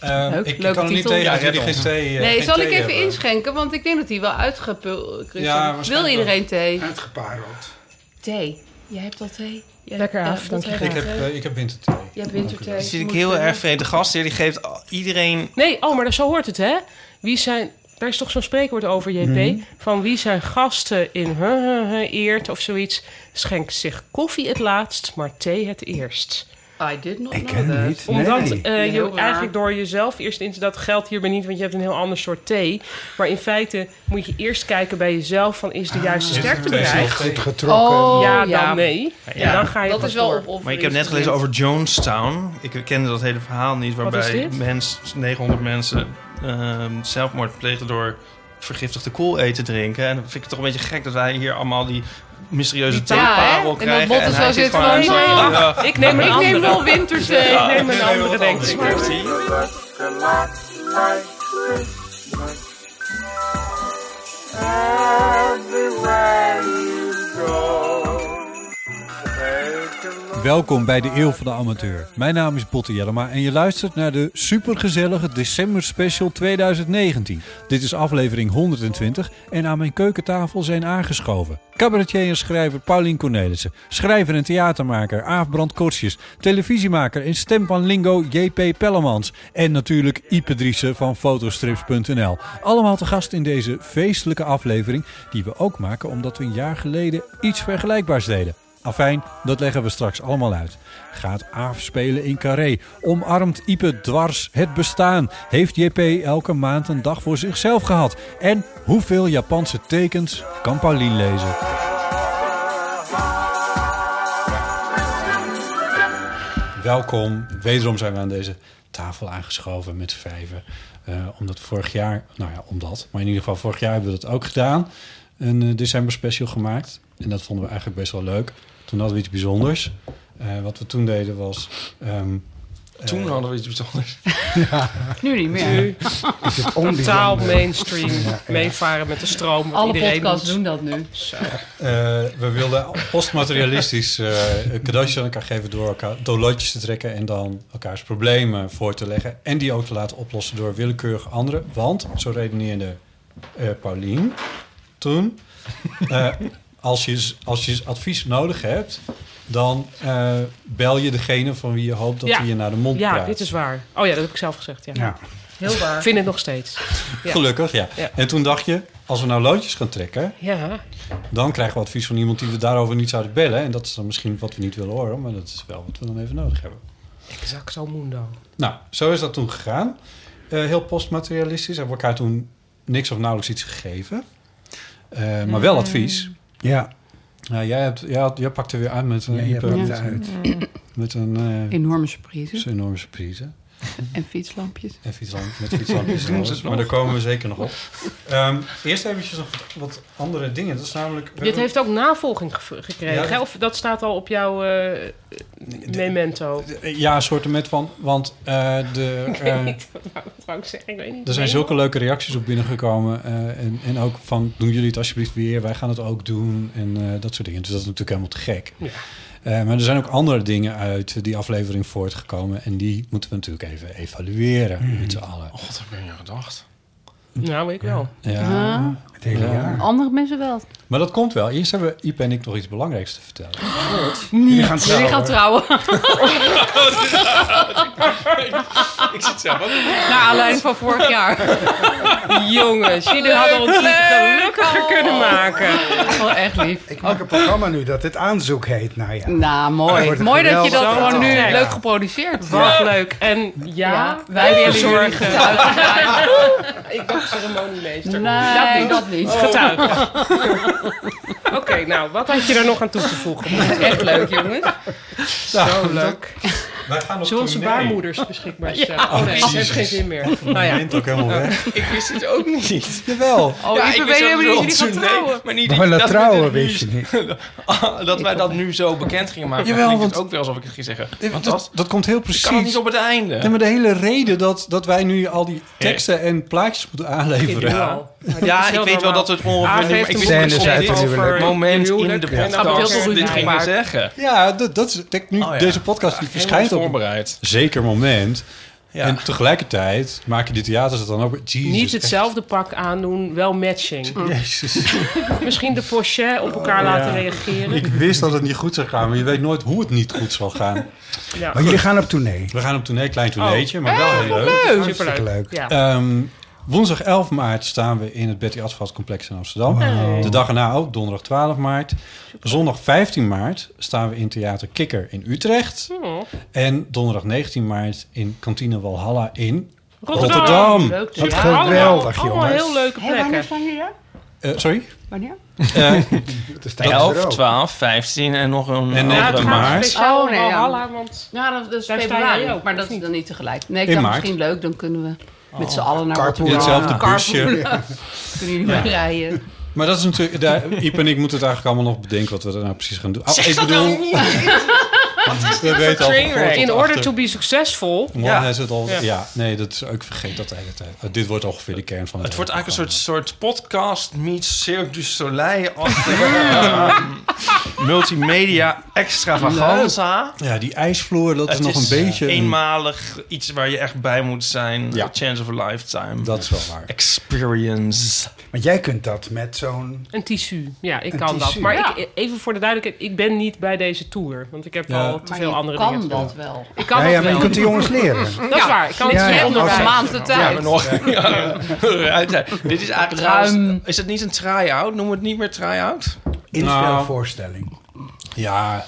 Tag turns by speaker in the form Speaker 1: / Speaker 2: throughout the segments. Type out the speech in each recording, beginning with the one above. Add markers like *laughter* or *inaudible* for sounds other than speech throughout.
Speaker 1: Ehm,
Speaker 2: Eh,
Speaker 3: Leuk,
Speaker 2: ik
Speaker 3: leuke
Speaker 2: kan er niet
Speaker 3: titel.
Speaker 2: tegen
Speaker 4: Ja,
Speaker 2: dat jullie
Speaker 4: red
Speaker 2: geen
Speaker 4: ons.
Speaker 2: thee eh,
Speaker 3: Nee,
Speaker 2: geen
Speaker 3: zal ik
Speaker 2: thee
Speaker 3: even
Speaker 2: hebben.
Speaker 3: inschenken? Want ik denk dat hij wel uitgepult is.
Speaker 2: Ja,
Speaker 3: Wil
Speaker 2: waarschijnlijk
Speaker 3: iedereen thee?
Speaker 5: Uitgepareld.
Speaker 3: Thee. Jij hebt al thee? Jij
Speaker 6: Lekker
Speaker 3: hebt-
Speaker 6: af,
Speaker 3: ja,
Speaker 6: dank
Speaker 3: dat
Speaker 6: je
Speaker 3: heb
Speaker 2: Ik heb, eh, ik heb winterthee.
Speaker 3: Je hebt winterthee.
Speaker 4: Dat zit ik
Speaker 3: Moet
Speaker 4: heel
Speaker 3: je-
Speaker 4: erg vreemd. De gastheer die geeft al- iedereen...
Speaker 6: Nee, oh, maar zo hoort het, hè? Wie zijn... Daar is toch zo'n spreekwoord over, JP? Van wie zijn gasten in huh, huh, huh, eert of zoiets... schenkt zich koffie het laatst, maar thee het eerst.
Speaker 3: I did not
Speaker 5: Ik
Speaker 3: know
Speaker 5: ken
Speaker 3: that.
Speaker 5: hem niet.
Speaker 6: Omdat
Speaker 5: nee.
Speaker 6: eh,
Speaker 3: Heel
Speaker 6: je
Speaker 3: raar.
Speaker 6: eigenlijk door jezelf eerst in te... dat geldt hierbij niet, want je hebt een heel ander soort thee. Maar in feite moet je eerst kijken bij jezelf... van is de juiste sterkte
Speaker 2: Thee is heel
Speaker 6: bereikt?
Speaker 2: goed.
Speaker 5: Getrokken.
Speaker 3: Oh,
Speaker 6: ja, dan
Speaker 3: ja.
Speaker 6: nee. En dan ga je
Speaker 3: dat
Speaker 6: pas
Speaker 3: is wel
Speaker 6: door.
Speaker 3: opoffering.
Speaker 4: Maar ik heb net gelezen over Jonestown. Ik kende dat hele verhaal niet.
Speaker 6: is
Speaker 4: Waarbij
Speaker 6: dit?
Speaker 4: mens, 900 mensen ehm, zelfmoord plegen door vergiftigde koel eten drinken. En dan vind ik het toch een beetje gek dat wij hier allemaal die mysterieuze
Speaker 3: taal, hè?
Speaker 4: theeparel
Speaker 3: En dat
Speaker 4: krijgen.
Speaker 3: Botte zo
Speaker 4: hij
Speaker 3: zit
Speaker 4: zit
Speaker 3: van,
Speaker 4: gewoon zo-
Speaker 3: nou,
Speaker 4: Ja.
Speaker 6: Ik neem een
Speaker 3: Ik
Speaker 6: andere.
Speaker 3: neem wel winterthee.
Speaker 6: Ik *laughs* neem een
Speaker 2: Ja,
Speaker 6: andere,
Speaker 2: wat
Speaker 6: denk
Speaker 2: anders.
Speaker 6: ik.
Speaker 2: Maar-
Speaker 1: Welkom bij de Eeuw van de Amateur. Mijn naam is Botte Jellema en je luistert naar de supergezellige December Special 2019. Dit is aflevering 120 en aan mijn keukentafel zijn aangeschoven... cabaretier en schrijver Paulien Cornelissen... schrijver en theatermaker Aaf Brand Kortjes... televisiemaker en stem van Lingo JP Pellemans... en natuurlijk Ipe Driessen van fotostrips.nl. Allemaal te gast in deze feestelijke aflevering... die we ook maken omdat we een jaar geleden iets vergelijkbaars deden... Afijn, dat leggen we straks allemaal uit. Gaat Aaf spelen in Carré? Omarmt Ipe dwars het bestaan? Heeft JP elke maand een dag voor zichzelf gehad? En hoeveel Japanse tekens kan Paulien lezen? Welkom, wederom zijn we aan deze tafel aangeschoven met z'n vijven. Eh, omdat vorig jaar, nou ja, omdat, maar in ieder geval vorig jaar hebben we dat ook gedaan. Een eh, december special gemaakt. En dat vonden we eigenlijk best wel leuk. Toen hadden we iets bijzonders. Eh, wat we toen deden was... ehm,
Speaker 4: Toen hadden we iets bijzonders.
Speaker 3: Nu niet meer.
Speaker 6: Totaal mainstream. Meevaren met de stroom. wat
Speaker 3: Alle
Speaker 6: iedereen
Speaker 3: podcasts
Speaker 6: doet.
Speaker 3: doen dat nu.
Speaker 1: Eh, we wilden postmaterialistisch eh cadeautjes aan elkaar geven door elkaar door loodjes te trekken en dan elkaars problemen voor te leggen en die ook te laten oplossen door willekeurige anderen. Want, zo redeneerde eh Paulien toen, eh, als, je, als je advies nodig hebt, dan eh, bel je degene van wie je hoopt dat
Speaker 6: Ja.
Speaker 1: hij je naar de mond
Speaker 6: Ja,
Speaker 1: praat.
Speaker 6: dit is waar. Oh ja, dat heb ik zelf gezegd. Ja.
Speaker 5: Ja.
Speaker 3: Heel
Speaker 6: Ik
Speaker 3: waar.
Speaker 6: vind het nog steeds. Ja.
Speaker 1: Gelukkig, ja.
Speaker 6: Ja.
Speaker 1: En toen dacht je, als we nou loodjes gaan trekken,
Speaker 6: Ja,
Speaker 1: Dan krijgen we advies van iemand die we daarover niet zouden bellen. En dat is dan misschien wat we niet willen horen, maar dat is wel wat we dan even nodig hebben.
Speaker 6: exacto mundo.
Speaker 1: Nou, zo is dat toen gegaan. Eh, heel postmaterialistisch. Hebben we elkaar toen niks of nauwelijks iets gegeven. Eh, maar wel advies.
Speaker 5: Ja,
Speaker 1: Nou, jij, hebt, jij, had- jij pakte weer aan met een,
Speaker 5: ja je
Speaker 1: hyper-
Speaker 5: pakt
Speaker 1: met,
Speaker 5: het uit.
Speaker 1: met een eh,
Speaker 3: Enorme surprise.
Speaker 1: zo'n enorme surprise.
Speaker 3: En fietslampjes.
Speaker 1: En fietslamp, met
Speaker 5: *laughs*
Speaker 1: fietslampjes. en alles. maar daar komen we zeker nog op. Ehm, eerst eventjes nog wat- wat andere dingen. Dat is namelijk... we
Speaker 6: Dit
Speaker 1: hebben-
Speaker 6: heeft ook navolging ge- gekregen.
Speaker 1: Ja, dat-
Speaker 6: hè? Of dat staat al op jouw eh, memento. *laughs*
Speaker 1: eh, Ja, een soort met van... Want eh, de... eh,
Speaker 6: Wat wou ik zeggen? Ik weet niet.
Speaker 1: Er zijn
Speaker 6: Nee.
Speaker 1: zulke leuke reacties op binnengekomen. eh, en, en ook van, doen jullie het alsjeblieft weer. Wij gaan het ook doen. En eh, dat soort dingen. Dus dat is natuurlijk helemaal te gek.
Speaker 6: Ja.
Speaker 1: Eh, maar er zijn ook andere dingen uit die aflevering voortgekomen. En die moeten we natuurlijk even evalueren met z'n allen.
Speaker 4: God, heb ik niet gedacht.
Speaker 6: Nou, weet ik wel.
Speaker 5: Ah.
Speaker 1: Ja.
Speaker 3: Ja.
Speaker 2: Het hele
Speaker 1: Ja.
Speaker 2: jaar.
Speaker 3: Andere mensen wel.
Speaker 1: Maar dat komt wel. Eerst hebben Iep en ik nog iets belangrijks te vertellen.
Speaker 2: Jullie gaan
Speaker 3: Jullie gaan
Speaker 2: trouwen.
Speaker 3: trouwen. *laughs*
Speaker 4: Ik zit zelf ook.
Speaker 3: Naar aanleiding van vorig jaar.
Speaker 6: Jongens, jullie hadden ons niet gelukkiger kunnen
Speaker 3: Oh.
Speaker 6: maken.
Speaker 3: Wel echt lief.
Speaker 2: Ik maak een programma nu dat dit aanzoek heet. Nou ja.
Speaker 3: Nou,
Speaker 2: Dat
Speaker 3: mooi.
Speaker 2: wordt
Speaker 3: Mooi dat je dat
Speaker 6: geweldig.
Speaker 3: gewoon nu
Speaker 6: Ja.
Speaker 3: leuk geproduceerd
Speaker 6: Wat leuk. En ja,
Speaker 3: Ja,
Speaker 6: wij willen
Speaker 3: jullie
Speaker 6: zorgen.
Speaker 3: getuigen.
Speaker 6: Ik dacht ceremoniemeester.
Speaker 3: Nou, Nee, dat niet.
Speaker 6: Getuige. *laughs* Oké, nou, wat had je er nog aan toe te voegen?
Speaker 3: Echt leuk, jongens.
Speaker 6: Zo leuk.
Speaker 1: Wij gaan op
Speaker 6: Zullen we onze
Speaker 1: tournee.
Speaker 6: baarmoeders beschikbaar stellen? oh nee, dat heeft geen zin meer. Nou ja,
Speaker 1: Wint ook *laughs* helemaal weg.
Speaker 4: Ik wist het ook niet.
Speaker 1: Jawel.
Speaker 3: Oh,
Speaker 4: Ja,
Speaker 3: ik
Speaker 4: wist
Speaker 3: weet helemaal niet
Speaker 4: ook
Speaker 3: dat jullie gaan
Speaker 4: zo- nee,
Speaker 3: trouwen.
Speaker 4: maar niet,
Speaker 2: Maar dat
Speaker 4: dat we
Speaker 2: trouwen
Speaker 4: dit nu-
Speaker 2: wist je
Speaker 4: *laughs*
Speaker 2: niet.
Speaker 4: dat wij dat nu zo bekend gingen maken.
Speaker 1: Jawel,
Speaker 4: Jawel, want...
Speaker 1: want-
Speaker 4: Het ook weer alsof ik het ging zeggen.
Speaker 1: Dat,
Speaker 4: Want dat
Speaker 1: dat komt heel
Speaker 4: kan niet
Speaker 1: precies.
Speaker 4: op het einde.
Speaker 1: Nee, maar de hele reden dat, dat wij nu al die teksten en plaatjes moeten aanleveren.
Speaker 4: Ja, ik weet wel dat we Ah, het
Speaker 6: Aaf
Speaker 4: ongeveer...
Speaker 6: heeft
Speaker 4: Ik
Speaker 6: een
Speaker 4: weet niet
Speaker 2: scène
Speaker 4: precies
Speaker 2: uit het
Speaker 4: over
Speaker 2: huwelijk.
Speaker 4: het moment in de
Speaker 6: Huwelijk. Ja.
Speaker 4: podcast
Speaker 3: Heel veel
Speaker 4: dit
Speaker 3: ruzie
Speaker 4: gingen
Speaker 3: gemaakt.
Speaker 4: zeggen.
Speaker 1: Ja, dat, dat is, kijk, nu
Speaker 4: Oh ja.
Speaker 1: deze podcast die verschijnt
Speaker 4: Helemaal
Speaker 1: op een
Speaker 4: voorbereid.
Speaker 1: zeker moment.
Speaker 4: Ja.
Speaker 1: En tegelijkertijd maken die theaters het dan ook... Jezus,
Speaker 6: Niet hetzelfde pak aandoen, wel matching.
Speaker 1: Jezus.
Speaker 6: *laughs* Misschien de pochet op elkaar laten reageren.
Speaker 1: Ik wist dat het niet goed zou gaan, maar je weet nooit hoe het niet goed zal gaan.
Speaker 6: Ja.
Speaker 2: Maar jullie gaan op tournee.
Speaker 1: We gaan op tournee, klein
Speaker 6: Oh.
Speaker 1: tourneetje, maar wel heel leuk.
Speaker 6: Superleuk.
Speaker 2: leuk.
Speaker 6: Ja.
Speaker 1: Ehm, woensdag 11 maart staan we in het Betty Asphalt Complex in Amsterdam. De dag erna ook, donderdag 12 maart. Zondag 15 maart staan we in Theater Kikker in Utrecht.
Speaker 6: Oh.
Speaker 1: En donderdag 19 maart in Kantine Walhalla in...
Speaker 6: Rotterdam.
Speaker 1: Rotterdam.
Speaker 6: Leuk te
Speaker 2: Wat
Speaker 6: zien.
Speaker 2: geweldig,
Speaker 6: Allemaal- Allemaal
Speaker 2: jongens.
Speaker 6: heel leuke plekken.
Speaker 3: staan jullie?
Speaker 1: eh, sorry?
Speaker 3: Wanneer?
Speaker 1: Eh,
Speaker 2: Dat is
Speaker 4: 11, 12, 15 en nog een
Speaker 1: En
Speaker 6: Ja, het
Speaker 4: andere
Speaker 1: negen
Speaker 6: gaat
Speaker 1: maart.
Speaker 6: speciaal
Speaker 3: Oh, nee,
Speaker 6: om
Speaker 3: ja.
Speaker 6: Walhalla, want
Speaker 3: Ja, dat, dat is
Speaker 6: Daar sta jij
Speaker 3: februari.
Speaker 6: ook,
Speaker 3: Maar
Speaker 6: of
Speaker 3: dat is
Speaker 6: niet? Oh.
Speaker 3: dan niet tegelijk. Nee, ik
Speaker 1: In
Speaker 3: dacht
Speaker 1: maart.
Speaker 3: misschien leuk. Dan kunnen we met z'n allen naar
Speaker 2: Carpoolen.
Speaker 3: Rotterdam.
Speaker 1: Hetzelfde busje.
Speaker 3: Carpoolen. Kunnen jullie mee rijden.
Speaker 1: Maar dat is natuurlijk... Daar, Iep en ik moeten het eigenlijk allemaal nog bedenken wat we daar nou precies gaan doen. Ah, ik bedoel,
Speaker 4: nou
Speaker 1: *laughs* we weten al van voor tot
Speaker 6: in order
Speaker 1: achter.
Speaker 6: to be successful...
Speaker 1: One
Speaker 4: Ja.
Speaker 1: has it all. Ja.
Speaker 6: Ja.
Speaker 1: nee, dat is ook vergeet dat de hele tijd. Eh, dit wordt ongeveer de kern van het
Speaker 4: Het wordt
Speaker 1: hele
Speaker 4: eigenlijk een
Speaker 1: programma.
Speaker 4: soort, soort podcast meets Cirque du Soleil. achtige, ehm, multimedia extravaganza.
Speaker 1: Ja, die ijsvloer, dat is
Speaker 4: Het eh,
Speaker 1: nog een beetje... een-
Speaker 4: eenmalig iets waar je echt bij moet zijn.
Speaker 1: Ja.
Speaker 4: A chance of a lifetime.
Speaker 1: Dat is wel waar.
Speaker 4: Experience.
Speaker 2: Want jij kunt dat met zo'n...
Speaker 6: Een tissu. Ja, ik
Speaker 2: Een
Speaker 6: kan dat.
Speaker 2: tissu.
Speaker 6: Maar
Speaker 3: Ja.
Speaker 6: ik, e-, even voor de duidelijkheid, ik ben niet bij deze tour. Want ik heb
Speaker 1: Ja.
Speaker 6: al te
Speaker 3: Maar
Speaker 6: veel
Speaker 3: je
Speaker 6: andere dingen
Speaker 3: kan
Speaker 6: te doen.
Speaker 3: dat wel. Nou.
Speaker 6: Ik kan
Speaker 2: Ja,
Speaker 6: dat
Speaker 2: ja, maar je
Speaker 6: wel.
Speaker 2: kunt de jongens leren.
Speaker 3: *laughs*
Speaker 6: Dat is waar. Ik kan
Speaker 2: Ja,
Speaker 6: het
Speaker 2: ja,
Speaker 6: ja,
Speaker 3: Je hebt nog een
Speaker 2: Als-
Speaker 6: onderwijs.
Speaker 3: maand de tijd.
Speaker 4: Ja, nog. *laughs* ja. Uit zijn. Dit is eigenlijk
Speaker 3: Ruim.
Speaker 4: trouwens- Is het niet een try-out? Noemen we het niet meer try-out?
Speaker 2: Instelvoorstelling.
Speaker 1: Ja,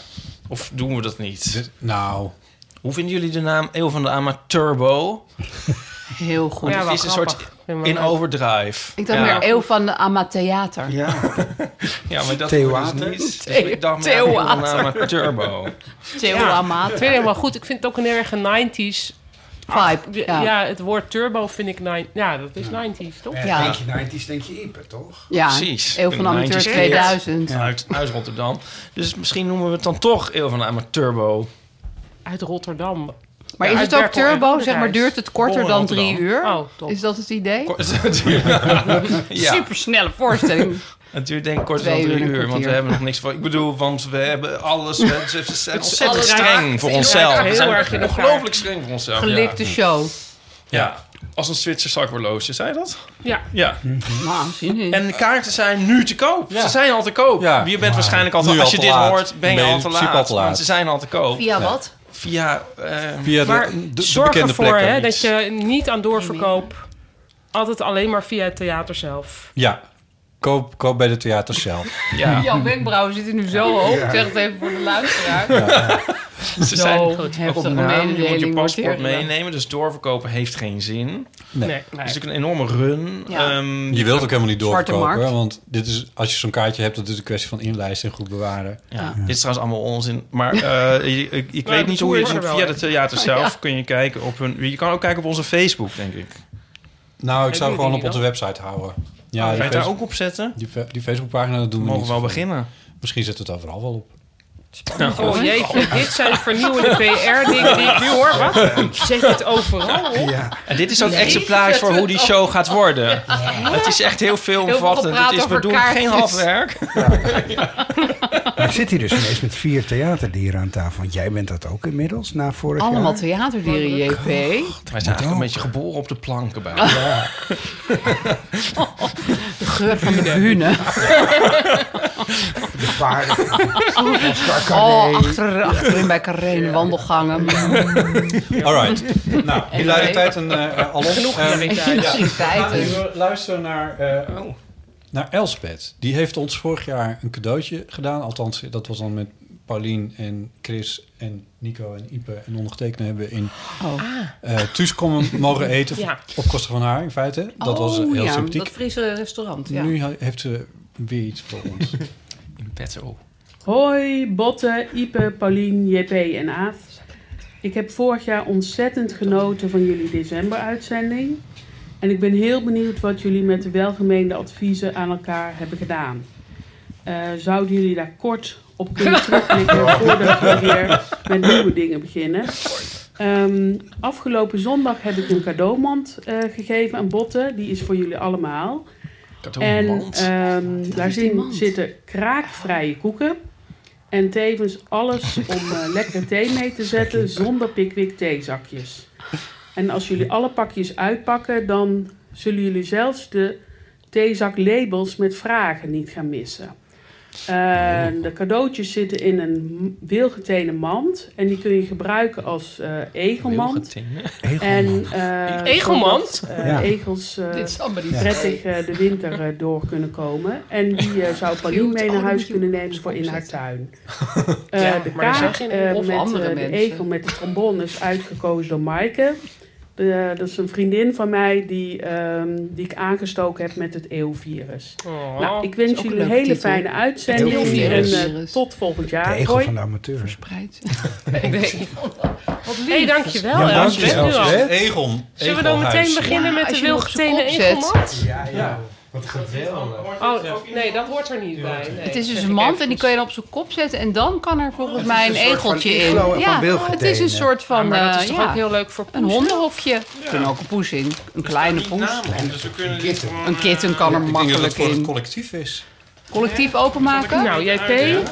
Speaker 4: Of doen we dat niet?
Speaker 1: dit- nou...
Speaker 4: Hoe vinden jullie de naam Eeuw van de Ama Turbo?
Speaker 3: Heel goed.
Speaker 6: Ja,
Speaker 4: Het
Speaker 6: wel
Speaker 4: is een soort
Speaker 6: grappig. Vind ik wel
Speaker 4: in
Speaker 6: leuk.
Speaker 4: overdrive.
Speaker 3: Ik dacht
Speaker 4: ja.
Speaker 3: meer eeuw van de Amatheater.
Speaker 4: Ja. ja, maar dat
Speaker 2: Theo
Speaker 4: wordt dus
Speaker 2: Water.
Speaker 4: niet. Dus
Speaker 3: Theo-
Speaker 4: ik dacht
Speaker 3: Theo
Speaker 4: meer aan
Speaker 3: Water.
Speaker 4: Ama Turbo.
Speaker 3: Theo
Speaker 6: Ja. Ik
Speaker 3: Amater.
Speaker 6: vind het helemaal goed. Ik vind het ook een erg 90s.
Speaker 3: Vibe.
Speaker 6: Ja.
Speaker 3: Ja. Ja.
Speaker 6: het woord turbo vind ik... nine- Ja, dat is 90s, toch?
Speaker 3: Ja.
Speaker 2: Denk je 90's, denk je Ieper, toch?
Speaker 4: Precies.
Speaker 3: Eeuw van de
Speaker 4: Een
Speaker 3: Amateur
Speaker 4: 90s
Speaker 3: 2000.
Speaker 4: Uit, uit Rotterdam. Dus misschien noemen we het dan toch Eeuw van de Ama Turbo.
Speaker 6: Uit Rotterdam.
Speaker 3: Maar
Speaker 6: Ja,
Speaker 3: is
Speaker 6: uit
Speaker 3: het ook
Speaker 6: Berkel en
Speaker 3: turbo? Zeg maar
Speaker 6: Onderhuis.
Speaker 3: duurt het korter
Speaker 4: Bonn en
Speaker 3: dan drie uur?
Speaker 6: Oh, top.
Speaker 3: Is dat het idee?
Speaker 4: Kort- *laughs* ja,
Speaker 3: Supersnelle *laughs* voorstelling.
Speaker 4: het duurt denk ik kort wel
Speaker 3: Twee uur
Speaker 4: drie
Speaker 3: en een
Speaker 4: uur, want we
Speaker 3: kwartier.
Speaker 4: hebben nog niks van. Ik bedoel, want we hebben alles. We ze- ze zijn ontzettend
Speaker 3: alles
Speaker 4: streng
Speaker 3: raakt
Speaker 4: voor
Speaker 3: in
Speaker 4: onszelf.
Speaker 6: elkaar.
Speaker 4: We
Speaker 6: Heel
Speaker 4: zijn
Speaker 6: erg in elkaar.
Speaker 4: ongelooflijk streng voor onszelf. Ja.
Speaker 3: Gelikte show.
Speaker 4: ja, als een Zwitser zakhorloge, zei je dat?
Speaker 6: Ja.
Speaker 4: Ja.
Speaker 3: Nou, zin in.
Speaker 4: En de kaarten zijn nu te koop.
Speaker 1: Ja.
Speaker 4: Ze zijn al te koop.
Speaker 1: Ja.
Speaker 4: Je bent waarschijnlijk al te,
Speaker 1: Nu al
Speaker 4: als je
Speaker 1: te
Speaker 4: dit
Speaker 1: laat.
Speaker 4: hoort, ben je,
Speaker 1: Ben je
Speaker 4: al
Speaker 1: in
Speaker 4: te
Speaker 1: principe
Speaker 4: laat.
Speaker 1: al te laat.
Speaker 4: Want ze zijn al te koop.
Speaker 3: Via wat?
Speaker 4: Via, eh,
Speaker 1: Via de,
Speaker 6: Maar
Speaker 1: de, de
Speaker 6: zorg
Speaker 1: bekende
Speaker 6: ervoor
Speaker 1: plekken.
Speaker 6: hè, dat je niet aan doorverkoop... Altijd alleen maar via het theater zelf.
Speaker 1: Ja, koop, koop bij de theater zelf.
Speaker 4: ja.
Speaker 3: Jouw wenkbrauwen zitten nu zo hoog. Ik zeg het even voor de luisteraar.
Speaker 4: Ze zijn
Speaker 3: Zo
Speaker 4: ook op
Speaker 3: heftige
Speaker 4: naam. Je moet je
Speaker 3: mededeling. wordt hier
Speaker 4: paspoort
Speaker 3: gedaan.
Speaker 4: meenemen, dus doorverkopen heeft geen zin.
Speaker 1: Nee.
Speaker 6: Nee. nee.
Speaker 4: Het is natuurlijk een enorme run.
Speaker 3: Ja.
Speaker 4: Ehm,
Speaker 1: Je wilt ook helemaal niet
Speaker 3: Zwarte
Speaker 1: doorverkopen,
Speaker 3: markt.
Speaker 1: want dit is, als je zo'n kaartje hebt, dat is een kwestie van inlijsten en goed bewaren. Nou,
Speaker 4: ja. Dit is trouwens allemaal onzin.
Speaker 1: *laughs*
Speaker 4: Maar eh, je- ik, ik
Speaker 6: Maar
Speaker 4: weet
Speaker 6: de
Speaker 4: niet
Speaker 6: tour
Speaker 4: hoe je
Speaker 6: is
Speaker 4: het
Speaker 6: er
Speaker 4: doet.
Speaker 6: wel,
Speaker 4: Via
Speaker 6: hè?
Speaker 4: de theater zelf kun je kijken op hun... Je kan ook kijken op onze Facebook, denk ik.
Speaker 1: Nou, ik
Speaker 6: Ja,
Speaker 1: zou
Speaker 6: doe
Speaker 1: gewoon
Speaker 6: die
Speaker 1: op onze website houden. Ja,
Speaker 4: Ga je
Speaker 1: die,
Speaker 4: het daar ook
Speaker 1: Facebook,
Speaker 4: op zetten?
Speaker 1: die, fe- die Facebookpagina, dat doen
Speaker 4: We
Speaker 1: we
Speaker 4: Oh, mogen
Speaker 1: niet.
Speaker 4: wel beginnen.
Speaker 1: Misschien zet het overal wel op.
Speaker 6: Oh jeetje, dit zijn vernieuwende PR-dingen die ik nu hoor. Wat? Zet het overal op?
Speaker 2: Ja.
Speaker 4: En dit is ook exemplarisch voor hoe die show gaat worden. Het is echt heel veelomvattend.
Speaker 3: gepraat
Speaker 4: het is, we
Speaker 3: over
Speaker 4: doen
Speaker 3: kaartjes.
Speaker 4: geen halfwerk.
Speaker 2: *laughs* Maar ik zit hier dus ineens met vier theaterdieren aan tafel. Want jij bent dat ook inmiddels, na
Speaker 3: *laughs*
Speaker 2: vorig
Speaker 3: Allemaal
Speaker 2: jaar.
Speaker 3: theaterdieren, JP.
Speaker 4: Wij zijn eigenlijk een beetje geboren op de planken bij. Ja.
Speaker 3: geur van de *laughs* bühne.
Speaker 2: De paarden.
Speaker 3: Oh, achter, achterin bij Carré in de wandelgangen.
Speaker 1: Alright. nou, hilariteit en eh alles.
Speaker 6: Genoeg
Speaker 1: Ehm,
Speaker 6: hilariteit.
Speaker 1: ja.
Speaker 3: Hilariteit en-
Speaker 1: Laten we luisteren naar, eh,
Speaker 3: Oh.
Speaker 1: naar Elspeth. Die heeft ons vorig jaar een cadeautje gedaan. Althans, dat was dan met Paulien en Chris en Nico en Ipe en ondergetekende hebben we in
Speaker 3: Oh.
Speaker 1: eh Thuis komen mogen eten.
Speaker 3: *laughs*
Speaker 6: Ja.
Speaker 1: Op kosten van haar in feite. Dat was heel
Speaker 3: Oh, ja,
Speaker 1: sympathiek.
Speaker 3: dat Friese restaurant, ja.
Speaker 1: Nu ha- heeft ze weer iets
Speaker 3: *laughs*
Speaker 1: voor ons.
Speaker 4: In petto.
Speaker 5: Hoi Botte, Ipe, Paulien, JP en Aaf. Ik heb vorig jaar ontzettend genoten van jullie december-uitzending. En ik ben heel benieuwd wat jullie met de welgemeende adviezen aan elkaar hebben gedaan. Eh, zouden jullie daar kort op kunnen terugblikken voordat we weer met nieuwe dingen beginnen? Ehm, afgelopen zondag heb ik een cadeaumand eh, gegeven aan Botte. Die is voor jullie allemaal. En ehm, daar
Speaker 3: is
Speaker 5: zien-
Speaker 3: die mand.
Speaker 5: zitten kraakvrije koeken. En tevens alles om eh, lekkere thee mee te zetten zonder pikwik theezakjes. En als jullie alle pakjes uitpakken, dan zullen jullie zelfs de theezaklabels met vragen niet gaan missen. Eh, de cadeautjes zitten in een wilgetenen mand. En die kun je gebruiken als eh, egelmand. En, eh,
Speaker 6: Egelmand?
Speaker 5: zodat, eh,
Speaker 2: Ja.
Speaker 5: Egels eh,
Speaker 3: Dit is allemaal niet
Speaker 5: prettig eh, de winter eh, door kunnen komen. En die eh, zou Paulien
Speaker 3: Cute.
Speaker 5: mee
Speaker 3: Oh,
Speaker 5: naar
Speaker 3: dan
Speaker 5: huis
Speaker 3: moet je
Speaker 5: kunnen
Speaker 3: hem
Speaker 5: nemen voor in haar
Speaker 3: opzetten.
Speaker 5: tuin. Eh,
Speaker 6: Ja,
Speaker 5: de
Speaker 6: maar er zijn
Speaker 5: kaart
Speaker 6: geen-
Speaker 5: eh,
Speaker 3: of
Speaker 5: met
Speaker 3: andere
Speaker 5: eh, de
Speaker 3: mensen.
Speaker 5: egel met de trombone is uitgekozen door Maaike. De- dat is een vriendin van mij die, ehm, die ik aangestoken heb met het eeuwvirus.
Speaker 6: Oh.
Speaker 5: nou, ik
Speaker 3: is
Speaker 5: wens
Speaker 3: ook
Speaker 5: jullie
Speaker 3: een
Speaker 5: een
Speaker 3: leuke
Speaker 5: hele
Speaker 3: titel.
Speaker 5: fijne uitzending.
Speaker 2: Het
Speaker 5: En
Speaker 2: eeuwvirus.
Speaker 5: eh, tot volgend
Speaker 2: De
Speaker 5: jaar.
Speaker 2: egel
Speaker 5: Hoi.
Speaker 2: van de amateur.
Speaker 3: Verspreid. *laughs*
Speaker 6: Hé, hey, dankjewel.
Speaker 1: Ja,
Speaker 6: Els.
Speaker 1: dankjewel,
Speaker 6: Nu al.
Speaker 1: Els.
Speaker 4: Egon. Egon.
Speaker 6: Zullen we dan meteen beginnen met
Speaker 3: als
Speaker 6: de
Speaker 3: je hem op zijn
Speaker 6: wilgetenen
Speaker 3: kop zet.
Speaker 6: egelmand?
Speaker 2: Ja, ja. Wat geweldig.
Speaker 6: Oh, nee, dat hoort er niet bij. Nee,
Speaker 3: Het is dus
Speaker 6: zeg
Speaker 3: een
Speaker 6: ik
Speaker 3: mand
Speaker 6: even.
Speaker 3: en die kun je dan op zijn kop zetten. En dan kan er volgens mij een,
Speaker 2: een soort van
Speaker 3: egeltje in.
Speaker 2: iglo en van
Speaker 3: Ja,
Speaker 2: wilgetenen.
Speaker 3: het is een soort
Speaker 6: Ja,
Speaker 3: van
Speaker 6: maar dat
Speaker 3: eh,
Speaker 6: is toch
Speaker 3: ja,
Speaker 6: ook heel leuk voor
Speaker 3: een
Speaker 6: poes?
Speaker 3: hondenhofje. Er kunnen ook een poes in. Een kleine poes.
Speaker 4: Dus we kunnen dit
Speaker 3: Een kitten kan er
Speaker 1: Ik denk eh, dat het
Speaker 3: makkelijk
Speaker 1: voor het
Speaker 3: in.
Speaker 1: collectief is.
Speaker 3: Collectief openmaken.
Speaker 6: Nou, JP,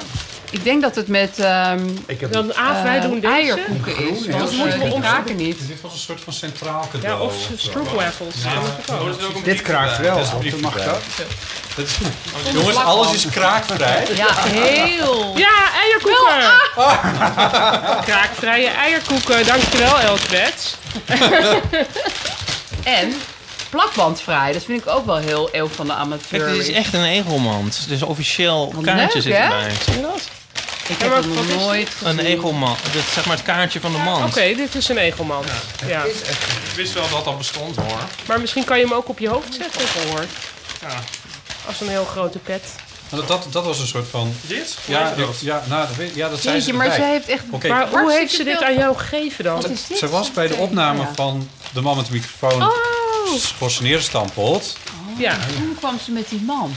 Speaker 3: Ik denk dat het met ehm
Speaker 2: Ik heb
Speaker 6: dan Aaf, wij doen
Speaker 3: eh,
Speaker 6: deze.
Speaker 3: eierkoeken is.
Speaker 1: hè?
Speaker 3: Want
Speaker 1: Dat
Speaker 6: moeten we
Speaker 3: we die
Speaker 6: ons-
Speaker 3: kraken niet.
Speaker 1: Dit was een soort van centraal cadeau.
Speaker 6: Ja, of stroopwafels. Ja, dat is ook.
Speaker 2: dit kraakt wel.
Speaker 1: is een
Speaker 2: want dan mag
Speaker 1: briefje
Speaker 2: dat.
Speaker 1: Jongens, alles is kraakvrij.
Speaker 3: Ja, heel.
Speaker 6: Ja, eierkoeken!
Speaker 3: ah!
Speaker 6: *laughs* Kraakvrije eierkoeken. Dankjewel, Elsbeth.
Speaker 3: En plakbandvrij. Dat vind ik ook wel heel eeuw van de amateur.
Speaker 4: Het is echt een egelmand. Dus officieel
Speaker 3: Wat
Speaker 4: kaartje
Speaker 3: leuk,
Speaker 4: zit
Speaker 3: hè?
Speaker 4: erbij. Zie je dat?
Speaker 3: Ik
Speaker 6: Ja,
Speaker 3: heb
Speaker 6: maar
Speaker 3: het
Speaker 6: wat
Speaker 3: nog
Speaker 6: is
Speaker 3: nooit
Speaker 4: Een
Speaker 3: gezien.
Speaker 4: egelmand. Dat is zeg maar het kaartje van de mand.
Speaker 6: Oké, dit is een egelmand. Ja.
Speaker 4: Ik wist wel dat dat bestond hoor.
Speaker 6: Maar misschien kan je hem ook op je hoofd zetten, heb ik gehoord.
Speaker 4: Ja.
Speaker 6: Als een heel grote pet.
Speaker 1: Dat, Nou, dat, dat was een soort van...
Speaker 4: Dit?
Speaker 1: Ja,
Speaker 4: Hoe heet dat?
Speaker 1: ja, nou, dat weet- ja dat zijn
Speaker 3: Jeetje,
Speaker 1: ze
Speaker 3: maar
Speaker 1: erbij.
Speaker 3: zij heeft echt...
Speaker 1: Oké,
Speaker 6: Maar hoe
Speaker 3: Hartstikke
Speaker 6: heeft ze dit
Speaker 3: veel-
Speaker 6: aan jou gegeven dan?
Speaker 3: Wat is dit?
Speaker 1: ze was bij de
Speaker 3: Oké,
Speaker 1: opname
Speaker 3: ja.
Speaker 1: van de man met de microfoon oh.
Speaker 6: Oh,
Speaker 1: gestampeld.
Speaker 6: ja.
Speaker 3: Toen kwam ze met die mand.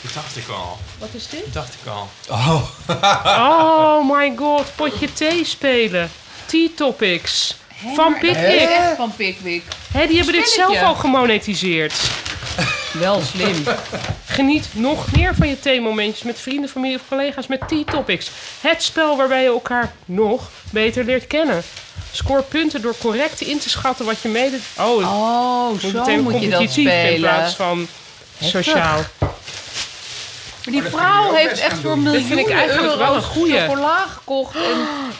Speaker 4: Dat dacht ik al.
Speaker 6: Wat is dit?
Speaker 4: Dat dacht ik al.
Speaker 1: Oh,
Speaker 6: Oh my god, potje thee spelen. Tea topics.
Speaker 3: Hè,
Speaker 6: Van
Speaker 3: maar dat
Speaker 6: Pickwick.
Speaker 3: is echt Van Pickwick.
Speaker 6: Hé, die hebben dit zelf
Speaker 3: Spelletje.
Speaker 6: al gemonetiseerd.
Speaker 3: Wel slim.
Speaker 6: *laughs* Geniet nog meer van je theemomentjes met vrienden, familie of collega's met Tea Topics. Het spel waarbij je elkaar nog beter leert kennen. Scoor punten door correct in te schatten wat je mede... Oh, het
Speaker 3: Oh,
Speaker 6: wordt
Speaker 3: zo
Speaker 6: meteen
Speaker 3: moet je dat
Speaker 6: competitief in
Speaker 3: spelen.
Speaker 6: plaats van sociaal.
Speaker 3: Maar
Speaker 1: Oh,
Speaker 3: die vrouw heeft echt voor
Speaker 6: Dit vind ik
Speaker 3: miljoenen
Speaker 6: eigenlijk wel een
Speaker 3: euro's
Speaker 6: goeie.
Speaker 3: chocola gekocht. En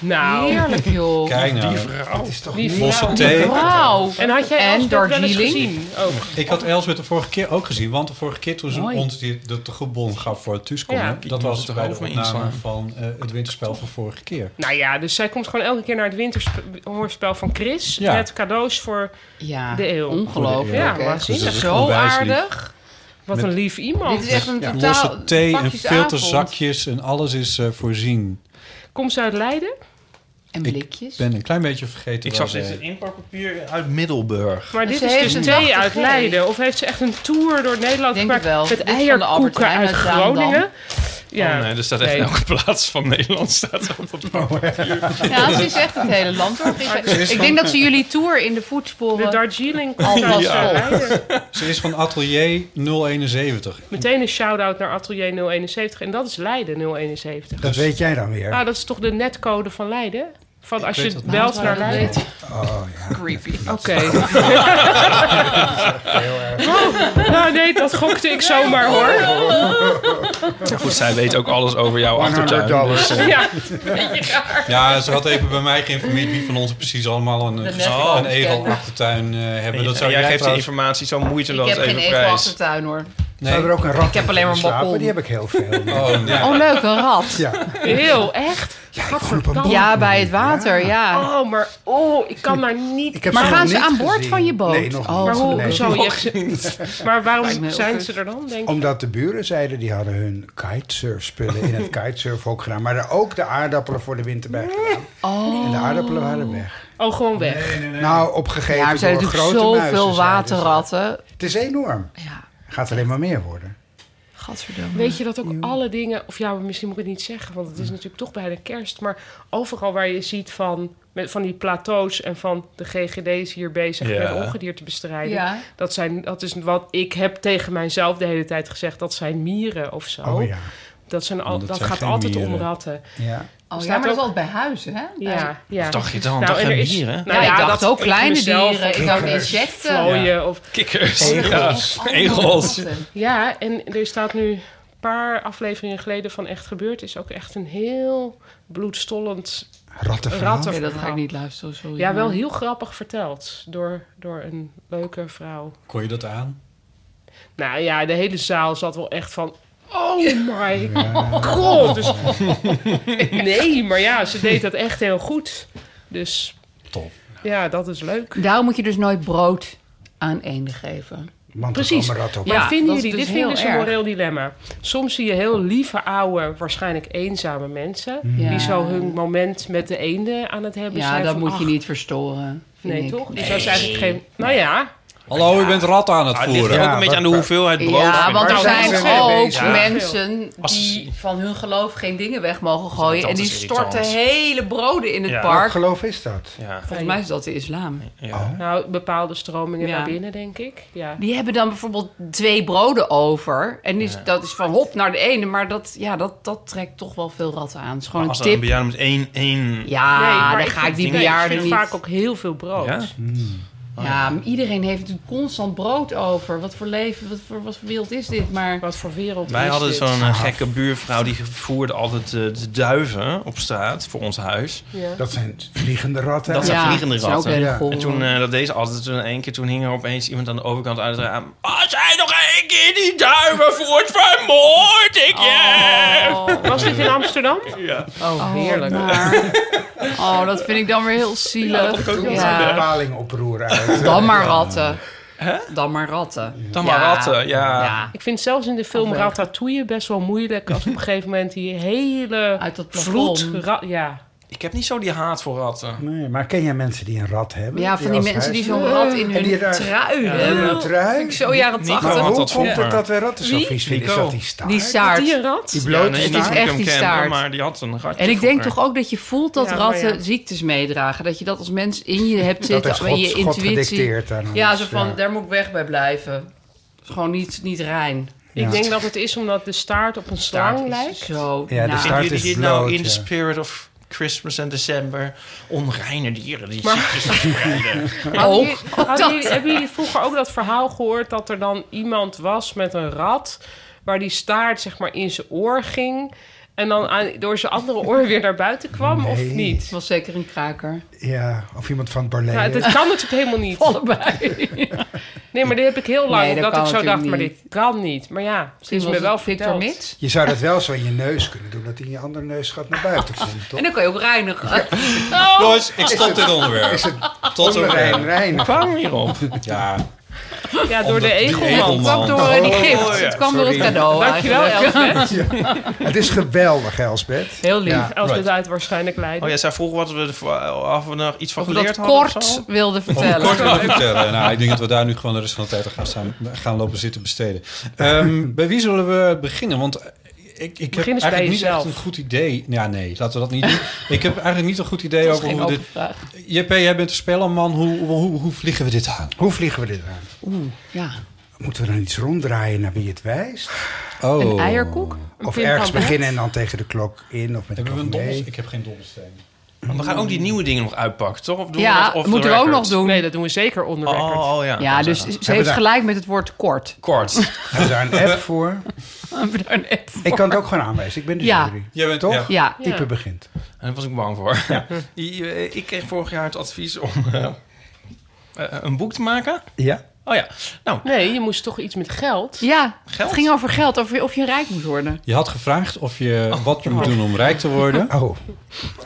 Speaker 6: Nou,
Speaker 3: heerlijk, joh.
Speaker 1: kijk nou.
Speaker 2: Het is toch
Speaker 6: die
Speaker 2: niet...
Speaker 1: Losse
Speaker 6: vrouw.
Speaker 1: thee.
Speaker 3: Wauw.
Speaker 6: En had jij
Speaker 3: En
Speaker 6: Elsbeth wel eens
Speaker 3: Darjeeling.
Speaker 6: gezien? Oh. Ook.
Speaker 1: Ik had Elsbeth de vorige keer ook gezien. Want de vorige keer toen ze
Speaker 3: Mooi.
Speaker 1: ons die, de, de goedbon gaf voor het thuiskomen...
Speaker 6: Ja.
Speaker 1: dat
Speaker 4: moet
Speaker 1: was
Speaker 4: het er
Speaker 1: bij de
Speaker 4: over me
Speaker 1: opname
Speaker 4: inslaan.
Speaker 1: van eh, het winterspel van vorige keer.
Speaker 6: Nou ja, dus zij komt gewoon elke keer naar het winterhoorspel van Chris.
Speaker 1: Ja.
Speaker 6: Met cadeaus voor...
Speaker 3: Ja,
Speaker 6: De eeuw.
Speaker 3: ongelooflijk.
Speaker 6: Ja,
Speaker 3: hè.
Speaker 6: waanzinnig.
Speaker 1: Dus dat is
Speaker 3: Zo
Speaker 1: onwijs lief.
Speaker 3: aardig.
Speaker 6: Wat
Speaker 1: Met-
Speaker 6: een lief iemand.
Speaker 3: Dit is echt een
Speaker 1: Ja.
Speaker 3: totaal
Speaker 1: Losse
Speaker 2: Nou,
Speaker 1: thee en
Speaker 3: pakjesavond.
Speaker 1: filterzakjes en alles is eh, voorzien.
Speaker 6: Komt ze uit Leiden?
Speaker 3: En blikjes.
Speaker 1: Ik ben een klein beetje vergeten.
Speaker 4: Ik zag
Speaker 1: waar
Speaker 4: dit
Speaker 1: we-
Speaker 4: in inpakpapier uit Middelburg.
Speaker 6: Maar
Speaker 3: Dus
Speaker 6: dit
Speaker 3: ze
Speaker 6: is
Speaker 3: heeft
Speaker 6: dus
Speaker 3: een
Speaker 6: thee
Speaker 3: dag
Speaker 6: uit
Speaker 3: gegeten.
Speaker 6: Leiden. Of heeft ze echt een tour door Nederland
Speaker 3: Denk het wel.
Speaker 6: met
Speaker 3: Dit is van de Albert
Speaker 6: eierkoeken
Speaker 3: Heijn
Speaker 6: uit
Speaker 3: uit Zaandam.
Speaker 6: Groningen?
Speaker 4: Ja.
Speaker 1: Oh,
Speaker 6: Ja.
Speaker 4: Oh, nee, er staat echt
Speaker 6: Nee.
Speaker 4: elke plaats van Nederland staat op het
Speaker 3: Ja, ze is echt het hele land. hoor. Ik, ik denk dat ze jullie tour in de
Speaker 6: De
Speaker 3: voetsporen...
Speaker 6: Darjeeling
Speaker 3: Al
Speaker 6: komt uit
Speaker 3: was vol.
Speaker 6: Leiden.
Speaker 1: Ze is van Atelier 071.
Speaker 6: Meteen een shout-out naar Atelier 071. En dat is Leiden 071.
Speaker 2: Dat weet jij dan weer.
Speaker 6: Ah, dat is toch de netcode van Leiden? Van als
Speaker 1: weet
Speaker 6: je
Speaker 1: dat niet.
Speaker 6: belt naar de
Speaker 3: Weet.
Speaker 2: Oh ja.
Speaker 3: Creepy. *laughs*
Speaker 6: Oké. Oh, nou nee, dat gokte ik zomaar hoor.
Speaker 4: Goed, zij weet ook alles over jouw
Speaker 2: 100
Speaker 4: achtertuin. dus-
Speaker 2: dollars.
Speaker 6: Ja,
Speaker 1: Ja, ze had even bij mij geïnformeerd wie van ons precies allemaal een, eh,
Speaker 3: net wel
Speaker 1: een egel
Speaker 3: kennen.
Speaker 1: achtertuin eh, hebben.
Speaker 4: En
Speaker 1: Dat zou
Speaker 4: jij geeft die
Speaker 1: trouwens-
Speaker 4: informatie zo
Speaker 3: Ik
Speaker 4: moeiteloos
Speaker 3: heb geen
Speaker 4: even
Speaker 3: egel
Speaker 4: prijs.
Speaker 3: achtertuin hoor.
Speaker 2: We hebben er ook een rat. Ik
Speaker 3: heb alleen maar een balkon.
Speaker 2: Die heb ik heel veel.
Speaker 1: Oh, ja.
Speaker 3: Oh leuk, een rat.
Speaker 2: Ja,
Speaker 6: heel echt.
Speaker 2: ja ik groep een
Speaker 3: Ja, bij het water, ja.
Speaker 6: Oh, maar oh, ik kan daar niet.
Speaker 2: Ik heb
Speaker 3: Maar
Speaker 2: ze
Speaker 3: gaan
Speaker 2: nog
Speaker 3: ze
Speaker 2: niet
Speaker 3: aan boord
Speaker 2: gezien.
Speaker 3: van je boot?
Speaker 2: Nee, nog
Speaker 3: Oh,
Speaker 2: niet.
Speaker 6: Maar hoe
Speaker 2: Nee.
Speaker 6: zou je? Maar
Speaker 3: Lijkt me
Speaker 6: waarom
Speaker 3: heel
Speaker 6: zijn
Speaker 3: kut.
Speaker 6: ze er dan? Denk ik.
Speaker 2: Omdat de buren zeiden, die hadden hun kitesurfspullen in *laughs* het kitesurfhok gedaan. Maar er ook de aardappelen voor de winter bij gedaan.
Speaker 3: Oh,
Speaker 2: En de aardappelen waren weg.
Speaker 6: Oh, gewoon weg.
Speaker 2: Nou, opgegeven
Speaker 3: Ja, er zijn
Speaker 2: door
Speaker 3: natuurlijk
Speaker 2: grote muizen,
Speaker 3: zoveel
Speaker 2: zeiden ze.
Speaker 3: waterratten.
Speaker 2: Het is enorm.
Speaker 3: Ja,
Speaker 2: Gaat alleen maar meer worden.
Speaker 3: gadverdamme.
Speaker 6: Weet je dat ook alle dingen, of ja, misschien moet ik het niet zeggen, want het is natuurlijk toch bijna kerst, maar overal waar je ziet van, met, van die plateaus en van de GGD's hier bezig
Speaker 4: Ja.
Speaker 6: met ongedierte bestrijden,
Speaker 3: Ja. Oh,
Speaker 6: dat, zijn, dat is wat ik heb tegen mijzelf de hele tijd gezegd, dat zijn mieren of zo.
Speaker 2: Oh, ja.
Speaker 6: Dat, zijn al,
Speaker 1: Dat
Speaker 6: dat,
Speaker 1: zijn
Speaker 6: gaat
Speaker 1: geen
Speaker 6: altijd
Speaker 1: mieren.
Speaker 6: om ratten.
Speaker 2: ja.
Speaker 3: Oh ja,
Speaker 6: Staat
Speaker 3: maar dat
Speaker 6: ook-
Speaker 3: is altijd bij huizen, hè? Bij-
Speaker 6: Ja, ja.
Speaker 4: dacht je dan? Dacht
Speaker 6: en
Speaker 4: je
Speaker 6: er is-
Speaker 4: mieren?
Speaker 6: nou
Speaker 3: Ja, ik dacht
Speaker 6: dat-
Speaker 3: ook
Speaker 6: ik
Speaker 3: kleine
Speaker 6: mezelf
Speaker 3: dieren.
Speaker 6: of
Speaker 3: Ik daou
Speaker 2: kikkers.
Speaker 3: insecten.
Speaker 6: vlooien of
Speaker 4: Kikkers.
Speaker 2: Egels.
Speaker 4: Ja. Egels.
Speaker 6: Ja, en er staat nu een paar afleveringen geleden van Echt Gebeurd. Is ook echt een heel bloedstollend...
Speaker 2: Rattenverhaal.
Speaker 6: Ratten.
Speaker 3: Nee, dat ga ik niet luisteren, sorry.
Speaker 6: Ja, wel heel grappig verteld door, door een leuke vrouw.
Speaker 1: Kon je dat aan?
Speaker 6: Nou ja, de hele zaal zat wel echt van... Oh my god! Dus, nee, maar ja, ze deed dat echt heel goed. Dus
Speaker 1: Top.
Speaker 6: ja, dat is leuk.
Speaker 3: Daarom moet je dus nooit brood aan eenden geven.
Speaker 2: Want
Speaker 6: Precies.
Speaker 2: er komen ratten op.
Speaker 3: Ja.
Speaker 6: Maar vinden
Speaker 3: dat is
Speaker 6: jullie,
Speaker 3: dus
Speaker 6: dit vinden
Speaker 3: heel
Speaker 6: is een
Speaker 3: erg.
Speaker 6: moreel dilemma. Soms zie je heel lieve, oude, waarschijnlijk eenzame mensen...
Speaker 3: Ja.
Speaker 6: die zo hun moment met de eenden aan het hebben
Speaker 3: Ja,
Speaker 6: zijn.
Speaker 3: dat
Speaker 6: van,
Speaker 3: moet je
Speaker 6: ach,
Speaker 3: niet verstoren. vind
Speaker 6: Nee,
Speaker 3: ik.
Speaker 6: toch? Dus dat is eigenlijk geen... Nou ja,
Speaker 1: Hallo, ik ben rat aan het
Speaker 4: Ah, het ligt
Speaker 1: voeren.
Speaker 4: ook
Speaker 2: Ja,
Speaker 4: een beetje aan de
Speaker 2: maar-
Speaker 4: hoeveelheid brood.
Speaker 3: Ja,
Speaker 4: vind
Speaker 3: want
Speaker 4: ik.
Speaker 3: er
Speaker 6: Maar daar
Speaker 3: zijn
Speaker 6: zijn ze mee
Speaker 3: ook
Speaker 6: bezig.
Speaker 3: mensen
Speaker 4: Als-
Speaker 3: die van hun geloof geen dingen weg mogen gooien.
Speaker 4: Dat
Speaker 3: en die
Speaker 4: is irritant.
Speaker 3: storten hele broden in het
Speaker 4: Ja.
Speaker 2: Welk
Speaker 3: park.
Speaker 2: geloof is dat?
Speaker 4: Ja,
Speaker 3: Volgens mij is dat de islam.
Speaker 4: ja.
Speaker 6: nou, bepaalde stromingen
Speaker 3: Ja.
Speaker 6: naar binnen, denk ik. Ja.
Speaker 3: Die hebben dan bijvoorbeeld twee broden over. En die is, dat is van hop naar de ene. Maar dat, ja, dat, dat trekt toch wel veel ratten aan. Het is gewoon
Speaker 4: Als
Speaker 3: een
Speaker 4: er een
Speaker 3: tip.
Speaker 4: bejaarde met één... één...
Speaker 3: Ja,
Speaker 6: Nee, maar
Speaker 3: Ah, dan
Speaker 6: ik
Speaker 3: ga
Speaker 6: vind-
Speaker 3: ik die
Speaker 6: nee,
Speaker 3: bejaarden
Speaker 6: Ik
Speaker 3: niet.
Speaker 6: vind vaak ook heel veel brood.
Speaker 4: Ja? Oh,
Speaker 3: Ja, maar iedereen heeft natuurlijk constant brood over. Wat voor leven, wat voor, wat voor wereld is dit? Maar
Speaker 6: Wat voor wereld
Speaker 4: Wij
Speaker 6: is
Speaker 4: hadden
Speaker 6: dit?
Speaker 4: zo'n eh, gekke buurvrouw die voerde altijd eh, de duiven op straat voor ons huis.
Speaker 2: *laughs*
Speaker 6: Ja.
Speaker 2: Dat zijn vliegende ratten.
Speaker 4: Dat zijn
Speaker 3: ja,
Speaker 4: vliegende
Speaker 3: het zijn ook
Speaker 4: ratten.
Speaker 3: hele
Speaker 2: Ja.
Speaker 4: En
Speaker 3: gore.
Speaker 4: toen eh, dat deze altijd, toen in één keer toen hing er opeens iemand aan de overkant uit het raam. Als hij nog één keer die duiven voert, vermoord ik je!
Speaker 6: Was dit in Amsterdam?
Speaker 3: Oh,
Speaker 6: heerlijk.
Speaker 3: maar- *laughs* Oh, dat vind ik dan weer heel zielig.
Speaker 2: Toen
Speaker 3: Ja,
Speaker 2: was er de paling oproer uit.
Speaker 3: Dan maar ratten. Dan maar ratten.
Speaker 4: Dan maar
Speaker 3: Ja.
Speaker 4: ratten, ja.
Speaker 3: Ja,
Speaker 6: Ik vind zelfs in de film
Speaker 3: Afwegen.
Speaker 6: Ratatouille best wel moeilijk... als op een gegeven moment die hele
Speaker 3: uit dat plafond.
Speaker 6: vloed... ra- Ja,
Speaker 4: Ik heb niet zo die haat voor ratten.
Speaker 2: eh. Nee, maar ken jij mensen die een rat hebben?
Speaker 3: Ja, van die
Speaker 2: als
Speaker 3: mensen die
Speaker 2: huis-
Speaker 3: zo'n rat in
Speaker 2: En die
Speaker 3: hun
Speaker 2: daar-
Speaker 3: trui
Speaker 2: hebben een
Speaker 3: hebben.
Speaker 2: trui.
Speaker 3: Vind ik zo jaren
Speaker 4: Nico.
Speaker 2: Maar
Speaker 4: Ja,
Speaker 3: tachtig.
Speaker 4: want
Speaker 2: hoe
Speaker 4: dat
Speaker 2: komt
Speaker 4: vroeger.
Speaker 2: het dat wij ratten zo
Speaker 6: Wie?
Speaker 2: vies vinden? Is
Speaker 4: Nico.
Speaker 2: dat die staart?
Speaker 3: Die
Speaker 6: had die
Speaker 3: staart.
Speaker 6: een rat?
Speaker 2: Die blote
Speaker 4: nee,
Speaker 3: is
Speaker 4: niet
Speaker 2: staart?
Speaker 4: dat ik
Speaker 3: echt
Speaker 4: hem
Speaker 3: die
Speaker 4: kende,
Speaker 3: staart.
Speaker 4: Maar die had een ratje
Speaker 3: En ik denk
Speaker 4: vroeger.
Speaker 3: toch ook dat je voelt dat
Speaker 6: Ja, maar
Speaker 3: ratten
Speaker 6: ja.
Speaker 3: ziektes meedragen. Dat je dat als mens in je hebt
Speaker 2: Dat
Speaker 3: zitten.
Speaker 2: is
Speaker 3: in
Speaker 2: God,
Speaker 3: je
Speaker 2: God
Speaker 3: intuïtie.
Speaker 2: gedicteerd Dus, aan
Speaker 3: Ja,
Speaker 2: ons,
Speaker 3: zo van, daar moet ik weg bij blijven. Dat is gewoon niet, niet rein.
Speaker 2: Ja.
Speaker 6: Ik denk dat het is omdat de staart op een
Speaker 3: Staart
Speaker 6: slang
Speaker 3: is
Speaker 6: lijkt.
Speaker 3: Zo.
Speaker 2: Ja,
Speaker 3: naar.
Speaker 2: de staart-
Speaker 4: Zijn
Speaker 2: Taart
Speaker 4: jullie
Speaker 2: is
Speaker 4: dit nou
Speaker 2: bloot,
Speaker 4: in de
Speaker 2: ja.
Speaker 4: spirit of Christmas en december onreine dieren die ziektes verspreiden?
Speaker 6: Hadden
Speaker 3: Ook.
Speaker 6: jullie- hadden jullie- hebben jullie vroeger ook dat verhaal gehoord dat er dan iemand was met een rat... waar die staart zeg maar in zijn oor ging... en dan aan- door zijn andere oor weer naar buiten kwam, of
Speaker 2: Nee.
Speaker 6: niet?
Speaker 3: was zeker een kraker.
Speaker 2: Ja, of iemand van het ballet.
Speaker 6: Nou, dat kan natuurlijk helemaal niet.
Speaker 3: Allebei.
Speaker 6: Nee, maar dit heb ik heel lang,
Speaker 3: Nee, dat
Speaker 6: dat ik
Speaker 3: kan
Speaker 6: zo dacht, maar
Speaker 3: natuurlijk
Speaker 6: dit kan niet. Maar ja, het is me wel
Speaker 3: Victor
Speaker 6: verteld.
Speaker 3: Mits.
Speaker 2: Je zou dat wel zo in je neus kunnen doen, dat in je andere neus gaat naar buiten
Speaker 3: *laughs*
Speaker 2: komt, toch?
Speaker 3: En dan kan je ook reinigen.
Speaker 1: Oh. Jongens, ik stop dit onderwerp.
Speaker 2: Is het
Speaker 1: Tot
Speaker 2: onrein,
Speaker 1: zover.
Speaker 2: rein?
Speaker 4: Kwam hierop.
Speaker 1: Ja,
Speaker 6: Ja, door de
Speaker 1: Omdat die
Speaker 6: egelman.
Speaker 1: egelman-
Speaker 3: kwam *laughs* door eh, die
Speaker 4: Oh,
Speaker 3: gift.
Speaker 4: ja,
Speaker 3: het kwam door het
Speaker 2: sorry.
Speaker 3: cadeau.
Speaker 6: Dankjewel,
Speaker 3: Oh, eigenlijk.
Speaker 6: Elsbeth.
Speaker 2: Het is geweldig, Elsbeth.
Speaker 3: *laughs* Heel lief.
Speaker 2: Ja.
Speaker 6: Elsbeth
Speaker 1: Right.
Speaker 6: uit waarschijnlijk Leiden.
Speaker 4: Oh ja, zij vroeg wat we er, of we nog iets van
Speaker 3: Of we
Speaker 4: geleerd
Speaker 3: dat
Speaker 4: hadden of
Speaker 3: kort
Speaker 4: zo.
Speaker 3: wilde
Speaker 1: om het
Speaker 3: *laughs*
Speaker 1: kort
Speaker 3: vertellen.
Speaker 1: te vertellen. Nou, ik denk dat we daar nu gewoon de rest van de tijd aan gaan, staan, gaan lopen zitten besteden. Ehm, bij wie zullen we beginnen? Want eh, ik, ik heb
Speaker 6: Begin eens bij
Speaker 1: eigenlijk niet echt
Speaker 6: jezelf.
Speaker 1: een goed idee. Ja, nee, laten we dat niet doen. Ik heb eigenlijk niet een goed idee
Speaker 3: Dat is
Speaker 1: over
Speaker 3: geen
Speaker 1: hoe we
Speaker 3: open
Speaker 1: dit...
Speaker 3: vraag.
Speaker 1: JP, jij bent de spellerman. Hoe, hoe, hoe, hoe vliegen we dit aan?
Speaker 2: Hoe vliegen we dit aan?
Speaker 3: Ja.
Speaker 2: Moeten we dan iets ronddraaien naar wie het wijst?
Speaker 1: Oh.
Speaker 3: Een eierkoek?
Speaker 2: Of
Speaker 6: Pim
Speaker 2: ergens
Speaker 6: Pam Pam?
Speaker 2: beginnen en dan tegen de klok in of met de
Speaker 1: Hebben we
Speaker 2: klok
Speaker 1: een dobbelsteen?
Speaker 2: mee?
Speaker 1: Ik heb geen dobbelsteen.
Speaker 4: Want we gaan ook die nieuwe dingen nog uitpakken, toch? Of doen we
Speaker 3: ja,
Speaker 4: dat off
Speaker 3: moeten
Speaker 4: the
Speaker 3: we ook
Speaker 4: record?
Speaker 3: nog doen.
Speaker 6: Nee, dat doen we zeker onder record.
Speaker 4: Oh, oh, ja.
Speaker 3: ja,
Speaker 4: Dat
Speaker 3: dus
Speaker 4: zou-
Speaker 3: ze heeft
Speaker 2: daar-
Speaker 3: gelijk met het woord
Speaker 4: *laughs*
Speaker 3: kort.
Speaker 4: Kort.
Speaker 2: Hebben we daar een app voor?
Speaker 3: Hebben we daar een app
Speaker 2: Ik
Speaker 3: voor?
Speaker 2: kan het ook gewoon aanwijzen. Ik ben de
Speaker 3: Ja.
Speaker 2: jury.
Speaker 4: Jij bent-
Speaker 2: Toch?
Speaker 4: ja.
Speaker 3: Ja,
Speaker 6: Ja.
Speaker 2: Type begint.
Speaker 4: Daar was ik bang voor. *laughs* I- eh, ik kreeg vorig jaar het advies om eh, eh, een boek te maken.
Speaker 2: Ja?
Speaker 4: Oh ja, nou,
Speaker 6: Nee, je moest toch iets met geld.
Speaker 3: ja
Speaker 4: Geld?
Speaker 3: het ging over geld, over of je rijk moet worden.
Speaker 1: Je had gevraagd of je, wat je moet doen om rijk te
Speaker 2: *laughs*
Speaker 1: worden.
Speaker 2: Oh,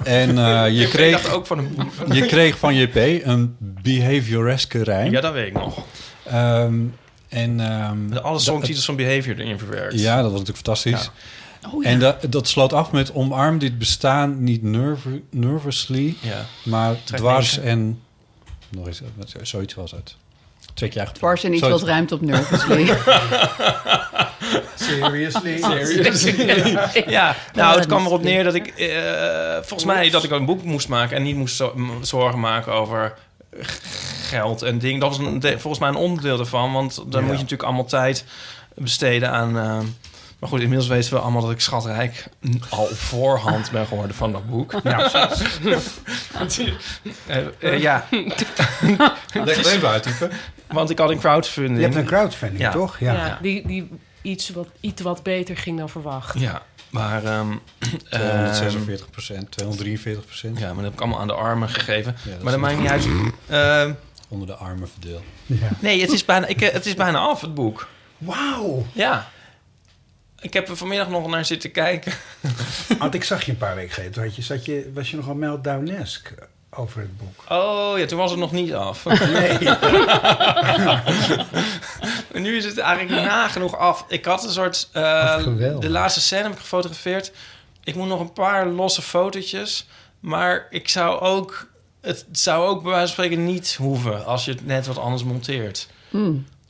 Speaker 1: En eh, je,
Speaker 4: ik dacht
Speaker 1: kreeg,
Speaker 4: ook van een boek.
Speaker 1: je kreeg van JP een behavioreske rijm.
Speaker 4: Ja, dat weet ik nog.
Speaker 1: Ehm, en, ehm,
Speaker 4: Met alle songtitels van Behavior erin verwerkt.
Speaker 1: Ja, dat was natuurlijk fantastisch.
Speaker 3: Oh, ja.
Speaker 1: En da- dat sloot af met omarm dit bestaan niet nerv- nervously,
Speaker 4: Ja.
Speaker 1: maar
Speaker 4: Trek
Speaker 1: dwars
Speaker 4: linker.
Speaker 1: en... Nog eens, wat- zoiets was het. Trek je eigen
Speaker 3: Dwars en iets
Speaker 1: Zoiets.
Speaker 3: wat ruimt op
Speaker 4: *laughs*
Speaker 3: nervously.
Speaker 2: seriously?
Speaker 4: Ja, nou, het kwam erop neer dat ik... eh, volgens mij dat ik een boek moest maken... en niet moest zo- m- zorgen maken over g- geld en ding. Dat was een, de- volgens mij een onderdeel daarvan. Want dan moet je natuurlijk allemaal tijd besteden aan... eh, maar goed, inmiddels weten we allemaal dat ik schatrijk... n- al op voorhand ben geworden van dat boek.
Speaker 2: Nou,
Speaker 4: *laughs* Eh, eh, *laughs* ja,
Speaker 1: Leg het even uit, type.
Speaker 4: want ik had een crowdfunding.
Speaker 2: je hebt een crowdfunding,
Speaker 4: Ja.
Speaker 2: toch?
Speaker 6: Ja,
Speaker 2: Ja.
Speaker 6: Die, die iets wat, iets wat beter ging dan verwacht.
Speaker 4: Ja, maar... ehm, ehm,
Speaker 1: 246 243
Speaker 4: Ja, maar dat heb ik allemaal aan de armen gegeven.
Speaker 1: Ja, dat
Speaker 4: maar dat
Speaker 1: is
Speaker 4: maakt niet uit. Ehm,
Speaker 1: onder de armen verdeeld.
Speaker 4: nee, het is, bijna, ik, eh, het is bijna af, het boek.
Speaker 2: Wauw.
Speaker 4: Ja. Ik heb er vanmiddag nog naar zitten kijken.
Speaker 2: Want ik zag je een paar weken geleden. Toen had je, zat je, was je nogal meltdown-esque over het boek.
Speaker 4: Oh ja, toen was het nog niet af. *laughs* En nu is het eigenlijk nagenoeg af. Ik had een soort... eh,
Speaker 2: Wat geweldig.
Speaker 4: de laatste scène heb ik gefotografeerd. Ik moet nog een paar losse fotootjes. Maar ik zou ook... Het zou ook bij wijze van spreken niet hoeven... als je het net wat anders monteert.
Speaker 3: ik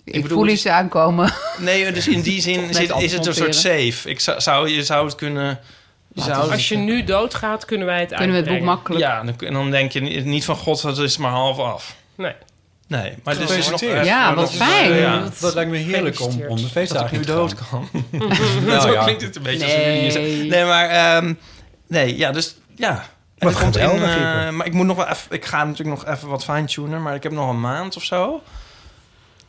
Speaker 4: bedoel,
Speaker 3: voel
Speaker 4: het-
Speaker 3: iets aankomen.
Speaker 4: Nee, dus in die zin
Speaker 3: net
Speaker 4: zit,
Speaker 3: alles
Speaker 4: is het een soort safe. Ik zou, zou, je zou het kunnen... Je zou het-
Speaker 6: Als je nu doodgaat, kunnen wij het
Speaker 3: Kunnen we het boek
Speaker 6: uitbrengen.
Speaker 3: makkelijk...
Speaker 4: Ja, dan- en dan denk je ni- niet van god, dat is maar half af.
Speaker 6: Nee.
Speaker 4: Nee, maar dit is nog...
Speaker 1: Gefeliciteerd.
Speaker 3: Ja,
Speaker 4: maar
Speaker 3: wat
Speaker 4: dat is- eh,
Speaker 3: fijn.
Speaker 4: ja.
Speaker 1: Dat lijkt me heerlijk om, om de
Speaker 4: Dat
Speaker 1: feestdagen
Speaker 4: ik nu
Speaker 1: te gaan.
Speaker 4: dood kan. *laughs*
Speaker 1: Nou
Speaker 4: Zo
Speaker 1: ja.
Speaker 4: klinkt het een beetje als
Speaker 3: Nee.
Speaker 4: jullie hier zijn. Nee, maar... ehm, nee, ja, dus... Ja. En
Speaker 2: Wat
Speaker 4: er komt in, eh,
Speaker 2: geweldig, Ieper.
Speaker 4: maar ik moet nog wel even... Ik ga natuurlijk nog even wat fine-tunen, maar ik heb nog een maand of zo.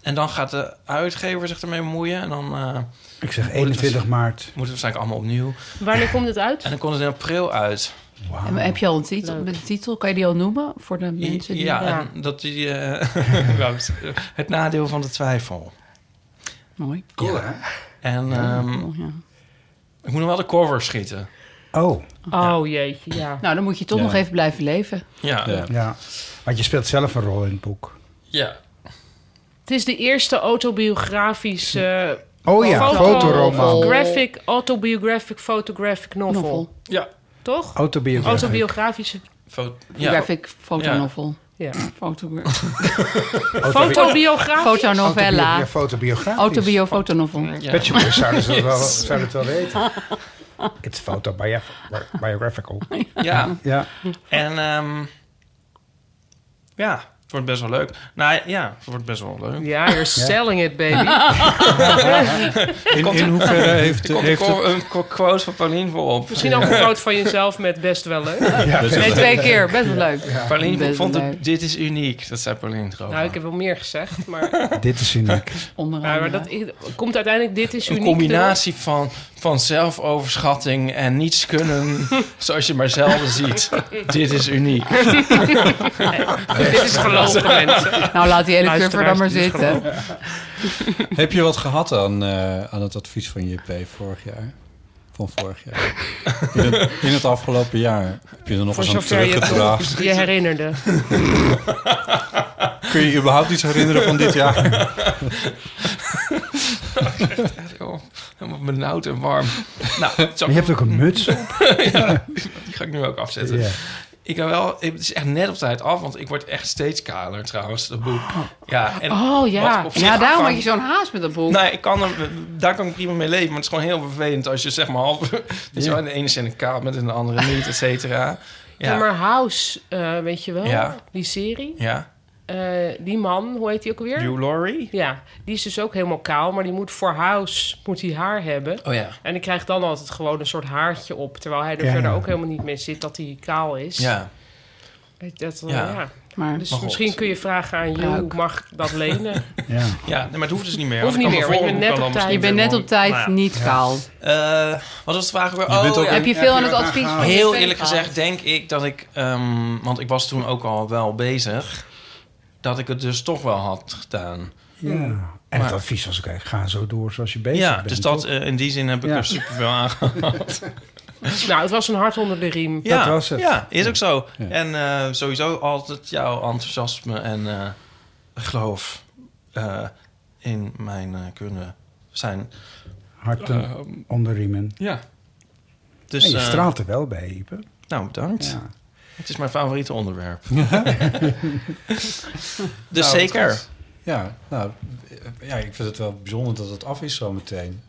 Speaker 4: En dan gaat de uitgever zich ermee bemoeien. En dan eh,
Speaker 2: Ik zeg
Speaker 4: Hoe het was.
Speaker 2: 21 maart.
Speaker 4: moet het waarschijnlijk allemaal opnieuw.
Speaker 6: Wanneer komt het uit?
Speaker 4: En dan komt het in april uit.
Speaker 3: En heb je al een titel, een titel? Kan je die al noemen voor de mensen die...
Speaker 4: ja,
Speaker 6: ja.
Speaker 4: en dat die... eh, *laughs* wou ik zeggen, het nadeel van de twijfel.
Speaker 3: Mooi.
Speaker 2: Cool, hè?
Speaker 4: En ehm,
Speaker 3: Oh, ja.
Speaker 4: ik moet nog wel de cover schieten.
Speaker 2: Oh,
Speaker 6: Oh jeetje, ja.
Speaker 3: Nou, dan moet je toch
Speaker 1: Ja.
Speaker 3: nog even blijven leven.
Speaker 4: Ja.
Speaker 1: Ja.
Speaker 4: Ja.
Speaker 2: ja. Want je speelt zelf een rol in het boek.
Speaker 6: Het is de eerste autobiografische
Speaker 2: Oh ja,
Speaker 6: Foto- Oh.
Speaker 2: fotoroman.
Speaker 6: graphic, autobiographic, photographic novel.
Speaker 3: Novel.
Speaker 4: Ja.
Speaker 6: Toch?
Speaker 2: Oh, Autobiografie.
Speaker 6: Autobiografische.
Speaker 4: Fo- ja.
Speaker 3: Graphic fotonovel.
Speaker 6: Ja.
Speaker 3: Foto-
Speaker 6: Autobiografisch.
Speaker 2: Autobio-
Speaker 3: Fotonovella.
Speaker 2: ja, Fotobiografisch.
Speaker 3: Autobio fotonovel.
Speaker 2: Pet Shop Boys zouden ze dat wel, zouden het wel weten.
Speaker 4: *laughs*
Speaker 2: Het is photobiographical.
Speaker 4: Ja.
Speaker 2: Ja.
Speaker 4: En ehm, ja, het wordt best wel leuk. Nou ja, het wordt best wel leuk.
Speaker 6: Ja, you're selling it, baby.
Speaker 1: In, in hoeverre heeft,
Speaker 4: Er komt een,
Speaker 1: heeft het...
Speaker 4: co- een co- quote van Paulien voorop.
Speaker 6: Misschien ook een foto van jezelf met best wel leuk.
Speaker 3: Nee, twee keer. Best wel leuk.
Speaker 4: Paulien
Speaker 3: Best
Speaker 4: vond
Speaker 3: wel
Speaker 4: het-
Speaker 3: leuk.
Speaker 4: dit is uniek. Dat zei Paulien trouwens.
Speaker 6: Nou, ik heb wel meer gezegd, maar,
Speaker 2: Dit is uniek.
Speaker 3: Onder
Speaker 6: maar,
Speaker 3: andere.
Speaker 6: dat ik- komt uiteindelijk dit is uniek.
Speaker 4: een combinatie van, van zelfoverschatting en
Speaker 3: *laughs*
Speaker 4: niets kunnen, zoals je maar zelden ziet. Dit is uniek.
Speaker 6: Dit is gelogen, mensen.
Speaker 3: Nou, laat die hele
Speaker 6: Luisteraars,
Speaker 3: cover dan maar
Speaker 6: dit is
Speaker 3: zitten.
Speaker 1: Heb je wat gehad aan, eh, aan het advies van JP vorig jaar? Van vorig jaar. In het, in het afgelopen jaar heb je er nog
Speaker 6: Voor
Speaker 1: eens aan
Speaker 6: zover je
Speaker 1: teruggedragen.
Speaker 6: het je herinnerde.
Speaker 1: Kun je je überhaupt iets herinneren van dit jaar?
Speaker 4: Joh, Helemaal benauwd en
Speaker 6: *laughs*
Speaker 4: warm. Nou, zo,
Speaker 2: Je hebt ook een muts op. dus.
Speaker 4: die ga ik nu ook afzetten.
Speaker 2: Ja.
Speaker 4: Ik kan wel, het is echt net op tijd af, want ik word echt steeds kaler trouwens, dat boek. Ja, en
Speaker 6: Oh ja.
Speaker 4: wat op zich
Speaker 3: Ja, daarom had
Speaker 4: afhangt-
Speaker 3: je zo'n haast met dat boek.
Speaker 4: Nou, ik kan er, daar kan ik prima mee leven, maar het is gewoon heel vervelend als je zeg maar half... *laughs* weet je wel, in de ene zin een kaal met en de andere niet, et cetera.
Speaker 6: Ja,
Speaker 4: Ja,
Speaker 6: maar House, eh, weet je wel,
Speaker 4: Ja.
Speaker 6: die serie.
Speaker 4: ja.
Speaker 6: Eh, die man, hoe heet die ook weer?
Speaker 4: Hugh Laurie?
Speaker 6: Ja, die is dus ook helemaal kaal, maar die moet voor House moet hij haar hebben.
Speaker 4: Oh ja.
Speaker 6: En ik krijg dan altijd gewoon een soort haartje op, terwijl hij er
Speaker 2: Ja,
Speaker 6: verder
Speaker 2: ja.
Speaker 6: ook helemaal niet mee zit dat hij kaal is.
Speaker 4: Ja.
Speaker 6: Dat, eh,
Speaker 4: Ja.
Speaker 6: ja.
Speaker 3: Maar
Speaker 6: Dus
Speaker 4: Maar goed.
Speaker 6: misschien kun je vragen aan jou,
Speaker 3: Ruik.
Speaker 6: mag ik dat lenen?
Speaker 2: Ja.
Speaker 4: Ja, nee, maar het hoeft dus niet meer.
Speaker 6: Hoeft
Speaker 4: want
Speaker 6: niet
Speaker 4: ik kan
Speaker 6: meer,
Speaker 4: mijn
Speaker 6: want je bent
Speaker 4: voorhoofd
Speaker 6: net op
Speaker 4: wel
Speaker 6: tijd.
Speaker 3: je
Speaker 4: misschien
Speaker 3: bent net
Speaker 4: weer
Speaker 3: op tijd
Speaker 4: worden.
Speaker 3: niet kaal.
Speaker 4: Nou ja. Eh, wat was de vraag weer? Oh,
Speaker 1: Je bent ook
Speaker 4: ja.
Speaker 3: Heb je veel aan het
Speaker 2: Heb je
Speaker 3: advies?
Speaker 2: aan
Speaker 3: van
Speaker 2: gehaald?
Speaker 3: je
Speaker 4: Heel
Speaker 3: vent
Speaker 4: eerlijk
Speaker 3: gehad?
Speaker 4: gezegd denk ik dat ik... ehm, want ik was toen ook al wel bezig... dat ik het dus toch wel had gedaan.
Speaker 2: Ja. En het
Speaker 4: Maar-
Speaker 2: advies was ook, eigenlijk, ga zo door zoals je bezig
Speaker 4: ja,
Speaker 2: bent.
Speaker 4: dus dat,
Speaker 2: toch?
Speaker 4: eh, in die zin heb ik
Speaker 2: Ja.
Speaker 4: er superveel aan
Speaker 2: *laughs*
Speaker 4: gehad.
Speaker 6: nou, het was een hart onder de riem.
Speaker 4: ja,
Speaker 2: was het.
Speaker 4: Ja, is ook zo.
Speaker 1: Ja.
Speaker 4: En eh, sowieso altijd jouw enthousiasme en eh, geloof eh, in mijn eh, kunnen zijn.
Speaker 2: Harten
Speaker 4: Eh,
Speaker 2: onder riemen.
Speaker 4: ja. Dus,
Speaker 2: en je
Speaker 4: eh,
Speaker 2: straalt er wel bij, Ipe.
Speaker 4: Nou, bedankt.
Speaker 2: Ja. Nou,
Speaker 4: Het is mijn favoriete
Speaker 2: *laughs*
Speaker 4: onderwerp. *laughs* dus zeker.
Speaker 1: Ja, nou, ja, ik vind het wel bijzonder dat het af is zo meteen.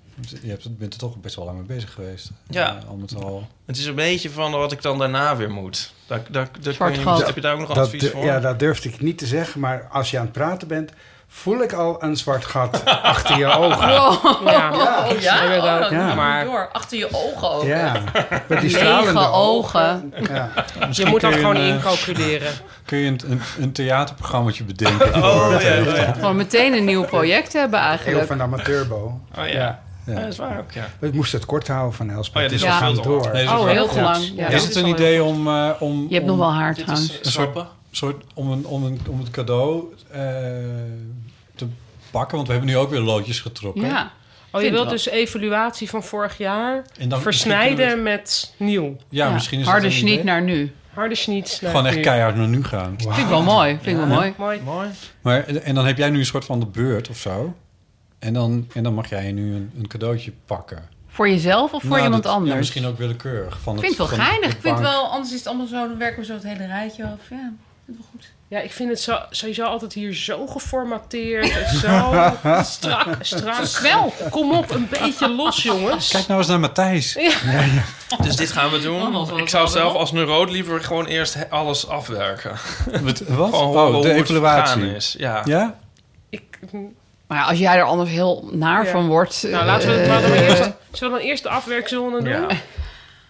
Speaker 1: Je hebt- bent er toch best wel lang mee bezig geweest.
Speaker 4: Ja.
Speaker 1: Eh, al met al.
Speaker 4: Het is een beetje van wat ik dan daarna weer moet. Daar, daar, daar
Speaker 3: Zwart
Speaker 4: kun je-
Speaker 3: gat.
Speaker 4: heb je daar ook nog
Speaker 2: Dat,
Speaker 4: advies
Speaker 2: eh,
Speaker 4: voor?
Speaker 2: ja, dat durfde ik niet te zeggen, maar als je aan het praten bent, voel ik al een zwart
Speaker 4: *laughs*
Speaker 2: gat achter je ogen.
Speaker 6: Ja.
Speaker 3: Oh ja,
Speaker 6: Inderdaad.
Speaker 3: oh, dat
Speaker 2: Ja.
Speaker 3: moet
Speaker 6: Maar-
Speaker 3: door. Achter je ogen ook.
Speaker 2: Ja, met die stralende
Speaker 3: Lege ogen.
Speaker 2: ogen. Ja.
Speaker 6: Je moet dat
Speaker 1: kun je
Speaker 6: gewoon
Speaker 1: een, eh,
Speaker 6: incalculeren.
Speaker 1: Kun je een, een, een theaterprogrammaatje bedenken? voor-
Speaker 4: Oh, ja, oh, ja.
Speaker 3: Gewoon meteen een nieuw project hebben
Speaker 2: Heel
Speaker 3: eigenlijk.
Speaker 2: van Amateurbo.
Speaker 4: Oh, ja.
Speaker 2: Ja.
Speaker 4: Ja, dat is waar ook, ja.
Speaker 2: We moesten het kort houden van Elspeth.
Speaker 4: Oh ja, dit
Speaker 2: dus
Speaker 3: is
Speaker 2: we
Speaker 3: al
Speaker 4: veel
Speaker 2: gaan
Speaker 4: te
Speaker 2: door.
Speaker 1: Nee, is het
Speaker 6: Oh,
Speaker 1: wel-
Speaker 3: heel
Speaker 6: Ja.
Speaker 3: lang. Ja,
Speaker 1: Is
Speaker 3: dat
Speaker 1: het
Speaker 3: al
Speaker 1: een
Speaker 3: heel-
Speaker 1: idee om, eh, om,
Speaker 3: Je hebt nog
Speaker 1: om-
Speaker 3: wel haar
Speaker 4: Dit is
Speaker 3: trouwens.
Speaker 1: een soort-
Speaker 4: sappen.
Speaker 1: soort om een, om een, om het cadeau eh, te pakken? Want we hebben nu ook weer loodjes getrokken.
Speaker 3: Ja.
Speaker 6: Oh, je
Speaker 3: Vind
Speaker 6: wilt
Speaker 3: wel.
Speaker 6: dus evaluatie van vorig jaar
Speaker 1: En dan-
Speaker 6: versnijden
Speaker 1: misschien
Speaker 6: met nieuw.
Speaker 1: Ja,
Speaker 3: Ja.
Speaker 1: misschien is
Speaker 3: Harde
Speaker 1: dat een idee.
Speaker 3: schniet naar nu.
Speaker 6: Harde schniet. naar
Speaker 1: Gewoon
Speaker 6: nu.
Speaker 1: echt keihard naar nu gaan.
Speaker 3: Vind ik wel mooi. Vind ik wel mooi.
Speaker 6: Mooi.
Speaker 4: Mooi.
Speaker 1: Maar, en dan heb jij nu een soort van de beurt of zo. En dan, en dan mag jij nu een, een cadeautje pakken.
Speaker 3: Voor jezelf of voor
Speaker 1: Nou,
Speaker 3: iemand
Speaker 1: dat- ja,
Speaker 3: anders?
Speaker 1: misschien ook willekeurig. Van
Speaker 3: Ik vind het wel geinig. Ik vind
Speaker 1: wel.
Speaker 3: wel, anders is het allemaal zo, dan werken we zo het hele rijtje af. Ja, ik vind het wel goed.
Speaker 6: Ja, ik vind het zo, sowieso altijd hier zo geformateerd
Speaker 2: *laughs*
Speaker 6: en zo strak. strak. Wel, kom op, een beetje los, jongens.
Speaker 1: Kijk nou eens naar Matthijs.
Speaker 4: Dus dit gaan we
Speaker 3: Oh, wat-
Speaker 4: doen.
Speaker 3: wat-
Speaker 4: Ik zou
Speaker 3: wat-
Speaker 4: zelf
Speaker 3: wat?
Speaker 4: als neurode liever gewoon eerst he- alles afwerken.
Speaker 1: Wat? wat?
Speaker 4: Gewoon horen
Speaker 1: Oh,
Speaker 4: hoe
Speaker 1: de
Speaker 4: het gegaan
Speaker 1: evaluatie.
Speaker 4: is. Ja.
Speaker 1: Ja?
Speaker 6: Ik,
Speaker 3: Maar ja, als jij er anders heel naar
Speaker 6: Ja.
Speaker 3: van wordt...
Speaker 6: nou,
Speaker 3: eh,
Speaker 6: laten we het maar dan eerst... Zullen we dan eerst de afwerkzone doen?
Speaker 4: Ja.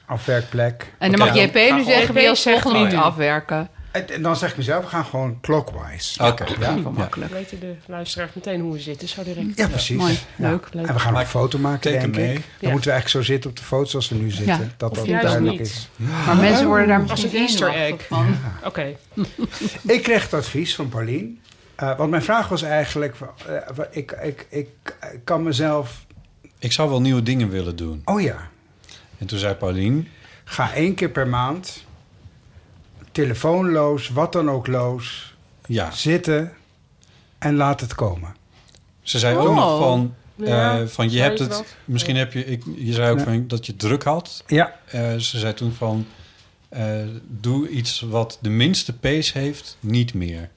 Speaker 2: Afwerkplek.
Speaker 3: En dan
Speaker 4: Oké,
Speaker 3: mag
Speaker 4: dan
Speaker 3: JP nu
Speaker 4: gaan we
Speaker 3: zeggen, wil je
Speaker 6: JP zegt
Speaker 3: alsnog niet
Speaker 6: nu.
Speaker 3: afwerken.
Speaker 2: En, en dan zeg ik mezelf, we gaan gewoon clockwise.
Speaker 1: Oké.
Speaker 3: Ja,
Speaker 1: Ja.
Speaker 3: wel
Speaker 6: Dan
Speaker 3: makkelijk.
Speaker 6: weten de luisteraars meteen hoe we zitten, zo direct.
Speaker 2: Ja, precies.
Speaker 3: Mooi,
Speaker 2: Ja.
Speaker 3: leuk.
Speaker 6: Leuk.
Speaker 2: En we gaan ook
Speaker 1: Maak-
Speaker 2: een foto maken,
Speaker 1: teken
Speaker 2: denk
Speaker 1: mee.
Speaker 2: ik. Dan
Speaker 6: Ja.
Speaker 2: moeten we eigenlijk zo zitten op de foto zoals we nu zitten.
Speaker 3: Ja,
Speaker 2: Dat
Speaker 6: of
Speaker 2: dat
Speaker 6: juist
Speaker 2: duidelijk
Speaker 6: niet.
Speaker 2: is.
Speaker 3: Maar mensen worden daar misschien
Speaker 6: een easter
Speaker 3: zenuwachtig
Speaker 6: egg.
Speaker 3: van.
Speaker 6: Oké.
Speaker 2: Eh, Ik kreeg het advies van Paulien. eh, want mijn vraag was eigenlijk... eh, wa- ik, ik, ik, ik kan mezelf...
Speaker 1: Ik zou wel nieuwe dingen willen doen.
Speaker 2: Oh ja,
Speaker 1: En toen zei Paulien...
Speaker 2: ga één keer per maand... telefoonloos, wat dan ook loos...
Speaker 1: Ja,
Speaker 2: zitten en laat het komen.
Speaker 1: ze zei
Speaker 3: Oh.
Speaker 1: ook nog van... eh,
Speaker 6: Ja,
Speaker 1: van je
Speaker 6: zei
Speaker 1: hebt
Speaker 6: ik
Speaker 1: het...
Speaker 6: wel.
Speaker 1: Misschien heb je... Ik, je zei ook
Speaker 2: Ja.
Speaker 1: van, dat je het druk had.
Speaker 2: Ja,
Speaker 1: Eh, ze zei toen van... eh, doe iets wat de minste pace heeft, niet meer.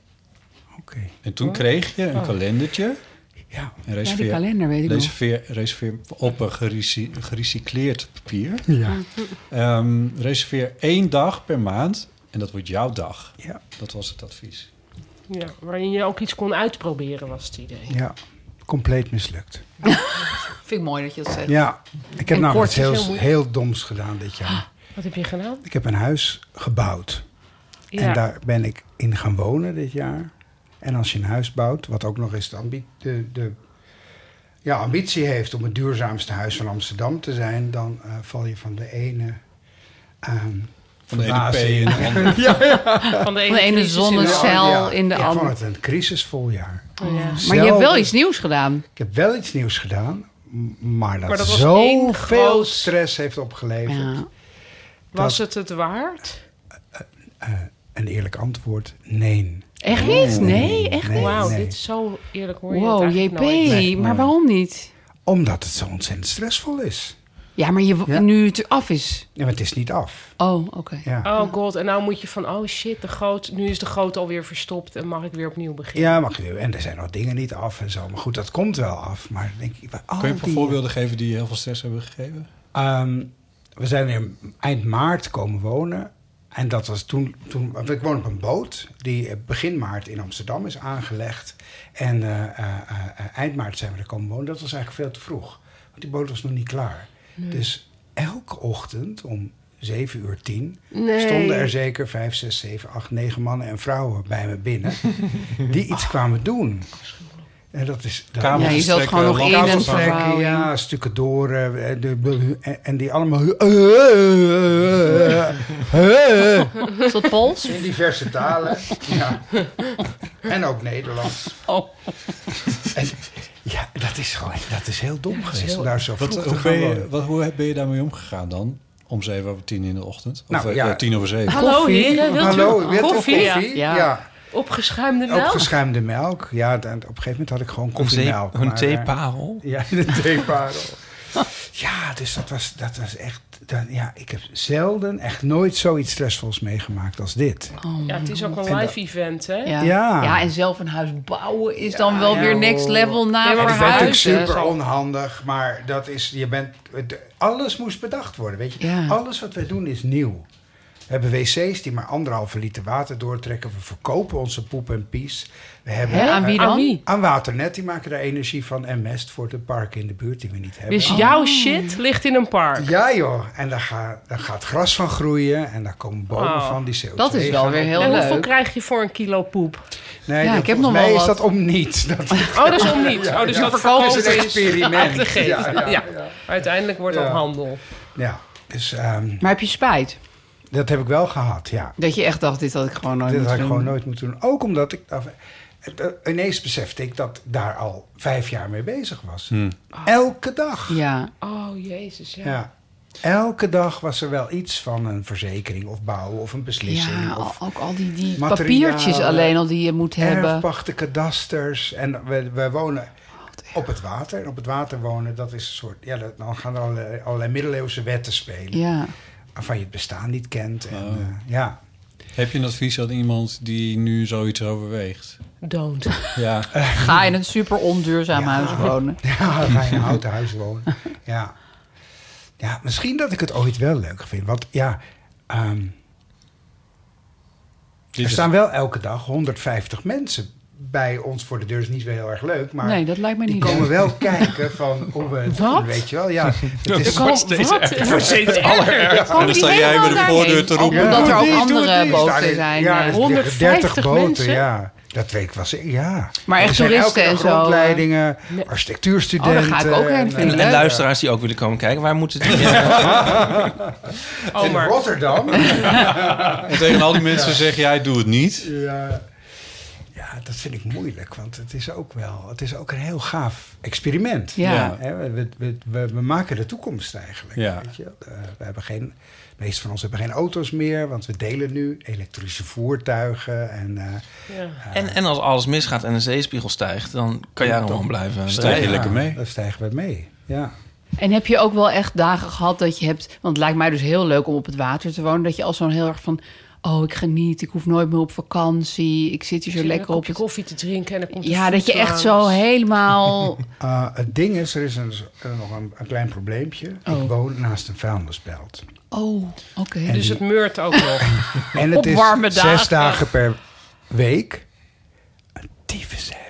Speaker 2: oké.
Speaker 1: En toen kreeg je een kalendertje.
Speaker 2: Ja.
Speaker 1: En
Speaker 3: Ja, die
Speaker 1: reserveer,
Speaker 3: kalender weet ik nog.
Speaker 1: reserveer, reserveer op een gerecy- gerecycleerd papier.
Speaker 2: Ja.
Speaker 1: Ehm, reserveer één dag per maand. En dat wordt jouw dag.
Speaker 2: Ja.
Speaker 1: Dat was het advies.
Speaker 6: Ja, waarin je ook iets kon uitproberen, was het idee.
Speaker 2: ja, compleet mislukt.
Speaker 3: Vind ik mooi dat je dat zegt.
Speaker 2: Ja, ik heb
Speaker 3: En
Speaker 2: namelijk
Speaker 3: kort
Speaker 2: iets
Speaker 3: is heel
Speaker 2: heel,
Speaker 3: moeilijk. Ah.
Speaker 2: heel doms gedaan dit jaar.
Speaker 6: Wat heb je gedaan?
Speaker 2: Ik heb een huis gebouwd. En daar ben ik in gaan wonen dit jaar. En als je een huis bouwt, wat ook nog eens de, ambi- de, de ja, ambitie heeft om het duurzaamste huis van Amsterdam te zijn, dan eh, val je van de ene. ehm
Speaker 1: Van de ene P
Speaker 2: verbazing.
Speaker 1: en *laughs* de andere.
Speaker 6: van de ene,
Speaker 3: Van de ene
Speaker 6: crisis in de
Speaker 2: zonnecel.
Speaker 3: zonnecel
Speaker 2: Ja,
Speaker 3: in de
Speaker 2: Ik vond
Speaker 3: andere.
Speaker 2: het een crisisvol jaar.
Speaker 6: andere. Ja.
Speaker 3: Maar je hebt wel
Speaker 2: Zelden-
Speaker 3: iets nieuws gedaan.
Speaker 2: Ik heb wel iets nieuws gedaan, m- maar dat,
Speaker 6: Maar dat was één
Speaker 2: zoveel
Speaker 6: groot-
Speaker 2: stress heeft opgeleverd.
Speaker 3: Ja.
Speaker 6: Was het het waard?
Speaker 2: Een eerlijk antwoord, nee.
Speaker 3: Echt niet? Nee, echt
Speaker 2: Nee,
Speaker 3: niet.
Speaker 6: Wauw,
Speaker 2: nee.
Speaker 6: dit is zo eerlijk hoor je het
Speaker 3: Wow,
Speaker 6: eigenlijk
Speaker 3: JP,
Speaker 6: nooit.
Speaker 2: Nee,
Speaker 3: maar
Speaker 2: nooit.
Speaker 3: waarom niet?
Speaker 2: Omdat het zo ontzettend stressvol is.
Speaker 3: Ja, maar je,
Speaker 2: Ja.
Speaker 3: nu het af is.
Speaker 2: Ja, maar het is niet af.
Speaker 3: Oh, oké.
Speaker 2: Ja.
Speaker 6: *laughs* Oh god, en nou moet je van, oh shit, de groot, nu is de groot alweer verstopt en mag ik weer opnieuw beginnen.
Speaker 2: Ja, mag je. En er zijn nog dingen niet af en zo. Maar goed, dat komt wel af. Maar dan denk ik, waar al
Speaker 1: Kun je een paar
Speaker 2: die-
Speaker 1: voorbeelden geven die je heel veel stress hebben gegeven?
Speaker 2: Ehm, we zijn in eind maart komen wonen. En dat was toen, toen... want Ik woon op een boot die eh, begin maart in Amsterdam is aangelegd. En eh, eh, eh, eh, eind maart zijn we er komen wonen. Dat was eigenlijk veel te vroeg. Want die boot was nog niet klaar. Dus elke ochtend om 7 uur 10
Speaker 6: Nee.
Speaker 2: stonden er zeker 5, 6, 7, 8, 9 mannen en vrouwen bij me binnen. die
Speaker 1: *laughs*
Speaker 2: iets kwamen doen. En dat is. Dat
Speaker 4: Kabels
Speaker 3: Ja, je zult gewoon
Speaker 4: verstrekken,
Speaker 3: nog
Speaker 4: lampen
Speaker 3: in en
Speaker 4: vervangen.
Speaker 3: vervangen.
Speaker 2: Trekken,
Speaker 3: verbouwing.
Speaker 2: ja, stukken door. eh, eh, de- en- En die
Speaker 1: *laughs*
Speaker 2: allemaal. In
Speaker 3: Is dat Pools?
Speaker 2: diverse talen. Ja. En ook Nederlands.
Speaker 3: Oh.
Speaker 2: En, ja, dat is gewoon. Dat is heel dom
Speaker 1: Dat is
Speaker 2: geweest
Speaker 1: heel-
Speaker 2: om daar zo vroeg
Speaker 1: wat,
Speaker 2: te
Speaker 1: hoe,
Speaker 2: gaan
Speaker 1: ben je,
Speaker 2: wonen.
Speaker 1: wat, hoe ben je daarmee omgegaan dan? Om zeven over tien in de ochtend? Of
Speaker 2: Nou,
Speaker 1: eh,
Speaker 2: ja.
Speaker 1: eh, tien over zeven?
Speaker 6: Hallo
Speaker 3: Koffie.
Speaker 6: heren, wilt u
Speaker 2: Hallo, wilt u
Speaker 6: koffie?
Speaker 2: koffie?
Speaker 3: Ja.
Speaker 2: ja.
Speaker 6: Opgeschuimde melk?
Speaker 2: Opgeschuimde melk. Ja, dan- op een gegeven moment had ik gewoon
Speaker 4: Een, zee-
Speaker 2: koffiemelk.
Speaker 4: een
Speaker 2: maar, eh,
Speaker 4: theeparel.
Speaker 2: Ja, *laughs* een theeparel. ja, dus dat was, dat was echt... dat- ja, ik heb zelden, echt nooit zoiets stressvols meegemaakt als dit.
Speaker 3: Oh,
Speaker 6: Ja, het is ook
Speaker 2: En
Speaker 6: een live event, hè?
Speaker 3: Ja.
Speaker 2: Ja.
Speaker 3: ja, en zelf een huis bouwen is dan wel
Speaker 2: ja,
Speaker 3: weer next
Speaker 2: hoor.
Speaker 3: level na dus
Speaker 6: Nee, maar
Speaker 2: Het is natuurlijk
Speaker 3: verhuizen.
Speaker 2: super onhandig, maar dat is... Je bent, het- alles moest bedacht worden, weet je.
Speaker 3: Ja.
Speaker 2: Alles wat wij doen is nieuw. We hebben wc's die maar anderhalve liter water doortrekken. We verkopen onze poep en pies. We hebben... eh,
Speaker 3: Hè, aan wie
Speaker 6: Aan
Speaker 3: dan?
Speaker 6: wie?
Speaker 2: Aan Waternet, die maken daar energie van en mest voor de parken in de buurt die we niet hebben. Oh.
Speaker 6: Dus jouw shit ligt in een park.
Speaker 2: Ja joh, en daar, ga, daar gaat gras van groeien en daar komen bomen
Speaker 6: Oh,
Speaker 2: van die CO2.
Speaker 3: Dat is wel
Speaker 2: gaan
Speaker 3: weer
Speaker 2: op-
Speaker 3: heel
Speaker 6: en hoeveel
Speaker 3: leuk.
Speaker 6: krijg je voor een kilo poep?
Speaker 2: Nee,
Speaker 3: Ja,
Speaker 2: dat-
Speaker 3: ik heb
Speaker 2: volgens
Speaker 3: nog wel
Speaker 2: mij is
Speaker 3: wat.
Speaker 2: dat om niets. *laughs* Dat
Speaker 6: Oh, dat is om niet. Oh, dus
Speaker 2: ja.
Speaker 6: dat
Speaker 2: dat is
Speaker 6: verkopen
Speaker 2: een
Speaker 6: is aan
Speaker 2: experiment.
Speaker 6: te geven.
Speaker 2: Ja, ja, ja.
Speaker 6: Uiteindelijk wordt
Speaker 2: Ja.
Speaker 6: dat handel.
Speaker 2: Ja, dus ehm,
Speaker 3: Maar heb je spijt?
Speaker 2: dat heb ik wel gehad, ja.
Speaker 3: Dat je echt dacht, dit had ik gewoon nooit
Speaker 2: Dat had
Speaker 3: moeten
Speaker 2: ik
Speaker 3: doen.
Speaker 2: gewoon nooit moeten doen. Ook omdat ik... af- eh, Ineens besefte ik dat ik daar al vijf jaar mee bezig was.
Speaker 3: Hmm. Ah.
Speaker 2: Elke dag.
Speaker 3: Ja,
Speaker 6: Oh, jezus, ja.
Speaker 2: Ja. Elke dag was er wel iets van een verzekering of bouwen of een beslissing.
Speaker 3: ja
Speaker 2: of
Speaker 3: al- ook al die, die
Speaker 2: materialen.
Speaker 3: papiertjes alleen al die je moet hebben.
Speaker 2: erfpachten, kadasters. En we, we wonen op het water. En op het water wonen, dat is een soort... Ja, dat- dan gaan er allerlei, allerlei middeleeuwse wetten spelen.
Speaker 3: Ja.
Speaker 2: Waarvan je het bestaan niet kent. En,
Speaker 1: Oh.
Speaker 2: eh, ja.
Speaker 1: *laughs*
Speaker 2: *laughs*
Speaker 1: Heb je een advies aan iemand die nu zoiets overweegt?
Speaker 6: Don't.
Speaker 1: Ja,
Speaker 3: Ga in een super onduurzaam
Speaker 2: Ja.
Speaker 3: huis wonen.
Speaker 2: ja, ga in een houten huis
Speaker 3: *laughs*
Speaker 2: wonen. Ja. ja, misschien dat ik het ooit wel leuk vind. Want ja, ehm,
Speaker 1: dit
Speaker 2: er
Speaker 1: is-
Speaker 2: staan wel elke dag 150 mensen bij ons voor de deur. is niet zo heel erg leuk, maar...
Speaker 3: nee, dat lijkt me
Speaker 2: die
Speaker 3: niet
Speaker 2: komen
Speaker 3: leuk.
Speaker 2: wel kijken van hoe we het doen,
Speaker 6: Wat?
Speaker 2: weet je wel.
Speaker 1: *laughs*
Speaker 2: Ja, het is
Speaker 6: Kan, wat? *laughs* Het wordt steeds erger.
Speaker 1: en dan sta jij bij de voordeur te
Speaker 3: Ook
Speaker 1: roepen.
Speaker 3: omdat er
Speaker 2: Doe
Speaker 3: ook
Speaker 2: het niet, doe het
Speaker 3: andere
Speaker 2: niet. Daar
Speaker 3: boten
Speaker 2: is-
Speaker 3: zijn.
Speaker 2: Ja,
Speaker 3: eh.
Speaker 2: er liggen
Speaker 6: 150
Speaker 2: 30 boten,
Speaker 6: mensen?
Speaker 2: ja. Dat weet ik wel zeker, ja.
Speaker 3: Maar echt
Speaker 2: Er zijn
Speaker 3: toeristen
Speaker 2: elke dag
Speaker 3: en zo, eh.
Speaker 2: rondleidingen,
Speaker 6: Nee.
Speaker 2: architectuurstudenten.
Speaker 3: Oh, daar ga ik ook heen,
Speaker 2: en,
Speaker 3: vind
Speaker 2: eh,
Speaker 3: ik
Speaker 4: En,
Speaker 3: leuk.
Speaker 4: en luisteraars die ook willen komen kijken, waar moeten die? Ja.
Speaker 6: Oh,
Speaker 2: in
Speaker 6: maar
Speaker 3: *laughs*
Speaker 2: Rotterdam.
Speaker 1: En tegen al die mensen zeg jij, doe het niet.
Speaker 2: ja. ja, dat vind ik moeilijk, want het is ook wel... Het is ook een heel gaaf experiment.
Speaker 3: eh, Ja.
Speaker 1: Ja.
Speaker 2: Hè, we, we, we- we, we maken de toekomst eigenlijk.
Speaker 1: Ja.
Speaker 2: Weet je? wel. Eh, we hebben geen, de meeste van ons hebben geen auto's meer, want we delen nu elektrische voertuigen. En, eh,
Speaker 6: ja.
Speaker 4: En, en als alles misgaat en de zeespiegel stijgt, dan kan jij gewoon blijven.
Speaker 1: Stijg je
Speaker 4: rijden.
Speaker 1: lekker mee.
Speaker 2: Daar stijgen we mee, ja.
Speaker 3: En heb je ook wel echt dagen gehad dat je hebt... Want het lijkt mij dus heel leuk om op het water te wonen. Dat je al zo'n heel erg van... Oh, ik geniet. Ik hoef nooit meer op vakantie. Ik zit hier zo
Speaker 6: Zit
Speaker 3: lekker op
Speaker 6: je
Speaker 3: het...
Speaker 6: koffie te drinken en dan komt
Speaker 3: Ja, dat je echt zo
Speaker 6: *laughs*
Speaker 3: helemaal...
Speaker 2: Uh, het ding is, er is een, er nog een, een klein probleempje.
Speaker 3: Oh.
Speaker 2: Ik woon naast een
Speaker 3: *laughs*
Speaker 2: vuilnisbelt.
Speaker 3: Oh, oké.
Speaker 6: Dus het meurt ook nog.
Speaker 2: En het
Speaker 3: Op
Speaker 2: is
Speaker 3: warme
Speaker 2: zes
Speaker 3: dagen.
Speaker 2: dagen per week een dievenserie.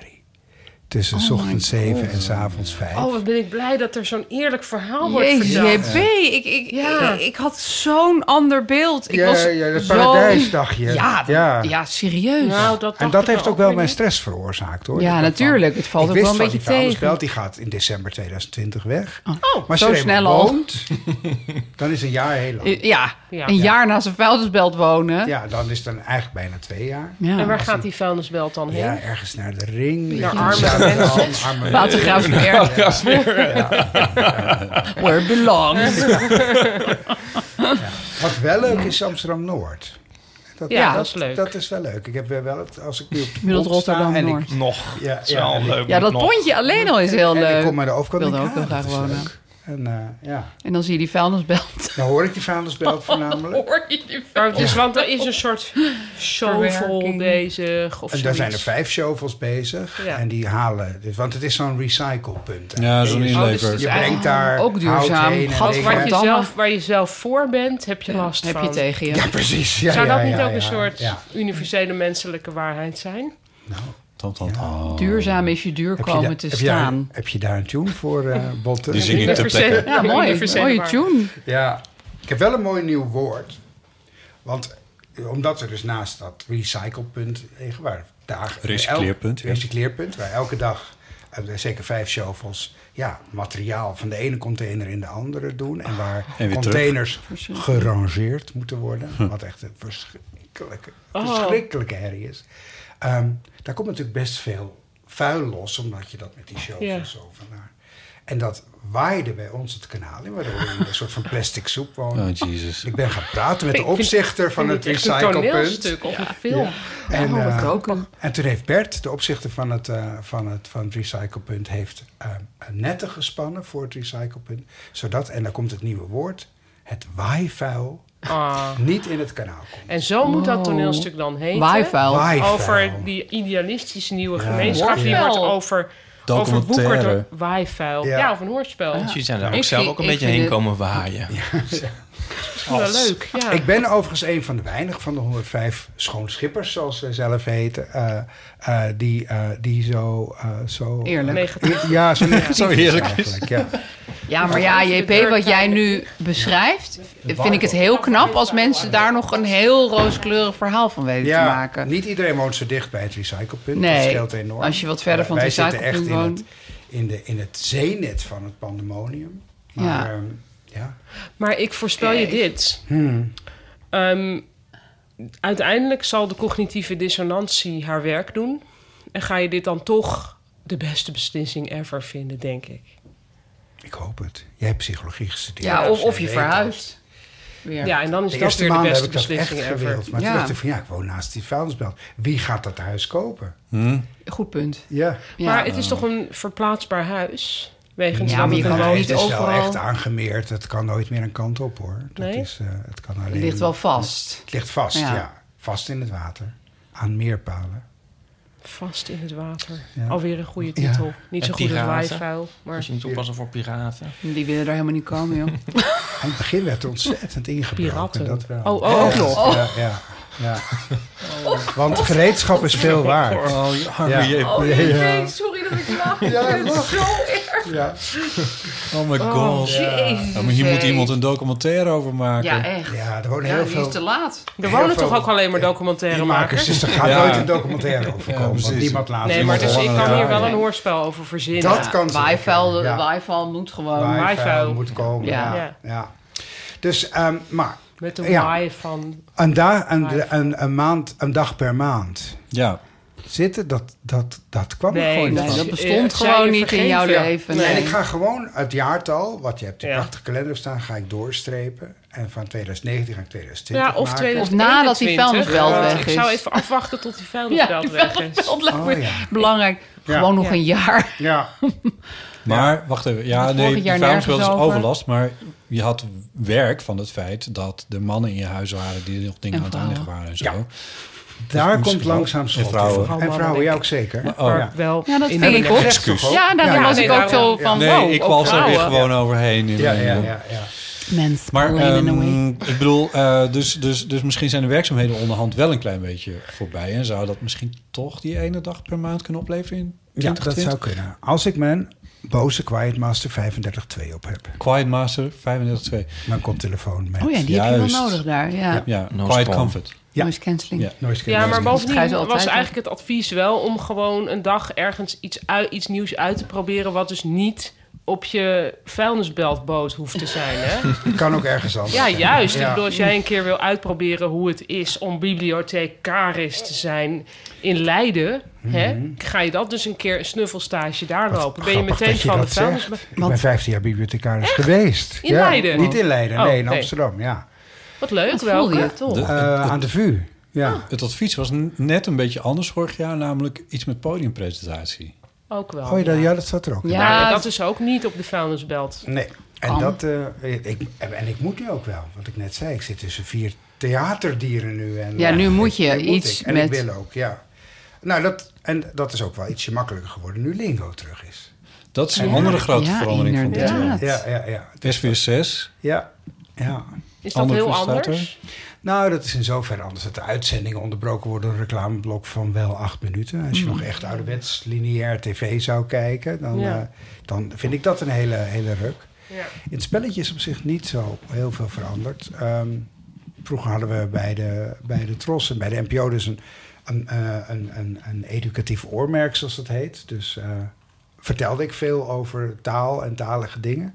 Speaker 2: Tussen
Speaker 3: Oh my
Speaker 2: ochtends zeven en s avonds vijf.
Speaker 6: Oh, wat ben ik blij dat er zo'n eerlijk verhaal wordt
Speaker 3: Jezus,
Speaker 6: verteld.
Speaker 3: JP, ik, ik, ik, ik had zo'n ander beeld. Ik
Speaker 2: ja,
Speaker 3: was
Speaker 2: ja, dat
Speaker 3: zo...
Speaker 2: paradijsdagje.
Speaker 3: Ja, ja.
Speaker 2: Ja.
Speaker 3: serieus.
Speaker 6: Nou, dat
Speaker 2: En
Speaker 6: dacht
Speaker 2: dat
Speaker 6: ik
Speaker 2: heeft
Speaker 6: me
Speaker 2: ook wel
Speaker 6: weer
Speaker 2: mijn
Speaker 6: niet.
Speaker 2: stress veroorzaakt hoor.
Speaker 3: ja,
Speaker 2: Ik dacht van,
Speaker 3: natuurlijk. Het valt
Speaker 2: ik
Speaker 3: ook wel
Speaker 2: wist
Speaker 3: een
Speaker 2: van
Speaker 3: beetje
Speaker 2: die vuilnisbelt,
Speaker 3: tegen.
Speaker 2: die gaat in december 2020 weg.
Speaker 6: Oh,
Speaker 2: maar
Speaker 3: zo
Speaker 2: als je er eenmaal
Speaker 3: snel al.
Speaker 2: woont, *laughs* dan is een jaar heel lang.
Speaker 3: Ja,
Speaker 6: Ja.
Speaker 3: een jaar naast een vuilnisbelt wonen.
Speaker 2: Ja, dan is het dan eigenlijk bijna twee jaar.
Speaker 3: Ja.
Speaker 6: En waar gaat die vuilnisbelt dan heen?
Speaker 2: Ja, ergens naar de ring.
Speaker 6: Naar
Speaker 2: Ja,
Speaker 6: arme
Speaker 2: Zaandam,
Speaker 6: mensen.
Speaker 2: arme-
Speaker 3: Watergraafsmeer. *laughs* Where it belongs.
Speaker 2: Wat wel leuk is Amsterdam-Noord. Dat,
Speaker 6: Ja, dat is leuk.
Speaker 2: Dat is wel leuk. Ik heb weer wel, het- als ik nu op de
Speaker 3: Middels
Speaker 2: pont sta en ik-
Speaker 3: Rotterdam-Noord.
Speaker 4: Nog.
Speaker 2: Ja,
Speaker 4: Dat is
Speaker 2: ja,
Speaker 4: wel
Speaker 2: en ik-
Speaker 4: leuk.
Speaker 3: Ja, dat
Speaker 4: nog.
Speaker 3: pontje alleen al is heel
Speaker 2: En ik kom
Speaker 3: leuk.
Speaker 2: maar de overkant.
Speaker 3: wilde
Speaker 2: en ik,
Speaker 3: ook heel
Speaker 2: ah, dat
Speaker 3: graag
Speaker 2: is
Speaker 3: wonen.
Speaker 2: leuk. En eh, ja,
Speaker 3: En dan zie je die
Speaker 2: *laughs*
Speaker 3: vuilnisbelt.
Speaker 2: dan hoor ik die vuilnisbelt
Speaker 6: Oh.
Speaker 2: voornamelijk.
Speaker 6: Maar dus, want er is een soort shovel
Speaker 3: Verwerking.
Speaker 6: bezig of
Speaker 2: En daar
Speaker 6: zoiets.
Speaker 2: zijn er vijf shovels bezig.
Speaker 6: Ja.
Speaker 2: En die halen... Dus, want het is zo'n recyclepunt. hè.
Speaker 1: Ja, zo'n
Speaker 2: je,
Speaker 6: Oh, dus het
Speaker 1: inlever.
Speaker 6: is
Speaker 2: je
Speaker 6: eigenlijk-
Speaker 2: brengt daar
Speaker 3: Ook duurzaam.
Speaker 2: hout heen en
Speaker 3: Gat
Speaker 2: dingen.
Speaker 6: Waar je,
Speaker 3: Verdamme.
Speaker 6: zelf, waar je zelf voor bent, heb je last
Speaker 3: Heb
Speaker 6: van.
Speaker 3: je tegen je.
Speaker 2: Ja, precies. Ja,
Speaker 6: Zou
Speaker 2: ja,
Speaker 6: dat niet
Speaker 2: ja,
Speaker 6: ook
Speaker 2: ja,
Speaker 6: een soort
Speaker 2: ja.
Speaker 6: universele menselijke waarheid zijn?
Speaker 1: Tam, tam, tam.
Speaker 3: Duurzaam is je duur
Speaker 2: Heb je
Speaker 3: komen
Speaker 2: daar-
Speaker 3: te
Speaker 2: heb je daar-
Speaker 3: staan.
Speaker 6: *laughs*
Speaker 2: heb je daar een tune voor, eh Botten?
Speaker 1: Die zing ik te
Speaker 6: Universele-
Speaker 1: plekken.
Speaker 3: Ja, mooi.
Speaker 6: universele
Speaker 3: Mooie
Speaker 6: waarheid.
Speaker 3: tune.
Speaker 2: Ja. Ik heb wel een mooi nieuw woord. Want eh, omdat er dus naast dat recyclepunt liggen, waar dagen...
Speaker 1: Recycleerpunt,
Speaker 2: elk-
Speaker 1: ja.
Speaker 2: Recycleerpunt, waar elke dag eh, zeker vijf shovels ja, materiaal van de ene container in de andere doen. En waar
Speaker 1: En weer Hm.
Speaker 2: containers
Speaker 3: Precies.
Speaker 2: gerangeerd moeten worden. Wat echt een verschrikkelijke,
Speaker 6: Oh.
Speaker 2: verschrikkelijke herrie is. Ehm, daar komt natuurlijk best veel vuil los, omdat je dat met die shovels
Speaker 6: Ja.
Speaker 2: zo van naar. En dat waaide bij ons het kanaal in, waardoor we in een soort van plastic soep wonen.
Speaker 1: Oh, Jesus.
Speaker 2: Ik ben gaan praten met
Speaker 6: *laughs*
Speaker 2: de
Speaker 6: Ik vind-
Speaker 2: opzichter van
Speaker 6: Vind
Speaker 2: het
Speaker 6: je echt een
Speaker 2: recyclepunt.
Speaker 6: toneelstuk of een film.
Speaker 2: En,
Speaker 3: oh, dat
Speaker 2: eh,
Speaker 3: kan ook nog.
Speaker 2: en toen heeft Bert, de opzichter van het, eh, van het, van het recyclepunt, heeft eh, netten gespannen voor het recyclepunt. Zodat, en daar komt het nieuwe woord, het waaivuil
Speaker 6: Ah.
Speaker 2: niet in het kanaal komt.
Speaker 6: En zo moet dat
Speaker 3: Wow.
Speaker 6: toneelstuk dan heten.
Speaker 3: Waaivuil.
Speaker 2: Waaivuil.
Speaker 6: Over die idealistische nieuwe
Speaker 2: Ja.
Speaker 6: gemeenschap. Die
Speaker 3: Hoorspel.
Speaker 6: wordt over, overwoekerd
Speaker 1: Documentaire.
Speaker 6: door waaivuil. Ja.
Speaker 2: Ja.
Speaker 6: of een hoorspel.
Speaker 4: Jullie zijn daar ook
Speaker 3: Ik
Speaker 4: zelf
Speaker 3: vind-
Speaker 4: ook een
Speaker 3: ik
Speaker 4: beetje
Speaker 3: vind
Speaker 4: heen
Speaker 3: het-
Speaker 4: komen waaien.
Speaker 6: Wel leuk, ja.
Speaker 2: Ik ben overigens een van de weinig van de 105 schoonschippers, zoals zij zelf heten, eh, eh, die, eh, die zo... eh, zo
Speaker 3: Eerlijk.
Speaker 6: Negatief.
Speaker 2: Ja, zo,
Speaker 1: Zo eerlijk is.
Speaker 2: eigenlijk, ja.
Speaker 3: Ja, maar ja, JP, wat jij nu beschrijft, vind ik het heel knap als mensen daar nog een heel rooskleurig verhaal van weten te maken.
Speaker 2: Niet iedereen woont zo dicht bij het recyclepunt.
Speaker 3: Nee,
Speaker 2: dat scheelt enorm.
Speaker 3: als je wat verder
Speaker 2: Eh,
Speaker 3: van het
Speaker 2: wij zitten
Speaker 3: recyclepunt
Speaker 2: echt in
Speaker 3: woont.
Speaker 2: het- In, de, in het zeenet van het pandemonium. Maar,
Speaker 3: Ja.
Speaker 2: ehm, ja.
Speaker 6: Maar ik voorspel je dit.
Speaker 2: Hmm.
Speaker 6: Ehm, uiteindelijk zal de cognitieve dissonantie haar werk doen. En ga je dit dan toch de beste beslissing ever vinden, denk ik.
Speaker 2: Ik hoop het. Jij hebt psychologie gestudeerd.
Speaker 3: Ja, of, of je
Speaker 2: Jij weet dat.
Speaker 3: verhuist. Weer.
Speaker 6: Ja, en dan is
Speaker 2: De
Speaker 6: dat
Speaker 2: eerste
Speaker 6: weer de
Speaker 2: maanden heb
Speaker 6: beste
Speaker 2: ik dat echt
Speaker 6: beslissing ever.
Speaker 2: gewild. Maar
Speaker 3: Ja.
Speaker 2: toen dacht ik van ja, ik woon naast die vuilnisbelt. Wie gaat dat huis kopen?
Speaker 3: Goed punt.
Speaker 2: Ja.
Speaker 3: Ja.
Speaker 6: Maar het is toch een verplaatsbaar huis? Wegens
Speaker 3: Ja,
Speaker 6: dat
Speaker 3: maar je
Speaker 6: het
Speaker 3: kan
Speaker 6: een
Speaker 3: ook
Speaker 6: woon-
Speaker 2: het
Speaker 3: niet
Speaker 2: is wel
Speaker 3: overal-
Speaker 2: echt aangemeerd. Het kan nooit meer een kant op hoor. Dat
Speaker 6: Nee?
Speaker 2: is, eh, het kan alleen...
Speaker 3: het ligt wel vast.
Speaker 2: Het ligt vast,
Speaker 3: Ja.
Speaker 2: ja. Vast in het water. Aan meerpalen.
Speaker 6: Vast in het water.
Speaker 2: Ja.
Speaker 6: Alweer een goede titel. Niet
Speaker 4: En
Speaker 6: zo goed als
Speaker 4: piraten.
Speaker 6: waaivuil. Maar
Speaker 4: Misschien toepassen voor piraten.
Speaker 3: Die willen daar helemaal niet komen, *laughs* joh.
Speaker 2: Aan het begin werd er ontzettend ingebroken.
Speaker 6: Piraten.
Speaker 2: Dat wel.
Speaker 6: Oh, oh, ook
Speaker 2: Ja,
Speaker 6: nog.
Speaker 2: Ja, ja, ja. Want gereedschap is veel waard.
Speaker 1: Oh,
Speaker 2: Ja.
Speaker 1: Harry, je-
Speaker 2: Oh, *laughs* ja.
Speaker 3: sorry dat ik lach.
Speaker 2: Ja, lach.
Speaker 3: zo erg.
Speaker 2: Ja.
Speaker 1: oh my god.
Speaker 3: Jezus.
Speaker 1: Ja, maar hier moet
Speaker 3: hé.
Speaker 1: iemand een documentaire over maken.
Speaker 3: Ja, echt.
Speaker 2: ja, er wonen
Speaker 3: Ja,
Speaker 2: heel
Speaker 3: die is te
Speaker 2: veel
Speaker 3: laat.
Speaker 6: er
Speaker 2: heel
Speaker 6: wonen
Speaker 2: veel
Speaker 6: toch ook alleen maar documentairemakers?
Speaker 2: makers. Dus er gaat
Speaker 1: Ja.
Speaker 2: nooit een documentaire over
Speaker 1: Ja,
Speaker 2: komen. want
Speaker 1: precies.
Speaker 2: niemand laat
Speaker 6: Nee, maar
Speaker 2: iemand
Speaker 6: dus ik
Speaker 2: horen.
Speaker 6: kan hier
Speaker 2: Ja,
Speaker 6: wel
Speaker 2: eh, ja.
Speaker 6: een hoorspel over verzinnen.
Speaker 2: Dat kan zeker,
Speaker 3: Waaivuil
Speaker 2: ja.
Speaker 3: waaivuil moet gewoon.
Speaker 2: Waaivuil
Speaker 6: waaivuil.
Speaker 2: eh, moet komen,
Speaker 3: Ja.
Speaker 2: ja. ja. Dus, ehm, maar
Speaker 6: Met de
Speaker 2: Ja.
Speaker 6: waai van...
Speaker 2: een, da een,
Speaker 6: Waaivuil.
Speaker 2: een, een, maand, een dag per maand
Speaker 1: Ja.
Speaker 2: zitten, dat, dat, dat kwam er gewoon niet
Speaker 3: nee,
Speaker 2: van.
Speaker 3: dat bestond
Speaker 6: eh, zij
Speaker 3: gewoon
Speaker 6: je
Speaker 3: niet in
Speaker 6: vergeven.
Speaker 3: jouw leven. Nee.
Speaker 2: En ik ga gewoon het jaartal, wat je hebt in
Speaker 6: Ja.
Speaker 2: de prachtige kalender staan, ga ik doorstrepen. En van 2019 ga ik 2020
Speaker 6: Ja, of
Speaker 2: maken.
Speaker 6: 2021.
Speaker 3: Of nadat die vuilnisbelt
Speaker 6: Ja,
Speaker 3: weg
Speaker 6: Ik
Speaker 3: is.
Speaker 6: zou even afwachten tot die vuilnisbelt
Speaker 3: Ja, die
Speaker 6: weg
Speaker 3: *laughs*
Speaker 6: is.
Speaker 3: op lijkt me
Speaker 2: Oh, ja.
Speaker 3: belangrijk.
Speaker 2: Ja.
Speaker 3: Gewoon nog
Speaker 6: Ja.
Speaker 3: een jaar. *laughs*
Speaker 2: Ja,
Speaker 1: Maar wacht even. Ja,
Speaker 3: Want
Speaker 1: nee,
Speaker 3: vorig jaar
Speaker 1: de vuilnisbelt is
Speaker 3: nergens over.
Speaker 1: overlast. Maar je had werk van het feit dat de mannen in je huis waren... die nog dingen
Speaker 3: En
Speaker 1: aan het aanleggen
Speaker 3: vrouwen.
Speaker 1: waren en zo.
Speaker 2: Ja. daar komt
Speaker 1: wel.
Speaker 2: langzaam schot
Speaker 1: En vrouwen.
Speaker 2: in. En vrouwen, ja ook zeker.
Speaker 1: Oh.
Speaker 2: Ja.
Speaker 6: Wel
Speaker 3: Ja, dat
Speaker 6: in
Speaker 3: vind
Speaker 6: de-
Speaker 3: ik ook.
Speaker 2: Recht toch ook?
Speaker 3: Ja, daar
Speaker 2: Ja,
Speaker 3: was
Speaker 6: nee,
Speaker 3: ik ook
Speaker 6: daarom.
Speaker 3: zo
Speaker 2: Oh,
Speaker 3: van,
Speaker 1: Nee,
Speaker 3: wow,
Speaker 1: ik
Speaker 3: ook
Speaker 1: was er weer
Speaker 3: vrouwen.
Speaker 1: gewoon overheen. In
Speaker 2: Ja,
Speaker 1: de-
Speaker 2: ja, ja, ja.
Speaker 3: Mens,
Speaker 1: Maar
Speaker 3: Lenin
Speaker 1: ehm,
Speaker 3: away.
Speaker 1: ik bedoel, eh, dus, dus, dus misschien zijn de werkzaamheden onderhand wel een klein beetje voorbij. En zou dat misschien toch die ene dag per maand kunnen opleveren in
Speaker 2: Ja, dat
Speaker 1: 2020?
Speaker 2: zou kunnen. Als ik mijn boze Quiet Master 35.2 op heb.
Speaker 1: Quiet Master 35.2.
Speaker 2: Mijn koptelefoon met
Speaker 3: Oh ja, die heb je
Speaker 1: Juist.
Speaker 3: wel nodig daar. Ja,
Speaker 1: Ja,
Speaker 4: No
Speaker 1: Quiet
Speaker 4: spawn.
Speaker 1: Comfort.
Speaker 2: Ja.
Speaker 3: noise cancelling.
Speaker 1: Ja.
Speaker 2: noise
Speaker 6: Ja, maar
Speaker 2: cancelling.
Speaker 3: Dat ga je
Speaker 6: bovendien
Speaker 3: altijd
Speaker 6: was
Speaker 3: doen.
Speaker 6: eigenlijk het advies wel om gewoon een dag ergens iets, uit, iets nieuws uit te proberen... wat dus niet op je vuilnisbeltboot hoeft te zijn, hè?
Speaker 2: Het kan ook ergens anders.
Speaker 6: Ja,
Speaker 2: zijn.
Speaker 6: juist. Ik
Speaker 2: Ja.
Speaker 6: bedoel, als jij een keer wil uitproberen hoe het is om bibliothecaris te zijn in Leiden, hè, ga je dat dus een keer een snuffelstage daar
Speaker 2: Mhm. Wat
Speaker 6: lopen. Ben je
Speaker 2: grappig
Speaker 6: meteen
Speaker 2: dat je
Speaker 6: van de
Speaker 2: dat
Speaker 6: vuilnis.
Speaker 2: zegt. Ik ben 15 jaar bibliothecaris geweest.
Speaker 6: In
Speaker 2: Ja,
Speaker 6: Leiden?
Speaker 2: Niet in Leiden,
Speaker 6: Oh,
Speaker 2: nee, in
Speaker 6: nee.
Speaker 2: Amsterdam, ja.
Speaker 6: Wat leuk
Speaker 3: Dat voelde
Speaker 6: wel.
Speaker 3: je toch?
Speaker 1: De-
Speaker 2: Eh, aan de VU, ja.
Speaker 1: Het advies was n- net een beetje anders vorig jaar, namelijk iets met podiumpresentatie.
Speaker 6: Ook wel.
Speaker 2: Oh, ja, dat,
Speaker 6: ja.
Speaker 2: ja, dat staat er ook in.
Speaker 3: Ja.
Speaker 6: Nou ja, dat is ook niet op de vuilnisbelt.
Speaker 2: Nee. En,
Speaker 3: Kan.
Speaker 2: dat, eh, ik, en en ik moet nu ook wel, wat ik net zei. Ik zit tussen vier theaterdieren nu. En, eh,
Speaker 3: Ja, nu moet je
Speaker 2: en moet
Speaker 3: iets
Speaker 2: ik. En
Speaker 3: met-
Speaker 2: ik wil ook, ja. Nou, dat, en dat is ook wel ietsje makkelijker geworden nu Lingo terug is.
Speaker 1: Dat is een andere grote
Speaker 3: Ja,
Speaker 1: verandering van dit jaar.
Speaker 3: inderdaad.
Speaker 2: Ja, ja, ja.
Speaker 1: SWS 6.
Speaker 2: Ja, ja.
Speaker 6: Is dat
Speaker 1: Andere
Speaker 6: heel
Speaker 1: presentator?
Speaker 6: anders?
Speaker 2: Nou, dat is in zoverre anders dat de uitzendingen onderbroken worden door een reclameblok van wel acht minuten. Als je nog echt ouderwets lineair tv zou kijken, dan,
Speaker 6: Ja.
Speaker 2: eh, dan vind ik dat een hele, hele ruk.
Speaker 6: Ja.
Speaker 2: Het spelletje is op zich niet zo heel veel veranderd. Ehm, vroeger hadden we bij de, bij de Tros en bij de NPO dus een, een, eh, een, een, een educatief oormerk, zoals dat heet. Dus eh, vertelde ik veel over taal en talige dingen.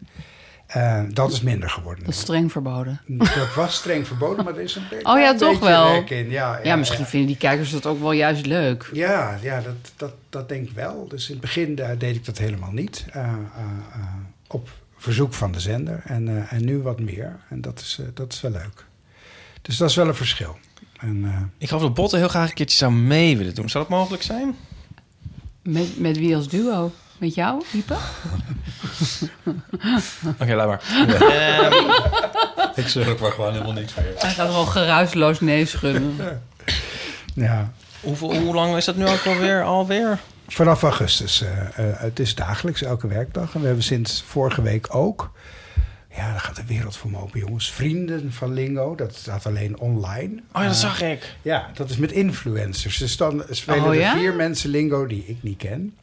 Speaker 2: Eh, dat is minder geworden.
Speaker 3: Dat is streng verboden.
Speaker 2: Dat was streng verboden, maar er is een be-
Speaker 3: Oh ja,
Speaker 2: een
Speaker 3: toch
Speaker 2: beetje
Speaker 3: wel.
Speaker 2: rek in. Ja,
Speaker 3: Ja, misschien vinden die kijkers dat ook wel juist leuk.
Speaker 2: Ja, ja dat, dat, dat denk ik wel. Dus in het begin eh, deed ik dat helemaal niet. Eh, eh, eh, op verzoek van de zender. En, eh, en nu wat meer. En dat is, eh, dat is wel leuk. Dus dat is wel een verschil. En, eh,
Speaker 4: Ik geloof dat Botten heel graag een keertje zou mee willen doen. Zou dat mogelijk zijn? *laughs*
Speaker 3: Met, met wie als duo? Met jou, Ipe?
Speaker 4: Oké, laat maar. Ehm,
Speaker 1: Ik zeg ook maar gewoon helemaal niks meer.
Speaker 3: Hij gaat gewoon geruisloos nee schudden.
Speaker 2: ja.
Speaker 4: hoeveel, hoe lang is dat nu ook alweer? alweer?
Speaker 2: Vanaf augustus. eh, eh, het is dagelijks, elke werkdag. En we hebben sinds vorige week ook. Ja, daar gaat de wereld voor me open, jongens. Vrienden van Lingo, dat staat alleen online.
Speaker 4: Oh ja, dat zag ik.
Speaker 2: Ja, dat is met influencers. Dus dan spelen
Speaker 3: Oh, ja?
Speaker 2: er vier mensen lingo die ik niet ken.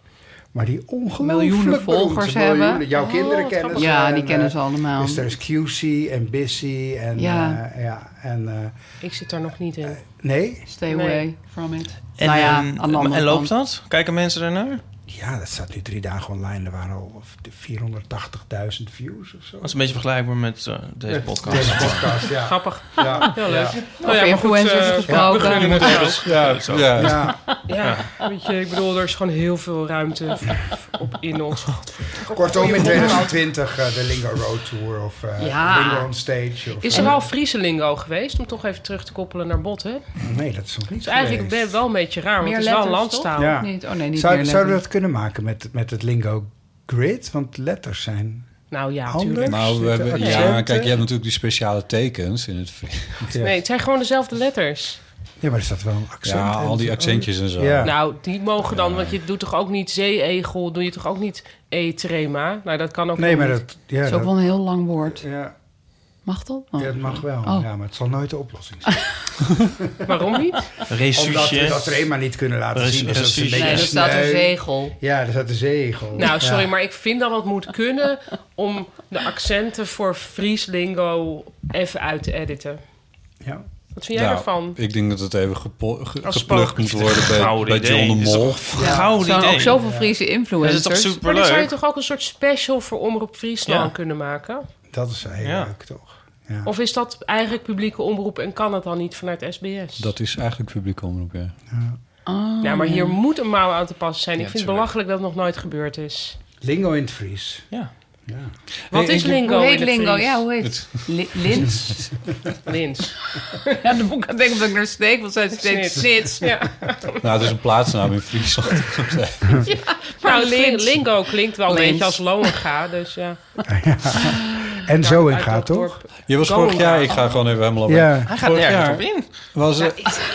Speaker 2: Maar die ongelooflijk
Speaker 3: Miljoenen
Speaker 2: beroemd zijn.
Speaker 3: volgers hebben.
Speaker 2: Jouw
Speaker 6: Oh,
Speaker 2: kinderen
Speaker 6: wat
Speaker 2: kennen ze.
Speaker 3: *laughs*
Speaker 6: grappig.
Speaker 3: Ja,
Speaker 2: en,
Speaker 3: die kennen
Speaker 2: eh,
Speaker 3: ze allemaal.
Speaker 2: Dus er is QC en Bissy en...
Speaker 3: Ja.
Speaker 2: Ja. ja en eh,
Speaker 6: Ik zit daar nog niet in.
Speaker 2: nee?
Speaker 3: Stay
Speaker 6: Nee.
Speaker 3: away from it.
Speaker 4: En,
Speaker 3: nou ja,
Speaker 4: ehm,
Speaker 3: aan de andere
Speaker 4: en loopt
Speaker 3: kant.
Speaker 4: dat? Kijken mensen ernaar?
Speaker 2: Ja, dat staat nu drie dagen online. Er waren al of de 480.000 views of zo.
Speaker 4: Dat is een beetje vergelijkbaar met eh, deze podcast.
Speaker 2: Deze podcast, ja.
Speaker 6: Grappig.
Speaker 2: ja.
Speaker 6: Heel leuk.
Speaker 2: Ja.
Speaker 6: Nou ja,
Speaker 3: Over
Speaker 6: maar goed,
Speaker 3: influencers
Speaker 6: eh,
Speaker 3: gesproken.
Speaker 6: we gunnen het wel.
Speaker 4: Ja, zo.
Speaker 1: Ja.
Speaker 2: Ja,
Speaker 6: Ja, weet je, ik bedoel, er is gewoon heel veel ruimte v- op in ons.
Speaker 2: kortom in 2020 eh, de Lingo Road Tour of eh,
Speaker 3: Ja.
Speaker 2: Lingo on Stage. Of, eh,
Speaker 6: Is er al Frieselingo geweest? Om toch even terug te koppelen naar Botten. Het
Speaker 2: Nee, dat is nog niet
Speaker 6: is Dus eigenlijk
Speaker 2: geweest.
Speaker 6: ben- wel een beetje raar, want
Speaker 3: Meer
Speaker 6: het is wel een
Speaker 3: letters,
Speaker 6: landstaal.
Speaker 2: Ja.
Speaker 3: Niet, oh nee, niet
Speaker 2: Zou,
Speaker 3: meer
Speaker 2: zouden we
Speaker 3: letters.
Speaker 2: dat kunnen maken met, met het lingo grid? Want letters zijn
Speaker 6: Nou ja,
Speaker 2: Anders?
Speaker 6: natuurlijk.
Speaker 1: Nou, we hebben,
Speaker 2: Accenten.
Speaker 1: ja, kijk, je hebt natuurlijk die speciale tekens in het.
Speaker 6: Nee, het zijn gewoon dezelfde letters.
Speaker 2: Ja, maar er staat wel een accent.
Speaker 1: Ja,
Speaker 2: in. Oh,
Speaker 1: al die accentjes en zo.
Speaker 2: Ja.
Speaker 6: Nou, die mogen dan, want je doet toch ook niet zeeegel, doe je toch ook niet e-trema? Nou, dat kan ook
Speaker 2: Nee,
Speaker 6: nog
Speaker 2: maar
Speaker 6: niet.
Speaker 2: dat... Ja,
Speaker 3: Dat is ook
Speaker 2: dat,
Speaker 3: wel een heel lang woord.
Speaker 2: ja,
Speaker 3: Mag dat?
Speaker 2: ja,
Speaker 3: Oh.
Speaker 2: dat mag wel.
Speaker 3: Oh.
Speaker 2: Ja, maar het zal nooit de oplossing zijn.
Speaker 6: Waarom
Speaker 2: *laughs*
Speaker 6: niet?
Speaker 2: Omdat we
Speaker 4: Resuusje.
Speaker 2: dat er eenmaal niet kunnen laten
Speaker 4: Precies,
Speaker 2: zien. Dus dat is een
Speaker 4: precies.
Speaker 2: beetje
Speaker 3: Nee, er staat een
Speaker 2: sneu.
Speaker 3: zegel.
Speaker 2: Ja, daar staat een zegel.
Speaker 6: Nou, sorry,
Speaker 2: Ja.
Speaker 6: maar ik vind dat het moet kunnen om de accenten voor Frieslingo even uit te editen.
Speaker 2: Ja.
Speaker 6: Wat vind jij
Speaker 1: Nou,
Speaker 6: daarvan?
Speaker 1: Ik denk dat het even gepo- ge-
Speaker 6: Als
Speaker 1: geplukt
Speaker 6: spook.
Speaker 1: moet worden bij,
Speaker 4: Gouden
Speaker 1: bij John de
Speaker 4: idee.
Speaker 1: Mol.
Speaker 3: Ja,
Speaker 4: Gouden
Speaker 3: er zijn
Speaker 4: idee.
Speaker 3: ook zoveel Friese
Speaker 4: Dat is
Speaker 3: influencers.
Speaker 6: Maar dan
Speaker 4: toch
Speaker 6: zou je
Speaker 4: superleuk?
Speaker 6: toch ook een soort special voor Omroep Friesland
Speaker 4: Ja.
Speaker 6: kunnen maken?
Speaker 2: Dat is wel heel
Speaker 4: Ja.
Speaker 2: leuk, toch? Ja.
Speaker 6: Of is dat eigenlijk publieke omroep en kan dat dan niet vanuit SBS?
Speaker 1: Dat is eigenlijk publiek omroep, ja.
Speaker 3: Ah.
Speaker 6: Ja, maar hier moet een mouw aan te passen zijn.
Speaker 4: Ja,
Speaker 6: ik vind het
Speaker 4: tuurlijk.
Speaker 6: belachelijk dat het nog nooit gebeurd is.
Speaker 2: Lingo in het Fries.
Speaker 4: Ja.
Speaker 2: Ja.
Speaker 6: Wat
Speaker 1: Hey,
Speaker 6: is
Speaker 1: ik-
Speaker 6: lingo?
Speaker 3: Hoe
Speaker 6: in
Speaker 3: heet
Speaker 6: het
Speaker 3: lingo?
Speaker 6: Fries?
Speaker 3: Ja, hoe heet Li-
Speaker 6: *laughs*
Speaker 3: Lins?
Speaker 6: Lins.
Speaker 3: ja, de boek aan denken dat ik naar steek, want zij
Speaker 6: Snits.
Speaker 3: steeds snits.
Speaker 6: Ja.
Speaker 1: Nou, het is een plaatsnaam in Friesland.
Speaker 6: Nou,
Speaker 3: *laughs* Maar Lins.
Speaker 6: lingo klinkt wel een
Speaker 3: Lins.
Speaker 6: beetje als Loenga, dus ja.
Speaker 2: En
Speaker 6: Ja,
Speaker 2: zo in
Speaker 6: uit
Speaker 2: gaat,
Speaker 6: dat
Speaker 2: toch?
Speaker 6: dorp.
Speaker 1: Je was
Speaker 6: Go
Speaker 1: vorig jaar,
Speaker 6: now.
Speaker 1: ik ga gewoon even helemaal op.
Speaker 2: Ja.
Speaker 4: Hij gaat
Speaker 1: Vorig
Speaker 4: nergens
Speaker 1: jaar.
Speaker 4: op in.
Speaker 1: Was, eh,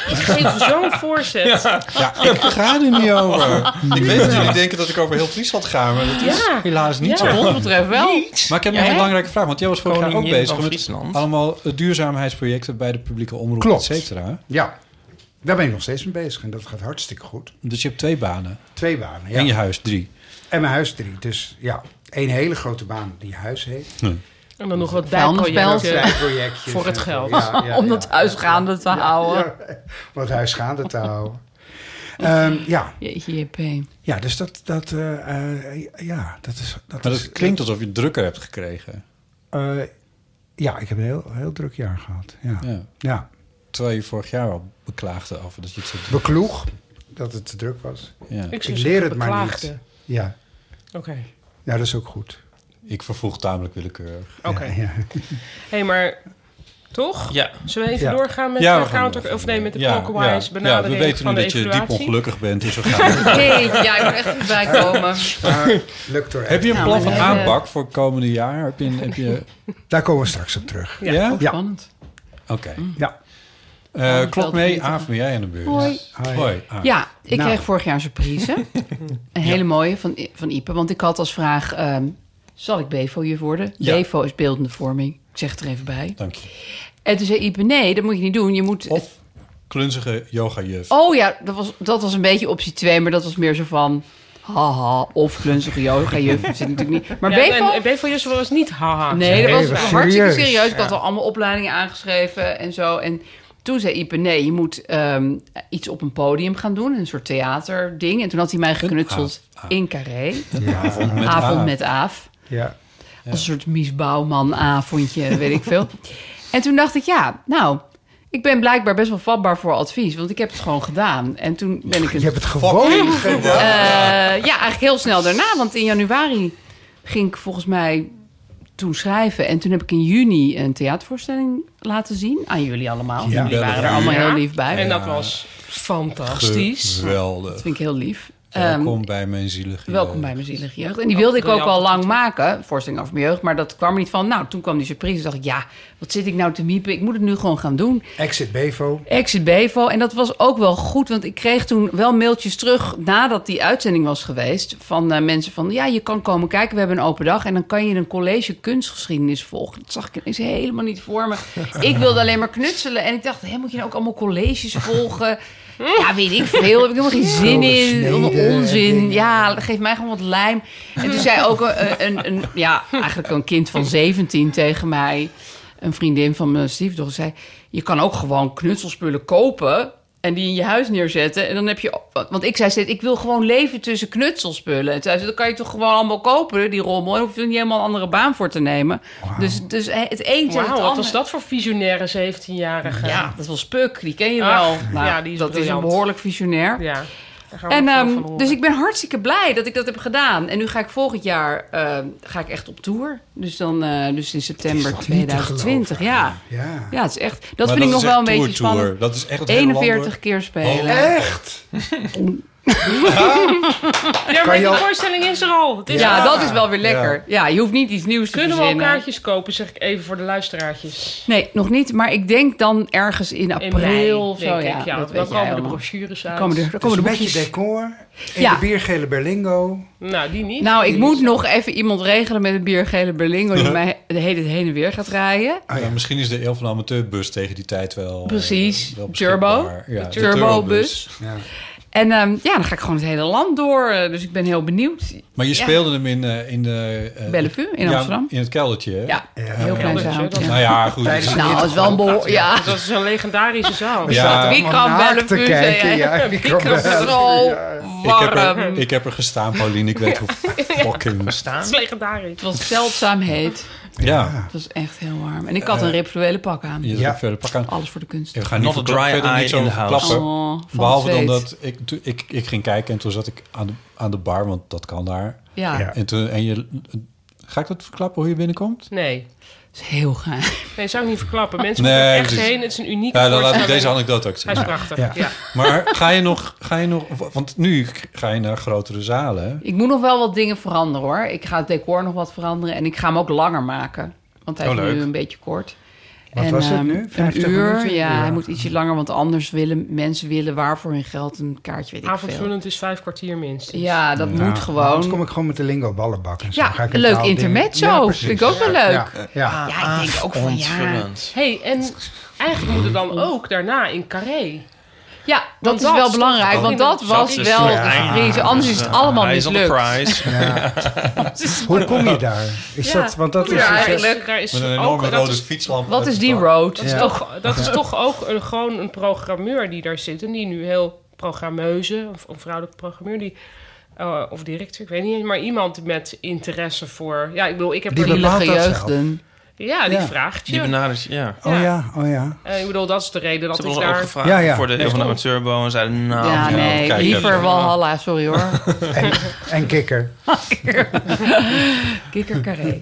Speaker 6: Ik geef zo'n voorzet. Ja,
Speaker 1: ja, ik ga er niet over. Ik weet dat jullie denken dat ik over heel Friesland ga, maar dat is
Speaker 6: Ja.
Speaker 1: helaas niet
Speaker 6: Ja.
Speaker 1: zo.
Speaker 3: Wat ons betreft wel.
Speaker 1: Maar ik heb nog
Speaker 6: Ja,
Speaker 1: een
Speaker 6: hè?
Speaker 1: belangrijke vraag, want jij was vorig jaar ook
Speaker 4: Koningin
Speaker 1: bezig
Speaker 4: van
Speaker 1: met
Speaker 4: Friesland.
Speaker 1: allemaal eh, duurzaamheidsprojecten bij de publieke omroep,
Speaker 2: Klopt.
Speaker 1: et cetera.
Speaker 2: ja, daar ben ik nog steeds mee bezig. En dat gaat hartstikke goed.
Speaker 1: Dus je hebt twee banen
Speaker 2: Twee banen, ja.
Speaker 1: en je huis drie.
Speaker 2: En mijn huis drie. Dus ja, één hele grote baan die huis heet.
Speaker 6: En dan nog wat
Speaker 3: Vuilnisbelt.
Speaker 6: bijprojecten.
Speaker 2: Projectjes
Speaker 6: Voor het
Speaker 2: en zo.
Speaker 6: geld.
Speaker 2: Ja, ja,
Speaker 3: *laughs* Om dat
Speaker 2: ja.
Speaker 3: huis gaande te houden.
Speaker 2: Ja, om het huis gaande te houden. Ehm, ja.
Speaker 3: Jeetje, JP.
Speaker 2: ja, dus dat, dat, eh, eh, ja, dat is... Dat
Speaker 1: Maar
Speaker 2: is,
Speaker 1: dat klinkt alsof je het drukker hebt gekregen.
Speaker 2: eh, ja, ik heb een heel, heel druk jaar gehad. Ja. Ja.
Speaker 1: Ja. Terwijl je vorig jaar al beklaagde over dat je het zo druk
Speaker 2: Bekloeg dat het te druk was.
Speaker 1: ja.
Speaker 6: Ik,
Speaker 2: Ik leer het maar niet.
Speaker 6: beklaagde.
Speaker 2: Ja,
Speaker 6: Oké.
Speaker 2: ja dat is ook goed.
Speaker 1: Ik vervoeg tamelijk willekeurig.
Speaker 6: Oké.
Speaker 2: Ja, ja.
Speaker 6: Hé, maar toch?
Speaker 4: Ja.
Speaker 6: Zullen we even
Speaker 2: Ja.
Speaker 6: doorgaan met
Speaker 1: Ja, we
Speaker 6: de
Speaker 1: gaan
Speaker 6: counter...
Speaker 1: doorgaan.
Speaker 6: Of nee, met de
Speaker 1: Ja,
Speaker 6: clockwise
Speaker 1: ja. Ja, we
Speaker 6: benadering
Speaker 1: weten
Speaker 6: van
Speaker 1: nu
Speaker 6: de
Speaker 1: dat je diep
Speaker 6: evaluatie?
Speaker 1: ongelukkig bent, dus we gaan.
Speaker 3: Jeetje, ja, ik moet echt niet bijkomen.
Speaker 2: Maar lukt er
Speaker 1: heb je een
Speaker 3: Ja,
Speaker 1: plan
Speaker 3: maar
Speaker 1: van
Speaker 3: we hebben-
Speaker 1: aanpak voor het komende jaar? Heb je, een- heb je,
Speaker 2: Nou, Daar komen we straks op terug.
Speaker 1: ja?
Speaker 2: Ja.
Speaker 3: Spannend.
Speaker 1: Oké.
Speaker 2: Ja.
Speaker 1: Eh,
Speaker 3: dat
Speaker 1: klok
Speaker 3: valt
Speaker 1: mee,
Speaker 3: beter.
Speaker 1: Aaf, ben jij aan de beurt?
Speaker 3: Hoi.
Speaker 2: Hi.
Speaker 1: Hoi. Aaf.
Speaker 3: Ja, ik
Speaker 2: Nou.
Speaker 3: kreeg vorig jaar een
Speaker 6: *laughs*
Speaker 3: surprise. Een hele mooie van, I- van Ipe. Want ik had als vraag, ehm, zal ik BEVO-juf worden?
Speaker 1: Ja.
Speaker 3: BEVO is beeldende vorming. Ik zeg het er even bij.
Speaker 1: Dank je.
Speaker 3: En toen zei Ipe, nee, dat moet je niet doen. Je moet...
Speaker 1: Of klunzige yoga juf.
Speaker 3: Oh ja, dat was, dat was een beetje optie 2. Maar dat was meer zo van, haha of klunzige yoga juf. Zit natuurlijk niet. Maar
Speaker 6: *laughs* Ja,
Speaker 3: Bevo?
Speaker 6: en- en Bevo Jussen was niet haha.
Speaker 3: Nee, dat was
Speaker 2: serieus.
Speaker 3: hartstikke
Speaker 2: Serieus,
Speaker 3: serieus. Ik had al allemaal opleidingen aangeschreven en zo. En toen zei Ipe, nee, je moet ehm, iets op een podium gaan doen. Een soort theaterding. En toen had hij mij geknutseld
Speaker 1: aaf.
Speaker 3: in Carré.
Speaker 1: *laughs*
Speaker 2: Ja,
Speaker 1: Met
Speaker 3: avond
Speaker 1: haar.
Speaker 3: met Aaf.
Speaker 2: ja.
Speaker 3: Als een soort Mies Bouwman-avondje, weet ik
Speaker 2: *laughs*
Speaker 3: veel. En toen dacht ik, ja, nou... Ik ben blijkbaar best wel vatbaar voor advies, want ik heb het gewoon gedaan. En toen ben ik
Speaker 2: Je
Speaker 3: het
Speaker 2: hebt het gewoon gedaan.
Speaker 3: eh, ja, eigenlijk heel snel daarna. Want in januari ging ik volgens mij toen schrijven. En toen heb ik in juni een theatervoorstelling laten zien. Aan jullie allemaal.
Speaker 2: Ja.
Speaker 3: jullie waren er allemaal
Speaker 6: Ja.
Speaker 3: heel lief bij.
Speaker 6: En dat was fantastisch.
Speaker 3: Dat
Speaker 1: Geweldig.
Speaker 3: vind ik heel lief.
Speaker 1: Welkom
Speaker 3: Ehm,
Speaker 1: bij mijn zielige
Speaker 3: welkom
Speaker 1: jeugd.
Speaker 3: bij mijn zielige jeugd. En die wilde ik ook al
Speaker 6: Briljant.
Speaker 3: lang maken, voorstelling over mijn jeugd. Maar dat kwam er niet van. Nou, toen kwam die surprise. Toen dacht ik, ja, wat zit ik nou te miepen? Ik moet het nu gewoon gaan doen.
Speaker 2: Exit Bevo.
Speaker 3: Exit Bevo. En dat was ook wel goed, want ik kreeg toen wel mailtjes terug nadat die uitzending was geweest. Van eh, mensen van, ja, je kan komen kijken, we hebben een open dag. En dan kan je een college kunstgeschiedenis volgen. Dat zag ik ineens helemaal niet voor
Speaker 2: *laughs*
Speaker 3: me. Ik wilde alleen maar knutselen. En ik dacht, hé, moet je nou ook allemaal colleges volgen? Ja, weet ik veel. Heb ik helemaal geen zin in.
Speaker 2: Sneden
Speaker 3: Allemaal
Speaker 2: en
Speaker 3: onzin.
Speaker 2: dingen.
Speaker 3: Ja, geef mij gewoon wat lijm. En toen zei ook een, een, een ja, eigenlijk een kind van 17 tegen mij een vriendin van mijn stiefdochter zei... je kan ook gewoon knutselspullen kopen en die in je huis neerzetten. En dan heb je... Want ik zei steeds, ik wil gewoon leven tussen knutselspullen. En toen zei ze, dan kan je toch gewoon allemaal kopen, die rommel. En hoef je er niet helemaal een andere baan voor te nemen. Dus, dus het een tegen het
Speaker 6: Wauw, wat
Speaker 3: ander.
Speaker 6: was dat voor visionaire 17-jarige?
Speaker 3: Ja, dat was Puk, die ken je
Speaker 6: Ach,
Speaker 3: wel. Nou,
Speaker 6: ja, die is
Speaker 3: dat is
Speaker 6: briljant.
Speaker 3: een behoorlijk visionair.
Speaker 6: Ja, daar gaan we
Speaker 3: En,
Speaker 6: nog veel
Speaker 3: ehm,
Speaker 6: van horen.
Speaker 3: dus ik ben hartstikke blij dat ik dat heb gedaan. En nu ga ik volgend jaar ehm, ga ik echt op tour. Dus, dan, eh, dus in september
Speaker 2: Het is toch niet te
Speaker 3: 2020.
Speaker 2: geloven,
Speaker 3: Ja.
Speaker 2: Ja.
Speaker 3: ja, het is echt. Dat
Speaker 1: Maar
Speaker 3: vind ik nog
Speaker 1: is
Speaker 3: wel een
Speaker 1: echt
Speaker 3: beetje
Speaker 1: tour, tour.
Speaker 3: spannend.
Speaker 1: Dat is echt het hele land, hoor.
Speaker 3: 41 keer spelen.
Speaker 2: Echt?
Speaker 6: ja, maar
Speaker 2: je
Speaker 6: die
Speaker 2: al-
Speaker 6: voorstelling is er al. Het
Speaker 3: ja.
Speaker 6: is er al.
Speaker 3: dat is wel weer lekker. Ja. je hoeft niet iets nieuws te
Speaker 6: Kunnen we al
Speaker 3: verzinnen.
Speaker 6: kaartjes kopen, zeg ik even voor de luisteraartjes.
Speaker 3: Nee, nog niet. Maar ik denk dan ergens in
Speaker 6: In
Speaker 3: april
Speaker 6: april,
Speaker 3: of zo.
Speaker 6: denk ik.
Speaker 3: ja,
Speaker 6: Ja,
Speaker 3: dat
Speaker 6: dan
Speaker 3: weet jij
Speaker 6: komen de
Speaker 3: allemaal.
Speaker 6: brochures
Speaker 3: Dan
Speaker 6: uit.
Speaker 3: komen de, dan
Speaker 2: Het is
Speaker 3: komen
Speaker 2: een
Speaker 3: de
Speaker 2: beetje
Speaker 3: boekjes.
Speaker 2: Dus decor. En
Speaker 3: Ja.
Speaker 2: de biergele Berlingo.
Speaker 6: Nou, die niet.
Speaker 3: Nou, ik moet nog even iemand regelen met een biergele Berlingo... die mij de hele het heen en weer gaat rijden.
Speaker 2: Ah, ja.
Speaker 1: Nou, misschien is de eeuw van de amateurbus tegen die tijd wel. eh,
Speaker 3: Precies.
Speaker 1: wel
Speaker 3: Turbo.
Speaker 1: beschikbaar. Ja,
Speaker 3: de
Speaker 1: de
Speaker 3: turbobus.
Speaker 2: Ja.
Speaker 3: En ehm, ja, dan ga ik gewoon het hele land door. eh, Dus ik ben heel benieuwd.
Speaker 1: Maar je
Speaker 3: Ja.
Speaker 1: speelde hem in, eh, in de. eh,
Speaker 3: Bellevue in
Speaker 1: ja,
Speaker 3: Amsterdam.
Speaker 1: In het keldertje. hè?
Speaker 3: Ja,
Speaker 2: Ja.
Speaker 3: heel klein
Speaker 6: Ja,
Speaker 3: zaal.
Speaker 6: dat is
Speaker 3: ja.
Speaker 1: Nou ja, goed.
Speaker 2: Tijdens
Speaker 1: dus-
Speaker 2: de-
Speaker 3: Nou, dat is wel een bol. Ja.
Speaker 6: Dat is een legendarische zaal.
Speaker 1: Ja.
Speaker 3: Wie
Speaker 2: Allemaal
Speaker 3: kan
Speaker 2: naakt te
Speaker 3: Bellevue
Speaker 2: kijken,
Speaker 3: zeggen? *laughs* Wie
Speaker 2: ja. Wie
Speaker 3: kan
Speaker 2: kan Bellevue,
Speaker 3: zo
Speaker 1: ik, heb er,
Speaker 3: warm?
Speaker 1: ik heb er gestaan, Pauline. Ik
Speaker 3: *laughs*
Speaker 1: weet hoe fucking.
Speaker 4: Staan?
Speaker 6: Dat is legendarisch.
Speaker 3: Het was zeldzaam heet.
Speaker 1: Ja.
Speaker 3: Het was echt heel warm. En ik had een rituele pak aan.
Speaker 1: Je
Speaker 2: Ja.
Speaker 1: verder pakken.
Speaker 3: Alles voor de kunst.
Speaker 1: En We gaan niet
Speaker 4: Not a
Speaker 1: verkla-
Speaker 4: dry
Speaker 1: verder
Speaker 4: eye
Speaker 1: niet zo
Speaker 4: in the house.
Speaker 1: verklappen.
Speaker 3: Oh, van
Speaker 1: Behalve dan
Speaker 3: zweet.
Speaker 1: dat ik, toen- ik, ik ging kijken en toen zat ik aan de, aan de bar, want dat kan daar.
Speaker 3: Ja,
Speaker 2: Ja.
Speaker 3: het
Speaker 1: En toen, en je, ga ik dat verklappen hoe je binnenkomt?
Speaker 6: Nee.
Speaker 3: is heel gaaf.
Speaker 6: Nee, zou ik niet verklappen. Mensen
Speaker 1: Nee,
Speaker 6: moeten er echt
Speaker 1: precies.
Speaker 6: heen. Het is een unieke
Speaker 1: Ja, dan laat ik
Speaker 6: voorstelling.
Speaker 1: deze anekdote ook
Speaker 6: Hij is
Speaker 1: zien.
Speaker 6: prachtig, ja.
Speaker 2: Ja.
Speaker 1: Maar
Speaker 3: *laughs*
Speaker 1: ga je nog, ga je nog, want nu ga je naar grotere zalen. hè?
Speaker 3: Ik moet nog wel wat dingen veranderen hoor. Ik ga het decor nog wat veranderen en ik ga hem ook langer maken. Want hij
Speaker 4: Oh,
Speaker 3: is
Speaker 4: leuk.
Speaker 3: nu een beetje kort.
Speaker 2: Wat was het
Speaker 3: ehm,
Speaker 2: nu? 50
Speaker 3: een uur.
Speaker 2: minuten?
Speaker 3: Ja,
Speaker 2: Ja.
Speaker 3: hij moet ietsje langer, want anders willen mensen willen waar voor hun geld een kaartje weet ik veel.
Speaker 6: Avondvullend is vijf kwartier minstens.
Speaker 3: Ja, dat moet
Speaker 2: Nou, Anders kom
Speaker 3: gewoon.
Speaker 2: ik gewoon met de lingo ballenbak. En zo.
Speaker 3: Ja,
Speaker 2: Ga ik
Speaker 3: een leuk
Speaker 2: taal dingen-
Speaker 3: intermezzo.
Speaker 2: precies.
Speaker 3: Vind ik ook wel
Speaker 2: Ja,
Speaker 3: leuk. Ah.
Speaker 2: ja, ja.
Speaker 3: Ja, ik denk ook van Oh, ja.
Speaker 4: Ontvullend.
Speaker 6: hey, en eigenlijk moet het dan ook daarna in Carré.
Speaker 3: Ja,
Speaker 6: Want
Speaker 3: dat is
Speaker 6: dat Oh.
Speaker 3: wel
Speaker 6: stond
Speaker 3: belangrijk,
Speaker 6: ook
Speaker 3: want
Speaker 6: in de-
Speaker 3: dat was
Speaker 4: Dat is
Speaker 3: wel
Speaker 4: de
Speaker 3: de
Speaker 4: prijs.
Speaker 3: surprise. Anders is het
Speaker 4: Ah,
Speaker 3: allemaal
Speaker 4: hij is on the
Speaker 3: mislukt.
Speaker 4: prize.
Speaker 3: *laughs*
Speaker 2: Hoe kom je daar? Is
Speaker 3: Dus- Ja.
Speaker 2: dat, want dat
Speaker 3: Ja,
Speaker 2: is
Speaker 3: eigenlijk.
Speaker 6: Daar is
Speaker 1: Met een
Speaker 6: ook,
Speaker 1: enorme
Speaker 6: dat
Speaker 1: rode
Speaker 6: is-
Speaker 1: fietslamp.
Speaker 3: Wat is die
Speaker 1: road?
Speaker 3: road?
Speaker 6: Dat is, toch, dat is toch ook een, gewoon een programmeur die daar zit. En die nu heel programmeuze, of een vrouwelijke programmeur, die, eh, of directeur, ik weet niet. Maar iemand met interesse voor. Ja, ik bedoel, ik heb
Speaker 2: Die
Speaker 6: er.
Speaker 2: bepaalt
Speaker 3: Zielige
Speaker 2: dat zelf.
Speaker 3: jeugden.
Speaker 6: Ja, die
Speaker 2: Ja.
Speaker 6: vraagt je.
Speaker 4: Die benadert je, ja.
Speaker 2: Oh ja, oh ja.
Speaker 6: Eh, ik bedoel, dat is de reden dat
Speaker 4: Ze
Speaker 6: ik
Speaker 4: hebben ons ook
Speaker 6: daar.
Speaker 4: gevraagd
Speaker 2: Ja, ja.
Speaker 4: voor de Eeuw van de Amateurbo en zeiden, nou,
Speaker 3: Ja,
Speaker 1: ja,
Speaker 3: nee,
Speaker 1: kijk,
Speaker 3: liever
Speaker 1: ja.
Speaker 3: Walhalla, sorry hoor.
Speaker 2: En, en kikker.
Speaker 3: Kikker Carré.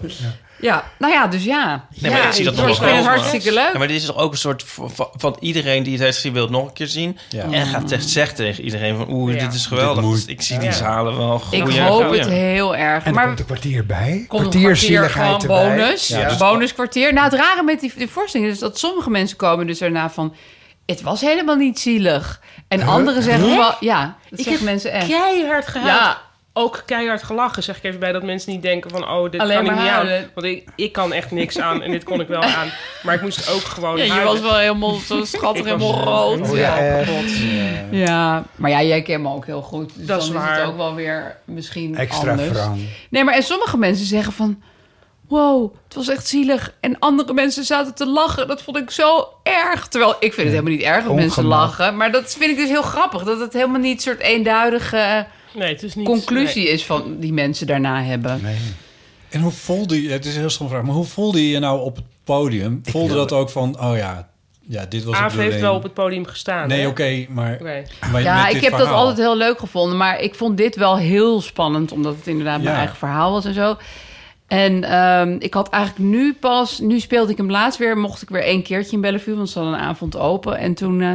Speaker 3: Ja. nou ja, dus ja.
Speaker 4: Nee, maar
Speaker 3: ja,
Speaker 4: ik zie dat nog
Speaker 3: ik
Speaker 4: wel
Speaker 3: vind het
Speaker 4: komen.
Speaker 3: hartstikke leuk.
Speaker 4: Ja, maar dit is toch ook een soort van, van- van iedereen die het heeft gezien wil het nog een keer zien.
Speaker 1: Ja.
Speaker 4: En gaat te- zegt tegen iedereen van oeh,
Speaker 6: Ja.
Speaker 4: dit is geweldig.
Speaker 1: Dit moet.
Speaker 4: ik zie
Speaker 6: Ja.
Speaker 4: die zalen wel
Speaker 3: ik
Speaker 4: groeien en
Speaker 3: hoop
Speaker 4: groeien.
Speaker 3: het heel erg.
Speaker 2: En er
Speaker 3: maar
Speaker 2: komt een kwartier bij.
Speaker 3: komt nog
Speaker 2: Kwartierzieligheid
Speaker 3: gewoon
Speaker 2: erbij.
Speaker 3: bonus.
Speaker 1: Ja, dus-
Speaker 3: bonuskwartier. Nou, het rare met die, die voorstellingen is dat sommige mensen komen dus daarna van... Het was helemaal niet zielig. En anderen zeggen wel... Ja, dat zeggen mensen echt.
Speaker 6: Keihard gehaald.
Speaker 3: Ja,
Speaker 6: ook keihard gelachen, zeg ik even bij. Dat mensen niet denken van, oh, dit
Speaker 3: Alleen
Speaker 6: kan ik
Speaker 3: maar
Speaker 6: niet aan.
Speaker 3: huilen.
Speaker 6: Want ik, ik kan echt niks aan en dit kon ik wel aan. Maar ik moest ook gewoon
Speaker 3: Ja, je
Speaker 6: huilen.
Speaker 3: was wel helemaal zo schattig,
Speaker 6: Ik was-
Speaker 3: helemaal rood.
Speaker 2: Oh ja, echt. Ja.
Speaker 3: Ja, maar ja, jij kent me ook heel goed. Dus
Speaker 6: Dat
Speaker 3: dan
Speaker 6: is
Speaker 3: is
Speaker 6: waar.
Speaker 3: het ook wel weer misschien
Speaker 2: Extra
Speaker 3: anders.
Speaker 2: Frank.
Speaker 3: Nee, maar en sommige mensen zeggen van... Wow, het was echt zielig. En andere mensen zaten te lachen. Dat vond ik zo erg. Terwijl ik vind het helemaal niet erg dat mensen
Speaker 2: Ongemak.
Speaker 3: lachen. Maar dat vind ik dus heel grappig. Dat het helemaal niet een soort eenduidige
Speaker 6: Nee, het is niet...
Speaker 3: conclusie is van die mensen daarna hebben.
Speaker 2: Nee.
Speaker 1: En hoe voelde je, het is een heel stom vraag, maar hoe voelde je je nou op het podium? Voelde dat ook van, oh ja, ja dit was
Speaker 6: Nee. Aaf
Speaker 1: het
Speaker 6: heeft wel op het podium gestaan.
Speaker 1: Nee,
Speaker 6: hè?
Speaker 1: oké, maar...
Speaker 6: Oké.
Speaker 1: maar
Speaker 3: Ja,
Speaker 1: met
Speaker 3: ik
Speaker 1: dit
Speaker 3: heb dat
Speaker 1: verhaal.
Speaker 3: altijd heel leuk gevonden. Maar ik vond dit wel heel spannend. Omdat het inderdaad mijn
Speaker 1: Ja.
Speaker 3: eigen verhaal was en zo. En ehm, ik had eigenlijk nu pas... Nu speelde ik hem laatst weer. Mocht ik weer één keertje in Bellevue. Want ze hadden een avond open. En toen, eh,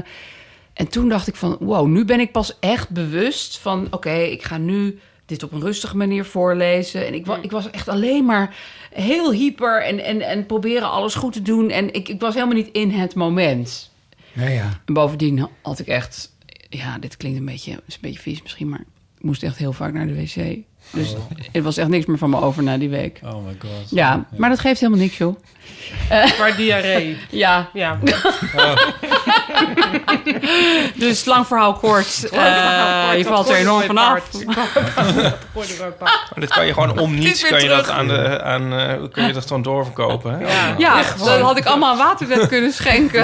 Speaker 3: en toen dacht ik van... Wow, nu ben ik pas echt bewust van... Oké, ik ga nu dit op een rustige manier voorlezen. En ik, wa- ik was echt alleen maar heel hyper... en, en, en proberen alles goed te doen. En ik, ik was helemaal niet in het moment.
Speaker 2: Ja, ja.
Speaker 3: En bovendien had ik echt... Ja, dit klinkt een beetje, is een beetje vies misschien, maar ik moest echt heel vaak naar de wc. Dus er was echt niks meer van me over na die week.
Speaker 1: Oh my god.
Speaker 3: Ja, maar dat geeft helemaal niks, joh.
Speaker 6: Maar diarree.
Speaker 3: Ja, *laughs*
Speaker 6: Ja.
Speaker 3: dus *laughs* lang verhaal kort. Eh, je valt er enorm van af.
Speaker 4: Maar dit kan je gewoon om
Speaker 3: Het is
Speaker 4: niets,
Speaker 3: weer
Speaker 4: kan je dat
Speaker 3: terug.
Speaker 4: aan de, aan, eh, kun je dat gewoon doorverkopen. Hè?
Speaker 6: Ja.
Speaker 3: Ja, dat had ik allemaal aan waterwet kunnen schenken.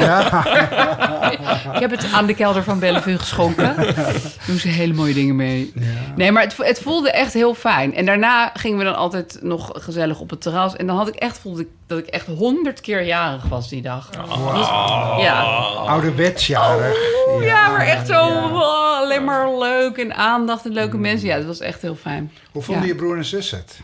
Speaker 3: *laughs* ik heb het aan de kelder van Bellevue geschonken. Daar doen ze hele mooie dingen mee. Nee, maar het, vo- het voelde echt heel fijn. En daarna gingen we dan altijd nog gezellig op het terras. En dan had ik echt, voelde ik dat ik echt honderd keer jarig was die dag.
Speaker 2: Oh.
Speaker 3: Dus- ja.
Speaker 4: Oh.
Speaker 2: Ouderwetsjarig.
Speaker 3: ja, Mm. maar echt zo oh, alleen maar leuk en aandacht en leuke mensen. Ja, dat was echt heel fijn.
Speaker 2: Hoe vonden
Speaker 3: Ja.
Speaker 2: je broer en zus het?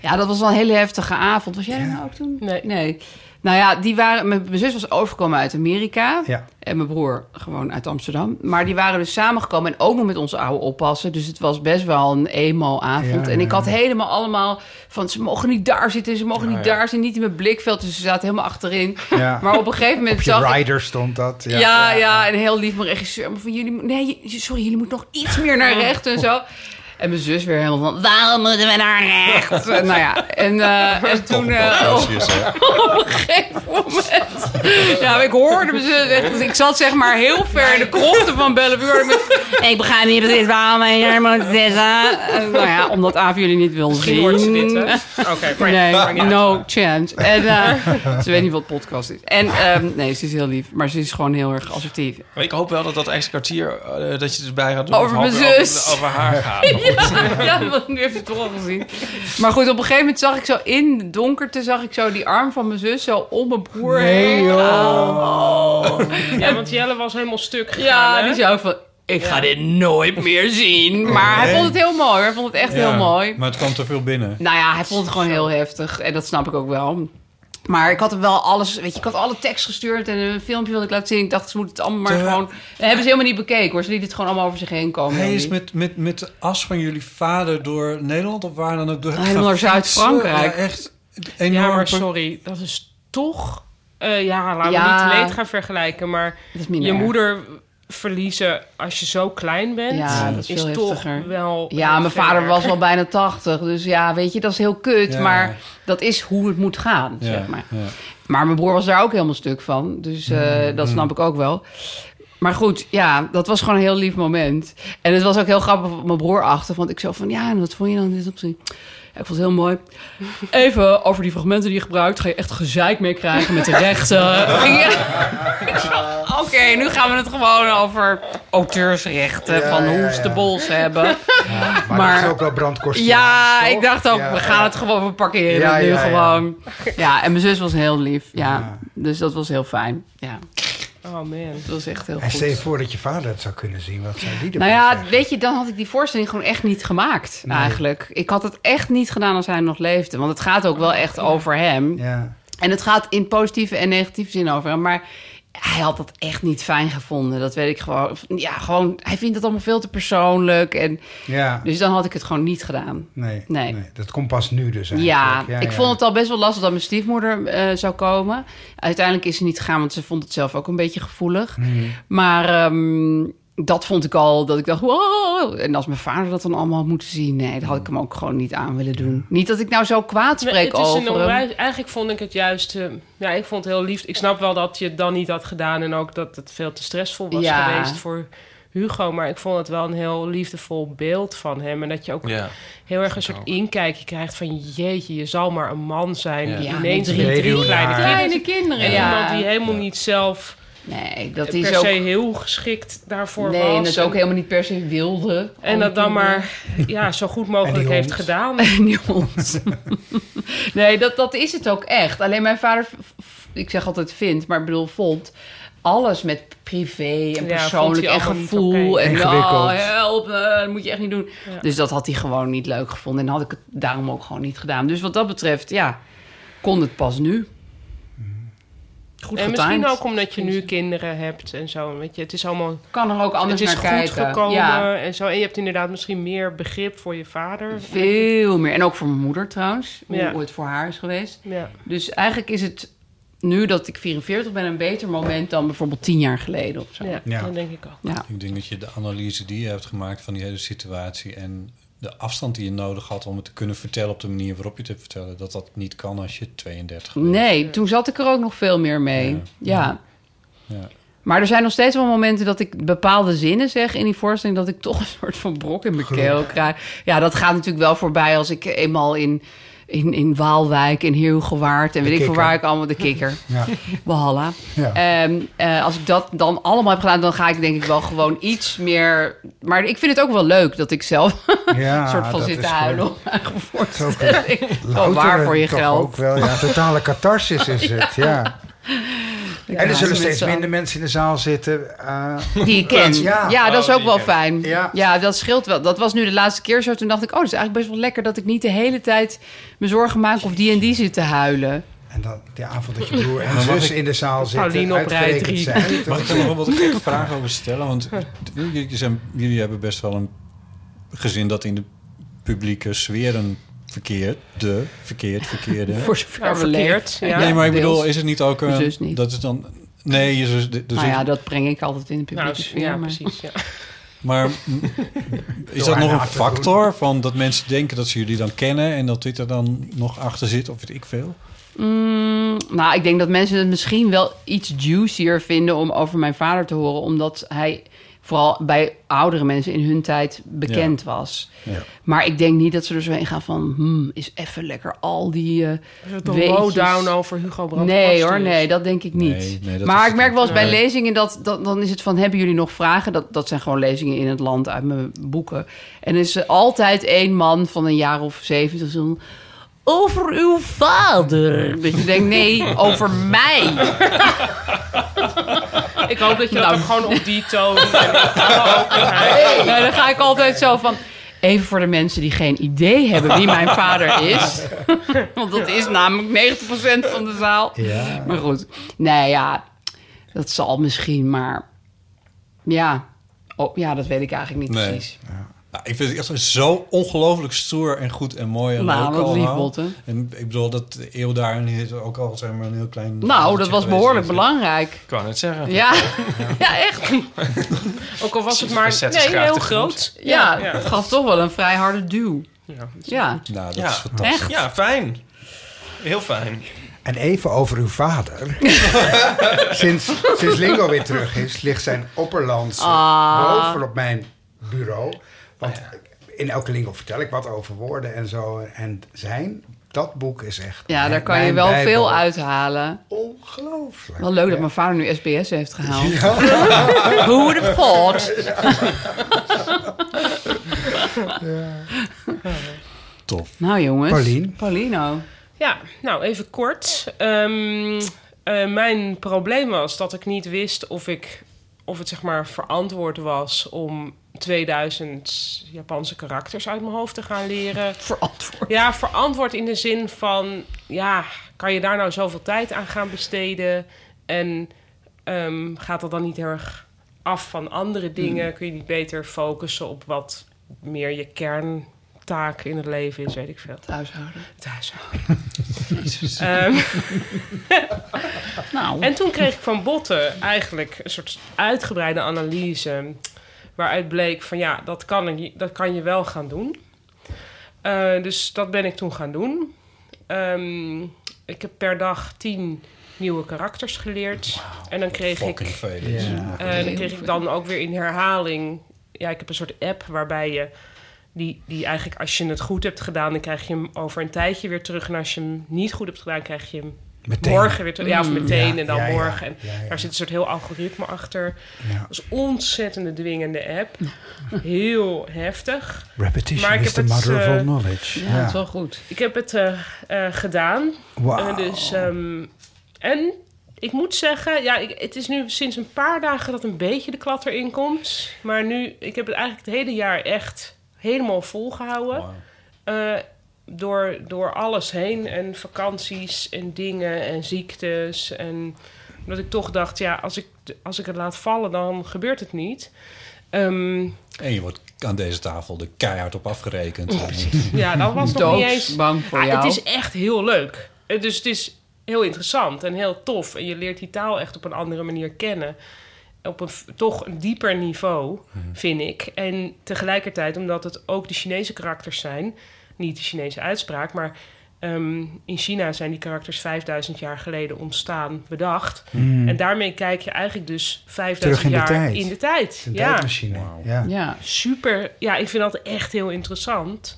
Speaker 3: Ja, dat was wel een hele heftige avond. Was jij er nou ook toen?
Speaker 6: Nee.
Speaker 3: Nee. Nou ja, die waren, mijn mijn zus was overgekomen uit Amerika.
Speaker 2: Ja.
Speaker 3: En mijn broer gewoon uit Amsterdam. Maar die waren dus samengekomen en ook nog met onze oude oppassen. Dus het was best wel een emo-avond.
Speaker 2: Ja,
Speaker 3: en ik
Speaker 2: ja.
Speaker 3: had helemaal allemaal van... ze mogen niet daar zitten, ze mogen
Speaker 4: Ah,
Speaker 3: niet
Speaker 4: ja.
Speaker 3: daar zitten. Niet in mijn blikveld, dus ze zaten helemaal achterin.
Speaker 2: Ja.
Speaker 3: *laughs* Maar op een gegeven moment
Speaker 2: Op
Speaker 3: zag
Speaker 2: je
Speaker 3: ik...
Speaker 2: rider stond dat.
Speaker 3: Ja, ja, en heel lief mijn regisseur. Maar van jullie, moet- nee, j- sorry, jullie moeten nog iets meer naar rechts en zo. En mijn zus weer helemaal van, waarom moeten we naar rechts? Eh, nou ja, en, eh, en toen eh, op, op een gegeven moment... Ja, maar ik hoorde mijn zus echt. Ik zat zeg maar heel ver in de krochten van Bellevue. Met, ik begrijp niet precies waarom je hier moet zitten. Eh, Nou ja, omdat Aaf jullie niet wil zien.
Speaker 6: Misschien hoort ze dit, hè? Oké, maar maar
Speaker 3: Nee,
Speaker 6: niet.
Speaker 3: no chance. En, eh, ze weet niet wat podcast is. En ehm, nee, ze is heel lief, maar ze is gewoon heel erg assertief.
Speaker 4: Maar ik hoop wel dat dat extra kwartier, eh, dat je erbij gaat doen.
Speaker 3: Over
Speaker 4: of
Speaker 3: mijn
Speaker 4: over-
Speaker 3: zus.
Speaker 4: Over, over haar gaat.
Speaker 3: ja, want nu heeft het toch al gezien. Maar goed, op een gegeven moment zag ik zo in de donkerte... zag ik zo die arm van mijn zus zo om mijn broer heen. gaan.
Speaker 6: Ja, want Jelle was helemaal stuk gegaan,
Speaker 3: Ja,
Speaker 6: hè?
Speaker 3: die zei ook van... Ik ga dit nooit meer zien. Maar hij vond het heel mooi. hoor. Hij vond het echt
Speaker 1: Ja,
Speaker 3: heel mooi.
Speaker 1: Maar het kwam te veel binnen.
Speaker 3: Nou ja, hij vond het gewoon heel heftig. En dat snap ik ook wel. Maar ik had hem wel alles... Weet je, ik had alle tekst gestuurd en een filmpje wilde ik laten zien. Ik dacht, ze moeten het allemaal maar
Speaker 1: Te-
Speaker 3: gewoon... Dat hebben ze helemaal niet bekeken, hoor. Ze lieten het gewoon allemaal over zich heen komen.
Speaker 1: Hij is
Speaker 3: Johnny.
Speaker 1: met, met, met de as van jullie vader door Nederland of waar dan ook door.
Speaker 3: Helemaal naar Zuid-Frankrijk.
Speaker 1: Ja, echt
Speaker 6: Ja,
Speaker 1: enorm.
Speaker 6: maar sorry, dat is toch... eh, ja, laten
Speaker 3: Ja.
Speaker 6: we niet leed gaan vergelijken, maar
Speaker 3: Dat is minder
Speaker 6: je
Speaker 3: erg.
Speaker 6: moeder verliezen als je zo klein bent...
Speaker 3: Ja, dat is veel
Speaker 6: toch
Speaker 3: heftiger.
Speaker 6: wel...
Speaker 3: Ja,
Speaker 6: heel
Speaker 3: mijn
Speaker 6: ver.
Speaker 3: vader was al bijna 80. Dus ja, weet je, dat is heel kut.
Speaker 1: Ja.
Speaker 3: Maar dat is hoe het moet gaan,
Speaker 1: Ja,
Speaker 3: zeg maar.
Speaker 1: ja.
Speaker 3: Maar mijn broer was daar ook helemaal stuk van. Dus eh,
Speaker 2: Mm,
Speaker 3: dat snap ik ook wel. Maar goed, ja, dat was gewoon een heel lief moment. En het was ook heel grappig op mijn broer achter. Want ik zo van, ja, en wat vond je dan dit opzien? Ja, ik vond het heel mooi. Even over die fragmenten die je gebruikt. Ga je echt gezeik mee krijgen met de *laughs* rechten. Ging je- Ik zo, Oké, nu gaan we het gewoon over auteursrechten.
Speaker 2: Ja,
Speaker 3: van
Speaker 2: ja,
Speaker 3: hoe ze
Speaker 2: ja.
Speaker 3: de bols hebben.
Speaker 2: Maar,
Speaker 3: Maar-
Speaker 2: dat is ook wel brandkosten.
Speaker 3: Ja, ik dacht ook,
Speaker 2: Ja,
Speaker 3: we gaan
Speaker 2: ja.
Speaker 3: het gewoon, we parkeren
Speaker 2: Ja,
Speaker 3: het nu
Speaker 2: ja, ja. *laughs*
Speaker 3: gewoon. Ja. en mijn zus was heel lief, ja.
Speaker 2: Ja.
Speaker 3: Dus dat was heel fijn, ja.
Speaker 6: Oh man.
Speaker 3: Dat was echt heel
Speaker 2: En stel je
Speaker 3: goed.
Speaker 2: voor dat je vader het zou kunnen zien. Wat zou die ervan
Speaker 3: Nou ja,
Speaker 2: zeggen?
Speaker 3: weet je, dan had ik die voorstelling gewoon echt niet gemaakt, eigenlijk. Ik had het echt niet gedaan als hij nog leefde. Want het gaat ook wel echt over hem.
Speaker 2: Ja.
Speaker 3: En het gaat in positieve en negatieve zin over hem. Maar hij had dat echt niet fijn gevonden. Dat weet ik gewoon. Ja, gewoon, hij vindt het allemaal veel te persoonlijk. En,
Speaker 2: ja.
Speaker 3: dus dan had ik het gewoon niet gedaan.
Speaker 2: nee, nee.
Speaker 3: nee.
Speaker 2: Dat komt pas nu dus
Speaker 3: Ja,
Speaker 2: eigenlijk.
Speaker 3: ik vond het al best wel lastig dat mijn stiefmoeder eh, zou
Speaker 2: Hmm,
Speaker 3: komen. Uiteindelijk is ze niet gegaan, want ze vond het zelf ook een beetje gevoelig. Maar ehm, dat vond ik al, dat ik dacht, wow. En als mijn vader dat dan allemaal had moeten zien, nee, dat had ik hem ook gewoon niet aan willen doen. Niet dat ik nou zo kwaad
Speaker 6: Nee,
Speaker 3: spreek
Speaker 6: het is een
Speaker 3: over hem.
Speaker 6: onwijs- Eigenlijk vond ik het juist... eh, ja, ik vond het heel lief. Ik snap wel dat je het dan niet had gedaan... en ook dat het veel te stressvol was
Speaker 3: Ja.
Speaker 6: geweest voor Hugo. Maar ik vond het wel een heel liefdevol beeld van hem. En dat je ook
Speaker 4: Ja.
Speaker 6: heel erg een
Speaker 4: ik
Speaker 6: soort
Speaker 4: ook.
Speaker 6: inkijkje krijgt van... jeetje, je zal maar een man zijn.
Speaker 4: Ja.
Speaker 3: Ja,
Speaker 6: Ineens
Speaker 3: met
Speaker 6: drie, drie
Speaker 2: weduwnaar.
Speaker 6: kleine
Speaker 3: Kleine
Speaker 6: kinderen.
Speaker 3: kinderen,
Speaker 6: En iemand
Speaker 3: ja.
Speaker 6: die helemaal niet zelf
Speaker 3: Nee, dat
Speaker 6: per
Speaker 3: is ook...
Speaker 6: se heel geschikt daarvoor
Speaker 3: nee,
Speaker 6: was.
Speaker 3: en dat
Speaker 6: En-
Speaker 3: ook helemaal niet per se wilde. eh,
Speaker 6: en dat dan maar ja, zo
Speaker 3: *laughs*
Speaker 6: goed
Speaker 2: En
Speaker 6: mogelijk
Speaker 2: die
Speaker 6: heeft
Speaker 2: hond.
Speaker 6: gedaan. *laughs*
Speaker 3: Die hond. nee, dat, dat is het ook echt. Alleen mijn vader, v- v- ik zeg altijd vindt, maar ik bedoel vond... alles met privé en
Speaker 6: Ja, vond
Speaker 3: persoonlijk
Speaker 6: hij
Speaker 3: en
Speaker 6: allemaal niet
Speaker 3: gevoel.
Speaker 6: oké.
Speaker 3: En
Speaker 2: Ingewikkeld.
Speaker 3: oh, help, eh, dat moet je echt niet doen.
Speaker 6: Ja.
Speaker 3: Dus dat had hij gewoon niet leuk gevonden. En had ik het daarom ook gewoon niet gedaan. Dus wat dat betreft, ja, kon het pas nu. Goed
Speaker 6: en misschien
Speaker 3: getimed.
Speaker 6: ook omdat je nu kinderen hebt en zo. Weet je, het is allemaal
Speaker 3: Kan er ook anders
Speaker 6: het is
Speaker 3: naar
Speaker 6: goed
Speaker 3: kijken.
Speaker 6: gekomen
Speaker 3: Ja,
Speaker 6: en zo. En je hebt inderdaad misschien meer begrip voor je vader.
Speaker 3: veel meer. En ook voor mijn moeder trouwens. Hoe,
Speaker 6: Ja.
Speaker 3: hoe het voor haar is geweest.
Speaker 6: Ja.
Speaker 3: Dus eigenlijk is het nu dat ik 44 ben een beter moment dan bijvoorbeeld 10 jaar geleden of zo.
Speaker 6: Ja,
Speaker 2: Ja.
Speaker 6: dat denk ik ook.
Speaker 3: Ja.
Speaker 1: Ik denk dat je de analyse die je hebt gemaakt van die hele situatie en de afstand die je nodig had om het te kunnen vertellen op de manier waarop je het hebt vertellen, dat dat niet kan als je 32 bent.
Speaker 3: Nee, toen zat ik er ook nog veel meer mee.
Speaker 1: Ja.
Speaker 3: Ja.
Speaker 1: Ja.
Speaker 3: Maar er zijn nog steeds wel momenten dat ik bepaalde zinnen zeg in die voorstelling... dat ik toch een soort van brok in mijn keel krijg. Ja, dat gaat natuurlijk wel voorbij als ik eenmaal in, in, in Waalwijk, in Heerhugowaard... en weet ik
Speaker 2: kikker.
Speaker 3: voor waar ik allemaal de kikker... *laughs*
Speaker 2: Ja.
Speaker 3: Walhalla.
Speaker 2: Ja.
Speaker 3: Ehm, eh, als ik dat dan allemaal heb gedaan, dan ga ik denk ik wel gewoon iets meer... Maar ik vind het ook wel leuk dat ik zelf
Speaker 2: Ja,
Speaker 3: een soort van
Speaker 2: Ah, dat
Speaker 3: zit te
Speaker 2: is
Speaker 3: huilen
Speaker 2: gewoon-
Speaker 3: om eigen
Speaker 2: ook
Speaker 3: voorstelling. *laughs* Gewoon waar
Speaker 2: Louteren
Speaker 3: voor je
Speaker 2: toch
Speaker 3: geld.
Speaker 2: Ook wel, ja. Totale
Speaker 3: *laughs*
Speaker 2: catharsis is het, ja. en er
Speaker 3: *laughs* Ja,
Speaker 2: zullen
Speaker 3: met
Speaker 2: steeds
Speaker 3: z'n *laughs*
Speaker 2: minder mensen in de zaal zitten. eh,
Speaker 3: Die ik ken.
Speaker 2: Ja.
Speaker 3: Ja, dat is
Speaker 4: Oh,
Speaker 3: ook
Speaker 4: die
Speaker 3: wel
Speaker 4: ken.
Speaker 3: fijn.
Speaker 2: Ja.
Speaker 3: Ja. dat scheelt wel. Dat was nu de laatste keer zo. Toen dacht ik, oh, dat is eigenlijk best wel lekker... dat ik niet de hele tijd me zorgen maak of die en die zit te huilen.
Speaker 2: en dan de avond dat je broer
Speaker 6: *laughs*
Speaker 2: en zus in de zaal zitten.
Speaker 6: Pauline op rij
Speaker 2: uitgerekend
Speaker 6: drie.
Speaker 2: zijn.
Speaker 1: Mag ik daar nog wel wat gekke vragen over stellen? Want jullie, zijn, jullie hebben best wel een gezin dat in de publieke sferen verkeert. De verkeerd, verkeerde.
Speaker 3: *laughs* Voor zover
Speaker 6: Nou,
Speaker 3: we
Speaker 6: verkeerd,
Speaker 3: leven.
Speaker 6: ja.
Speaker 1: nee, maar ik
Speaker 3: deels.
Speaker 1: bedoel, is het niet ook... eh,
Speaker 3: Mijn zus niet.
Speaker 1: Dat dus is dan... Nee, je zus... de- de
Speaker 3: Nou
Speaker 1: zus-
Speaker 3: ja, dat breng ik altijd in de publieke
Speaker 6: Nou,
Speaker 3: sfeer.
Speaker 6: ja,
Speaker 3: maar-
Speaker 6: precies. Ja.
Speaker 1: Maar m, is dat
Speaker 2: haar
Speaker 1: nog een
Speaker 2: na te
Speaker 1: factor van dat mensen denken dat ze jullie dan kennen en dat dit er dan nog achter zit of weet ik veel?
Speaker 3: Mm, nou, ik denk dat mensen het misschien wel iets juicier vinden om over mijn vader te horen, omdat hij vooral bij oudere mensen in hun tijd bekend was.
Speaker 1: Ja.
Speaker 3: Maar ik denk niet dat ze er zo heen gaan van, hmm, is even lekker al die. eh,
Speaker 6: Een
Speaker 3: Weetjes.
Speaker 6: lowdown over Hugo dus. Brandt.
Speaker 3: Nee
Speaker 6: Koster
Speaker 3: hoor,
Speaker 6: is.
Speaker 3: nee, dat denk ik niet.
Speaker 1: Nee, nee, dat is
Speaker 3: maar ik
Speaker 1: het
Speaker 3: merk
Speaker 1: niet.
Speaker 3: wel eens bij
Speaker 1: Nee.
Speaker 3: lezingen dat, dat dan is het van hebben jullie nog vragen? Dat, dat zijn gewoon lezingen in het land uit mijn boeken. En er is er altijd één man van een jaar of zeventig zo over uw vader. Dat je denkt nee, over mij.
Speaker 6: *laughs* Ik hoop dat je dat
Speaker 3: Nou.
Speaker 6: ook gewoon op die
Speaker 3: *laughs*
Speaker 6: toon en in alle openheid-
Speaker 3: Nee, dan ga ik altijd zo van. Even voor de mensen die geen idee hebben wie mijn vader is. *laughs* Want dat is namelijk 90% van de zaal.
Speaker 2: Ja.
Speaker 3: Maar goed, nee ja, dat zal misschien, maar ja, oh, ja dat weet ik eigenlijk niet
Speaker 1: Nee.
Speaker 3: precies.
Speaker 1: Nou, ik vind het echt zo ongelooflijk stoer en goed en mooi en
Speaker 3: Nou,
Speaker 1: leuk
Speaker 3: wat lief,
Speaker 1: allemaal.
Speaker 3: Botte.
Speaker 1: En ik bedoel dat de eeuw daarin is ook al zeg maar een heel klein.
Speaker 3: Nou, dat was
Speaker 1: geweest.
Speaker 3: behoorlijk belangrijk.
Speaker 2: *laughs*
Speaker 4: Ik wou net zeggen.
Speaker 3: Ja, ja echt.
Speaker 6: Ook al was het
Speaker 4: We
Speaker 6: maar
Speaker 4: zetten
Speaker 6: nee,
Speaker 4: schaaf
Speaker 6: heel
Speaker 4: te
Speaker 6: groot.
Speaker 3: Ja,
Speaker 6: ja.
Speaker 3: het gaf toch wel een vrij harde duw.
Speaker 6: Ja.
Speaker 3: Ja,
Speaker 1: Nou, dat
Speaker 4: Ja.
Speaker 1: is fantastisch.
Speaker 3: echt.
Speaker 4: Ja, fijn. Heel fijn.
Speaker 2: En even over uw vader. *laughs* sinds, sinds Lingo weer terug is, ligt zijn opperlands
Speaker 3: Ah.
Speaker 2: boven op mijn bureau. Want
Speaker 6: Ah,
Speaker 2: in elke Lingo vertel ik wat over woorden en zo. En zijn, dat boek is echt...
Speaker 3: Ja, daar
Speaker 2: mijn-
Speaker 3: kan je
Speaker 2: mijn
Speaker 3: wel
Speaker 2: bijbel.
Speaker 3: veel uithalen.
Speaker 2: Ongelooflijk.
Speaker 3: Wel leuk dat mijn vader nu SBS heeft gehaald.
Speaker 2: Ja.
Speaker 3: *laughs* Who would have
Speaker 2: *laughs*
Speaker 3: thought? *laughs*
Speaker 1: Tof.
Speaker 3: Nou jongens.
Speaker 2: Paulien.
Speaker 3: Paulino.
Speaker 6: Ja, nou even kort. Ehm, eh, mijn probleem was dat ik niet wist of, ik, of het zeg maar verantwoord was om 2000 Japanse karakters uit mijn hoofd te gaan leren.
Speaker 3: Verantwoord.
Speaker 6: Ja, verantwoord in de zin van, ja, kan je daar nou zoveel tijd aan gaan besteden? En ehm, gaat dat dan niet heel erg af van andere dingen? Kun je niet beter focussen op wat meer je kerntaak in het leven is, weet ik veel.
Speaker 3: Thuishouden.
Speaker 6: Het huishouden. *laughs* Ehm,
Speaker 3: Nou.
Speaker 6: en toen kreeg ik van Botten eigenlijk een soort uitgebreide analyse Waaruit bleek van ja, dat kan, je- dat kan je wel gaan doen. Eh, dus dat ben ik toen gaan doen. Ehm, ik heb per dag tien nieuwe karakters geleerd. En dan kreeg
Speaker 7: Fucking
Speaker 6: ik
Speaker 7: veel.
Speaker 2: Ja.
Speaker 6: eh, dan kreeg ik dan ook weer in herhaling. Ja, ik heb een soort app waarbij je. Die, die eigenlijk, als je het goed hebt gedaan, dan krijg je hem over een tijdje weer terug. En als je hem niet goed hebt gedaan, krijg je hem
Speaker 2: Meteen. Mm,
Speaker 6: morgen weer terug. Ja, of meteen
Speaker 2: Ja,
Speaker 6: en dan
Speaker 2: ja, ja.
Speaker 6: morgen. En
Speaker 2: Ja, ja.
Speaker 6: daar zit een soort heel algoritme achter.
Speaker 2: Ja.
Speaker 6: Dat is een ontzettende dwingende app. Heel heftig.
Speaker 2: Repetition
Speaker 6: Maar ik
Speaker 2: is
Speaker 6: heb
Speaker 2: the
Speaker 6: het,
Speaker 2: mother of
Speaker 6: eh,
Speaker 2: all knowledge.
Speaker 3: Ja, dat is wel goed.
Speaker 6: Ik heb het eh, eh, gedaan.
Speaker 2: Wauw.
Speaker 6: Eh, dus, ehm, en ik moet zeggen, ja, ik, het is nu sinds een paar dagen dat een beetje de klatter inkomt. Maar nu, ik heb het eigenlijk het hele jaar echt helemaal volgehouden. Eh, door, door alles heen en vakanties en dingen en ziektes. En dat ik toch dacht, ja, als ik, als ik het laat vallen, dan gebeurt het niet. Ehm,
Speaker 7: En je wordt aan deze tafel er keihard op afgerekend.
Speaker 6: ja, dat was nog niet eens...
Speaker 3: Doodsbang voor
Speaker 6: Ah,
Speaker 3: jou.
Speaker 6: Het is echt heel leuk. Eh, Dus het is heel interessant en heel tof. En je leert die taal echt op een andere manier kennen. Op een v- toch een dieper niveau, vind ik. En tegelijkertijd, omdat het ook de Chinese karakters zijn... niet de Chinese uitspraak, maar... ehm, in China zijn die karakters 5000 jaar geleden ontstaan, bedacht. En daarmee kijk je eigenlijk dus 5000
Speaker 2: Terug in
Speaker 6: jaar
Speaker 2: de tijd.
Speaker 6: in de tijd.
Speaker 2: Een
Speaker 6: ja
Speaker 2: tijdmachine. Ja.
Speaker 3: Ja.
Speaker 6: super. Ja, ik vind dat echt heel interessant.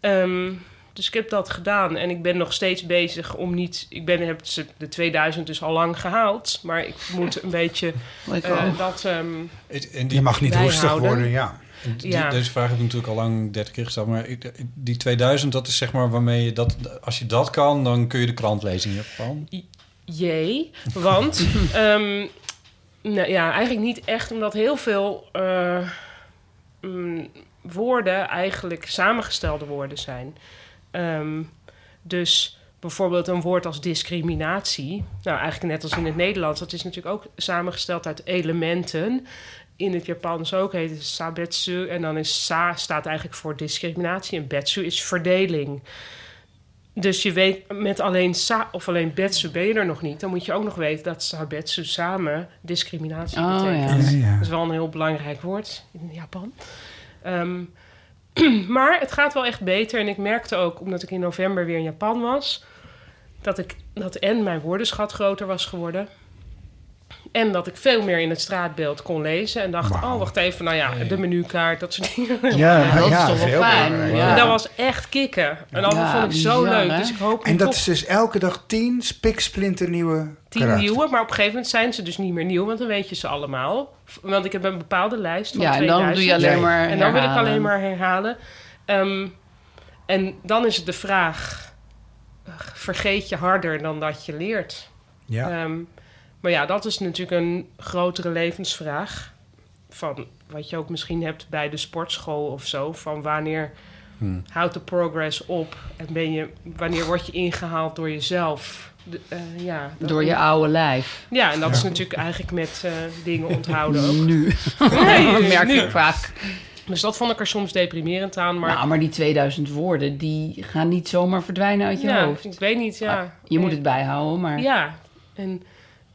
Speaker 6: Ehm, dus ik heb dat gedaan en ik ben nog steeds bezig om niet. Ik ben, heb ze- de 2000 dus al lang gehaald, maar ik moet een beetje
Speaker 3: Lekker.
Speaker 6: eh, dat. ehm,
Speaker 7: Het- en die,
Speaker 2: Je mag niet
Speaker 6: Bijhouden.
Speaker 2: roestig worden, ja.
Speaker 7: die-
Speaker 6: ja.
Speaker 7: Deze vraag heb ik natuurlijk al lang 30 keer gesteld. Maar ik- die 2000, dat is zeg maar waarmee je dat... Als je dat kan, dan kun je de krant lezen in Japan.
Speaker 6: Jee, want ehm, nou ja, eigenlijk niet echt, omdat heel veel eh, mm, woorden eigenlijk samengestelde woorden zijn. Ehm, dus bijvoorbeeld een woord als discriminatie, nou eigenlijk net als in het Nederlands, dat is natuurlijk ook samengesteld uit elementen. In het Japans ook heet het sabetsu en dan is sa staat eigenlijk voor discriminatie en betsu is verdeling. Dus je weet met alleen sa of alleen betsu ben je er nog niet. Dan moet je ook nog weten dat sabetsu samen discriminatie
Speaker 3: Oh,
Speaker 6: betekent.
Speaker 3: ja.
Speaker 2: Ja, ja.
Speaker 6: Dat is wel een heel belangrijk woord in Japan. Ehm, *clears throat* maar het gaat wel echt beter. En ik merkte ook, omdat ik in november weer in Japan was, dat ik dat en mijn woordenschat groter was geworden. En dat ik veel meer in het straatbeeld kon lezen. En dacht,
Speaker 2: Wauw.
Speaker 6: oh, wacht even, nou ja, de menukaart, dat soort dingen.
Speaker 2: Ja,
Speaker 3: dat
Speaker 2: ja,
Speaker 3: is toch
Speaker 2: heel
Speaker 3: wel fijn.
Speaker 2: belangrijk.
Speaker 3: Ja.
Speaker 6: En *laughs* dat was echt kicken. En dat
Speaker 3: Ja,
Speaker 6: vond ik zo
Speaker 3: bizar,
Speaker 6: leuk.
Speaker 3: hè?
Speaker 6: Dus ik hoop nu
Speaker 2: En dat
Speaker 6: toch
Speaker 2: is dus elke dag tien spiksplinternieuwe
Speaker 6: tien
Speaker 2: karakters.
Speaker 6: nieuwe. Maar op een gegeven moment zijn ze dus niet meer nieuw, want dan weet je ze allemaal. V- Want ik heb een bepaalde lijst van
Speaker 3: Ja, en dan doe
Speaker 6: 2000.
Speaker 3: je alleen
Speaker 2: Ja.
Speaker 3: maar
Speaker 6: En dan wil ik
Speaker 3: herhalen.
Speaker 6: alleen maar herhalen. Ehm, en dan is het de vraag: ach, vergeet je harder dan dat je leert?
Speaker 2: Ja.
Speaker 6: Ehm, maar ja, dat is natuurlijk een grotere levensvraag. Van wat je ook misschien hebt bij de sportschool of zo. Van wanneer houdt de progress op? En ben je, wanneer word je ingehaald door jezelf? De- eh, ja, dat-
Speaker 3: Door je oude lijf.
Speaker 6: Ja, en dat is natuurlijk eigenlijk met eh, dingen onthouden ook.
Speaker 3: Nu. *laughs*
Speaker 6: Nee,
Speaker 3: dat merk
Speaker 6: nu.
Speaker 3: ik vaak.
Speaker 6: Dus dat vond ik er soms deprimerend aan. Maar
Speaker 3: Nou, maar die 2000 woorden, die gaan niet zomaar verdwijnen uit je
Speaker 6: ja,
Speaker 3: hoofd.
Speaker 6: ik weet niet, ja.
Speaker 3: Je moet
Speaker 6: Nee.
Speaker 3: het bijhouden, maar...
Speaker 6: Ja, en,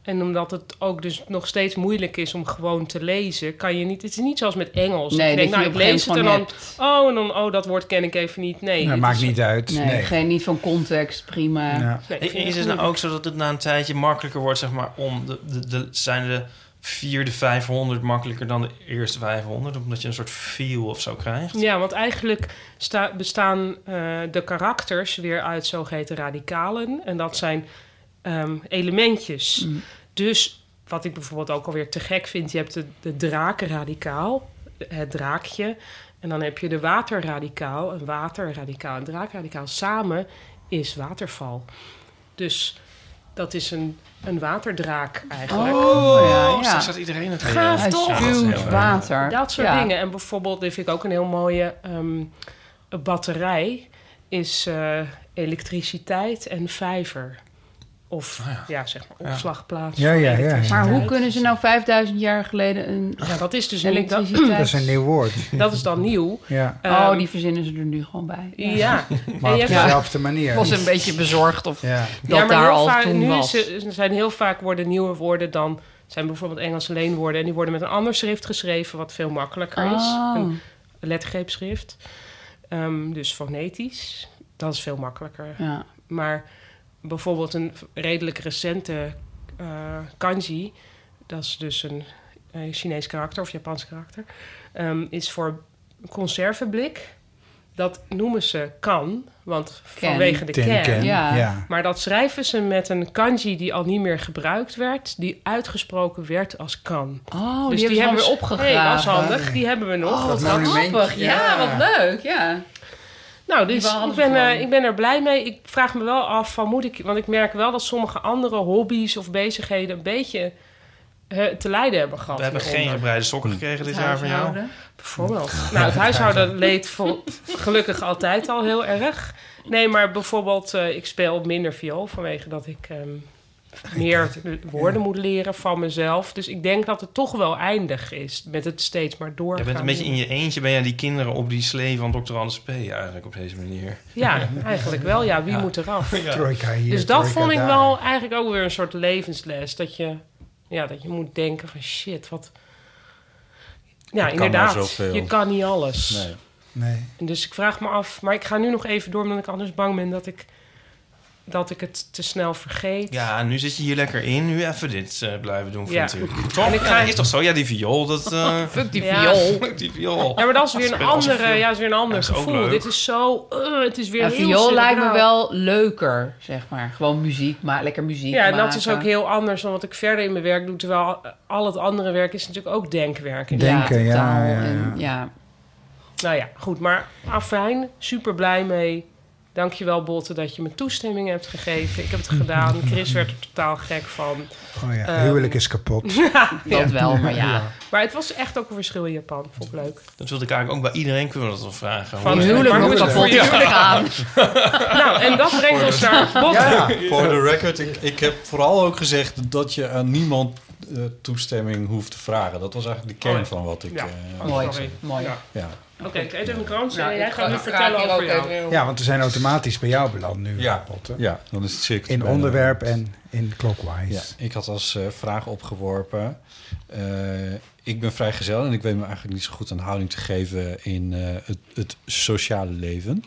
Speaker 6: en omdat het ook dus nog steeds moeilijk is om gewoon te lezen, kan je niet. Het is niet zoals met Engels.
Speaker 3: Nee,
Speaker 6: ik denk,
Speaker 3: dat je
Speaker 6: nou,
Speaker 3: op
Speaker 6: ik
Speaker 3: een
Speaker 6: lees
Speaker 3: gegeven
Speaker 6: het en dan.
Speaker 3: moment hebt.
Speaker 6: Oh, en dan, oh, dat woord ken ik even niet. Nee.
Speaker 2: Nou, dat
Speaker 6: dit
Speaker 2: maakt
Speaker 6: is-
Speaker 2: niet uit.
Speaker 3: Nee,
Speaker 2: Nee.
Speaker 3: Geen, niet van context, prima.
Speaker 2: Ja.
Speaker 6: nee, ik vind
Speaker 4: Is
Speaker 6: het
Speaker 4: het nou
Speaker 6: moeilijk.
Speaker 4: ook zo dat het na een tijdje makkelijker wordt, zeg maar, om de, de, de, zijn de vierde 500 makkelijker dan de eerste 500, omdat je een soort feel of zo krijgt?
Speaker 6: Ja, want eigenlijk sta- bestaan eh, de karakters weer uit zogeheten radicalen. En dat zijn ehm, elementjes.
Speaker 4: Mm.
Speaker 6: Dus wat ik bijvoorbeeld ook alweer te gek vind, je hebt de, de drakenradicaal, het draakje. En dan heb je de waterradicaal, een waterradicaal en draakradicaal. Samen is waterval. Dus dat is een, een waterdraak eigenlijk.
Speaker 3: Oh, ja,
Speaker 4: Oh,
Speaker 3: ja.
Speaker 4: straks staat iedereen het
Speaker 6: Gaaf,
Speaker 4: weer.
Speaker 6: toch?
Speaker 4: Ja, dat is heel
Speaker 3: Huge
Speaker 4: erg.
Speaker 3: water.
Speaker 6: Dat soort
Speaker 3: Ja.
Speaker 6: dingen. En bijvoorbeeld, dit vind ik ook een heel mooie ehm, een batterij, is eh, elektriciteit en vijver. Of Ah, ja. zeg maar opslagplaats.
Speaker 2: Ja,
Speaker 6: voor
Speaker 2: ja, ja, ja.
Speaker 6: elektriciteit.
Speaker 3: Maar hoe kunnen ze nou 5000 jaar geleden een
Speaker 6: Ja, dat is dus niet... Dat,
Speaker 3: elektriciteit...
Speaker 2: Dat is een nieuw woord.
Speaker 6: dat is dan nieuw.
Speaker 2: Ja.
Speaker 3: Oh,
Speaker 6: Ehm,
Speaker 3: die verzinnen ze er nu gewoon bij.
Speaker 6: Ja.
Speaker 2: Maar op
Speaker 6: hebt-
Speaker 2: dezelfde manier.
Speaker 3: Ik was een beetje bezorgd of
Speaker 2: Ja.
Speaker 3: *laughs* dat
Speaker 6: ja, maar
Speaker 3: daar
Speaker 6: heel
Speaker 3: al
Speaker 6: vaak-
Speaker 3: toen
Speaker 6: nu
Speaker 3: was.
Speaker 6: is- er zijn heel vaak worden nieuwe woorden dan zijn bijvoorbeeld Engelse leenwoorden. En die worden met een ander schrift geschreven, wat veel makkelijker is.
Speaker 3: Oh.
Speaker 6: Een lettergreepschrift. Ehm, dus fonetisch. Dat is veel makkelijker.
Speaker 3: Ja.
Speaker 6: Maar bijvoorbeeld een redelijk recente eh, kanji, dat is dus een eh, Chinees karakter of Japans karakter, ehm, is voor conserveblik. Dat noemen ze kan, want
Speaker 3: Ken.
Speaker 6: vanwege de
Speaker 2: Ten
Speaker 6: ken.
Speaker 2: Ken,
Speaker 3: ja.
Speaker 2: ja.
Speaker 6: Maar dat schrijven ze met een kanji die al niet meer gebruikt werd, die uitgesproken werd als kan.
Speaker 3: Oh,
Speaker 6: dus
Speaker 3: die, hebben we weer
Speaker 6: Hé,
Speaker 3: opgegraven.
Speaker 6: dat is handig, die hebben we nog.
Speaker 3: Oh, wat
Speaker 2: Dat monument,
Speaker 3: grappig. Ja,
Speaker 2: ja.
Speaker 3: wat leuk. Ja.
Speaker 6: Nou,
Speaker 3: Die
Speaker 6: dus
Speaker 3: waren
Speaker 6: ik ben,
Speaker 3: gewoon-
Speaker 6: eh, ik ben er blij mee. Ik vraag me wel af van moet ik... Want ik merk wel dat sommige andere hobby's of bezigheden... een beetje eh, te lijden hebben gehad.
Speaker 4: We hebben geen
Speaker 6: hieronder.
Speaker 4: gebreide sokken gekregen dit jaar van jou.
Speaker 3: Huishouden.
Speaker 6: Bijvoorbeeld. Nou, het
Speaker 4: *laughs*
Speaker 6: huishouden leed vol- gelukkig altijd al heel erg. Nee, maar bijvoorbeeld eh, ik speel minder viool... vanwege dat ik ehm, meer woorden moet leren van mezelf. Dus ik denk dat het toch wel eindig is met het steeds maar doorgaan.
Speaker 4: Je bent een beetje in je eentje, ben jij die kinderen op die slee van Dr. Anders P. eigenlijk op deze manier.
Speaker 6: Ja, eigenlijk wel. Ja, wie moet eraf?
Speaker 4: *laughs*
Speaker 2: Trojka hier,
Speaker 6: Dus dat
Speaker 2: trojka
Speaker 6: vond ik
Speaker 2: daar.
Speaker 6: wel eigenlijk ook weer een soort levensles. Dat je, ja, dat je moet denken van shit, wat... Ja,
Speaker 7: maar
Speaker 6: inderdaad.
Speaker 7: zoveel.
Speaker 6: Je kan niet alles.
Speaker 7: Nee.
Speaker 2: Nee.
Speaker 6: En Dus ik vraag me af... Maar ik ga nu nog even door, omdat ik anders bang ben dat ik, dat ik het te snel vergeet.
Speaker 4: Ja, nu zit je hier lekker in. Nu even dit eh, blijven doen,
Speaker 6: Ja.
Speaker 4: vind ik. Toch?
Speaker 6: En ik
Speaker 4: Ja,
Speaker 6: ga-
Speaker 4: dat is toch zo? Ja, die viool, dat... *laughs* eh,
Speaker 3: Fuck die
Speaker 6: Ja.
Speaker 3: viool.
Speaker 4: die viool.
Speaker 6: Ja, maar dat is weer een,
Speaker 4: Speel als een
Speaker 6: andere,
Speaker 4: film.
Speaker 6: ja, dat is weer een ander
Speaker 4: is ook
Speaker 6: gevoel.
Speaker 4: leuk.
Speaker 6: Dit is zo... eh, het is weer
Speaker 3: Ja,
Speaker 6: heel
Speaker 3: viool lijkt me
Speaker 6: cerebraal.
Speaker 3: wel leuker, zeg maar. Gewoon muziek, maar lekker muziek
Speaker 6: Ja, en dat
Speaker 3: maken.
Speaker 6: is ook heel anders dan wat ik verder in mijn werk doe. Terwijl al het andere werk is natuurlijk ook denkwerk. in
Speaker 2: Denken, ja,
Speaker 3: totaal.
Speaker 2: ja, ja.
Speaker 3: En, ja.
Speaker 6: Nou ja, goed. Maar afijn, super blij mee. Dankjewel, Botte, dat je me toestemming hebt gegeven. Ik heb het gedaan. Chris werd er totaal gek van.
Speaker 2: Oh ja,
Speaker 6: Ehm.
Speaker 2: huwelijk is kapot.
Speaker 3: Dat wel, maar ja.
Speaker 6: Maar het was echt ook een verschil in Japan. Vond ik leuk.
Speaker 4: Dat wilde ik eigenlijk ook bij iedereen kunnen we dat wel vragen.
Speaker 6: Van
Speaker 4: Hoe-
Speaker 3: Die huwelijk
Speaker 6: Maar
Speaker 3: moet
Speaker 6: hoe is
Speaker 3: kapot
Speaker 6: het voor
Speaker 3: huwelijk aan.
Speaker 6: Nou, en dat brengt ons naar Botte.
Speaker 2: Ja,
Speaker 7: Voor de record, ik, ik heb vooral ook gezegd dat je aan niemand eh, toestemming hoeft te vragen. Dat was eigenlijk de
Speaker 6: Oh,
Speaker 7: kern
Speaker 6: ja.
Speaker 7: van wat ik...
Speaker 6: Ja.
Speaker 7: eh,
Speaker 3: Mooi,
Speaker 6: Oh, Sorry.
Speaker 3: mooi.
Speaker 6: Ja.
Speaker 7: ja.
Speaker 6: Oké, ik eet even een krantje.
Speaker 3: Nou,
Speaker 6: en jij
Speaker 3: ik
Speaker 6: gaat
Speaker 3: ga-
Speaker 6: nu
Speaker 3: ik
Speaker 6: vertellen
Speaker 3: ga hier
Speaker 6: over
Speaker 3: ook
Speaker 6: jou.
Speaker 2: ja, want we zijn automatisch bij jou beland nu.
Speaker 7: Ja.
Speaker 2: Potten.
Speaker 7: ja, dan is het cirkel.
Speaker 2: In onderwerp en in clockwise.
Speaker 7: Ja, ik had als eh, vraag opgeworpen. eh, ik ben vrijgezel en ik weet me eigenlijk niet zo goed een houding te geven in eh, het, het sociale leven.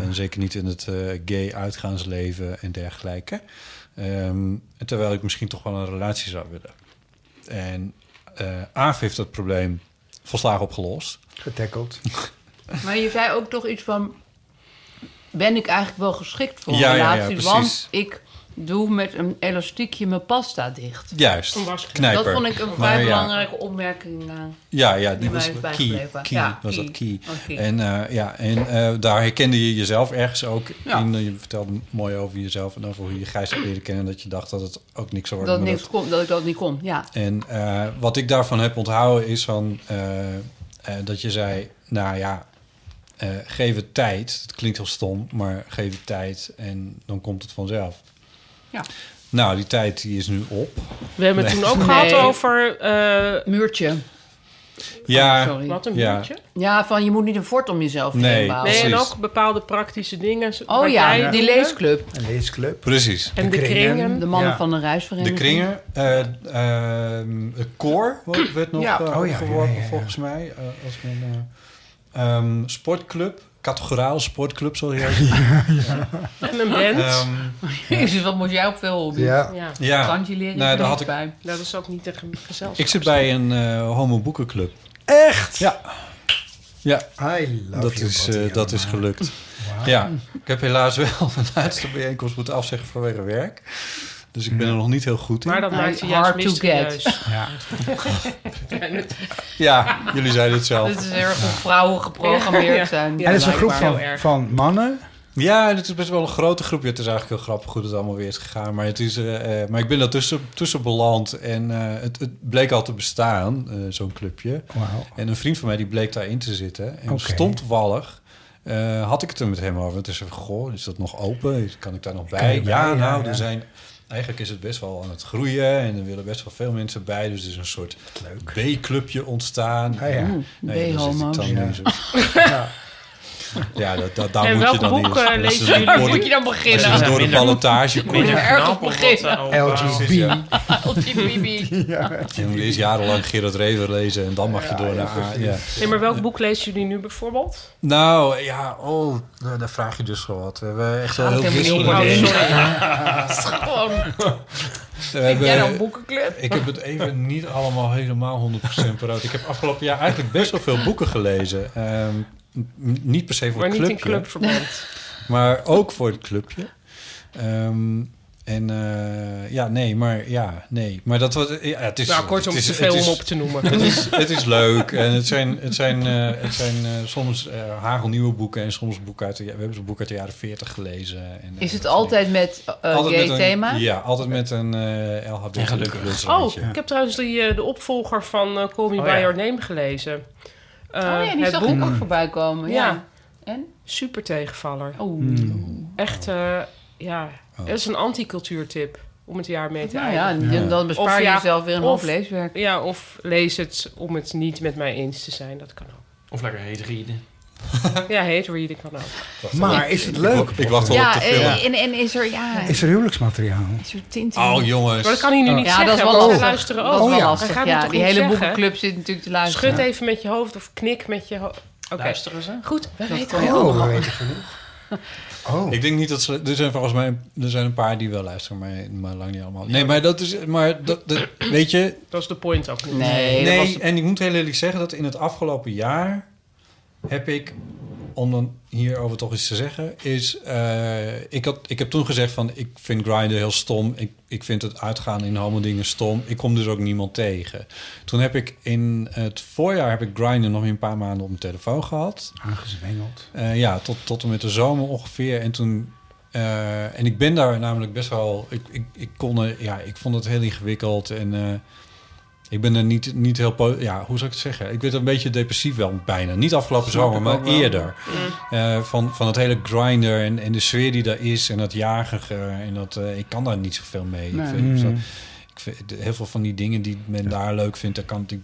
Speaker 7: En zeker niet in het eh, gay uitgaansleven en dergelijke. Ehm, en terwijl ik misschien toch wel een relatie zou willen. En eh Aaf heeft dat probleem volslagen opgelost.
Speaker 2: Getackeld.
Speaker 3: Maar je zei ook toch iets van... Ben ik eigenlijk wel geschikt voor een
Speaker 7: Ja, ja, ja,
Speaker 3: relatie?
Speaker 7: precies.
Speaker 3: want ik doe met een elastiekje mijn pasta dicht.
Speaker 7: Juist,
Speaker 6: Een waskrant.
Speaker 7: knijper.
Speaker 3: Dat vond ik een
Speaker 7: Maar
Speaker 3: vrij
Speaker 7: ja.
Speaker 3: belangrijke opmerking. eh,
Speaker 7: Ja, ja,
Speaker 3: Die
Speaker 7: die was
Speaker 3: mij is
Speaker 7: key.
Speaker 3: bijgebleven.
Speaker 7: key
Speaker 3: Ja,
Speaker 7: was
Speaker 3: key.
Speaker 7: dat key.
Speaker 3: Oh, key.
Speaker 7: En, eh, ja, en eh, daar herkende je jezelf ergens ook
Speaker 3: Ja.
Speaker 7: in. Je vertelde mooi over jezelf en over hoe je Gijs had leren kennen. Dat je dacht dat het ook niks zou worden.
Speaker 3: dat,
Speaker 7: maar
Speaker 3: niks kon, dat ik dat niet kon, ja.
Speaker 7: en eh, wat ik daarvan heb onthouden is van, eh, eh, dat je zei, nou ja, eh, geef het tijd. Het klinkt heel stom, maar geef het tijd en dan komt het vanzelf.
Speaker 3: Ja.
Speaker 7: Nou, die tijd die is nu op.
Speaker 3: Oh,
Speaker 6: We hebben het
Speaker 7: Nee.
Speaker 6: toen ook
Speaker 3: Nee.
Speaker 6: gehad over... eh,
Speaker 3: Muurtje,
Speaker 7: Ja,
Speaker 3: sorry.
Speaker 6: wat een
Speaker 7: Ja.
Speaker 6: muurtje?
Speaker 3: Ja, van je moet niet een fort om jezelf
Speaker 7: Nee.
Speaker 3: heen bouwen.
Speaker 6: Nee, en
Speaker 7: Precies.
Speaker 6: ook bepaalde praktische dingen.
Speaker 3: Oh
Speaker 6: wat jij
Speaker 3: ja, die
Speaker 6: doet.
Speaker 3: leesclub.
Speaker 2: Een leesclub.
Speaker 7: precies.
Speaker 6: En de
Speaker 2: De
Speaker 6: kringen.
Speaker 2: kringen.
Speaker 3: De mannen
Speaker 2: Ja.
Speaker 3: van een
Speaker 7: De
Speaker 3: reisvereniging.
Speaker 7: kringen, eh ehm, het koor wo- werd nog
Speaker 2: Ja.
Speaker 7: eh,
Speaker 2: Oh, ja, ja,
Speaker 7: opgeworpen,
Speaker 2: ja, ja.
Speaker 7: volgens mij. eh, als een eh, ehm, sportclub, categoraal sportclub, sorry.
Speaker 6: En een band.
Speaker 7: Ehm,
Speaker 3: *laughs* Jezus, wat moest jij op veel hobby?
Speaker 2: Ja.
Speaker 6: ja,
Speaker 7: ja,
Speaker 3: Kantje leren,
Speaker 7: Nou,
Speaker 3: nou,
Speaker 7: daar had
Speaker 3: had
Speaker 7: ik-
Speaker 3: bij.
Speaker 6: dat is ook niet een ge- gezelschap.
Speaker 7: ik zit bij een eh homo boekenclub.
Speaker 2: Echt?
Speaker 7: Ja, ja
Speaker 2: I love
Speaker 7: dat,
Speaker 2: you,
Speaker 7: is,
Speaker 2: Botte,
Speaker 7: eh, dat is
Speaker 2: allemaal.
Speaker 7: gelukt.
Speaker 2: Wauw.
Speaker 7: Ja, ik heb helaas
Speaker 1: *laughs*
Speaker 7: wel de laatste bijeenkomst moeten afzeggen vanwege werk. Dus ik ben er nog niet heel goed in.
Speaker 6: Maar dat
Speaker 3: Nou,
Speaker 6: maakt je
Speaker 3: hard
Speaker 6: juist
Speaker 3: to
Speaker 1: Oh,
Speaker 6: mysterieus.
Speaker 2: Ja.
Speaker 7: Ja, jullie zeiden het zelf.
Speaker 3: Dat is erg hoe vrouwen geprogrammeerd
Speaker 6: Ja.
Speaker 3: zijn.
Speaker 6: Ja.
Speaker 2: En dat is een groep
Speaker 6: blijkbaar. Heel
Speaker 2: van,
Speaker 6: erg.
Speaker 2: van mannen.
Speaker 7: Ja, het is best wel een grote groep. Ja, het is eigenlijk heel grappig hoe het allemaal weer is gegaan. Maar, het is, eh, eh, maar ik ben daar tussen, tussen beland en eh, het, het bleek al te bestaan, eh, zo'n clubje.
Speaker 2: Wauw.
Speaker 7: En een vriend van mij die bleek daarin te zitten. En
Speaker 2: Oké.
Speaker 7: stom toevallig eh, had ik het er met hem over. Het is goh, is dat nog open? Kan ik daar nog
Speaker 2: Kan
Speaker 7: bij? Ja,
Speaker 2: je bij, ja,
Speaker 7: nou,
Speaker 2: ja.
Speaker 7: er zijn... Eigenlijk is het best wel aan het groeien en er willen best wel veel mensen bij. Dus er is een soort B-clubje ontstaan.
Speaker 2: Ah, ja.
Speaker 3: Oeh,
Speaker 7: *laughs* Nou ja, daar zit ik
Speaker 3: B-homo's.
Speaker 7: dan in zo.
Speaker 2: Ja.
Speaker 1: Ja, dat, dat, daar
Speaker 6: En
Speaker 1: moet je
Speaker 6: welk
Speaker 1: dan
Speaker 6: boek, eh,
Speaker 1: in.
Speaker 6: lezen
Speaker 1: door de-
Speaker 6: jullie?
Speaker 3: Waar moet je dan
Speaker 1: als je
Speaker 3: beginnen?
Speaker 1: dus door de ballotage komt.
Speaker 4: Minder
Speaker 3: ergens
Speaker 4: knap op
Speaker 3: beginnen.
Speaker 4: wat, eh, op-
Speaker 2: LGB.
Speaker 1: Ja.
Speaker 3: LGBB.
Speaker 1: Je moet eerst jarenlang Gerard Rever lezen en dan mag je door naar A. Ja.
Speaker 6: Nee, maar welk boek lezen jullie nu bijvoorbeeld?
Speaker 1: Nou, ja, oh, nou, daar vraag je dus gewoon wat. We hebben echt wel heel
Speaker 3: helemaal niet om,
Speaker 1: veel... boeken.
Speaker 3: hoor. Gewoon,
Speaker 1: We
Speaker 3: vind jij nou een
Speaker 1: hebben-
Speaker 3: boekenclub?
Speaker 1: Ik heb het even niet allemaal helemaal 100% vooruit. Ik heb afgelopen jaar eigenlijk best wel veel boeken gelezen. Ehm, n- niet per se voor
Speaker 6: Maar
Speaker 1: het
Speaker 6: niet
Speaker 1: clubje,
Speaker 6: in
Speaker 1: *laughs*
Speaker 6: clubverband.
Speaker 1: maar ook voor het clubje. Ehm, en eh, ja, nee, maar ja, nee. Maar dat was... Ja, het is,
Speaker 6: Nou, kortom,
Speaker 1: het is,
Speaker 6: te veel
Speaker 1: het
Speaker 6: om
Speaker 1: is-
Speaker 6: op te noemen.
Speaker 1: *laughs* het is, het is leuk en het zijn, het zijn, eh, het zijn eh, soms eh, hagelnieuwe boeken en soms boeken uit de, ja- we hebben zo'n boek uit de jaren 40 gelezen. En, eh,
Speaker 3: Is het
Speaker 1: dat soort
Speaker 3: altijd met
Speaker 1: dingen.
Speaker 3: eh
Speaker 1: Altijd met een-
Speaker 3: gay-thema?
Speaker 1: Ja, altijd met een eh LHB.
Speaker 4: En gelukkig.
Speaker 6: Oh, ik heb trouwens die, eh, de opvolger van eh, Call Me
Speaker 4: Oh,
Speaker 6: By
Speaker 4: ja.
Speaker 6: Your Name gelezen. Eh,
Speaker 3: Oh ja, die
Speaker 6: het
Speaker 3: zag
Speaker 6: boek.
Speaker 3: ik ook voorbij komen. Ja.
Speaker 6: Ja.
Speaker 3: En?
Speaker 6: Super tegenvaller.
Speaker 3: Oh.
Speaker 6: Echt, eh, ja.
Speaker 1: Oh.
Speaker 6: Dat is een anticultuurtip om het jaar mee te
Speaker 3: Nou
Speaker 6: eindigen.
Speaker 3: ja, dan- dan bespaar
Speaker 6: Of
Speaker 3: je
Speaker 6: ja,
Speaker 3: jezelf weer een hoop
Speaker 6: of-
Speaker 3: leeswerk.
Speaker 6: ja. of lees het om het niet met mij eens te zijn. Dat kan ook.
Speaker 4: Of lekker heet rieden.
Speaker 6: Ja, hate reading kan ook.
Speaker 2: Maar is het leuk?
Speaker 1: Ik wacht wel op
Speaker 3: Ja,
Speaker 1: de film.
Speaker 3: eh, en, en is er, ja,
Speaker 2: Is er huwelijksmateriaal?
Speaker 3: is er tinten?
Speaker 1: Oh jongens.
Speaker 6: Maar dat kan hij nu niet
Speaker 3: Ja,
Speaker 6: zeggen,
Speaker 3: dat is wel
Speaker 6: want ze
Speaker 3: lastig.
Speaker 6: luisteren
Speaker 3: Dat
Speaker 6: ook. Oh,
Speaker 3: is wel
Speaker 2: ja.
Speaker 6: Hij
Speaker 3: lastig.
Speaker 6: gaat
Speaker 3: Ja,
Speaker 6: het
Speaker 3: die
Speaker 6: toch
Speaker 3: hele
Speaker 6: niet zeggen?
Speaker 3: boekenclub zit natuurlijk te luisteren.
Speaker 6: Schud even met je hoofd of knik met je hoofd. Oké,
Speaker 4: Luisteren ze?
Speaker 6: goed. We
Speaker 3: Dat
Speaker 6: weten
Speaker 3: kan je
Speaker 6: het.
Speaker 3: ook.
Speaker 2: Oh, we weten genoeg. Oh,
Speaker 1: Ik denk niet dat ze. Er zijn volgens mij. Er zijn een paar die wel luisteren, maar, maar lang niet allemaal. Nee, maar dat is. Maar dat, dat- weet je.
Speaker 6: Dat is de point ook niet.
Speaker 3: Nee, dat
Speaker 1: Nee,
Speaker 3: was-
Speaker 1: en ik moet heel eerlijk zeggen dat in het afgelopen jaar heb ik. Om dan hierover toch iets te zeggen, is. eh, ik, had, ik heb toen gezegd van. Ik vind grinden heel stom. Ik, ik vind het uitgaan in homo-dingen stom. Ik kom dus ook niemand tegen. Toen heb ik in het voorjaar. heb ik grinden nog een paar maanden op mijn telefoon gehad.
Speaker 2: aangezwengeld.
Speaker 1: Eh, ja, tot, tot en met de zomer ongeveer. En toen. eh, en ik ben daar namelijk best wel. Ik, ik, ik, kon, er- ja, ik vond het heel ingewikkeld. En eh, ik ben er niet, niet heel. po- Ja, hoe zou ik het zeggen? Ik werd een beetje depressief wel bijna. Niet afgelopen zomer, maar eerder. Eh, van, van het hele grinder en, en de sfeer die daar is. En dat jagige. En dat, eh, ik kan daar niet zoveel mee. Ik vind- ik
Speaker 2: Mm.
Speaker 1: vind- ik vind- heel veel van die dingen die men daar leuk vindt, daar kan ik.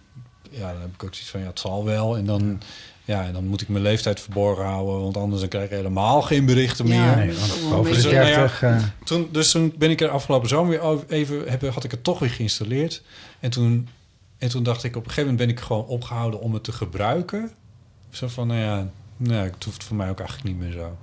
Speaker 1: Ja, dan heb ik ook zoiets van ja, het zal wel. En dan. Ja, en dan moet ik mijn leeftijd verborgen houden, want anders dan krijg ik helemaal geen berichten meer.
Speaker 3: Ja.
Speaker 2: Nee, want
Speaker 3: Oh,
Speaker 2: boven de
Speaker 1: mensen.
Speaker 2: 30. eh,
Speaker 1: Toen, dus toen ben ik er afgelopen zomer weer over- even, heb, had ik het toch weer geïnstalleerd. En toen, en toen dacht ik, op een gegeven moment ben ik gewoon opgehouden om het te gebruiken. Zo van, nou ja, nou, het hoeft voor mij ook eigenlijk niet meer zo.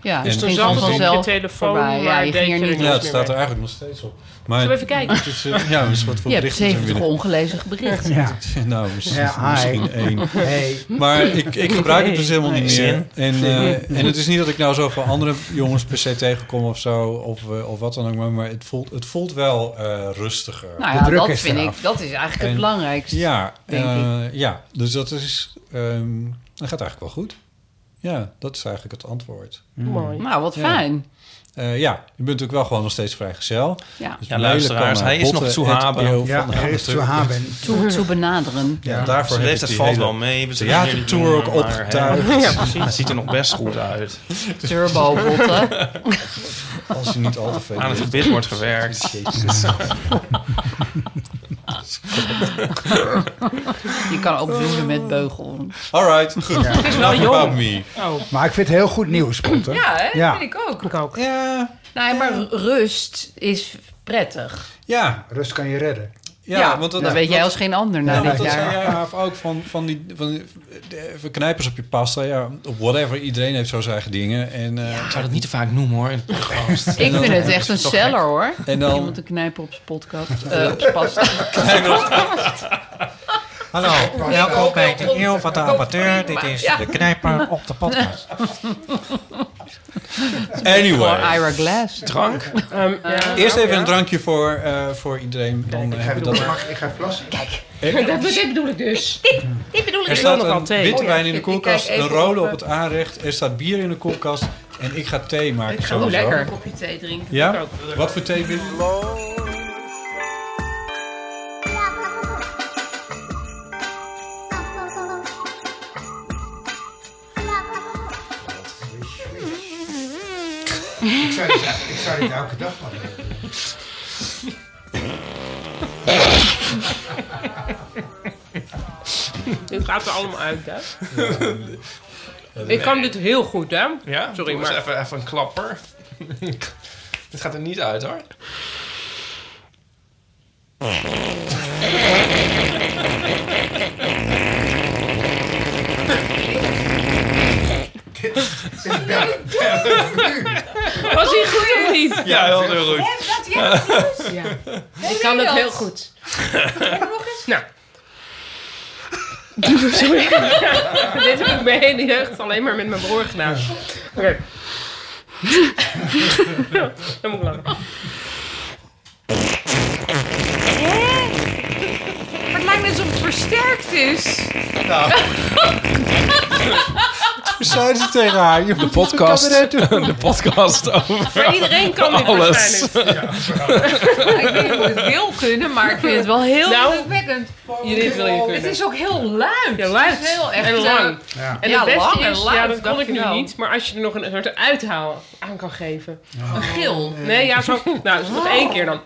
Speaker 3: Ja,
Speaker 1: Dus
Speaker 3: het
Speaker 1: toen
Speaker 3: ging
Speaker 1: zat
Speaker 3: gewoon
Speaker 1: het op je
Speaker 3: vanzelf
Speaker 6: telefoon,
Speaker 3: voorbij. Ja,
Speaker 6: maar
Speaker 3: je
Speaker 6: deed
Speaker 3: ging er
Speaker 6: je
Speaker 3: niet
Speaker 6: er
Speaker 1: Ja,
Speaker 3: op.
Speaker 6: niet
Speaker 1: het
Speaker 6: meer
Speaker 1: staat er
Speaker 6: mee.
Speaker 1: eigenlijk nog steeds op.
Speaker 6: Zullen
Speaker 1: Maar,
Speaker 6: we even kijken?
Speaker 1: het is, eh, ja, een soort van
Speaker 3: Je hebt
Speaker 1: berichten zijn
Speaker 3: 70
Speaker 1: binnen.
Speaker 3: ongelezen berichten.
Speaker 2: Ja.
Speaker 1: *laughs* Nou, misschien,
Speaker 2: Ja, hi.
Speaker 1: misschien één.
Speaker 2: Hey.
Speaker 1: Maar ik, ik gebruik het dus helemaal niet
Speaker 4: Nee.
Speaker 1: meer. En, eh, en het is niet dat ik nou zoveel andere jongens per se tegenkom of zo, of, eh, of wat dan ook, maar, maar het, voelt, het voelt wel eh, rustiger.
Speaker 3: Nou
Speaker 2: De
Speaker 3: ja,
Speaker 2: druk
Speaker 3: dat
Speaker 2: is
Speaker 3: vind
Speaker 2: eraf.
Speaker 3: ik, dat is eigenlijk het
Speaker 1: En-
Speaker 3: belangrijkste.
Speaker 1: ja,
Speaker 3: denk
Speaker 1: eh, ja, dus dat is. ehm, dat gaat eigenlijk wel goed. Ja, dat is eigenlijk het antwoord.
Speaker 6: Mooi.
Speaker 3: Nou, wat
Speaker 1: Ja.
Speaker 3: fijn.
Speaker 1: Eh, ja, je bent natuurlijk wel gewoon nog steeds vrijgezel.
Speaker 3: Ja.
Speaker 1: Dus
Speaker 4: Ja,
Speaker 1: mailen
Speaker 4: luisteraars,
Speaker 1: kan naar
Speaker 4: hij is nog
Speaker 1: botten
Speaker 4: te
Speaker 1: at
Speaker 4: haben.
Speaker 1: eeuw van
Speaker 2: Ja,
Speaker 1: Haven
Speaker 2: er is
Speaker 1: terug.
Speaker 2: te haben.
Speaker 3: Toe, toe benaderen.
Speaker 1: Ja, daarvoor
Speaker 4: Ze
Speaker 1: heb
Speaker 4: heeft
Speaker 1: ik
Speaker 4: het
Speaker 1: die
Speaker 4: valt
Speaker 1: hele
Speaker 4: wel mee. We
Speaker 1: theatertour
Speaker 4: zijn jullie
Speaker 1: ook
Speaker 4: maar,
Speaker 6: *laughs*
Speaker 1: opgetuigd.
Speaker 4: hè. Hij ziet er nog best goed uit.
Speaker 3: Turbo botten.
Speaker 1: Als je niet al te veel
Speaker 4: Aan het
Speaker 1: weet.
Speaker 4: gebit wordt gewerkt.
Speaker 3: Je kan ook zoenen met beugel.
Speaker 1: All right, goed.
Speaker 2: Het
Speaker 6: is wel
Speaker 1: Enough
Speaker 6: jong.
Speaker 1: about me.
Speaker 2: Maar ik vind het heel goed nieuws, Potter.
Speaker 3: Ja, hè?
Speaker 2: Ja.
Speaker 3: Dat vind ik ook.
Speaker 6: Ik ook.
Speaker 1: Ja,
Speaker 3: Nee, maar ru- rust is prettig.
Speaker 1: ja,
Speaker 2: Rust kan je redden.
Speaker 1: ja, want dat,
Speaker 3: dat weet jij
Speaker 1: dat-
Speaker 3: als geen ander na
Speaker 1: Ja, want
Speaker 3: dit
Speaker 1: dat zei
Speaker 3: jaar.
Speaker 1: jij Aaf, ook van, van die van die- de- van knijpers op je pasta. Ja, whatever. Iedereen heeft zo zijn eigen dingen. En, eh,
Speaker 4: Ik zou dat niet te vaak noemen hoor. in *laughs* het podcast.
Speaker 3: Ik vind het echt een
Speaker 4: toch
Speaker 3: seller, hoor.
Speaker 1: en
Speaker 3: Iemand
Speaker 1: dan...
Speaker 3: te knijpen op zijn
Speaker 1: *laughs*
Speaker 3: podcast. eh, op zijn pasta.
Speaker 1: Hallo, welkom bij de Eeuw van de Amateur. Dit is
Speaker 3: Ja.
Speaker 1: de knijper op de podcast.
Speaker 3: Voor
Speaker 1: Anyway.
Speaker 3: Ira Glass.
Speaker 4: Drank?
Speaker 6: Ehm, ja.
Speaker 1: Eerst even een drankje voor, eh, voor iedereen. Dan
Speaker 2: Ik ga
Speaker 1: hebben
Speaker 2: even,
Speaker 1: we dat.
Speaker 2: mag, ik- ik ga even plassen.
Speaker 6: Dat dit bedoel ik dus.
Speaker 3: Dit bedoel
Speaker 1: Er
Speaker 3: ik.
Speaker 1: staat
Speaker 6: nog wel
Speaker 1: een
Speaker 6: thee.
Speaker 1: witte
Speaker 3: Oh ja,
Speaker 1: eh, wijn in de
Speaker 3: ik- ik kijk
Speaker 1: koelkast, een
Speaker 3: even eh,
Speaker 1: rode
Speaker 3: of,
Speaker 1: op het aanrecht. Er staat bier in de koelkast. En ik ga thee maken.
Speaker 6: ga-
Speaker 1: sowieso.
Speaker 6: lekker.
Speaker 3: Een kopje thee drinken.
Speaker 1: Ja? Wat voor thee wil je?
Speaker 2: Ik zou dit- Ik zou dit elke dag van hebben.
Speaker 6: Dit gaat er allemaal uit, hè? Ik kan dit heel goed, hè?
Speaker 4: Ja,
Speaker 6: Sorry,
Speaker 4: sorry, maar
Speaker 6: maar-
Speaker 4: even, even een klapper. *laughs* Dit gaat er niet uit hoor.
Speaker 6: Was hij goed of niet?
Speaker 4: Ja, heel heel goed.
Speaker 8: dat ja, goed.
Speaker 6: Ja. Ik kan het heel goed.
Speaker 8: Nog eens.
Speaker 6: *laughs* Nou. Sorry. *laughs* Dit heb ik mijn hele jeugd alleen maar met mijn broer gedaan. Oké. *laughs* Dan moet ik lachen.
Speaker 3: Maar het lijkt net alsof het versterkt is.
Speaker 7: Zeiden ze tegen haar, je moet de podcast, de podcast over.
Speaker 6: Maar iedereen kan dit
Speaker 7: Alles.
Speaker 6: waarschijnlijk.
Speaker 3: Ik weet niet of ik het wil kunnen, maar ik vind het wel heel
Speaker 6: Nou,
Speaker 3: indrukwekkend.
Speaker 6: je- dit wil je kunnen.
Speaker 3: Het is ook heel luid.
Speaker 6: Ja, luid.
Speaker 3: Het is heel echt
Speaker 6: En
Speaker 3: eh,
Speaker 6: lang.
Speaker 2: Ja.
Speaker 6: En
Speaker 3: Ja,
Speaker 6: het beste
Speaker 3: lang en
Speaker 6: is,
Speaker 3: laat,
Speaker 6: ja, dat kon
Speaker 3: dacht
Speaker 6: ik
Speaker 3: je nou.
Speaker 6: nu
Speaker 3: wel.
Speaker 6: niet, maar als je er nog een soort uithalen aan kan geven.
Speaker 3: een gil.
Speaker 6: Nee, ja, zo. Nou, dus nog één keer dan.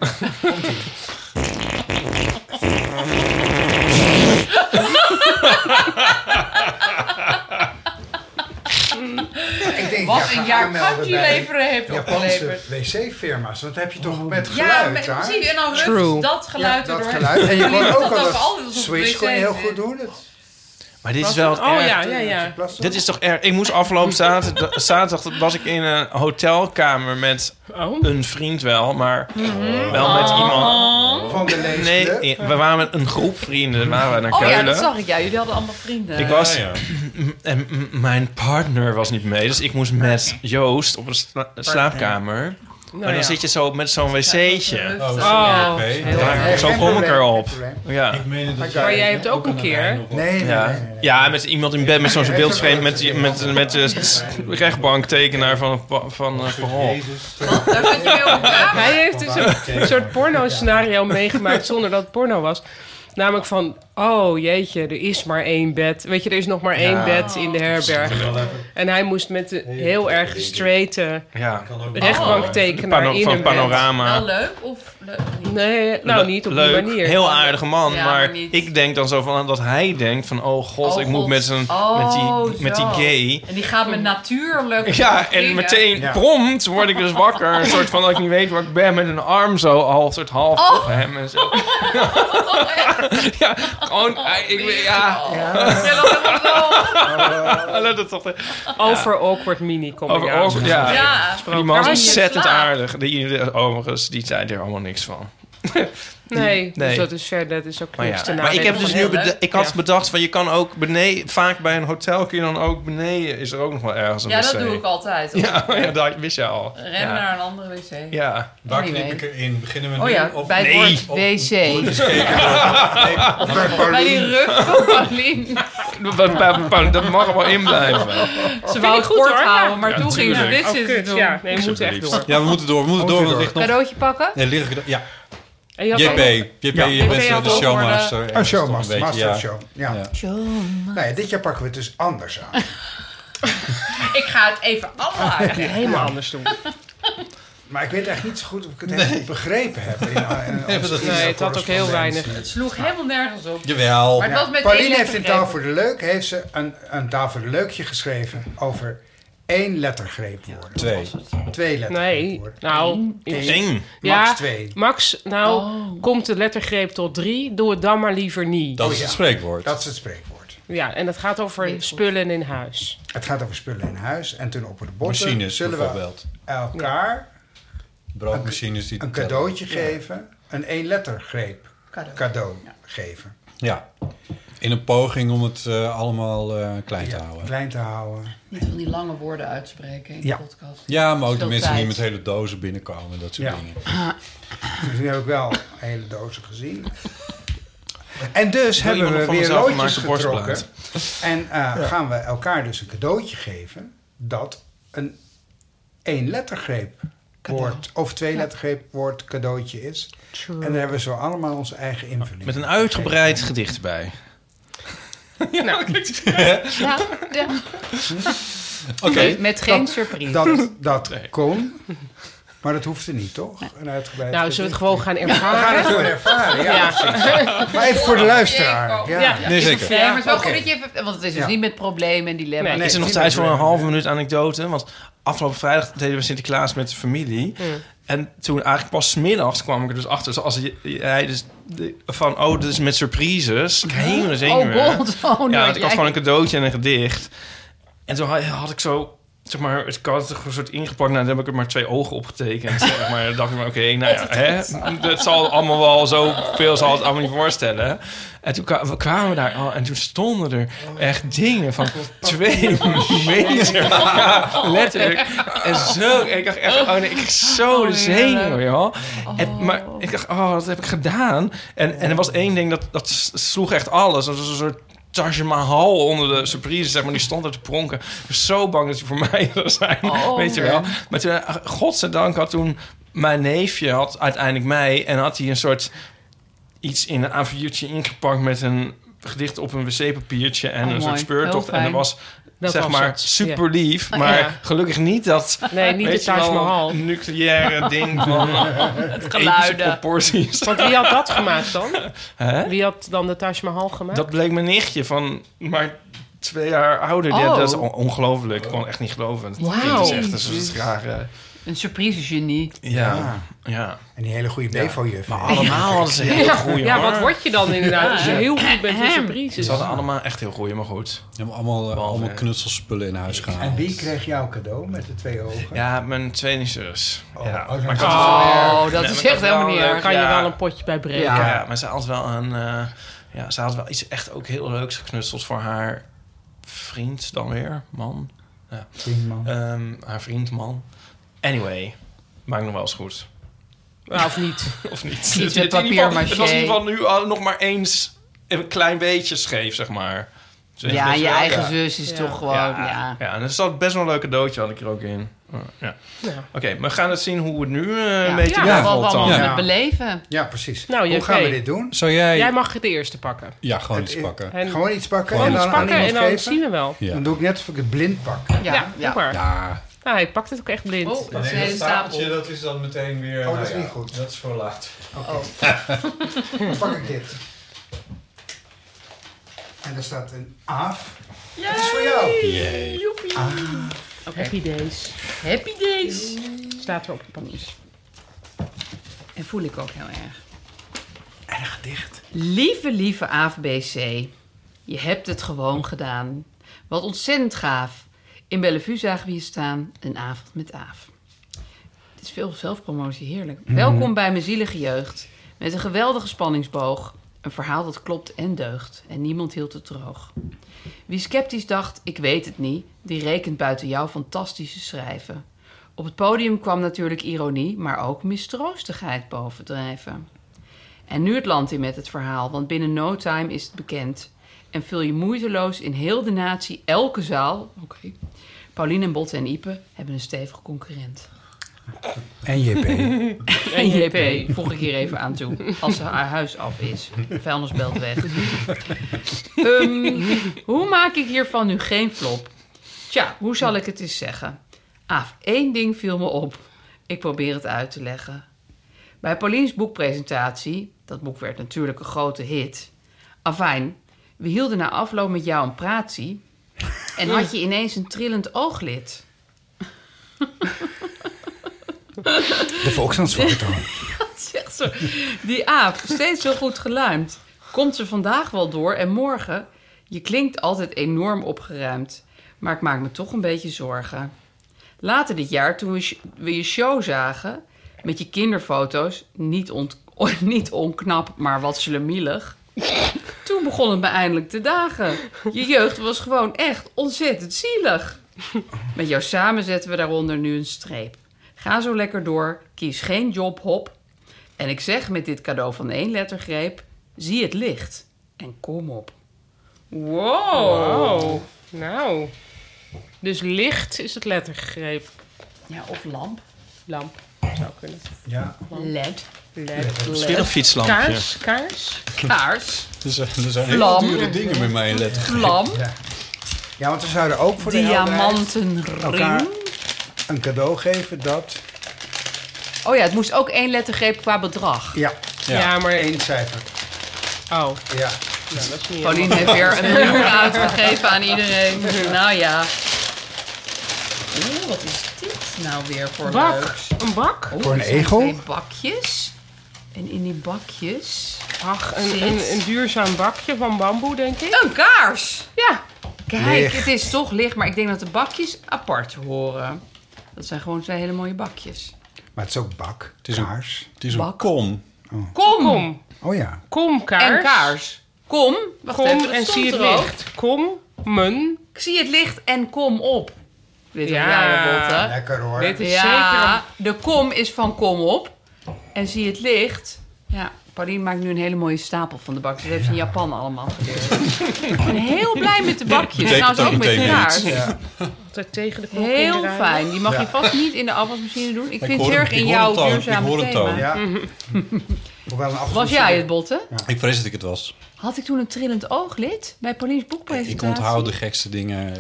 Speaker 2: Ik denk,
Speaker 3: Wat
Speaker 2: ja,
Speaker 3: een
Speaker 2: ga
Speaker 3: jaar
Speaker 2: aanmelden
Speaker 3: kanji
Speaker 2: bij
Speaker 3: leveren heeft
Speaker 2: Japanse
Speaker 3: opgeleverd.
Speaker 2: wc-firma's. Dat heb je toch met
Speaker 3: Ja,
Speaker 2: geluid
Speaker 3: met-
Speaker 2: daar?
Speaker 3: precies. En dan
Speaker 6: True.
Speaker 3: ruft dat geluid
Speaker 2: dat
Speaker 3: erdoor.
Speaker 2: geluid. En je kon
Speaker 3: Jullie
Speaker 2: ook
Speaker 3: doen dat ook
Speaker 2: al
Speaker 3: altijd
Speaker 2: dat
Speaker 3: alsof het
Speaker 2: Switch kon je
Speaker 3: wc
Speaker 2: heel
Speaker 3: is.
Speaker 2: goed doen. eh, Het.
Speaker 4: Maar dit is wel het
Speaker 6: Oh
Speaker 4: erg.
Speaker 6: ja, ja, ja.
Speaker 4: Dit is toch erg. Ik
Speaker 6: *laughs*
Speaker 4: moest afgelopen zaterdag, zaterdag was ik in een hotelkamer met
Speaker 6: Oh. Mhm.
Speaker 4: een vriend wel, maar wel met iemand.
Speaker 2: van de lezer.
Speaker 4: Nee, eh, i- we waren met een groep vrienden, waren we naar
Speaker 3: Oh ja, dat
Speaker 4: Keulen.
Speaker 3: zag ik. Ja, jullie hadden allemaal vrienden.
Speaker 4: Ik was *laughs* en m- mijn partner was niet mee, dus ik moest met Joost op een sla- slaapkamer.
Speaker 6: Nou,
Speaker 4: Maar dan
Speaker 6: ja.
Speaker 4: zit je zo met zo'n wc'tje.
Speaker 7: Oh,
Speaker 6: Oh,
Speaker 7: oké.
Speaker 6: heel
Speaker 7: Ja.
Speaker 6: erg.
Speaker 4: Daar- eh, Zo
Speaker 2: geen
Speaker 4: kom ik
Speaker 2: probleem,
Speaker 4: erop.
Speaker 2: geen probleem.
Speaker 4: Ja.
Speaker 7: meen dat
Speaker 2: Maar
Speaker 6: Maar jij hebt ook een keer.
Speaker 2: Nee, nee,
Speaker 4: Ja.
Speaker 2: nee, nee, nee.
Speaker 4: *laughs* ja, met iemand in bed met zo'n beeldframe met, die- met, met de s- rechtbanktekenaar van, van eh, Parool.
Speaker 3: Daar zat je mee op elkaar.
Speaker 6: Hij heeft dus een, soort porno-scenario meegemaakt zonder dat het porno was. Namelijk van, oh jeetje, er is maar één bed. Weet je, er is nog maar één
Speaker 4: Ja.
Speaker 6: bed in de herberg. En hij moest met de heel erg straighte
Speaker 4: Ja.
Speaker 6: rechtbanktekenaar
Speaker 4: Pano-
Speaker 6: in
Speaker 4: van
Speaker 6: een bed.
Speaker 4: Panorama.
Speaker 3: Wel leuk of leuk Nou, niet?
Speaker 6: Nee, nou niet op
Speaker 4: Leuk,
Speaker 6: die manier.
Speaker 4: heel aardige man.
Speaker 3: Ja,
Speaker 4: maar
Speaker 3: maar niet.
Speaker 4: ik denk dan zo van dat hij denkt van... Oh god,
Speaker 3: Oh,
Speaker 4: ik moet
Speaker 3: God.
Speaker 4: met, zijn, met, die,
Speaker 3: Oh,
Speaker 4: met die
Speaker 3: zo.
Speaker 4: gay...
Speaker 3: En die gaat met natuurlijk.
Speaker 4: *laughs* Ja, en
Speaker 3: dingen.
Speaker 4: meteen
Speaker 2: Ja.
Speaker 4: prompt word ik dus wakker. Een soort van dat ik niet weet waar ik ben. Met een arm zo half, soort half
Speaker 3: Oh.
Speaker 4: op hem en zo. ja, gewoon...
Speaker 3: Oh,
Speaker 4: eh, Ik, weet- ja,
Speaker 3: Ja, dat is wel leuk.
Speaker 2: Oh,
Speaker 4: dat is toch...
Speaker 6: Over awkward mini kom
Speaker 4: Over ogen, ja.
Speaker 3: Ja.
Speaker 4: Die
Speaker 3: Waar
Speaker 4: man is
Speaker 3: was je
Speaker 4: ontzettend
Speaker 3: slaap?
Speaker 4: aardig. Die, overigens, die zei er allemaal niks van.
Speaker 6: Nee,
Speaker 4: Nee.
Speaker 6: dus dat is verder, dat is ook
Speaker 4: Maar,
Speaker 6: niks te
Speaker 4: ja. maar ik heb
Speaker 6: nadenken.
Speaker 4: dus
Speaker 3: Heel
Speaker 4: nu beda-
Speaker 3: leuk.
Speaker 4: ik had
Speaker 6: Ja.
Speaker 4: bedacht van je kan ook beneden, vaak bij een hotel kun je dan ook beneden, is er ook nog wel ergens een
Speaker 3: Ja, dat
Speaker 4: wc.
Speaker 3: doe ik altijd.
Speaker 4: Ja, *laughs* ja, dat wist je al.
Speaker 3: Ren
Speaker 4: ja.
Speaker 3: naar een andere wc.
Speaker 4: Ja.
Speaker 7: Waar
Speaker 3: Nee,
Speaker 7: knip
Speaker 3: nee.
Speaker 7: ik erin? Beginnen we nu?
Speaker 3: Oh ja,
Speaker 7: of
Speaker 3: bij
Speaker 4: Nee.
Speaker 3: het woord wc.
Speaker 2: Bij
Speaker 3: Bij
Speaker 2: Paulien.
Speaker 3: die rug van Paulien.
Speaker 4: Dat- dat- dat- Dat mag er wel in
Speaker 3: *laughs*
Speaker 4: blijven.
Speaker 3: Ze wou het
Speaker 6: goed,
Speaker 3: kort
Speaker 6: hoor.
Speaker 3: houden, maar
Speaker 4: Ja,
Speaker 3: toen ging ze
Speaker 4: tuurlijk.
Speaker 3: dit
Speaker 6: Oh,
Speaker 3: zitten
Speaker 6: kut,
Speaker 3: doen.
Speaker 6: ja. Nee, we moeten echt door.
Speaker 7: Ja, we moeten door. We moeten door, want het ligt nog...
Speaker 3: Cadeautje pakken?
Speaker 7: Nee, ligt er- Ja,
Speaker 6: En je had
Speaker 7: JP.
Speaker 6: ook-
Speaker 7: JP,
Speaker 6: Ja.
Speaker 7: je bent
Speaker 6: Ik
Speaker 7: zo
Speaker 6: had
Speaker 7: de
Speaker 6: al voor de-
Speaker 7: showmaster.
Speaker 2: Een
Speaker 7: ergens toch
Speaker 2: showmaster,
Speaker 7: beetje,
Speaker 2: master
Speaker 7: ja.
Speaker 2: of show. Ja.
Speaker 7: Ja.
Speaker 2: Nou ja, dit jaar pakken we het dus anders aan.
Speaker 3: Ik ga het even allemaal *laughs* uit.
Speaker 6: Helemaal anders doen.
Speaker 2: *laughs* Maar ik weet echt niet zo goed of ik het helemaal begrepen heb. In,
Speaker 4: *laughs*
Speaker 2: eh, in
Speaker 7: Nee,
Speaker 2: onze
Speaker 7: dat-
Speaker 6: Nee, het had ook heel weinig.
Speaker 3: Het sloeg helemaal nergens op.
Speaker 7: Jawel.
Speaker 3: Maar het was met één
Speaker 2: Pauline heeft
Speaker 3: letter
Speaker 2: in
Speaker 3: gegeven.
Speaker 2: Taal voor de Leuk heeft ze een, een Taal voor de Leukje geschreven over één lettergreepwoorden.
Speaker 7: Twee.
Speaker 2: Twee
Speaker 6: Nee,
Speaker 2: lettergreepwoorden.
Speaker 6: nou... ik-
Speaker 4: Eén.
Speaker 2: Max
Speaker 6: Ja,
Speaker 2: twee.
Speaker 6: Max, nou,
Speaker 3: Oh.
Speaker 6: komt de lettergreep tot drie, doe het dan maar liever niet.
Speaker 7: Dat
Speaker 2: Oh,
Speaker 7: is
Speaker 2: ja.
Speaker 7: het spreekwoord.
Speaker 2: Dat is het spreekwoord.
Speaker 6: Ja, en dat gaat over
Speaker 3: Nee, goed.
Speaker 6: spullen in
Speaker 4: *laughs*
Speaker 6: huis.
Speaker 2: Het gaat over spullen in huis en toen op de botten
Speaker 7: Machines
Speaker 2: zullen we
Speaker 7: bijvoorbeeld.
Speaker 2: elkaar
Speaker 7: Broodmachines die...
Speaker 2: een cadeautje geven, een één lettergreep
Speaker 3: Cadeau.
Speaker 2: cadeau geven.
Speaker 7: Ja. In een poging om het eh, allemaal eh, klein te
Speaker 2: Ja,
Speaker 7: houden.
Speaker 2: klein te houden.
Speaker 3: Niet van die lange woorden uitspreken in de
Speaker 2: Ja.
Speaker 3: podcast.
Speaker 7: Ja, maar ook de
Speaker 3: Veel
Speaker 7: mensen die
Speaker 3: tijd.
Speaker 7: met hele dozen binnenkomen. Dat soort
Speaker 2: Ja.
Speaker 7: dingen.
Speaker 2: Dus nu heb ik wel een hele dozen gezien. En dus
Speaker 4: wil
Speaker 2: hebben
Speaker 4: iemand
Speaker 2: we
Speaker 4: van
Speaker 2: weer
Speaker 4: mezelf
Speaker 2: loodjes
Speaker 4: maken borstplaat.
Speaker 2: getrokken. En eh, gaan we elkaar dus een cadeautje geven dat een één lettergreep woord of twee lettergreep woord cadeautje is. En
Speaker 3: eh,
Speaker 2: daar hebben we zo allemaal onze eigen invulling.
Speaker 4: Met een uitgebreid gedicht bij.
Speaker 6: Nou,
Speaker 3: Ja, ja.
Speaker 7: Oké.
Speaker 6: *laughs*
Speaker 3: Met geen surprise.
Speaker 2: Dat, dat kon. Maar dat hoeft er niet, toch? Een uitgebreid
Speaker 6: Nou, zullen we het gewoon
Speaker 2: gedicht.
Speaker 6: gaan
Speaker 2: We
Speaker 4: *laughs*
Speaker 2: gaan
Speaker 6: ervaren?
Speaker 2: het gewoon ervaren, ja.
Speaker 6: Ja.
Speaker 2: precies. Maar even voor de luisteraar. Ja.
Speaker 6: Ja.
Speaker 4: Nee, zeker.
Speaker 3: Ja, maar het is wel
Speaker 2: Oké.
Speaker 3: goed dat je even... Want het is dus
Speaker 4: Ja.
Speaker 3: niet met problemen en dilemma's.
Speaker 4: is er nog tijd voor een halve minuut anekdote? Want afgelopen vrijdag deden we Sinterklaas met de familie. En toen eigenlijk pas 's middags kwam ik er dus achter. Zoals je- hij dus de- van, oh, dus met surprises. Ik helemaal zenuwen.
Speaker 3: Oh, god. Oh, nooit.
Speaker 4: eh. ja, want ik
Speaker 3: Jij-
Speaker 4: had gewoon een cadeautje en een gedicht. En toen had, had ik zo, zeg maar, het kan toch een soort ingepakt. Nou, dan heb ik er maar twee ogen opgetekend. zeg maar dan dacht ik, maar, oké, nou ja, hè, dat zal allemaal wel zo veel zal het allemaal niet voorstellen. En toen kwa- we kwamen we daar al en toen stonden er echt dingen van twee meter. Ja, letterlijk. En zo, en ik dacht echt, oh nee, ik kreeg zo de zenuwen, joh. En, maar ik dacht, oh, dat heb ik gedaan. En, en er was één ding, dat, dat s- sloeg echt alles. Dat was een soort Taj Mahal onder de surprise, zeg maar. Die stond er te pronken. Ik was zo bang dat hij voor mij *laughs* zou zijn,
Speaker 9: Oh,
Speaker 4: weet je
Speaker 9: man.
Speaker 4: wel. Maar toen, eh, godzijdank had toen mijn neefje had uiteindelijk mij... en had hij een soort iets in een A4'tje ingepakt met een gedicht op een wc-papiertje... en
Speaker 6: Oh,
Speaker 4: een soort
Speaker 6: mooi. Heel
Speaker 4: speurtocht. En
Speaker 6: fijn.
Speaker 4: dat was...
Speaker 6: Dat
Speaker 4: zeg
Speaker 6: was
Speaker 4: maar
Speaker 6: het, ja.
Speaker 4: super lief, maar
Speaker 6: Oh, Ja.
Speaker 4: gelukkig niet dat
Speaker 6: Nee, niet
Speaker 4: weet
Speaker 6: de
Speaker 4: je wel,
Speaker 6: Taj Mahal. *laughs*
Speaker 4: nucleaire ding van
Speaker 6: Het
Speaker 4: epische
Speaker 6: geluiden.
Speaker 4: proporties.
Speaker 6: Want wie had dat gemaakt dan?
Speaker 4: Hè?
Speaker 6: Wie had dan de Taj Mahal gemaakt?
Speaker 4: Dat bleek mijn nichtje van maar twee jaar ouder. Ja,
Speaker 6: Oh.
Speaker 4: dat is on- ongelooflijk. Ik kon echt niet geloven. Dat
Speaker 3: Wauw.
Speaker 4: kind is echt een soort rare...
Speaker 3: Een surprise genie.
Speaker 4: Ja. ja. ja.
Speaker 2: En die hele goede Bevo-juf.
Speaker 4: Maar allemaal hadden ze hele
Speaker 6: Ja.
Speaker 4: goeie,
Speaker 6: Ja,
Speaker 4: hoor.
Speaker 6: wat word je dan inderdaad Nou, als je heel goed bent in
Speaker 4: Ahem.
Speaker 6: surprises?
Speaker 4: Ze hadden allemaal echt heel goeie, maar goed.
Speaker 7: allemaal, eh, allemaal
Speaker 4: eh,
Speaker 7: knutselspullen in huis gehaald.
Speaker 2: En wie kreeg jouw cadeau met de twee ogen?
Speaker 4: Ja, mijn tweede zus. ja.
Speaker 2: oh,
Speaker 4: Maar ik
Speaker 2: dat
Speaker 4: had
Speaker 2: is
Speaker 4: wel-
Speaker 2: wel erg.
Speaker 4: Nee,
Speaker 2: Dat
Speaker 4: maar
Speaker 2: is
Speaker 4: ik
Speaker 2: echt
Speaker 4: had wel
Speaker 2: helemaal niet
Speaker 4: leuk,
Speaker 2: erg. Kan je
Speaker 4: ja.
Speaker 2: wel een potje bij breken.
Speaker 4: Ja.
Speaker 2: Ja.
Speaker 4: maar ze had wel een... eh, ja, ze had wel iets echt ook heel leuks geknutseld voor haar vriend dan weer. Man. Ja. Ehm, haar vriend, man. Anyway, maakt nog wel eens goed. *laughs*
Speaker 6: Ja, of niet.
Speaker 4: of niet.
Speaker 6: Iets
Speaker 4: Het-
Speaker 6: met
Speaker 4: het- in ieder geval-
Speaker 6: papier-mâché.
Speaker 4: Het was in ieder geval nu al nog maar eens een klein beetje scheef, zeg maar. Dus
Speaker 3: Ja,
Speaker 4: weet
Speaker 3: je
Speaker 4: wel,
Speaker 3: eigen zus is toch gewoon, ja.
Speaker 4: ja, en er zat best wel een leuke doodje had ik er ook in. Ja.
Speaker 3: Ja.
Speaker 4: Oké, we gaan het zien hoe het nu eh,
Speaker 3: Ja.
Speaker 4: een beetje
Speaker 3: Ja,
Speaker 4: ja,
Speaker 3: wat we
Speaker 4: dan.
Speaker 3: allemaal kunnen beleven.
Speaker 2: Ja, precies.
Speaker 6: Nou,
Speaker 2: Hoe gaan we
Speaker 6: JP,
Speaker 2: dit doen?
Speaker 7: Zou jij...
Speaker 6: Jij mag het eerste pakken.
Speaker 7: Ja, gewoon
Speaker 2: Het-
Speaker 7: iets pakken.
Speaker 6: En-
Speaker 2: Gewoon iets pakken
Speaker 6: Gewoon
Speaker 2: en
Speaker 6: iets
Speaker 2: dan aan
Speaker 6: pakken
Speaker 2: iemand
Speaker 6: en dan
Speaker 2: geven?
Speaker 6: zien we Hmm. wel.
Speaker 7: Ja.
Speaker 2: Dan doe ik net alsof ik het blind pak.
Speaker 6: Ja, doe maar. Nou, hij pakt het ook echt blind.
Speaker 3: Oh, dat is een hele stapel.
Speaker 7: dat is dan meteen weer...
Speaker 2: Oh, dat is nou ja, niet goed.
Speaker 7: Dat is voor laat.
Speaker 2: Dan pak ik dit. En daar staat een aaf. Dat is voor jou.
Speaker 6: Joepie. Happy days.
Speaker 3: Happy days.
Speaker 6: Staat er op de pakjes.
Speaker 3: En voel ik ook heel erg.
Speaker 2: Erg gedicht.
Speaker 3: Lieve, lieve AFBC. Je hebt het gewoon gedaan. Wat ontzettend gaaf. In Bellevue zagen we je staan. Een avond met Aaf. Het is veel zelfpromotie, heerlijk.
Speaker 6: Mhm.
Speaker 3: Welkom bij mijn zielige jeugd. Met een geweldige spanningsboog. Een verhaal dat klopt en deugt. En niemand hield het droog. Wie sceptisch dacht, ik weet het niet, die rekent buiten jouw fantastische schrijven. Op het podium kwam natuurlijk ironie, maar ook mistroostigheid bovendrijven. En nu het land in met het verhaal, want binnen no time is het bekend. En vul je moeiteloos in heel de natie elke zaal. Oké. Pauline en Botte en Ipe hebben een stevige concurrent.
Speaker 2: En JP.
Speaker 7: *laughs*
Speaker 3: En JP voeg ik hier even aan toe. Als ze haar huis af is. Vuilnisbelt weg. Ehm, hoe maak ik hiervan nu geen flop? Tja, hoe zal ik het eens zeggen? Aaf, één ding viel me op. Ik probeer het uit te leggen. Bij Paulien's boekpresentatie, dat boek werd natuurlijk een grote hit. Afijn, we hielden na afloop met jou een pratie. En had je ineens een trillend ooglid.
Speaker 2: De Volksdansfoto.
Speaker 3: *laughs* Dat is echt zo. Die aap, steeds zo goed geluimd. Komt ze vandaag wel door en morgen? Je klinkt altijd enorm opgeruimd. Maar ik maak me toch een beetje zorgen. Later dit jaar, toen we, sh- we je show zagen... met je kinderfoto's, niet, ont, *laughs* oh, niet onknap, maar wat slemielig... toen begon het me eindelijk te dagen. Je jeugd was gewoon echt ontzettend zielig. Met jou samen zetten we daaronder nu een streep. Ga zo lekker door, kies geen job, hop. En ik zeg met dit cadeau van één lettergreep: zie het licht en kom op.
Speaker 6: Wow. Nou. Dus licht is het lettergreep.
Speaker 3: Ja, of lamp.
Speaker 6: Lamp zou kunnen.
Speaker 2: Ja.
Speaker 3: LED.
Speaker 6: LED.
Speaker 4: Misschien een fietslampje.
Speaker 6: Kaars, kaars.
Speaker 3: Kaars.
Speaker 7: Er zijn, er zijn
Speaker 3: Vlam.
Speaker 7: heel dure dingen met mij in letter.
Speaker 3: Vlam.
Speaker 2: Ja, want we zouden ook voor de helderheid
Speaker 3: Diamantenring.
Speaker 2: elkaar een cadeau geven dat
Speaker 3: Oh ja, het moest ook één lettergreep qua bedrag.
Speaker 2: Ja.
Speaker 6: Ja, maar...
Speaker 2: Eén cijfer.
Speaker 6: Oh.
Speaker 2: Ja.
Speaker 6: Nou, dat is niet
Speaker 3: Pauline heeft
Speaker 6: helemaal-
Speaker 3: weer een *laughs* miljoen uitgegeven aan iedereen. Nou ja. Oeh, wat is dit nou weer voor
Speaker 6: Bak.
Speaker 3: leuks?
Speaker 6: Een bak?
Speaker 3: Oeh,
Speaker 2: Voor een
Speaker 3: er zijn
Speaker 2: egel?
Speaker 3: Twee bakjes. En in die bakjes...
Speaker 6: Ach,
Speaker 3: zit
Speaker 6: een, een, een duurzaam bakje van bamboe, denk ik.
Speaker 3: Een kaars!
Speaker 6: Ja.
Speaker 3: Kijk,
Speaker 2: Licht.
Speaker 3: het is toch licht, maar ik denk dat de bakjes apart horen. Dat zijn gewoon twee hele mooie bakjes.
Speaker 2: Maar het is ook bak,
Speaker 7: is een-
Speaker 2: kaars.
Speaker 7: Het is een
Speaker 3: Bak.
Speaker 7: kom.
Speaker 3: Kom!
Speaker 6: Kom.
Speaker 2: Oh ja.
Speaker 6: Kom, kaars.
Speaker 3: En kaars. Kom, wacht
Speaker 6: Kom
Speaker 3: even, dat
Speaker 6: en
Speaker 3: stond
Speaker 6: zie het
Speaker 3: er ook.
Speaker 6: licht. Kom, men.
Speaker 3: Ik zie het licht en kom op. Dit
Speaker 6: Ja.
Speaker 3: ja. Botte.
Speaker 2: Lekker hoor.
Speaker 6: Dit is
Speaker 3: Ja, de kom is van kom op. En zie het licht. Ja, Pauline maakt nu een hele mooie stapel van de bakjes. Dat heeft ze in Japan allemaal geleerd. Ik ben heel blij met de bakjes.
Speaker 7: Betekent
Speaker 3: Trouwens
Speaker 7: ook
Speaker 3: ook met
Speaker 7: meteen
Speaker 3: kaars.
Speaker 7: iets.
Speaker 2: Ja.
Speaker 6: zeker tegen de knop
Speaker 3: Heel
Speaker 6: indraaien.
Speaker 3: fijn. Die mag je vast niet in de afwasmachine doen. Ik
Speaker 7: Ik
Speaker 3: vind
Speaker 7: hoor
Speaker 3: het heel erg
Speaker 7: hem,
Speaker 3: in
Speaker 7: ik hoor
Speaker 3: jouw
Speaker 7: het al, ik
Speaker 3: duurzame
Speaker 7: hoor het al.
Speaker 3: thema.
Speaker 2: Ja. Hoewel een
Speaker 3: Was
Speaker 2: afgelopen-
Speaker 3: jij het, Botte?
Speaker 7: Ik vrees dat ik het was.
Speaker 3: Had ik toen een trillend ooglid bij Pauline's
Speaker 7: Ik
Speaker 3: boekpresentatie?
Speaker 7: onthoud de gekste dingen.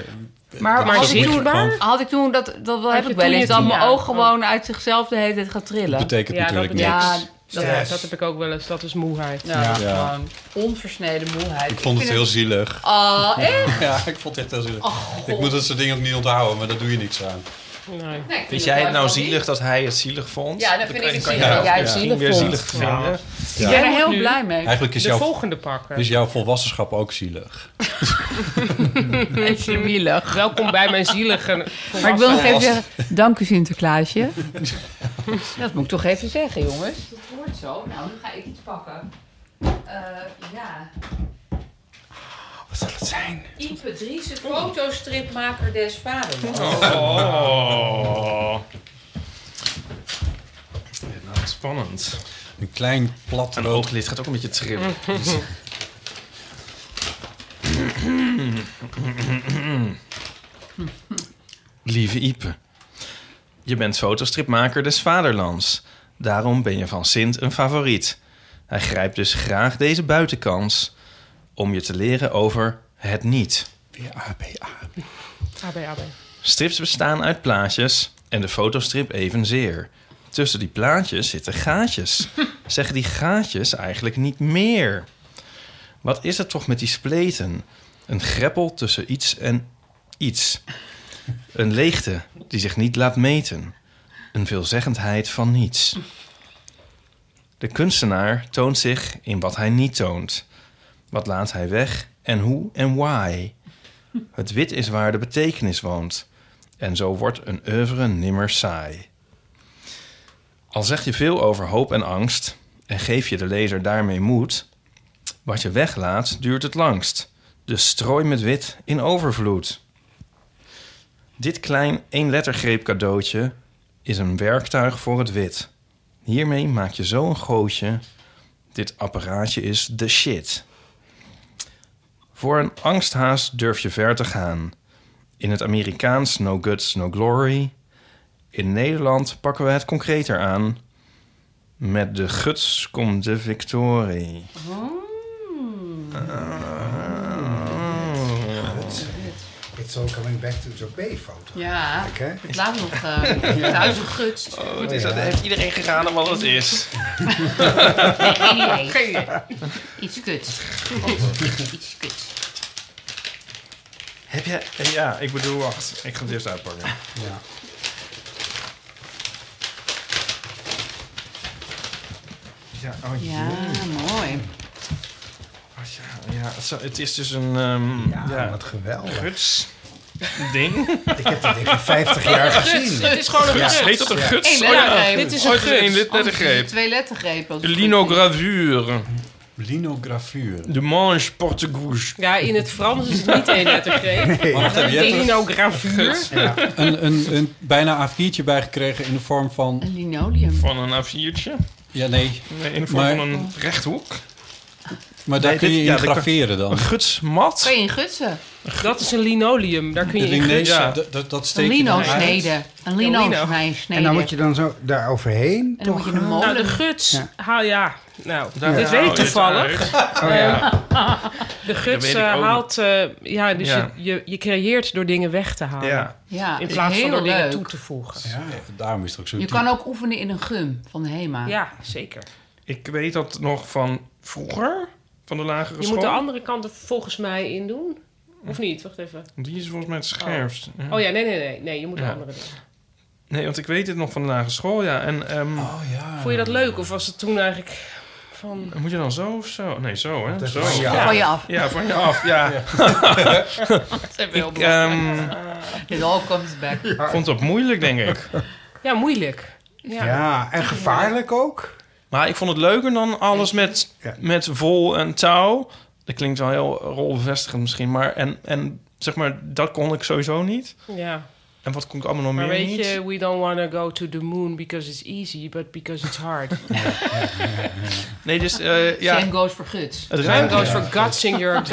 Speaker 3: Maar,
Speaker 6: Maar
Speaker 3: had, ik
Speaker 6: zichtbaar?
Speaker 3: toen, had ik toen, dat, dat
Speaker 6: Had
Speaker 3: heb
Speaker 6: je
Speaker 3: ik wel
Speaker 6: toen je
Speaker 3: eens, dat
Speaker 6: tien
Speaker 3: mijn
Speaker 6: jaar-
Speaker 3: oog gewoon uit zichzelf de hele tijd gaat
Speaker 7: Dat
Speaker 3: trillen.
Speaker 7: betekent
Speaker 6: Ja, dat
Speaker 7: natuurlijk
Speaker 6: betekent-
Speaker 7: niks.
Speaker 3: Ja,
Speaker 6: Dat,
Speaker 2: Yes.
Speaker 6: dat heb ik ook wel eens. Dat is moeheid.
Speaker 3: ja, dat is
Speaker 7: Ja.
Speaker 3: gewoon onversneden moeheid.
Speaker 7: Ik vond het heel zielig. *laughs*
Speaker 3: Ah, echt?
Speaker 7: Ja, ik vond het echt heel zielig. ik moet dat soort dingen ook niet onthouden, maar daar doe je niks aan.
Speaker 6: Nee.
Speaker 3: Nee, ik het
Speaker 4: Vind jij het
Speaker 3: juist
Speaker 4: nou
Speaker 3: wel
Speaker 4: zielig dat hij het zielig vond?
Speaker 3: Ja, dat vind ik
Speaker 4: kan-
Speaker 3: het
Speaker 4: kan
Speaker 3: zielig
Speaker 4: je
Speaker 3: dat jij het
Speaker 4: misschien
Speaker 3: zielig
Speaker 4: weer
Speaker 3: vond.
Speaker 4: zielig vinden.
Speaker 3: niet. Ik ben er heel blij mee.
Speaker 7: Eigenlijk is,
Speaker 6: De
Speaker 7: jouw, Dus-
Speaker 6: volgende pakken.
Speaker 7: is jouw volwassenschap ook zielig.
Speaker 3: En zielig.
Speaker 6: Welkom bij mijn zielige.
Speaker 3: Maar ik wil nog even zeggen, dank u
Speaker 2: *laughs*
Speaker 3: Sinterklaasje. dat moet ik toch even zeggen, jongens. Dat hoort zo. Nou, nu ga ik iets pakken. Eh, ja.
Speaker 2: Wat zal het zijn?
Speaker 3: Ipe Dries, fotostripmaker des vaders.
Speaker 4: Oh. Ja, nou, spannend.
Speaker 7: Een klein plat
Speaker 4: Een
Speaker 7: rood
Speaker 4: ooglid gaat ook een beetje trillen. Lieve Ipe, je bent fotostripmaker des vaderlands. Daarom ben je van Sint een favoriet. Hij grijpt dus graag deze buitenkans om je te leren over het niet.
Speaker 6: AB, AB.
Speaker 4: Strips bestaan uit plaatjes en de fotostrip evenzeer. Tussen die plaatjes zitten gaatjes. Zeggen die gaatjes eigenlijk niet meer? Wat is het toch met die spleten? Een greppel tussen iets en iets. Een leegte die zich niet laat meten. Een veelzeggendheid van niets. De kunstenaar toont zich in wat hij niet toont. Wat laat hij weg en hoe en why? Het wit is waar de betekenis woont. En zo wordt een oeuvre nimmer saai. Al zeg je veel over hoop en angst en geef je de lezer daarmee moed, wat je weglaat duurt het langst. Dus strooi met wit in overvloed. Dit klein één-lettergreep cadeautje is een werktuig voor het wit. Hiermee maak je zo een gootje. Dit apparaatje is de shit. Voor een angsthaas durf je ver te gaan. In het Amerikaans no guts, no glory. In Nederland pakken we het concreter aan. Met de guts komt de victorie.
Speaker 3: Hmm.
Speaker 2: It's all coming back to the B foto.
Speaker 3: Ja,
Speaker 2: Kijk, hè?
Speaker 3: het laat nog eh thuis gegutst.
Speaker 4: Oh,
Speaker 2: het is- dat heeft
Speaker 4: heeft iedereen geraden wat het is.
Speaker 3: Nee, geen idee.
Speaker 2: *laughs*
Speaker 3: Iets kuts. Iets kuts.
Speaker 4: Heb jij... Ja, ik bedoel, wacht. Ik ga het eerst uitpakken.
Speaker 2: Ja.
Speaker 4: Ja, oh jee.
Speaker 3: Ja,
Speaker 2: Hmm.
Speaker 3: mooi.
Speaker 4: Oh, ja, ja, het zo- het is dus een... ehm ja,
Speaker 2: Ja, wat geweldig.
Speaker 4: guts... Ding.
Speaker 2: Ik heb dat denk ik 50 jaar gezien.
Speaker 6: Dit is gewoon een
Speaker 4: Ja,
Speaker 6: guts.
Speaker 4: heet dat een guts?
Speaker 3: Eén
Speaker 4: Oh ja,
Speaker 3: lettergreep.
Speaker 6: Dit is een
Speaker 4: Ooit een
Speaker 6: guts.
Speaker 4: lettergreep.
Speaker 3: Twee lettergrepen. als het goed is.
Speaker 4: Linogravure.
Speaker 7: linografuur.
Speaker 4: De manche portugouche.
Speaker 6: Ja, in het Frans is het niet één lettergreep.
Speaker 7: Maar wacht even, je hebt er
Speaker 6: Linografuur.
Speaker 7: een, een, een bijna A4'tje bij gekregen in de vorm van...
Speaker 3: Een linoleum.
Speaker 4: Van een A4'tje.
Speaker 7: Ja, nee.
Speaker 4: Nee, in de vorm
Speaker 7: Maar-
Speaker 4: van een rechthoek.
Speaker 7: Maar daar
Speaker 4: Nee,
Speaker 7: kun
Speaker 4: dit-
Speaker 7: je
Speaker 4: ja,
Speaker 7: in
Speaker 4: dat kan-
Speaker 7: grafferen dan.
Speaker 4: Een gutsmat?
Speaker 3: Kan je in gutsen?
Speaker 6: Dat is een linoleum, daar kun je in
Speaker 7: Linees,
Speaker 6: gutsen.
Speaker 7: ja, dat- dat- dat
Speaker 3: Een
Speaker 7: steek je dan
Speaker 3: lino
Speaker 7: uit.
Speaker 3: sneden. Een lino sneden.
Speaker 2: En dan moet je dan zo daar overheen.
Speaker 3: En dan moet je de molen...
Speaker 6: Nou, de guts,
Speaker 2: Ja.
Speaker 6: haal ja. Nou,
Speaker 4: Daar
Speaker 6: dit
Speaker 4: haal
Speaker 6: weet
Speaker 4: je
Speaker 6: ik
Speaker 4: het
Speaker 6: toevallig.
Speaker 4: uit. Oh ja.
Speaker 6: De guts
Speaker 4: weet ik
Speaker 6: eh,
Speaker 4: ook
Speaker 6: haalt, eh, ja, dus
Speaker 4: Ja.
Speaker 6: Je, je, je creëert door dingen weg te halen.
Speaker 4: Ja.
Speaker 3: Ja,
Speaker 6: In plaats van
Speaker 3: heel
Speaker 6: door dingen
Speaker 3: leuk.
Speaker 6: toe te voegen. Ja,
Speaker 7: Daarom is het ook zo
Speaker 3: Je
Speaker 7: diep.
Speaker 3: kan ook oefenen in een gum van Hema.
Speaker 6: zeker.
Speaker 4: Ik weet dat nog van vroeger, van de lagere
Speaker 6: Je
Speaker 4: school.
Speaker 6: moet de andere kant er volgens mij in doen. Of niet? Wacht even.
Speaker 4: Die is volgens mij het scherpst.
Speaker 6: Oh ja, nee, nee, nee. nee je moet de
Speaker 4: Ja.
Speaker 6: andere doen.
Speaker 4: Nee, want ik weet het nog van de lagere school, ja. En ehm,
Speaker 7: Oh,
Speaker 6: Vond je dat leuk? Of was het toen eigenlijk van...
Speaker 4: moet je dan zo of zo? Nee, zo hè? Zo.
Speaker 2: van je
Speaker 4: ja.
Speaker 2: af.
Speaker 3: Van je af.
Speaker 4: Ja, van je af, ja.
Speaker 3: Dat zijn wel
Speaker 4: Ik
Speaker 3: belangrijk.
Speaker 4: ehm,
Speaker 3: It all comes back.
Speaker 4: vond dat moeilijk, denk ik.
Speaker 6: Ja, moeilijk. Ja.
Speaker 2: Ja. en gevaarlijk ook.
Speaker 4: Maar ik vond het leuker dan alles met,
Speaker 2: Ja.
Speaker 4: met vol en touw. Dat klinkt wel heel rolbevestigend misschien, maar... En, en zeg maar, dat kon ik sowieso niet.
Speaker 6: Ja.
Speaker 4: En wat kon ik allemaal nog
Speaker 6: Maar
Speaker 4: meer
Speaker 6: weet
Speaker 4: niet?
Speaker 6: je, we don't want to go to the moon because it's easy, but because it's
Speaker 4: *laughs*
Speaker 6: hard.
Speaker 4: Nee, dus eh, *laughs* ja...
Speaker 3: Same goes for guts.
Speaker 4: Het
Speaker 6: Time
Speaker 4: ruikt,
Speaker 6: goes for guts in
Speaker 4: *laughs*
Speaker 6: your guts.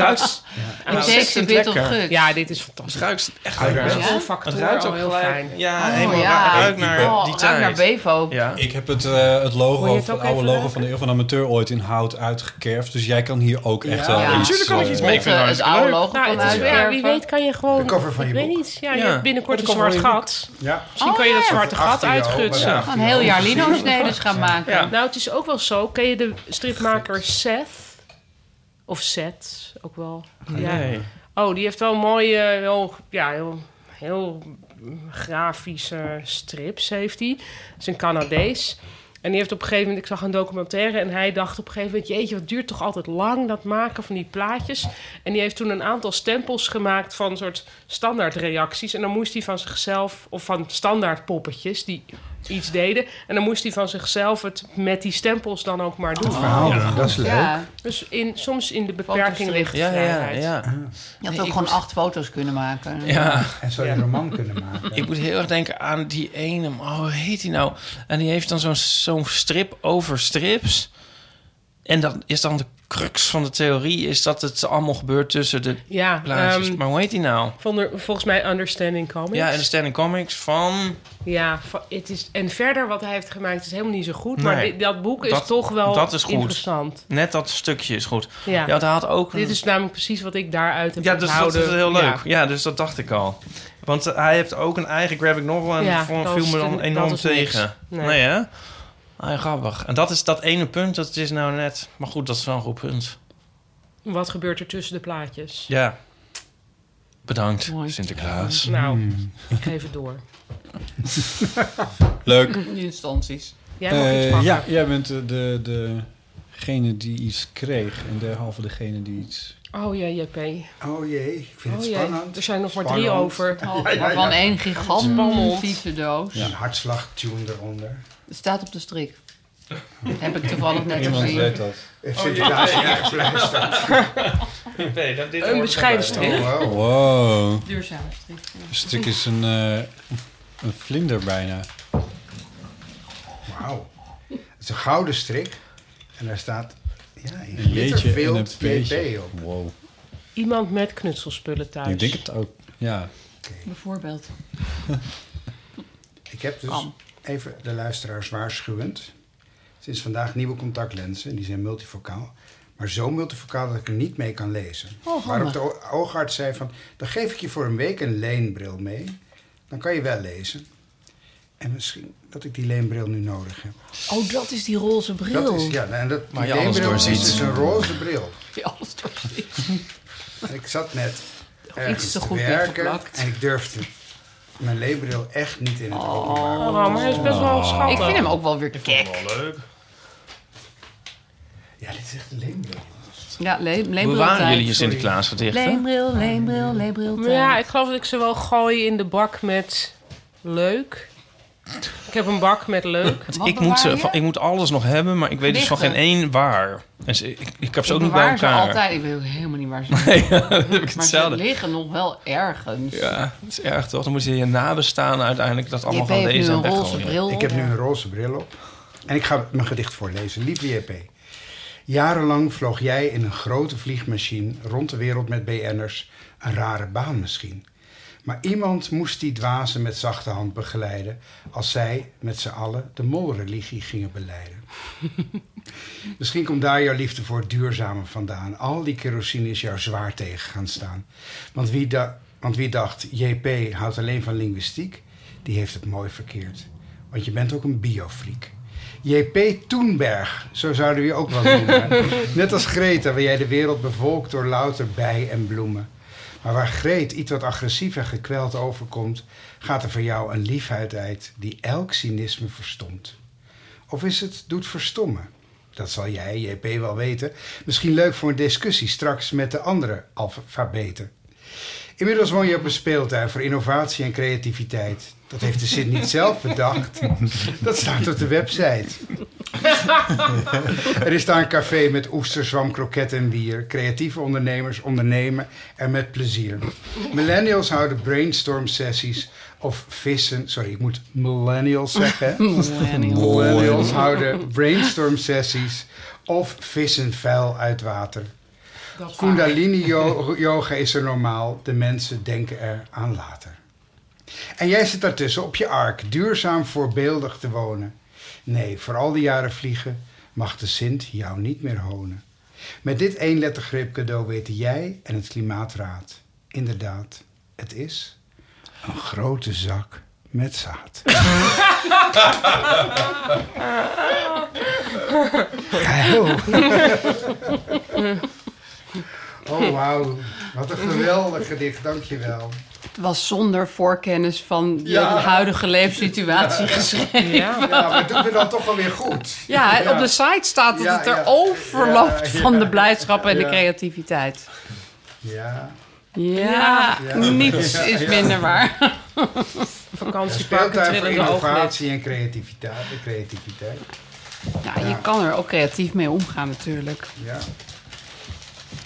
Speaker 3: It
Speaker 4: nou,
Speaker 3: takes a
Speaker 4: ontzettend
Speaker 3: bit of
Speaker 4: lekker.
Speaker 3: guts.
Speaker 6: Ja, dit is fantastisch.
Speaker 4: het ruikt echt
Speaker 7: Uit-
Speaker 4: lekker.
Speaker 6: Dat is
Speaker 3: Ja?
Speaker 6: een
Speaker 4: Het
Speaker 6: factor
Speaker 4: ruikt
Speaker 6: al
Speaker 4: ook
Speaker 6: heel
Speaker 4: gelijk.
Speaker 6: fijn.
Speaker 4: Ja,
Speaker 3: Oh,
Speaker 4: helemaal
Speaker 3: ja.
Speaker 4: ra- ruikt naar
Speaker 3: Oh,
Speaker 4: die
Speaker 3: ruikt
Speaker 4: tijd.
Speaker 3: naar Bevo.
Speaker 4: Ja.
Speaker 7: Ik heb het, eh, het logo,
Speaker 6: Wil je het
Speaker 7: van
Speaker 6: ook
Speaker 7: het oude
Speaker 6: even
Speaker 7: logo
Speaker 6: maken?
Speaker 7: van de Eeuw van de Amateur ooit in hout uitgekerfd. Dus jij kan hier ook echt wel
Speaker 3: Ja.
Speaker 7: iets,
Speaker 4: Natuurlijk kan ik
Speaker 7: eh,
Speaker 4: iets
Speaker 3: Of,
Speaker 4: mee. Ik vind het
Speaker 3: eh, het
Speaker 4: hartstikke
Speaker 3: oude
Speaker 4: leuk.
Speaker 3: logo
Speaker 6: Nou,
Speaker 3: kan
Speaker 6: het is, ja, wie
Speaker 3: uitwerven.
Speaker 6: weet kan je gewoon...
Speaker 2: De cover van je
Speaker 6: ik weet
Speaker 2: boek. Oh,
Speaker 6: niet. Ja, je
Speaker 4: Ja.
Speaker 6: hebt binnenkort een
Speaker 4: De cover
Speaker 6: zwart
Speaker 4: van je boek.
Speaker 6: gat.
Speaker 2: Ja.
Speaker 6: Misschien kan je dat zwarte gat
Speaker 2: 18 euro,
Speaker 6: uitgutsen.
Speaker 2: maar
Speaker 4: Ja.
Speaker 2: ja.
Speaker 3: Een heel jaar lino-snedes gaan maken.
Speaker 4: Ja.
Speaker 6: Nou, het is ook wel zo. Ken je de stripmaker Seth? Of Seth, ook wel. Ja.
Speaker 4: Nee.
Speaker 6: Oh, die heeft wel mooie, eh, heel, ja, heel, heel grafische strips heeft hij. Dat is een Canadees. En die heeft op een gegeven moment, ik zag een documentaire... en hij dacht op een gegeven moment... jeetje, wat duurt toch altijd lang, dat maken van die plaatjes. En die heeft toen een aantal stempels gemaakt... van soort standaardreacties. En dan moest hij van zichzelf... of van standaard poppetjes die iets deden. En dan moest hij van zichzelf het met die stempels dan ook maar doen.
Speaker 4: Ah.
Speaker 2: Verhaal, dat is leuk.
Speaker 3: Ja,
Speaker 6: Dus in, soms in de beperking
Speaker 3: Fotostrip.
Speaker 6: ligt de
Speaker 4: Ja, ja,
Speaker 6: vrijheid.
Speaker 4: ja.
Speaker 3: je had ook gewoon acht foto's kunnen maken.
Speaker 4: Ja,
Speaker 2: En zou je een roman kunnen maken.
Speaker 4: ik moet heel erg denken aan die ene. Oh, hoe heet die nou? En die heeft dan zo'n zo'n strip over strips. En dat is dan de crux van de theorie... is dat het allemaal gebeurt tussen de
Speaker 6: Ja,
Speaker 4: plaatjes.
Speaker 6: ehm,
Speaker 4: maar hoe heet die nou?
Speaker 6: van de- volgens mij Understanding Comics.
Speaker 4: Ja, in de Standing Comics van...
Speaker 6: Ja, va- het is, en verder wat hij heeft gemaakt is helemaal niet zo goed. Maar
Speaker 4: Nee.
Speaker 6: dit- dat boek is
Speaker 4: Dat-
Speaker 6: toch wel
Speaker 4: dat is goed.
Speaker 6: interessant.
Speaker 4: Net dat stukje is goed.
Speaker 6: Ja.
Speaker 4: Ja, daar had ook... een-
Speaker 6: Dit is namelijk precies wat ik daaruit heb
Speaker 4: ja, dus dat
Speaker 6: onthouden.
Speaker 4: is heel
Speaker 6: Ja.
Speaker 4: leuk. Ja. dus dat dacht ik al. Want eh, hij heeft ook een eigen graphic novel... en
Speaker 6: Ja,
Speaker 4: dat vond-
Speaker 6: dat
Speaker 4: viel
Speaker 6: is
Speaker 4: me dan
Speaker 6: een-
Speaker 4: enorm
Speaker 6: dat is niks.
Speaker 4: tegen.
Speaker 6: Nee.
Speaker 4: Nee, hè? Ah, grappig. En dat is dat ene punt, dat is nou net... Maar goed, dat is wel een goed punt.
Speaker 6: Wat gebeurt er tussen de plaatjes?
Speaker 4: Ja. Bedankt,
Speaker 3: Mooi.
Speaker 4: Sinterklaas.
Speaker 6: Nou, ik geef het door.
Speaker 7: Leuk.
Speaker 3: Die instanties.
Speaker 6: Jij mag
Speaker 7: Eh,
Speaker 6: iets pakken.
Speaker 7: ja, jij bent eh, de, de, degene die iets kreeg en derhalve degene die iets...
Speaker 6: Oh ja, JP. Oh,
Speaker 2: Oh jee, ik vind het
Speaker 6: jee.
Speaker 2: spannend.
Speaker 6: Er zijn nog maar drie
Speaker 2: Spannend.
Speaker 6: over.
Speaker 3: Oh, Waarvan één gigantische doos.
Speaker 2: Een hartslagtune eronder.
Speaker 3: Het staat op de strik. Heb ik toevallig net
Speaker 7: Iemand
Speaker 2: eh,
Speaker 3: gezien.
Speaker 7: weet dat.
Speaker 2: Heeft zit er daar Oh, zijn eigen fles staan?
Speaker 6: Een bescheiden strip.
Speaker 2: Oh, wow.
Speaker 7: Wow.
Speaker 3: Duurzame strik.
Speaker 7: Een stuk is een, eh, een vlinder bijna.
Speaker 2: Wauw. Het is een gouden strik. En daar staat ja, een
Speaker 7: Een jeetje en een
Speaker 2: glitterbeeld
Speaker 7: beetje.
Speaker 2: PP op.
Speaker 7: Wow.
Speaker 6: Iemand met knutselspullen thuis.
Speaker 7: Ik denk het ook. Ja.
Speaker 3: Bijvoorbeeld.
Speaker 2: Ik heb dus
Speaker 3: Kan.
Speaker 2: even de luisteraars waarschuwend. Sinds vandaag nieuwe contactlenzen. en Die zijn multifocaal. Maar zo multifocaal dat ik er niet mee kan lezen.
Speaker 3: handig.
Speaker 2: Waarop de o- oogarts zei van... dan geef ik je voor een week een leenbril mee. Dan kan je wel lezen. En misschien dat ik die leenbril nu nodig heb.
Speaker 3: Oh, dat is die roze bril.
Speaker 2: Dat is, ja, nou, en dat,
Speaker 4: Maar je
Speaker 2: die
Speaker 4: alles
Speaker 2: leenbril is
Speaker 4: doorziet.
Speaker 2: dus een roze bril.
Speaker 3: Die alles doorziet.
Speaker 2: En ik zat net ergens
Speaker 3: iets te
Speaker 2: te
Speaker 3: goed
Speaker 2: werken.
Speaker 3: dichtgeplakt.
Speaker 2: En ik durfde mijn leenbril echt niet in het openbaar.
Speaker 6: Oh, maar hij is best wel
Speaker 3: Ik
Speaker 6: schattig.
Speaker 3: vind hem ook wel weer kek.
Speaker 4: leuk.
Speaker 2: Ja, dit is echt een leenbril.
Speaker 3: Ja, le
Speaker 4: Hoe
Speaker 3: leembril
Speaker 4: waren jullie je
Speaker 3: tijd.
Speaker 4: Sinterklaas gedichten?
Speaker 3: Leembril, leembril, leembril.
Speaker 6: Maar
Speaker 3: tijd.
Speaker 6: ja, ik geloof dat ik ze wel gooi in de bak met leuk. Ik heb een bak met leuk.
Speaker 3: Wat
Speaker 4: Ik moet,
Speaker 3: bewaar
Speaker 4: ze,
Speaker 3: je?
Speaker 4: van- ik moet alles nog hebben, maar ik weet dus van geen
Speaker 3: Gedichten.
Speaker 4: één waar. En ze- ik, ik heb ze ook
Speaker 3: Ik
Speaker 4: niet bij
Speaker 3: bewaar ze
Speaker 4: elkaar.
Speaker 3: altijd. Ik weet ook helemaal niet waar ze zijn.
Speaker 4: *laughs* Nee, ja, dat heb *laughs* ik
Speaker 3: Maar ze
Speaker 4: hetzelfde.
Speaker 3: liggen nog wel ergens.
Speaker 4: Ja, dat is erg toch? Dan moet je je nabestaanden uiteindelijk dat allemaal
Speaker 3: JP
Speaker 4: gaan
Speaker 3: heeft nu
Speaker 4: lezen en
Speaker 3: een roze
Speaker 4: weggooien.
Speaker 3: bril.
Speaker 2: Ik heb nu een roze bril op. En ik ga mijn gedicht voorlezen. Lieve JP. Jarenlang vloog jij in een grote vliegmachine rond de wereld met BN'ers. Een rare baan misschien. Maar iemand moest die dwazen met zachte hand begeleiden... als zij met z'n allen de molreligie gingen beleiden. Misschien komt daar jouw liefde voor het duurzame vandaan. Al die kerosine is jou zwaar tegen gaan staan. Want wie, da- want wie dacht, JP houdt alleen van linguïstiek... die heeft het mooi verkeerd. Want je bent ook een biofreak. JP Toenberg, zo zouden we je ook wel noemen. Net als Greta, waar jij de wereld bevolkt door louter bij en bloemen. Maar waar Greet iets wat agressief en gekweld overkomt... gaat er voor jou een liefheid uit die elk cynisme verstomt. Of is het doet verstommen? Dat zal jij, JP, wel weten. Misschien leuk voor een discussie straks met de andere alfabeten. Inmiddels woon je op een speeltuin voor innovatie en creativiteit. Dat heeft de zin niet zelf bedacht. Dat staat op de website. *laughs* Er is daar een café met oesterzwam, kroketten en bier. Creatieve ondernemers ondernemen en met plezier. Millennials houden brainstorm sessies of vissen. Sorry, ik moet millennials zeggen.
Speaker 3: Millennials.
Speaker 2: millennials houden brainstorm sessies of vissen vuil uit water. Kundalini yo- yoga is er normaal. De mensen denken er aan later. En jij zit daartussen op je ark, duurzaam voorbeeldig te wonen. Nee, voor al die jaren vliegen mag de Sint jou niet meer honen. Met dit eenlettergrip cadeau weten jij en het Klimaatraad. Inderdaad, het is een grote zak met zaad. Geil. Oh, wauw. Wat een geweldig gedicht. Dankjewel.
Speaker 3: *laughs* Het was zonder voorkennis van de
Speaker 2: Ja.
Speaker 3: huidige leefsituatie geschreven.
Speaker 2: Ja,
Speaker 3: Ja.
Speaker 2: maar doen we dan toch wel weer goed. Ja.
Speaker 3: op de site staat dat
Speaker 2: Ja,
Speaker 3: het
Speaker 2: ja.
Speaker 3: er overloopt
Speaker 2: Ja,
Speaker 3: van
Speaker 2: ja.
Speaker 3: de blijdschap en
Speaker 2: Ja.
Speaker 3: de creativiteit.
Speaker 2: Ja.
Speaker 3: Ja,
Speaker 2: Ja.
Speaker 3: niets
Speaker 2: Ja,
Speaker 3: is
Speaker 2: ja.
Speaker 3: minder waar.
Speaker 6: Vakantieparken
Speaker 2: Speeltuin voor
Speaker 6: trillen de ooglid.
Speaker 2: innovatie en creativiteit. creativiteit.
Speaker 3: Ja, je kan er ook creatief mee omgaan natuurlijk.
Speaker 2: Ja.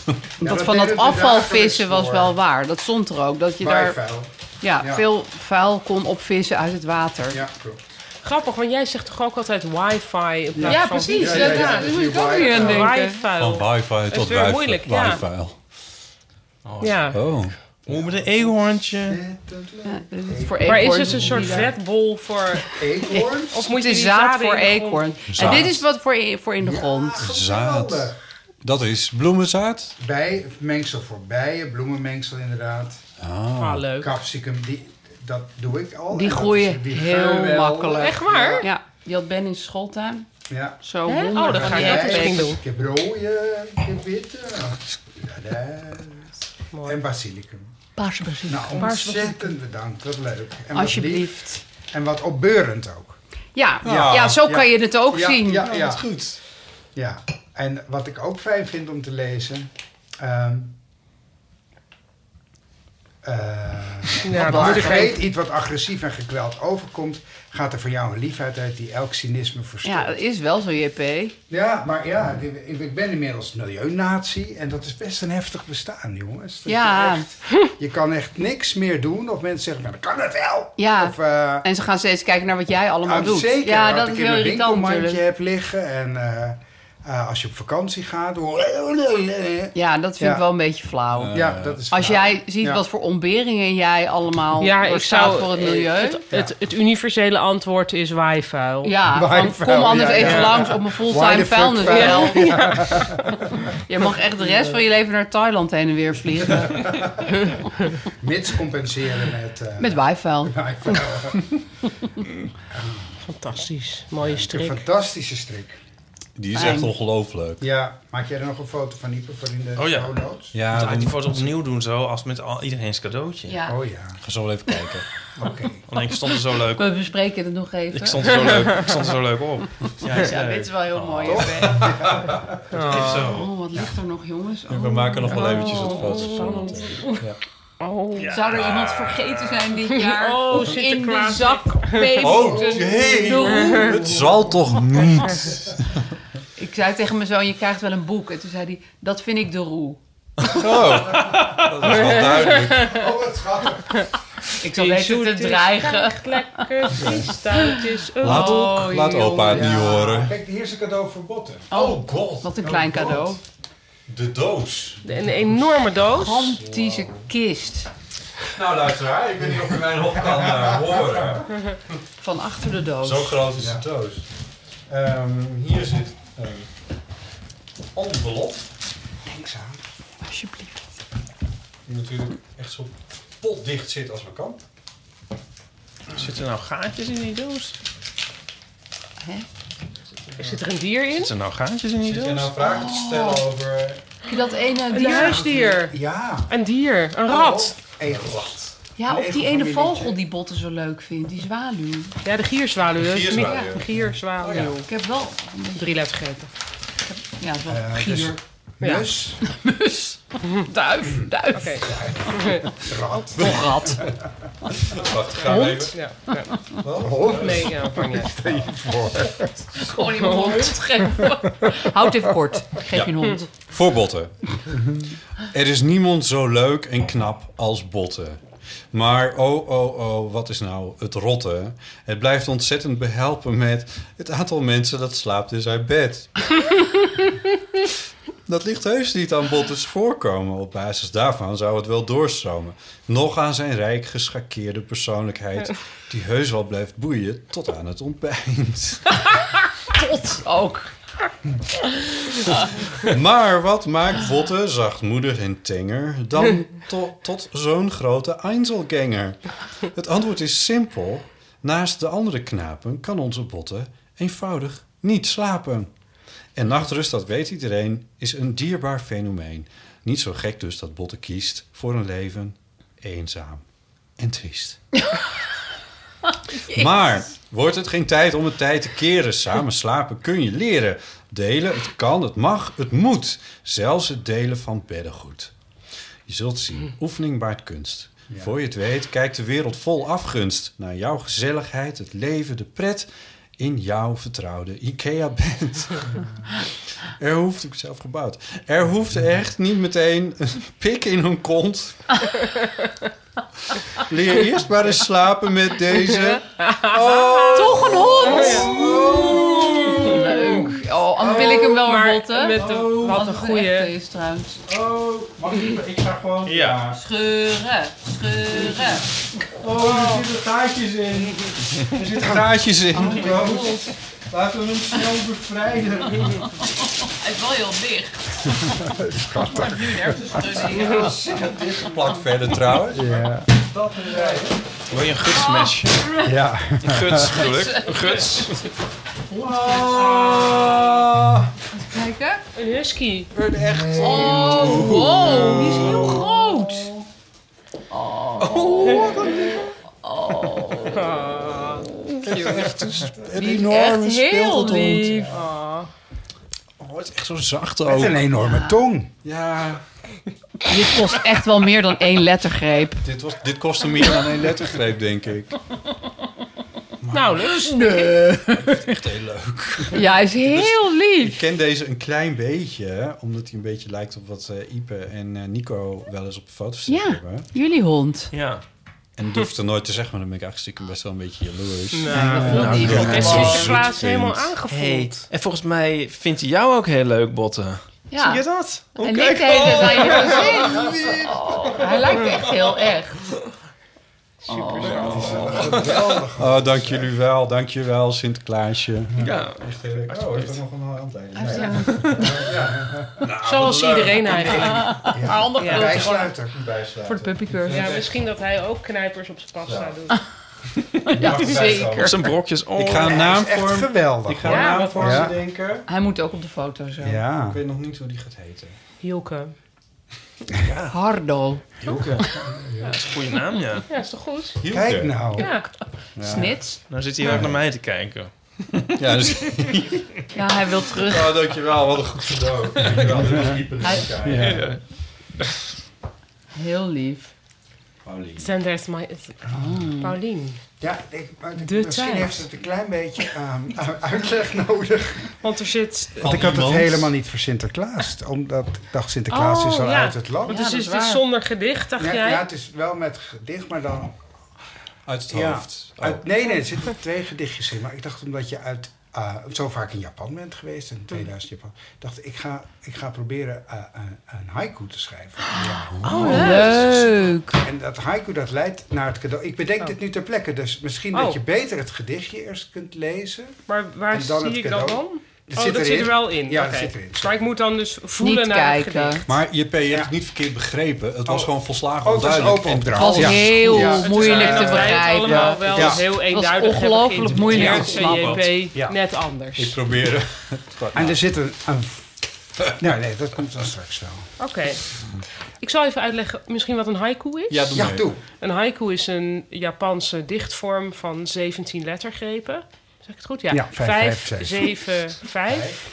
Speaker 3: Dat,
Speaker 2: dat
Speaker 3: van
Speaker 2: deden
Speaker 3: dat
Speaker 2: we
Speaker 3: afvalvissen
Speaker 2: dagelijks
Speaker 3: was
Speaker 2: dus voor.
Speaker 3: wel waar. Dat stond er ook. Dat je daar
Speaker 2: Bijvuil.
Speaker 3: ja,
Speaker 2: Ja.
Speaker 3: veel vuil kon opvissen uit het water.
Speaker 2: Ja, klopt.
Speaker 6: Grappig, want jij zegt toch ook altijd wifi in
Speaker 3: Ja,
Speaker 6: plaats van
Speaker 3: precies.
Speaker 2: Ja, ja, ja,
Speaker 3: Daar
Speaker 2: dat
Speaker 3: moet
Speaker 2: je
Speaker 3: ik ook
Speaker 2: wifi-
Speaker 3: weer aan denken.
Speaker 6: wifi.
Speaker 7: Van wifi
Speaker 6: is
Speaker 7: tot
Speaker 6: weer
Speaker 7: wifi.
Speaker 6: moeilijk, ja.
Speaker 7: wifi.
Speaker 6: Ja.
Speaker 7: Oh.
Speaker 4: Hoe met een eekhoorntje.
Speaker 3: Ja, dat is voor
Speaker 6: Maar is
Speaker 3: eekhoorns
Speaker 6: het een soort
Speaker 3: die daar-
Speaker 6: vetbol voor...
Speaker 2: Eekhoorns?
Speaker 6: Of
Speaker 3: Het
Speaker 6: moet je
Speaker 3: is
Speaker 6: die
Speaker 3: zaad
Speaker 6: zaden
Speaker 3: voor
Speaker 6: in de grond-
Speaker 3: eekhoorn. En
Speaker 7: Zaad.
Speaker 3: dit is wat voor in, voor in de grond.
Speaker 7: Zaad. Dat is bloemenzaad.
Speaker 2: Bij, mengsel voor bijen, bloemenmengsel inderdaad.
Speaker 6: Ah, leuk.
Speaker 2: Capsicum, die, dat doe ik al.
Speaker 3: Die
Speaker 2: En dat
Speaker 3: groeien
Speaker 2: is- die
Speaker 3: heel
Speaker 2: geur wel.
Speaker 3: makkelijk.
Speaker 6: Echt waar?
Speaker 3: Ja, die had Ben in zijn schooltuin.
Speaker 2: Ja.
Speaker 3: Zo
Speaker 6: Hè?
Speaker 3: honderd
Speaker 6: Oh, dat
Speaker 3: van
Speaker 6: ga ik
Speaker 3: die
Speaker 2: dus
Speaker 6: ook
Speaker 3: eikhoorns.
Speaker 6: misschien doen.
Speaker 2: Ik heb rode, ik heb witte. Ja, daar.
Speaker 6: Mooi.
Speaker 2: En basilicum.
Speaker 3: Paarse basil.
Speaker 2: Nou, ontzettend bedankt. Wat leuk. En wat lief.
Speaker 3: Alsjeblieft.
Speaker 2: En wat opbeurend ook.
Speaker 3: Ja, ja.
Speaker 2: Ja.
Speaker 3: zo
Speaker 2: Ja.
Speaker 3: kan je het ook
Speaker 2: ja,
Speaker 3: zien.
Speaker 6: Oh,
Speaker 2: Ja, ja.
Speaker 7: goed.
Speaker 2: ja, en wat ik ook fijn vind om te lezen. ehm, eh,
Speaker 6: Ja, dat
Speaker 2: Waar
Speaker 6: moet ik
Speaker 2: Greet
Speaker 6: even...
Speaker 2: iets wat agressief en gekweld overkomt, gaat er voor jou een liefheid uit die elk cynisme verstoort.
Speaker 3: Ja,
Speaker 2: Ja,
Speaker 3: dat is wel zo, JP.
Speaker 2: maar ja, ik ik ben inmiddels milieunatie en dat is best een heftig bestaan, jongens. Dat je
Speaker 3: Ja.
Speaker 2: echt- je kan echt niks meer doen of mensen zeggen, nou, dan kan het wel.
Speaker 3: Ja.
Speaker 2: Of, eh,
Speaker 3: En ze gaan steeds kijken naar wat jij allemaal
Speaker 2: ah,
Speaker 3: doet.
Speaker 2: Zeker,
Speaker 3: ja,
Speaker 2: wat
Speaker 3: dat
Speaker 2: ik
Speaker 3: is
Speaker 2: in
Speaker 3: heel
Speaker 2: mijn
Speaker 3: irritant
Speaker 2: winkelmandje
Speaker 3: natuurlijk.
Speaker 2: heb liggen en eh, eh, als je op vakantie gaat.
Speaker 3: Ja, dat vind
Speaker 2: Ja.
Speaker 3: ik wel een beetje flauw.
Speaker 4: Eh,
Speaker 2: ja, dat is
Speaker 3: Als
Speaker 2: flauw.
Speaker 3: jij ziet
Speaker 2: Ja.
Speaker 3: wat voor ontberingen jij allemaal
Speaker 6: Ja, ik
Speaker 3: doorstaat
Speaker 6: zou... eh,
Speaker 3: voor het milieu.
Speaker 6: Het, het, het universele antwoord is waaivuil.
Speaker 3: ja,
Speaker 2: Waar
Speaker 3: van,
Speaker 2: ik
Speaker 3: kom
Speaker 2: vuil,
Speaker 3: anders
Speaker 2: ja,
Speaker 3: even
Speaker 2: ja.
Speaker 3: langs op mijn
Speaker 2: Why
Speaker 3: fulltime
Speaker 2: the fuck
Speaker 3: vuilnisbel.
Speaker 2: vuil?
Speaker 3: *laughs* Je mag echt de rest van je leven naar Thailand heen en weer
Speaker 2: *laughs*
Speaker 3: vliegen.
Speaker 2: Mits compenseren met... eh, *laughs*
Speaker 3: Met waaifvuil.
Speaker 6: Fantastisch. Mooie
Speaker 2: Een
Speaker 6: strik.
Speaker 2: fantastische strik.
Speaker 7: Die is
Speaker 3: Fijn.
Speaker 7: echt ongelooflijk.
Speaker 2: Ja, maak jij er nog een foto van Ipe voor in de
Speaker 4: Oh ja.
Speaker 2: show notes?
Speaker 7: Ja,
Speaker 4: Zou ik die
Speaker 7: dan
Speaker 4: foto opnieuw doen zo, als met al, iedereen zijn cadeautje?
Speaker 3: Ja.
Speaker 2: Oh ja,
Speaker 7: ga zo wel even kijken.
Speaker 2: oké.
Speaker 4: Want ik stond er zo leuk op.
Speaker 3: We bespreken het nog even.
Speaker 4: Ik stond er zo leuk, ik stond er zo
Speaker 3: *laughs*
Speaker 4: leuk op. Ja, is
Speaker 3: Ja,
Speaker 4: leuk.
Speaker 3: dit is wel
Speaker 6: Oh.
Speaker 3: heel mooi.
Speaker 4: Even zo.
Speaker 3: Oh, wat ligt er nog, jongens? Oh.
Speaker 7: We maken nog wel eventjes wat
Speaker 3: Oh,
Speaker 7: foto's van. eh.
Speaker 3: spannend.
Speaker 6: Oh.
Speaker 3: Zou er iemand vergeten zijn dit jaar?
Speaker 6: *laughs* Oh,
Speaker 3: Of in de
Speaker 6: Sinterklaas.
Speaker 3: zak
Speaker 6: *laughs*
Speaker 3: peper
Speaker 7: Oh,
Speaker 3: moeten
Speaker 7: jee.
Speaker 3: doen?
Speaker 7: Het zal toch niet?
Speaker 3: Ik zei tegen mijn zoon, je krijgt wel een boek. En toen zei hij, dat vind ik de roe.
Speaker 7: *laughs* Oh, dat is wel duidelijk.
Speaker 2: Oh, wat schattig.
Speaker 3: Ik zal even te dreigen.
Speaker 6: Lekker staartjes. een
Speaker 7: Laat,
Speaker 3: Oh,
Speaker 6: mooi,
Speaker 7: laat opa het
Speaker 6: jongen.
Speaker 7: niet horen.
Speaker 2: Kijk, hier is een cadeau voor botten.
Speaker 7: Oh god.
Speaker 3: Wat een klein cadeau.
Speaker 7: De doos.
Speaker 6: Een enorme doos.
Speaker 3: Gigantische kist.
Speaker 7: Nou luisteraar, ik weet niet of je mijn hof kan eh, horen.
Speaker 3: Van achter de doos.
Speaker 7: Zo groot is de doos. Ehm, hier zit een envelop.
Speaker 2: Niks aan.
Speaker 3: Alsjeblieft.
Speaker 7: Die natuurlijk echt zo potdicht zit als maar kan.
Speaker 4: Zitten er nou gaatjes in die doos?
Speaker 6: Zit er een dier in?
Speaker 4: Zitten er nou gaatjes in die
Speaker 7: Zit jij
Speaker 4: doos?
Speaker 7: nou vragen te stellen over...
Speaker 3: Heb je dat ene
Speaker 6: Een
Speaker 3: dier?
Speaker 6: huisdier.
Speaker 2: Ja. Oh.
Speaker 6: Een dier. Een rat.
Speaker 2: Egel.
Speaker 3: Ja, of die
Speaker 2: Een
Speaker 3: ene
Speaker 2: egelfamilietje.
Speaker 3: vogel die Botten zo leuk vindt, die zwaluw.
Speaker 6: Ja, de gierzwaluw.
Speaker 7: De
Speaker 6: hè?
Speaker 7: gierzwaluw.
Speaker 6: Ja, De gierzwaluw.
Speaker 3: Ik heb wel een beetje-
Speaker 6: Drie lettergrepen.
Speaker 3: ja, het is wel
Speaker 2: Eh,
Speaker 3: gier.
Speaker 2: dus-
Speaker 6: Ja.
Speaker 2: Dus,
Speaker 3: Mus. *laughs* Duif, duif.
Speaker 6: Oké.
Speaker 2: rat.
Speaker 3: Toch rat.
Speaker 7: Wacht, ga even.
Speaker 6: Ja.
Speaker 2: Hond.
Speaker 6: Nee, ja, maar niet. uit.
Speaker 3: Gewoon iemand een hond geven. Houd even kort. Ik geef
Speaker 7: Ja.
Speaker 3: je een hond.
Speaker 7: Voor Botten. er is niemand zo leuk en knap als Botten. Maar oh, oh, oh, wat is nou het rotte? Het blijft ontzettend behelpen met het aantal mensen dat slaapt in zijn bed. *laughs* dat ligt heus niet aan Bottes voorkomen. Op basis daarvan zou het wel doorstromen. Nog aan zijn rijk geschakeerde persoonlijkheid, die heus wel blijft boeien tot aan het ontbijt.
Speaker 3: Tot ook.
Speaker 7: Maar wat maakt Botte zachtmoedig en tenger dan to- tot zo'n grote Einzelganger? Het antwoord is simpel. Naast de andere knapen kan onze Botte eenvoudig niet slapen. En nachtrust, dat weet iedereen, is een dierbaar fenomeen. Niet zo gek dus dat Botte kiest voor een leven eenzaam en triest. Maar wordt het geen tijd om het tijd te keren? Samen slapen kun je leren. Delen, het kan, het mag, het moet. Zelfs het delen van beddengoed. Je zult zien, oefening baart kunst. Voor je het weet, kijkt de wereld vol afgunst naar jouw gezelligheid, het leven, de pret in jouw vertrouwde IKEA-bed. Er hoeft, ik heb het zelf gebouwd, er hoeft echt niet meteen een pik in hun kont. Leer eerst maar eens slapen met deze. Oh.
Speaker 3: Toch een hond! Leuk. Oh, anders wil ik hem wel
Speaker 6: Maar
Speaker 3: maar, botten.
Speaker 6: met de- wat een goeie.
Speaker 3: is trouwens.
Speaker 7: Oh, mag ik? Ik ga gewoon.
Speaker 4: Ja.
Speaker 3: Scheuren, scheuren.
Speaker 7: Oh, er zitten gaatjes in. Er zitten gaatjes in. Laten we hem snel bevrijden.
Speaker 3: Hij is wel heel dicht. Schattig. nu nergens schudden.
Speaker 7: Plak verder trouwens.
Speaker 2: Ja.
Speaker 4: Wil je een gutsmesje?
Speaker 2: ja.
Speaker 4: Een guts, bedoel ik. Een guts.
Speaker 3: Kijken.
Speaker 6: Een husky.
Speaker 3: Oh, wow. Die is heel groot. Oh.
Speaker 2: Oh,
Speaker 6: Ah,
Speaker 7: Een
Speaker 3: Die is echt heel lief.
Speaker 6: ah.
Speaker 7: Oh, het is echt zo zacht
Speaker 2: Met een
Speaker 7: ook.
Speaker 2: enorme tong.
Speaker 7: Ja,
Speaker 3: Dit kost echt wel meer dan één lettergreep.
Speaker 7: dit, was, dit kostte meer dan één lettergreep, denk ik.
Speaker 6: Oh. Nauwelijks.
Speaker 7: Echt heel leuk.
Speaker 3: Ja, hij is heel
Speaker 7: Ik
Speaker 3: lief.
Speaker 7: ken deze een klein beetje, omdat hij een beetje lijkt op wat eh, Ipe en eh, Nico wel eens op foto's
Speaker 3: Ja.
Speaker 7: hebben.
Speaker 3: Jullie hond.
Speaker 4: Ja.
Speaker 7: En dat hoeft er nooit te zeggen, maar dan ben ik eigenlijk stiekem best wel een beetje jaloers.
Speaker 3: Voelt die
Speaker 7: ja.
Speaker 3: wel.
Speaker 6: En
Speaker 7: Oh.
Speaker 6: Sinterklaas is helemaal
Speaker 7: Hey.
Speaker 6: aangevoeld.
Speaker 4: Hey, en volgens mij vindt hij jou ook heel leuk, Botten.
Speaker 3: Ja.
Speaker 4: Zie je dat? Hoe
Speaker 3: Ah. En
Speaker 4: kijk-
Speaker 3: ik deed het aan je gezicht. Oh, hij lijkt echt heel erg.
Speaker 7: Oh, dank jullie wel. Dank je wel, Sinterklaasje.
Speaker 4: Ja.
Speaker 7: Echt heel leuk. Oh, heeft er nog een handleiding? Nee.
Speaker 6: Zoals iedereen eigenlijk.
Speaker 3: Handig
Speaker 6: Ja.
Speaker 3: voor-
Speaker 2: Bijsluiter.
Speaker 3: voor de puppycurve.
Speaker 6: Ja, Ah. misschien dat hij ook knijpers op zijn pasta doet.
Speaker 3: Ja,
Speaker 4: Op
Speaker 3: zeker.
Speaker 4: zijn brokjes. Oh.
Speaker 7: Ik ga een
Speaker 2: Hij
Speaker 7: naam
Speaker 2: is echt
Speaker 7: voor
Speaker 2: geweldig.
Speaker 7: Ik ga
Speaker 6: Ja,
Speaker 7: een naam
Speaker 6: wat
Speaker 7: voor
Speaker 2: Ja.
Speaker 7: ze denken.
Speaker 3: Hij moet ook op de foto zo.
Speaker 7: Ik
Speaker 2: Ja.
Speaker 7: weet nog niet hoe die gaat heten.
Speaker 6: Hielke.
Speaker 3: Hardo.
Speaker 4: Joke. Ja, dat is een goede naam, ja.
Speaker 6: Ja, is toch goed?
Speaker 7: Hielke.
Speaker 2: Kijk nou.
Speaker 6: Ja.
Speaker 3: Snits.
Speaker 4: Nou zit hij ook naar mij te kijken.
Speaker 2: nou.
Speaker 7: Ja, dus,
Speaker 3: Ja, hij wil terug.
Speaker 7: oh, dankjewel. Wat een goed *laughs* cadeau. Dankjewel. Dit was dieper
Speaker 3: Hij-
Speaker 7: dan kijken.
Speaker 4: Ja.
Speaker 3: Heel lief.
Speaker 7: Paulien.
Speaker 6: Then there's my...
Speaker 3: Oh.
Speaker 6: Paulien.
Speaker 2: Ja, ik, maar ik-
Speaker 6: De
Speaker 2: misschien
Speaker 6: tijd.
Speaker 2: heeft het een klein beetje *laughs* aan aan uitleg nodig.
Speaker 6: Want er zit...
Speaker 3: Oh,
Speaker 2: Want ik had het
Speaker 7: iemand.
Speaker 2: helemaal niet voor Sinterklaas. Omdat ik dacht, Sinterklaas
Speaker 6: Oh,
Speaker 2: is al
Speaker 6: ja.
Speaker 2: uit het land.
Speaker 6: Want
Speaker 3: Ja,
Speaker 6: dus
Speaker 3: dat
Speaker 6: is
Speaker 3: is
Speaker 6: het
Speaker 3: waar.
Speaker 6: zonder gedicht, dacht
Speaker 2: Ja,
Speaker 6: jij?
Speaker 7: Oh.
Speaker 2: ja, het is wel met gedicht, maar dan
Speaker 7: Uit het
Speaker 2: Ja.
Speaker 7: hoofd. Oh.
Speaker 2: Uit, nee, nee, er zitten twee gedichtjes in. Maar ik dacht omdat je uit, eh, zo vaak in Japan bent geweest, in 2000 Japan, dacht ik ga, ik ga proberen eh, een, een haiku te schrijven. Ja.
Speaker 3: Oh, leuk.
Speaker 2: En dat haiku dat leidt naar het cadeau. Ik bedenk dit nu ter plekke, dus misschien
Speaker 6: Oh.
Speaker 2: dat je beter het gedichtje eerst kunt lezen.
Speaker 6: Maar waar
Speaker 2: En dan het
Speaker 6: zie ik dat
Speaker 2: cadeau.
Speaker 6: dan?
Speaker 2: Dat
Speaker 6: oh,
Speaker 2: zit
Speaker 6: dat
Speaker 2: erin.
Speaker 6: zit er wel in.
Speaker 2: Ja, dat
Speaker 6: Oké.
Speaker 2: zit erin.
Speaker 6: Maar ik moet dan dus voelen naar het gedicht.
Speaker 7: Maar JP, je hebt het niet verkeerd begrepen. Het was gewoon volslagen
Speaker 2: Oh, het was
Speaker 7: onduidelijk.
Speaker 2: open opdracht.
Speaker 7: En-
Speaker 3: was heel
Speaker 2: Ja, het is
Speaker 3: moeilijk te
Speaker 6: Dus, eh, Dat wij het
Speaker 3: begrijpen.
Speaker 6: allemaal wel
Speaker 2: Ja.
Speaker 6: heel
Speaker 3: Het was
Speaker 6: eenduidig hebben
Speaker 3: ongelooflijk moeilijk te
Speaker 6: geïnterpreteerd,
Speaker 3: snappen.
Speaker 6: en JP
Speaker 2: Ja.
Speaker 6: net anders.
Speaker 7: Ik probeer.
Speaker 2: En er zit een. een nou, nee, dat komt dan straks wel.
Speaker 6: Oké. Ik zal even uitleggen misschien wat een haiku is.
Speaker 7: Ja, doe
Speaker 2: Ja,
Speaker 7: mee.
Speaker 2: doe.
Speaker 6: Een haiku is een Japanse dichtvorm van 17 lettergrepen. Zeg ik het goed?
Speaker 2: Ja, vijf, vijf, zeven.
Speaker 6: 7, 5.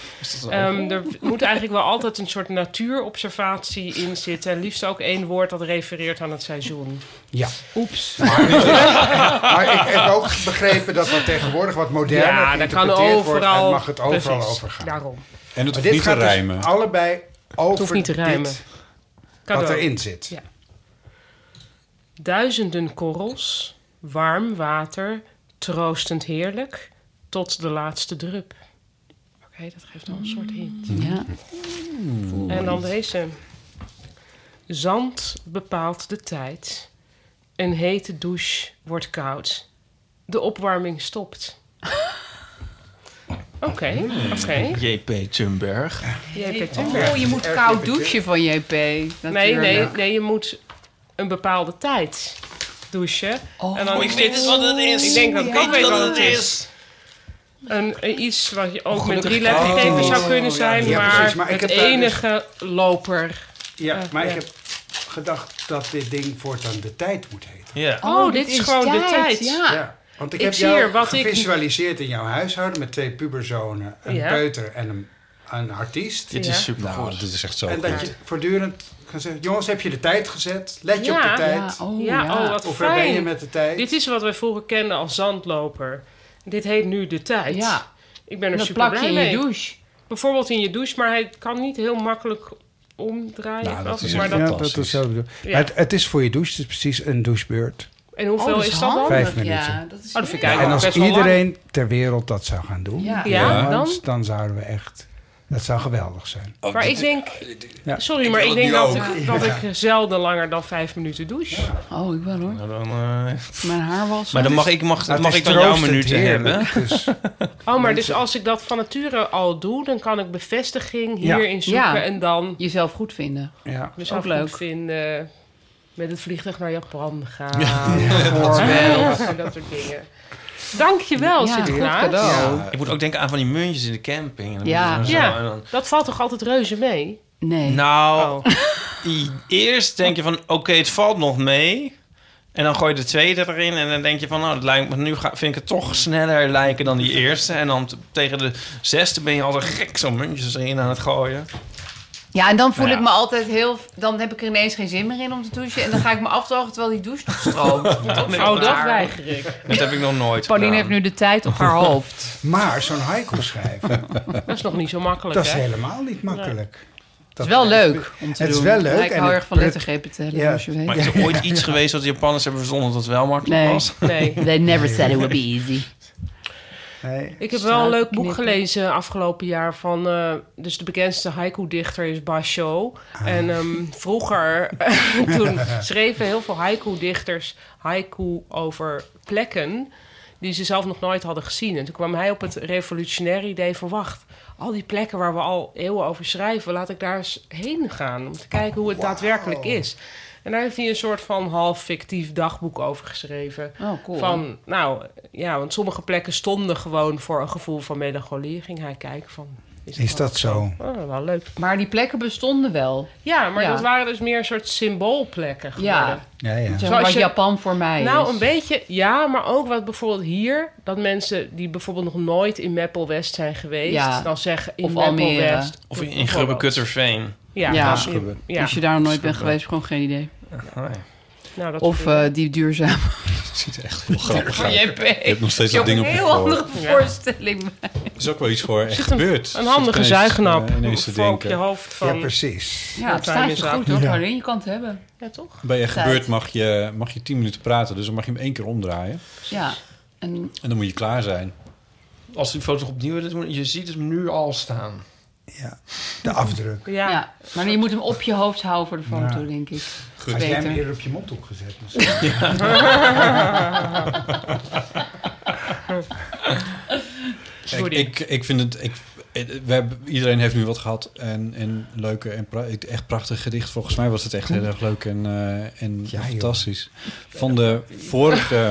Speaker 6: Ehm, er moet eigenlijk wel altijd een soort natuurobservatie in zitten. En liefst ook één woord dat refereert aan het seizoen.
Speaker 2: Ja.
Speaker 6: Oeps.
Speaker 2: Maar ik heb ook begrepen dat dat tegenwoordig wat moderner
Speaker 6: Ja, daar kan
Speaker 2: geïnterpreteerd wordt.
Speaker 6: overal.
Speaker 2: En mag het overal
Speaker 6: Precies,
Speaker 2: over gaan.
Speaker 6: Daarom.
Speaker 7: En het
Speaker 2: Maar
Speaker 7: hoeft niet
Speaker 2: dit
Speaker 7: te
Speaker 2: gaat dus
Speaker 7: rijmen.
Speaker 2: allebei over
Speaker 6: hoeft niet te
Speaker 2: dit
Speaker 6: rijmen.
Speaker 2: wat
Speaker 6: Cadeau.
Speaker 2: erin zit.
Speaker 6: Ja. Duizenden korrels, warm water, troostend heerlijk, tot de laatste drup. Oké, dat geeft al een soort hint.
Speaker 3: Ja.
Speaker 6: En dan deze. Zand bepaalt de tijd. Een hete douche wordt koud. De opwarming *laughs* stopt. Oké, oké.
Speaker 4: JP Tumberg.
Speaker 6: Jij hebt het weer.
Speaker 3: Oh, je moet koud douchen van JP.
Speaker 6: Nee,
Speaker 3: natuurlijk.
Speaker 6: nee, nee, je moet een bepaalde tijd douchen. en dan
Speaker 4: ik weet het wat het is.
Speaker 6: Ik denk dat ik ook weet
Speaker 4: wat
Speaker 6: wat
Speaker 4: het
Speaker 6: het
Speaker 4: is.
Speaker 6: Een, een iets wat je ook met
Speaker 4: gelukkig.
Speaker 6: drie lettergrepen zou kunnen
Speaker 2: ja,
Speaker 6: zijn,
Speaker 2: ja,
Speaker 6: maar,
Speaker 2: precies. Maar ik
Speaker 6: het
Speaker 2: heb daar dus-
Speaker 6: enige loper.
Speaker 2: Ja,
Speaker 6: Eh,
Speaker 2: maar
Speaker 6: ja.
Speaker 2: ik heb gedacht dat dit ding voortaan de tijd moet heten.
Speaker 4: Ja.
Speaker 6: Oh, dit is gewoon de tijd.
Speaker 3: Ja.
Speaker 2: Ja, want ik,
Speaker 6: Ah, Ik
Speaker 2: heb
Speaker 6: zie
Speaker 2: jou
Speaker 6: er wat ik-
Speaker 2: gevisualiseerd in jouw huishouden met twee puberzonen, een
Speaker 6: Ja.
Speaker 2: peuter en een, een artiest.
Speaker 4: Dit
Speaker 6: Ja.
Speaker 4: is super
Speaker 7: Nou,
Speaker 4: goed.
Speaker 7: dit is echt zo
Speaker 2: en dat
Speaker 7: goed.
Speaker 2: je voortdurend kan zeggen, jongens, heb je de tijd gezet? Let je
Speaker 6: Ja.
Speaker 2: op de
Speaker 3: Ja,
Speaker 2: tijd?
Speaker 3: oh,
Speaker 6: ja,
Speaker 3: ja.
Speaker 6: oh, wat
Speaker 2: Of waar ben je
Speaker 6: fijn.
Speaker 2: met de tijd?
Speaker 6: Dit is wat wij vroeger kenden als zandloper. Dit heet nu de tijd.
Speaker 3: Ja.
Speaker 6: Ik ben er
Speaker 3: En dat
Speaker 6: super
Speaker 3: plak je
Speaker 6: blij
Speaker 3: in je
Speaker 6: mee.
Speaker 3: douche.
Speaker 6: Bijvoorbeeld in je douche, maar hij kan niet heel makkelijk omdraaien.
Speaker 7: Nou, dat
Speaker 6: geloof ik,
Speaker 7: is
Speaker 6: maar
Speaker 7: echt
Speaker 6: dat-
Speaker 7: Ja, dat is fantastisch. zo
Speaker 6: Ja.
Speaker 2: het, het is voor je douche, het is precies een douchebeurt.
Speaker 6: En hoeveel
Speaker 3: oh,
Speaker 6: is,
Speaker 3: dat
Speaker 6: dat dan?
Speaker 3: handig.
Speaker 2: Vijf minuten.
Speaker 3: Ja, dat is
Speaker 6: Oh, dat vind ik
Speaker 2: en
Speaker 6: eigenlijk
Speaker 2: als
Speaker 6: best wel
Speaker 2: iedereen ter wereld dat zou gaan doen,
Speaker 3: Ja.
Speaker 6: Ja, dan?
Speaker 2: dan zouden we echt... Dat zou geweldig zijn.
Speaker 7: Oh,
Speaker 6: lang. Maar ik denk...
Speaker 2: Ja.
Speaker 6: Sorry,
Speaker 7: Ik
Speaker 6: maar
Speaker 7: wil
Speaker 6: ik
Speaker 7: het
Speaker 6: denk
Speaker 7: nu
Speaker 6: dat,
Speaker 7: ook.
Speaker 6: ik, dat ik zelden langer dan vijf minuten douche.
Speaker 3: Oh, ik wel hoor.
Speaker 4: Nou, dan, eh,
Speaker 3: Mijn haar was.
Speaker 4: maar dan mag ik, mag,
Speaker 2: Nou, het
Speaker 4: mag
Speaker 2: is
Speaker 4: ik dan jouw
Speaker 2: troostend
Speaker 4: minuten
Speaker 2: heerlijk,
Speaker 4: hebben.
Speaker 2: Dus,
Speaker 6: Oh, maar dus als ik dat van nature al doe... dan kan ik bevestiging
Speaker 2: Ja.
Speaker 6: hierin zoeken
Speaker 3: Ja.
Speaker 6: en dan...
Speaker 3: dus Jezelf goed vinden.
Speaker 2: ja.
Speaker 6: mezelf
Speaker 3: Ook leuk.
Speaker 6: goed vinden... met het vliegtuig naar Japan gaan. *laughs*
Speaker 3: Wel.
Speaker 6: en dat soort dingen. Dankjewel,
Speaker 3: Ja,
Speaker 6: ja,
Speaker 3: goed cadeau.
Speaker 4: Ik moet ook denken aan van die muntjes in de camping. En dan
Speaker 3: Ja.
Speaker 4: moet je zo-
Speaker 6: Ja.
Speaker 4: en dan-
Speaker 6: Dat valt toch altijd reuze mee?
Speaker 3: Nee.
Speaker 4: Nou, i- eerst denk je van, oké, het valt nog mee. En dan gooi je de tweede erin en dan denk je van, nou, het lijkt, me- nu ga, vind ik het toch sneller lijken dan *laughs* die eerste. En dan t- tegen de zesde ben je als een gek zo'n muntjes erin aan het gooien.
Speaker 3: Ja, en dan voel
Speaker 4: Nou ja.
Speaker 3: ik me altijd heel... Dan heb ik er ineens geen zin meer in om te douchen. En dan ga ik me afdrogen terwijl die douche nog *laughs* stroomt.
Speaker 6: Oh, dat weiger ik.
Speaker 4: Dat heb ik nog nooit
Speaker 3: Pauline
Speaker 4: gedaan.
Speaker 3: heeft nu de tijd op
Speaker 4: *laughs*
Speaker 3: haar hoofd.
Speaker 2: Maar zo'n haiku schrijven,
Speaker 6: Dat is nog niet zo makkelijk,
Speaker 2: dat is
Speaker 6: hè?
Speaker 2: helemaal niet makkelijk.
Speaker 3: Het is wel leuk om te
Speaker 2: het is
Speaker 3: doen.
Speaker 2: wel leuk
Speaker 3: Ja, ik
Speaker 2: en
Speaker 3: hou
Speaker 2: het
Speaker 3: erg van
Speaker 2: prut-
Speaker 3: lettergrepen tellen,
Speaker 2: Ja.
Speaker 3: zoals dus je weet.
Speaker 4: Maar is er ooit iets geweest wat de Japanners hebben verzonnen dat het wel makkelijk *laughs*
Speaker 3: Nee.
Speaker 4: was?
Speaker 6: Nee.
Speaker 3: They never said it would be easy.
Speaker 2: Nee.
Speaker 6: Ik heb wel een leuk boek
Speaker 3: Knippen.
Speaker 6: gelezen afgelopen jaar van... eh, dus de bekendste haiku-dichter is Basho. En ehm, vroeger, *laughs* toen schreven heel veel haiku-dichters haiku over plekken... die ze zelf nog nooit hadden gezien. En toen kwam hij op het revolutionaire idee van... wacht, al die plekken waar we al eeuwen over schrijven... laat ik daar eens heen gaan om te kijken hoe het daadwerkelijk is. En daar heeft hij een soort van half fictief dagboek over geschreven...
Speaker 3: Oh, cool.
Speaker 6: Van, nou ja, want sommige plekken stonden gewoon voor een gevoel van melancholie. Ging hij kijken van. het
Speaker 2: Is dat zo?
Speaker 6: Oh, wel leuk.
Speaker 3: Maar die plekken bestonden wel.
Speaker 6: Ja, maar
Speaker 3: Ja.
Speaker 6: dat waren dus meer een soort symboolplekken geworden.
Speaker 3: Ja,
Speaker 2: Ja, ja.
Speaker 3: Zoals
Speaker 6: Zoals
Speaker 3: wat
Speaker 6: je-
Speaker 3: Japan voor mij
Speaker 6: Nou,
Speaker 3: is.
Speaker 6: een beetje, ja, maar ook wat bijvoorbeeld hier, dat mensen die bijvoorbeeld nog nooit in Meppel West zijn geweest,
Speaker 3: Ja.
Speaker 6: dan zeggen in
Speaker 3: Of
Speaker 6: Meppel
Speaker 3: Almere.
Speaker 6: West.
Speaker 4: Of in, in
Speaker 6: bijvoorbeeld.
Speaker 4: Grubbe-Kutterveen?
Speaker 6: Ja,
Speaker 3: Ja. Dus
Speaker 6: ja.
Speaker 7: Schubben.
Speaker 6: ja.
Speaker 3: Als je daar nog nooit bent geweest, gewoon geen idee.
Speaker 4: Oh, ja.
Speaker 6: Nou, dat
Speaker 3: Of
Speaker 6: soort dingen.
Speaker 3: eh, die duurzame
Speaker 7: ziet er echt heel grappig
Speaker 3: Voor
Speaker 7: uit.
Speaker 3: JP.
Speaker 7: Je hebt nog steeds dat ding op
Speaker 3: een
Speaker 7: je
Speaker 3: heel
Speaker 7: voor.
Speaker 3: andere
Speaker 6: Ja.
Speaker 3: voorstelling.
Speaker 7: Dat is ook wel iets voor echt
Speaker 6: Zit een-
Speaker 7: gebeurd.
Speaker 6: een handige
Speaker 7: Zit ineens,
Speaker 6: zuignap
Speaker 7: eh, ineens te
Speaker 6: voor op je
Speaker 7: denken.
Speaker 6: hoofd van...
Speaker 2: Ja, precies.
Speaker 3: Ja, het
Speaker 6: Tuin
Speaker 3: staat
Speaker 6: is
Speaker 3: je
Speaker 6: raak.
Speaker 3: goed hoor.
Speaker 2: Ja.
Speaker 3: Alleen je kan het hebben.
Speaker 6: Ja, toch?
Speaker 7: Bij echt
Speaker 3: Tijd.
Speaker 7: gebeurd mag je, eh, mag je 10 minuten praten, dus dan mag je hem één keer omdraaien.
Speaker 3: Ja. En
Speaker 7: En dan moet je klaar zijn.
Speaker 4: Als die foto opnieuw is, moet- je ziet het nu al staan.
Speaker 2: Ja, de afdruk.
Speaker 6: Ja.
Speaker 3: Ja. maar je moet hem op je hoofd houden voor de foto, denk ik.
Speaker 7: Goed.
Speaker 2: Had jij hem
Speaker 3: Beter.
Speaker 2: eerder op je mondhoek gezet
Speaker 6: *laughs*
Speaker 2: misschien?
Speaker 7: Ik,
Speaker 6: Sorry.
Speaker 7: ik, ik vind het... Ik, eh, we hebben, iedereen heeft nu wat gehad. En, en leuke en pra- echt prachtig gedicht. Volgens mij was het echt heel erg leuk en, eh, en
Speaker 2: Ja, joh.
Speaker 7: fantastisch. Van de vorige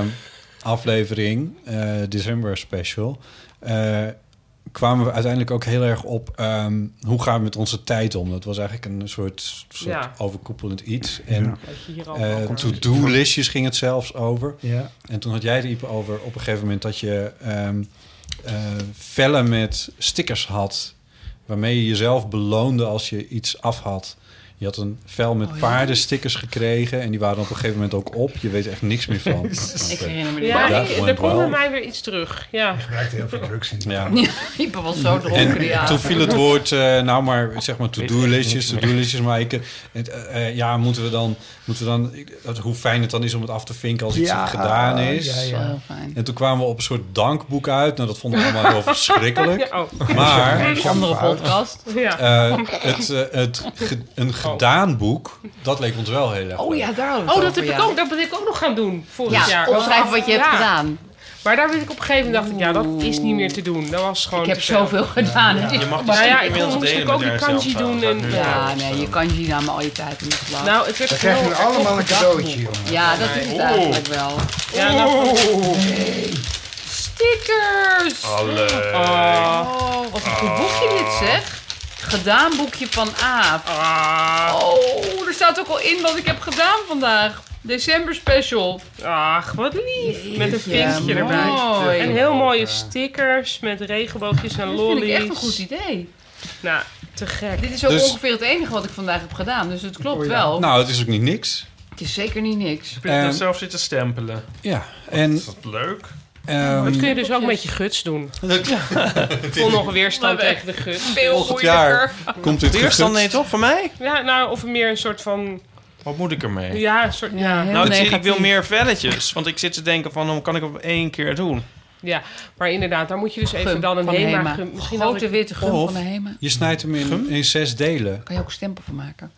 Speaker 7: aflevering, eh, December Special... eh, kwamen we uiteindelijk ook heel erg op... ehm, hoe gaan we met onze tijd om? Dat was eigenlijk een soort, soort
Speaker 6: Ja.
Speaker 7: overkoepelend iets. En
Speaker 2: Ja.
Speaker 6: Dat je hier al
Speaker 7: Eh,
Speaker 6: over-
Speaker 7: To-do-listjes ging het zelfs over.
Speaker 2: Ja.
Speaker 7: En toen had jij er Ipe over op een gegeven moment dat je ehm eh, vellen met stickers had. Waarmee je jezelf beloonde als je iets af had. Je had een vel met paardenstickers gekregen. En die waren op een gegeven moment ook op. Je weet echt niks meer van.
Speaker 3: Ik herinner me die
Speaker 6: Ja,
Speaker 7: Ja,
Speaker 6: ik-
Speaker 7: gewoon
Speaker 6: er komt bij
Speaker 7: wel.
Speaker 6: mij weer iets terug. Ja.
Speaker 2: Gebruikte heel veel drugs in.
Speaker 7: Ja.
Speaker 3: Ik ben wel zo dronken,
Speaker 7: En
Speaker 3: ja.
Speaker 7: toen viel het woord, eh, nou maar, zeg maar to-do-listjes, to-do-listjes. Maar ik, eh, het, eh, eh, ja, moeten we dan, moeten we dan ik- dat- hoe fijn het dan is om het af te vinken als iets
Speaker 2: Ja,
Speaker 7: gedaan is.
Speaker 2: ja, ja.
Speaker 3: Wel heel Oh, fijn.
Speaker 7: En toen kwamen we op een soort dankboek uit. Nou, dat vonden we allemaal heel verschrikkelijk.
Speaker 6: Ja, oh.
Speaker 7: Maar
Speaker 3: Andere podcast.
Speaker 6: ja.
Speaker 7: eh, het, eh, het ge- een gedaan boek, dat leek ons wel heel erg
Speaker 3: Oh
Speaker 7: leuk.
Speaker 3: ja, daar
Speaker 6: Oh, dat, heb ik ook, dat ben ik ook nog gaan doen vorig
Speaker 3: Ja,
Speaker 6: jaar.
Speaker 3: opschrijven wat je hebt
Speaker 6: Ja.
Speaker 3: gedaan.
Speaker 6: Maar daar ben ik op een gegeven moment dacht ik, ja, dat is niet meer te doen. Dat was gewoon
Speaker 3: Ik heb
Speaker 6: te veel.
Speaker 3: zoveel gedaan. hè.
Speaker 4: Je mag die
Speaker 6: Nou ja,
Speaker 4: sticker
Speaker 6: ik
Speaker 4: inmiddels
Speaker 6: kon- moest
Speaker 4: delen
Speaker 6: ik ook
Speaker 4: met
Speaker 6: die
Speaker 4: RSL
Speaker 6: kanji
Speaker 4: trouwens.
Speaker 6: doen
Speaker 4: Dat
Speaker 6: en-
Speaker 4: nu
Speaker 3: Ja,
Speaker 4: al.
Speaker 3: nee, je kan je namen al je tijd in de slag.
Speaker 6: Nou, het werd
Speaker 2: We krijgen nu
Speaker 6: heel-
Speaker 2: allemaal een cadeautje, jongen.
Speaker 3: ja, dat is het eigenlijk wel.
Speaker 6: Ja, nou,
Speaker 3: Stickers!
Speaker 6: oh,
Speaker 3: Oh, wat een goed boekje dit zeg. Gedaan boekje van Aaf.
Speaker 6: Ah.
Speaker 3: Oh, er staat ook al in wat ik heb gedaan vandaag. December special.
Speaker 6: ach, wat lief. Met een
Speaker 3: Jeetje,
Speaker 6: vinkje erbij.
Speaker 3: mooi.
Speaker 6: En heel mooie stickers met regenboogjes en
Speaker 3: Dat
Speaker 6: lollies.
Speaker 3: vind ik echt een goed idee.
Speaker 6: Nou, te gek.
Speaker 3: Dit is ook
Speaker 7: Dus-
Speaker 3: ongeveer het enige wat ik vandaag heb gedaan. Dus het klopt wel.
Speaker 7: Nou, het is ook niet niks.
Speaker 3: het is zeker niet niks.
Speaker 4: Je hebt
Speaker 7: En-
Speaker 4: dat zelf zitten stempelen.
Speaker 7: Ja, en...
Speaker 4: Is dat leuk?
Speaker 7: ehm,
Speaker 6: Dat kun je dus ook met je guts doen. Vol nog weerstand tegen de guts.
Speaker 3: Veel
Speaker 7: Volgend jaar komt dit
Speaker 4: Weerstand
Speaker 7: gegund.
Speaker 4: nee toch? Van mij?
Speaker 6: Ja, nou, of meer een soort van...
Speaker 4: Wat moet ik ermee?
Speaker 6: Ja, een soort...
Speaker 3: Ja,
Speaker 6: Ja,
Speaker 3: heel
Speaker 4: nou, ik, zie- ik
Speaker 3: negatief.
Speaker 4: wil meer velletjes. Want ik zit te denken van, hoe kan ik op één keer doen?
Speaker 6: ja. Maar inderdaad, daar moet je dus even
Speaker 3: Gum
Speaker 6: dan een
Speaker 3: van
Speaker 6: HEMA...
Speaker 3: Hema.
Speaker 6: gum- Misschien had
Speaker 3: Grote
Speaker 6: ik...
Speaker 3: witte gum
Speaker 7: Of-
Speaker 3: van de Hema.
Speaker 7: Je snijdt hem in, in zes delen.
Speaker 3: Kan je ook een stempel van maken.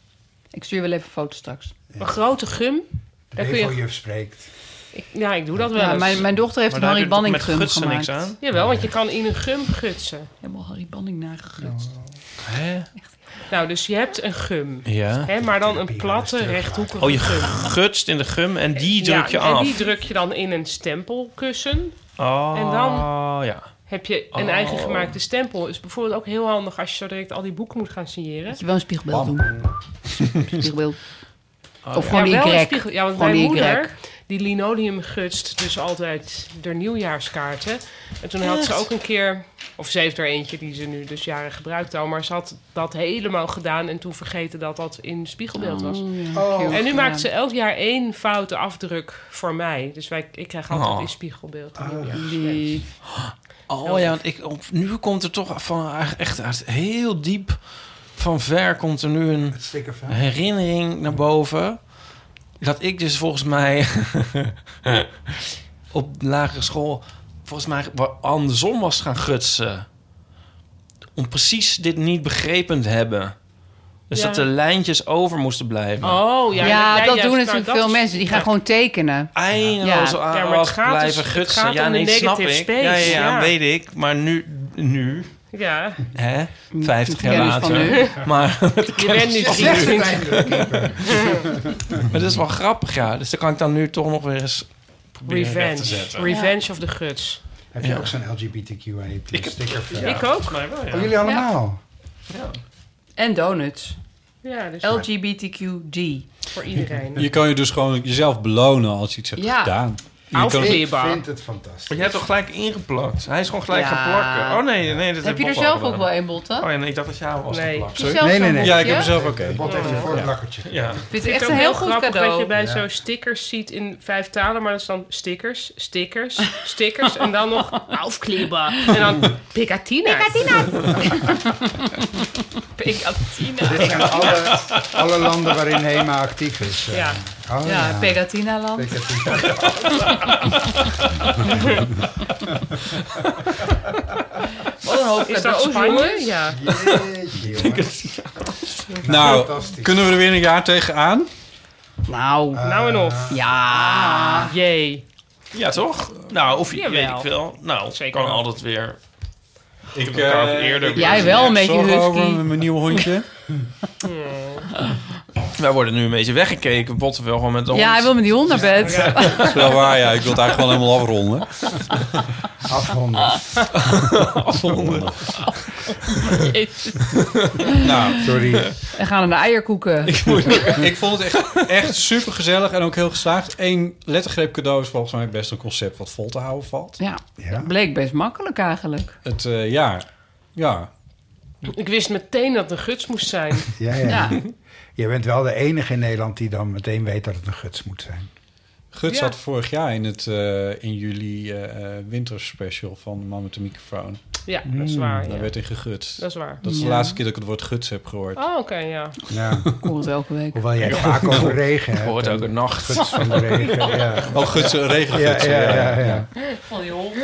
Speaker 3: Ik stuur wel even een foto straks.
Speaker 6: Een grote gum.
Speaker 2: De
Speaker 6: Daar kun je...
Speaker 2: regeljuf spreekt.
Speaker 6: ik- ja, dus- ik doe dat wel
Speaker 3: Ja,
Speaker 6: eens.
Speaker 3: mijn, mijn dochter heeft
Speaker 4: Maar
Speaker 3: een
Speaker 4: daar heb
Speaker 3: Harry
Speaker 4: je toch
Speaker 3: Banning
Speaker 4: met
Speaker 3: gum
Speaker 4: gutsen
Speaker 3: gemaakt.
Speaker 4: niks aan?
Speaker 6: Jawel, want je kan in een gum gutsen.
Speaker 3: Helemaal Harry Banning nagegutst.
Speaker 4: Hè?
Speaker 6: Nou, dus je hebt een gum.
Speaker 4: Ja.
Speaker 6: Hè, maar dan een platte, rechthoekige
Speaker 4: Oh, je
Speaker 6: gum.
Speaker 4: gutst in de gum en die
Speaker 6: Ja,
Speaker 4: druk je
Speaker 6: En
Speaker 4: af.
Speaker 6: die druk je dan in een stempelkussen.
Speaker 4: Oh,
Speaker 6: En dan-
Speaker 4: ja.
Speaker 6: Heb je een
Speaker 4: Oh.
Speaker 6: eigen gemaakte stempel. Is bijvoorbeeld ook heel handig als je zo direct al die boeken moet gaan signeren.
Speaker 3: Moet je wel een spiegelbeeld doen. Spiegelbeeld.
Speaker 4: Oh,
Speaker 3: of
Speaker 4: ja.
Speaker 3: gewoon die
Speaker 6: wel een
Speaker 3: grek.
Speaker 6: spiegel. Ja, want
Speaker 3: Gewoon
Speaker 6: mijn
Speaker 3: die
Speaker 6: moeder,
Speaker 3: grek.
Speaker 6: die linoleum gutst dus altijd de nieuwjaarskaarten. En toen had ze ook een keer, of ze heeft er eentje die ze nu dus jaren gebruikt al. Maar ze had dat helemaal gedaan en toen vergeten dat dat in spiegelbeeld was.
Speaker 2: Oh,
Speaker 6: En nu maakt ze elk jaar één foute afdruk voor mij. Dus wij, ik krijg altijd
Speaker 4: Oh.
Speaker 6: in spiegelbeeld.
Speaker 2: Ah.
Speaker 3: Die...
Speaker 4: Oh ja, want ik, op- nu komt er toch van, echt uit heel diep van ver komt er nu een
Speaker 2: Het sticker van.
Speaker 4: herinnering naar boven. Dat ik dus volgens mij op de lagere school volgens mij wa- andersom was gaan gutsen. Om precies dit niet begrepen te hebben. Dus
Speaker 6: Ja.
Speaker 4: dat de lijntjes over moesten blijven.
Speaker 6: Oh, ja,
Speaker 3: Ja,
Speaker 6: jij
Speaker 3: dat
Speaker 6: juist-
Speaker 3: doen
Speaker 6: nou,
Speaker 3: natuurlijk
Speaker 6: dat
Speaker 3: veel
Speaker 6: is-
Speaker 3: mensen. Die gaan
Speaker 6: ja.
Speaker 3: gewoon tekenen.
Speaker 4: eindeloos
Speaker 3: Ja.
Speaker 4: ja.
Speaker 6: Ja, maar het gaat dus-
Speaker 4: blijven
Speaker 6: het
Speaker 4: gutsen.
Speaker 6: gaat
Speaker 4: ja,
Speaker 6: om de
Speaker 4: nee, snap ik.
Speaker 6: negative space,
Speaker 4: ja, ja, ja,
Speaker 6: ja.
Speaker 4: weet ik. Maar nu, nu
Speaker 6: Ja,
Speaker 4: hè, 50 jaar
Speaker 3: Kennis van
Speaker 4: later. Maar, *laughs*
Speaker 6: je bent nu
Speaker 2: Slecht
Speaker 6: drie.
Speaker 2: uiteindelijk.
Speaker 4: maar dat is wel grappig, ja. Dus dan kan ik dan nu toch nog weer eens proberen recht te
Speaker 6: Revenge.
Speaker 4: zetten.
Speaker 6: Revenge of the guts.
Speaker 2: Heb je
Speaker 4: Ja.
Speaker 2: ook zo'n LGBTQIA sticker van?
Speaker 6: Ik ook.
Speaker 2: eh, Oh, jullie allemaal?
Speaker 3: En donuts.
Speaker 6: Ja, dus
Speaker 3: LGBTQD.
Speaker 6: voor iedereen.
Speaker 7: Je kan je dus gewoon jezelf belonen als je iets hebt
Speaker 3: Ja.
Speaker 7: gedaan.
Speaker 2: Ik
Speaker 6: Aufkleber.
Speaker 2: vind het fantastisch.
Speaker 4: Maar jij hebt toch gelijk ingeplakt? Hij is gewoon gelijk
Speaker 3: Ja.
Speaker 4: gaan plakken. Oh nee, nee. Dat
Speaker 3: heb je er
Speaker 4: Bob al
Speaker 3: zelf
Speaker 4: gedaan.
Speaker 3: ook wel een, Botte?
Speaker 4: Oh ja, nee, ik dacht dat jij al was
Speaker 3: Nee.
Speaker 4: geplakt.
Speaker 3: Heb je zelf Nee, nee, zo'n nee. Ja, ik heb botje?
Speaker 4: mezelf
Speaker 3: zelf
Speaker 4: ook
Speaker 2: een. Bot heeft je voor het lakkertje.
Speaker 4: Ja.
Speaker 3: vind het
Speaker 6: Ik
Speaker 3: echt
Speaker 6: ook
Speaker 3: een heel
Speaker 6: heel
Speaker 3: goed
Speaker 6: grappig
Speaker 3: cadeau.
Speaker 6: dat je bij
Speaker 3: Ja.
Speaker 6: zo'n stickers ziet in vijf talen, maar dat is dan stickers, stickers, stickers en dan
Speaker 3: *laughs*
Speaker 6: nog Aufkleber en
Speaker 2: *laughs*
Speaker 6: dan Picatina. Picatina. Picatina.
Speaker 2: Dit zijn alle, alle landen waarin HEMA actief is.
Speaker 6: Ja.
Speaker 2: Oh,
Speaker 3: ja,
Speaker 2: ja.
Speaker 3: Pegatinaland. Wat een hoop
Speaker 6: Is dat
Speaker 3: cadeaus,
Speaker 6: Spanje?
Speaker 3: jongens.
Speaker 6: Ja.
Speaker 7: Nou,
Speaker 2: Fantastisch.
Speaker 7: kunnen we er weer een jaar tegenaan?
Speaker 3: Nou,
Speaker 6: nou en of.
Speaker 2: Ah.
Speaker 6: Ah.
Speaker 3: Ja.
Speaker 6: Jee.
Speaker 4: Ja, toch? Nou, of je,
Speaker 6: Jawel.
Speaker 4: weet ik veel. Nou,
Speaker 6: Zeker
Speaker 4: kan
Speaker 6: wel.
Speaker 4: altijd weer. Ik heb
Speaker 7: eh,
Speaker 4: elkaar ook eerder.
Speaker 3: Jij wel een beetje
Speaker 7: Zorgen over
Speaker 3: husky.
Speaker 7: mijn nieuwe
Speaker 3: *laughs*
Speaker 7: hondje.
Speaker 4: Wij worden nu een beetje weggekeken. Botten wel gewoon met de
Speaker 3: Ja, hij wil met die hond naar bed.
Speaker 7: Dat is wel waar, ja. Ik wil het eigenlijk gewoon helemaal
Speaker 3: *laughs*
Speaker 7: afronden.
Speaker 2: Afronden.
Speaker 4: afronden.
Speaker 7: Nou,
Speaker 2: Sorry.
Speaker 3: En gaan we naar eierkoeken.
Speaker 7: ik vond het echt, echt super gezellig en ook heel geslaagd. Eén lettergreep cadeau is volgens mij best een concept wat vol te houden valt.
Speaker 3: Ja,
Speaker 2: Ja.
Speaker 3: bleek best makkelijk eigenlijk.
Speaker 7: Het, eh, ja, ja.
Speaker 6: Ik wist meteen dat het een guts moest zijn.
Speaker 2: Ja, ja.
Speaker 3: Ja.
Speaker 2: Je bent wel de enige in Nederland die dan meteen weet dat het een guts moet zijn.
Speaker 7: Gut
Speaker 6: Ja.
Speaker 7: zat vorig jaar in, het, eh, in juli eh eh, winterspecial van Man met de microfoon.
Speaker 6: Ja, dat is waar.
Speaker 7: Daar
Speaker 6: Ah, ja.
Speaker 7: werd in gegutst.
Speaker 6: Dat is waar.
Speaker 7: Hmm, Dat is de
Speaker 3: Ja.
Speaker 7: laatste keer dat ik het woord guts heb gehoord.
Speaker 6: Oh, oké,
Speaker 7: *laughs*
Speaker 6: ja.
Speaker 2: Ja.
Speaker 3: Ik hoor het elke week.
Speaker 2: Hoewel jij vaak over regen hebt.
Speaker 4: Hoort ook een nacht.
Speaker 2: Guts van de regen. Ja,
Speaker 7: Oh, guts, eh,
Speaker 2: ja,
Speaker 7: regenguts.
Speaker 2: ja.
Speaker 7: ja.
Speaker 2: ja, ja.
Speaker 6: Van die hond.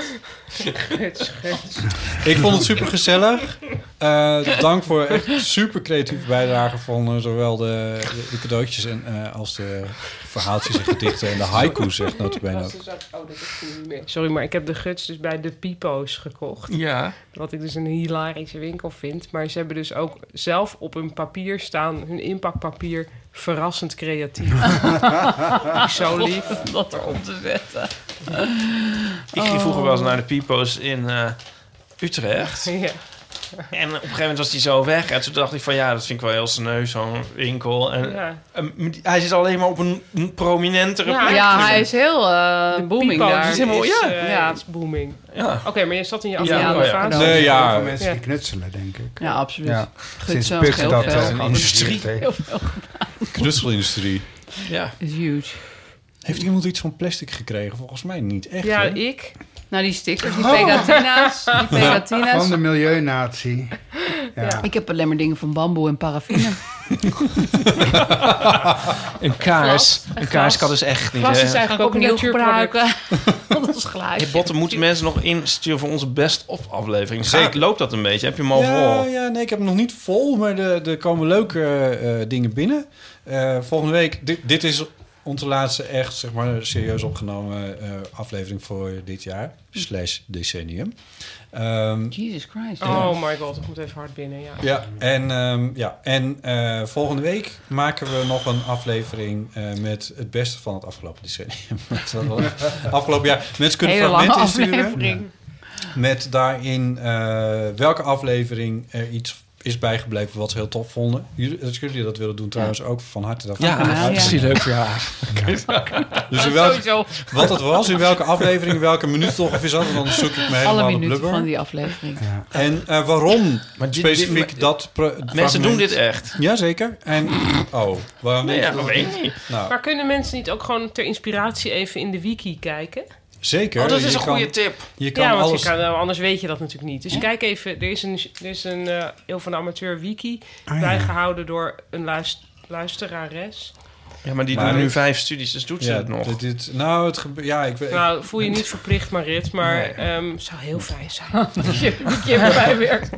Speaker 6: Guts, guts.
Speaker 7: *laughs* Ik vond het super gezellig. dank voor echt super creatieve bijdrage van eh, zowel de, de, de cadeautjes en, eh, als de verhaaltjes en *laughs* gedichten en de haikus, zegt notabene ook.
Speaker 6: Oh, dat is niet meer. Sorry, maar ik heb de guts dus bij de Pipo's gekocht.
Speaker 4: Ja.
Speaker 6: Wat ik dus een hilarische winkel vind. Maar ze hebben dus ook zelf op hun papier staan, hun inpakpapier, verrassend
Speaker 7: *laughs*
Speaker 6: creatief. Zo lief.
Speaker 3: Wat er om te zetten.
Speaker 4: Ik ging vroeger wel eens
Speaker 3: Oh.
Speaker 4: naar de Pipo's in eh, Utrecht.
Speaker 6: Ja.
Speaker 4: En op een gegeven moment was die zo weg. En toen dacht ik van ja, dat vind ik wel heel sneu, zo'n winkel. En,
Speaker 6: Ja.
Speaker 4: en die- hij zit alleen maar op een, een prominentere
Speaker 6: Ja,
Speaker 4: plek.
Speaker 3: Ja, hij is heel eh,
Speaker 6: De
Speaker 3: booming
Speaker 6: Pipo's
Speaker 3: daar.
Speaker 6: is helemaal, ja.
Speaker 3: eh,
Speaker 6: ja, het is booming.
Speaker 4: Ja.
Speaker 6: Oké, maar je zat in
Speaker 3: Ja,
Speaker 6: je afgelopen
Speaker 3: ja.
Speaker 6: fase.
Speaker 7: Nee,
Speaker 2: Heel
Speaker 7: ja.
Speaker 2: veel mensen
Speaker 6: Ja.
Speaker 2: die knutselen, denk ik.
Speaker 3: Ja, absoluut.
Speaker 2: Ja.
Speaker 3: Guts
Speaker 2: Sinds
Speaker 3: zo'n
Speaker 2: Puk
Speaker 3: heel
Speaker 2: dat eh,
Speaker 3: veel.
Speaker 4: een
Speaker 2: georganiseerd
Speaker 4: industrie.
Speaker 2: heeft.
Speaker 7: Knutselindustrie.
Speaker 4: Ja.
Speaker 3: is huge.
Speaker 7: Heeft iemand iets van plastic gekregen? Volgens mij niet echt.
Speaker 6: Ja,
Speaker 7: hè?
Speaker 6: ik.
Speaker 3: Nou, die stickers, die pegatina's. *laughs* Die pegatina's.
Speaker 2: Van de milieunatie. Ja.
Speaker 3: Ik heb alleen maar dingen van bamboe en paraffine.
Speaker 4: Een kaars.
Speaker 3: Glas.
Speaker 4: Een kaars kan dus echt niet.
Speaker 6: Glas is
Speaker 4: hè.
Speaker 3: Ga ik
Speaker 6: eigenlijk ook
Speaker 3: ook
Speaker 6: een
Speaker 3: nieuw gebruiken.
Speaker 6: natuurproduct.
Speaker 3: *laughs* Dat is
Speaker 4: Hey,
Speaker 3: glaasje.
Speaker 4: botten moeten mensen nog insturen voor onze best of aflevering. Zeker loopt dat een beetje. Heb je hem al
Speaker 7: Ja,
Speaker 4: vol?
Speaker 7: ja, nee, ik heb hem nog niet vol, maar er er komen leuke eh, dingen binnen. Eh, volgende week, dit, dit is onze laatste echt, zeg maar, serieus opgenomen eh, aflevering voor dit jaar. Slash decennium. Ehm,
Speaker 3: Jesus Christ.
Speaker 6: Oh my god, ik moet even hard binnen. Ja.
Speaker 7: ja, en, ehm, ja, en eh, volgende week maken we nog een aflevering eh, met het beste van het afgelopen decennium. *laughs* Dat was wel- afgelopen jaar. Mensen kunnen
Speaker 3: Hele lange
Speaker 7: fragmenten insturen.
Speaker 3: aflevering.
Speaker 7: Met daarin eh, welke aflevering er iets is bijgebleven wat ze heel tof vonden. Jullie, dat jullie dat willen doen trouwens ook van harte. daarvan.
Speaker 3: Ja, Ja, dat is heel
Speaker 7: leuk. Ja. Dus in welke-
Speaker 3: Sowieso.
Speaker 7: wat het was, in welke aflevering, in welke minuut toch of is dat? En dan zoek ik me
Speaker 3: Alle
Speaker 7: helemaal de
Speaker 3: minuten
Speaker 7: blubber.
Speaker 3: van die aflevering.
Speaker 7: En eh, waarom
Speaker 4: dit-
Speaker 7: specifiek
Speaker 4: dit-
Speaker 7: dat... pro-
Speaker 4: Mensen
Speaker 7: fragment?
Speaker 4: doen dit echt.
Speaker 7: Jazeker. En... Oh, waarom
Speaker 4: Nee,
Speaker 7: denk
Speaker 4: ja,
Speaker 7: je
Speaker 4: dat
Speaker 7: dat?
Speaker 4: weet ik niet.
Speaker 7: Nou,
Speaker 6: Maar kunnen mensen niet ook gewoon ter inspiratie even in de wiki kijken?
Speaker 7: zeker.
Speaker 4: Oh, dat is
Speaker 7: Je
Speaker 4: een goede
Speaker 7: kan-
Speaker 4: tip.
Speaker 7: Je kan
Speaker 6: ja, want je
Speaker 7: alles...
Speaker 6: kan, nou, anders weet je dat natuurlijk niet. Dus kijk even, er is een, er is een eh, Eeuw van de Amateur wiki
Speaker 2: Ah, ja.
Speaker 6: bijgehouden door een luis- luisterares.
Speaker 4: Ja, maar die
Speaker 7: Maar-
Speaker 4: doen nu vijf studies, dus doet ze
Speaker 7: Ja,
Speaker 4: het nog.
Speaker 7: dit, dit, nou, het gebe- ja, ik weet...
Speaker 6: Nou, voel je niet verplicht, Marit, maar
Speaker 4: Nee.
Speaker 6: ehm, zou heel fijn zijn als je een keer erbij werkt.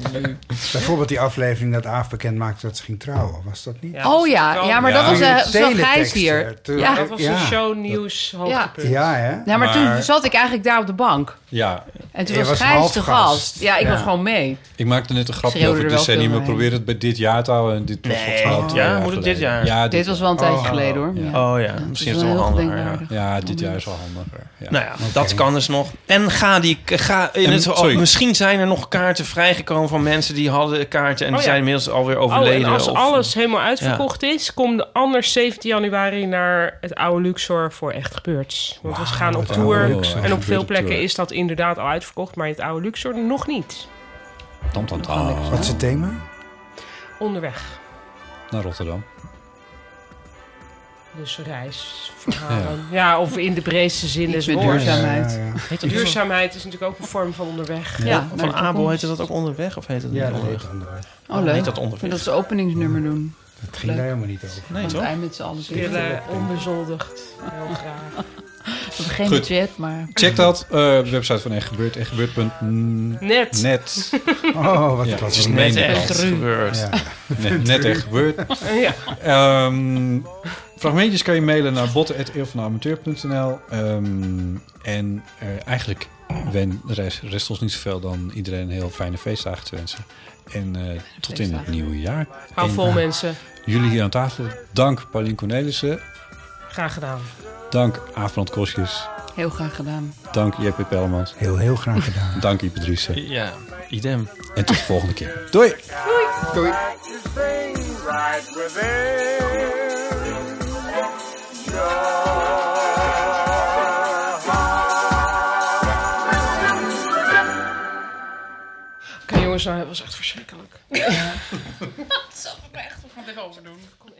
Speaker 2: Bijvoorbeeld die aflevering dat Aaf bekend maakte dat ze ging trouwen. Was dat niet?
Speaker 6: Ja,
Speaker 3: Oh ja, ja maar
Speaker 7: Ja.
Speaker 3: dat was,
Speaker 2: Toen je
Speaker 3: eh,
Speaker 2: het
Speaker 3: was wel Gijs
Speaker 2: teletext,
Speaker 3: hier.
Speaker 2: eh, toen-
Speaker 3: Ja.
Speaker 6: dat was een shownieuws hoogtepunt.
Speaker 2: Ja, hè?
Speaker 3: Ja, maar,
Speaker 7: Maar-
Speaker 3: toen zat ik eigenlijk daar op de bank.
Speaker 7: Ja.
Speaker 3: En toen
Speaker 7: Je
Speaker 3: was,
Speaker 7: was
Speaker 3: Gijs de
Speaker 7: halfgast.
Speaker 3: gast. Ja, ik
Speaker 7: Ja.
Speaker 3: was gewoon mee.
Speaker 7: Ik maakte net een grapje
Speaker 3: Schreeuwde
Speaker 7: over
Speaker 3: er wel
Speaker 7: decennium.
Speaker 3: veel
Speaker 7: We proberen het bij dit jaar te houden. En dit was
Speaker 3: Nee,
Speaker 7: volgens mij al
Speaker 3: dit
Speaker 7: twee
Speaker 3: jaar.
Speaker 7: jaar
Speaker 3: Moet het
Speaker 7: geleden.
Speaker 3: dit jaar?
Speaker 7: Ja,
Speaker 3: Dit was wel een tijdje
Speaker 7: Oh,
Speaker 3: geleden, hoor. Ja.
Speaker 4: Oh ja,
Speaker 3: Ja,
Speaker 4: misschien
Speaker 3: dat
Speaker 4: is
Speaker 3: is
Speaker 4: het
Speaker 3: wel
Speaker 4: wel
Speaker 3: heel
Speaker 4: handiger. Ja.
Speaker 3: gedenkwaardig.
Speaker 7: Ja, dit jaar is wel handiger. Ja.
Speaker 4: Nou ja, dat kan dus nog. En ga die, ga in
Speaker 7: En-
Speaker 4: het, oh,
Speaker 7: sorry.
Speaker 4: misschien zijn er nog kaarten vrijgekomen van mensen die hadden kaarten en
Speaker 6: Oh
Speaker 4: die
Speaker 6: ja.
Speaker 4: zijn inmiddels alweer overleden.
Speaker 6: Oh, en als
Speaker 4: of- eh,
Speaker 6: alles helemaal uitverkocht is, kom de anders 17 januari naar het oude Luxor voor Echt Gebeurd. Want we gaan op
Speaker 4: het oude
Speaker 7: Oh,
Speaker 6: tour
Speaker 4: Luxor.
Speaker 6: en op
Speaker 4: Gebeurt
Speaker 6: veel
Speaker 4: op
Speaker 6: plekken
Speaker 4: tour.
Speaker 6: is dat inderdaad al uitverkocht, maar het oude Luxor nog niet.
Speaker 7: Tam, tam, tam.
Speaker 6: Ah.
Speaker 2: Wat is het thema?
Speaker 6: Onderweg.
Speaker 7: Naar Rotterdam.
Speaker 6: Dus reisverhalen. Ja, of in de breedste zin
Speaker 3: Iets
Speaker 6: des
Speaker 3: met
Speaker 6: woords.
Speaker 3: duurzaamheid. Ja, ja, ja.
Speaker 6: Heet dat Duurzaamheid is natuurlijk ook een vorm van onderweg.
Speaker 4: Ja, van Abel heette dat ook onderweg of heet het
Speaker 2: Ja,
Speaker 4: niet
Speaker 2: dat
Speaker 4: onderweg?
Speaker 2: heet onderweg.
Speaker 3: Oh, leuk.
Speaker 4: Heet dat onderweg?
Speaker 3: Dat ze openingsnummer doen.
Speaker 2: Dat ging
Speaker 3: Leuk.
Speaker 2: daar helemaal niet over.
Speaker 4: Nee,
Speaker 3: Want
Speaker 4: toch?
Speaker 3: wij met z'n
Speaker 6: Dus
Speaker 3: allen zitten.
Speaker 6: Pillen, onbezoldigd. Heel graag.
Speaker 3: Dat is geen
Speaker 7: Goed.
Speaker 3: budget, maar...
Speaker 7: Check dat. eh, website van Echt Gebeurd. Echtgebeurd.net.
Speaker 6: Net.
Speaker 7: Net.
Speaker 2: Oh, wat
Speaker 7: Ja,
Speaker 2: was
Speaker 7: het is
Speaker 2: een
Speaker 7: net
Speaker 2: meme.
Speaker 4: echt
Speaker 2: Ja.
Speaker 4: gebeurd.
Speaker 2: Ja.
Speaker 7: Net, net echt gebeurd.
Speaker 6: Ja.
Speaker 7: Ehm, fragmentjes kan je mailen naar botten.eeuwvanamateur.nl Ehm En eh, eigenlijk wen, rest, rest ons niet zoveel dan iedereen een heel fijne feestdagen te wensen. En eh, tot in het nieuwe jaar.
Speaker 6: Hou
Speaker 7: En eh,
Speaker 6: vol, mensen.
Speaker 7: Jullie hier aan tafel. Dank Paulien Cornelissen.
Speaker 6: Graag gedaan.
Speaker 7: Dank Aafland Kosjes.
Speaker 3: Heel graag gedaan.
Speaker 7: Dank JP Pellemans.
Speaker 2: Heel, heel graag gedaan.
Speaker 7: Dank Ipe Driessen.
Speaker 4: Ja, idem.
Speaker 7: En tot de volgende keer. Doei!
Speaker 6: Oké, jongens, dat was echt verschrikkelijk.
Speaker 8: Dat zal ik me echt nog wat even overdoen. Kom.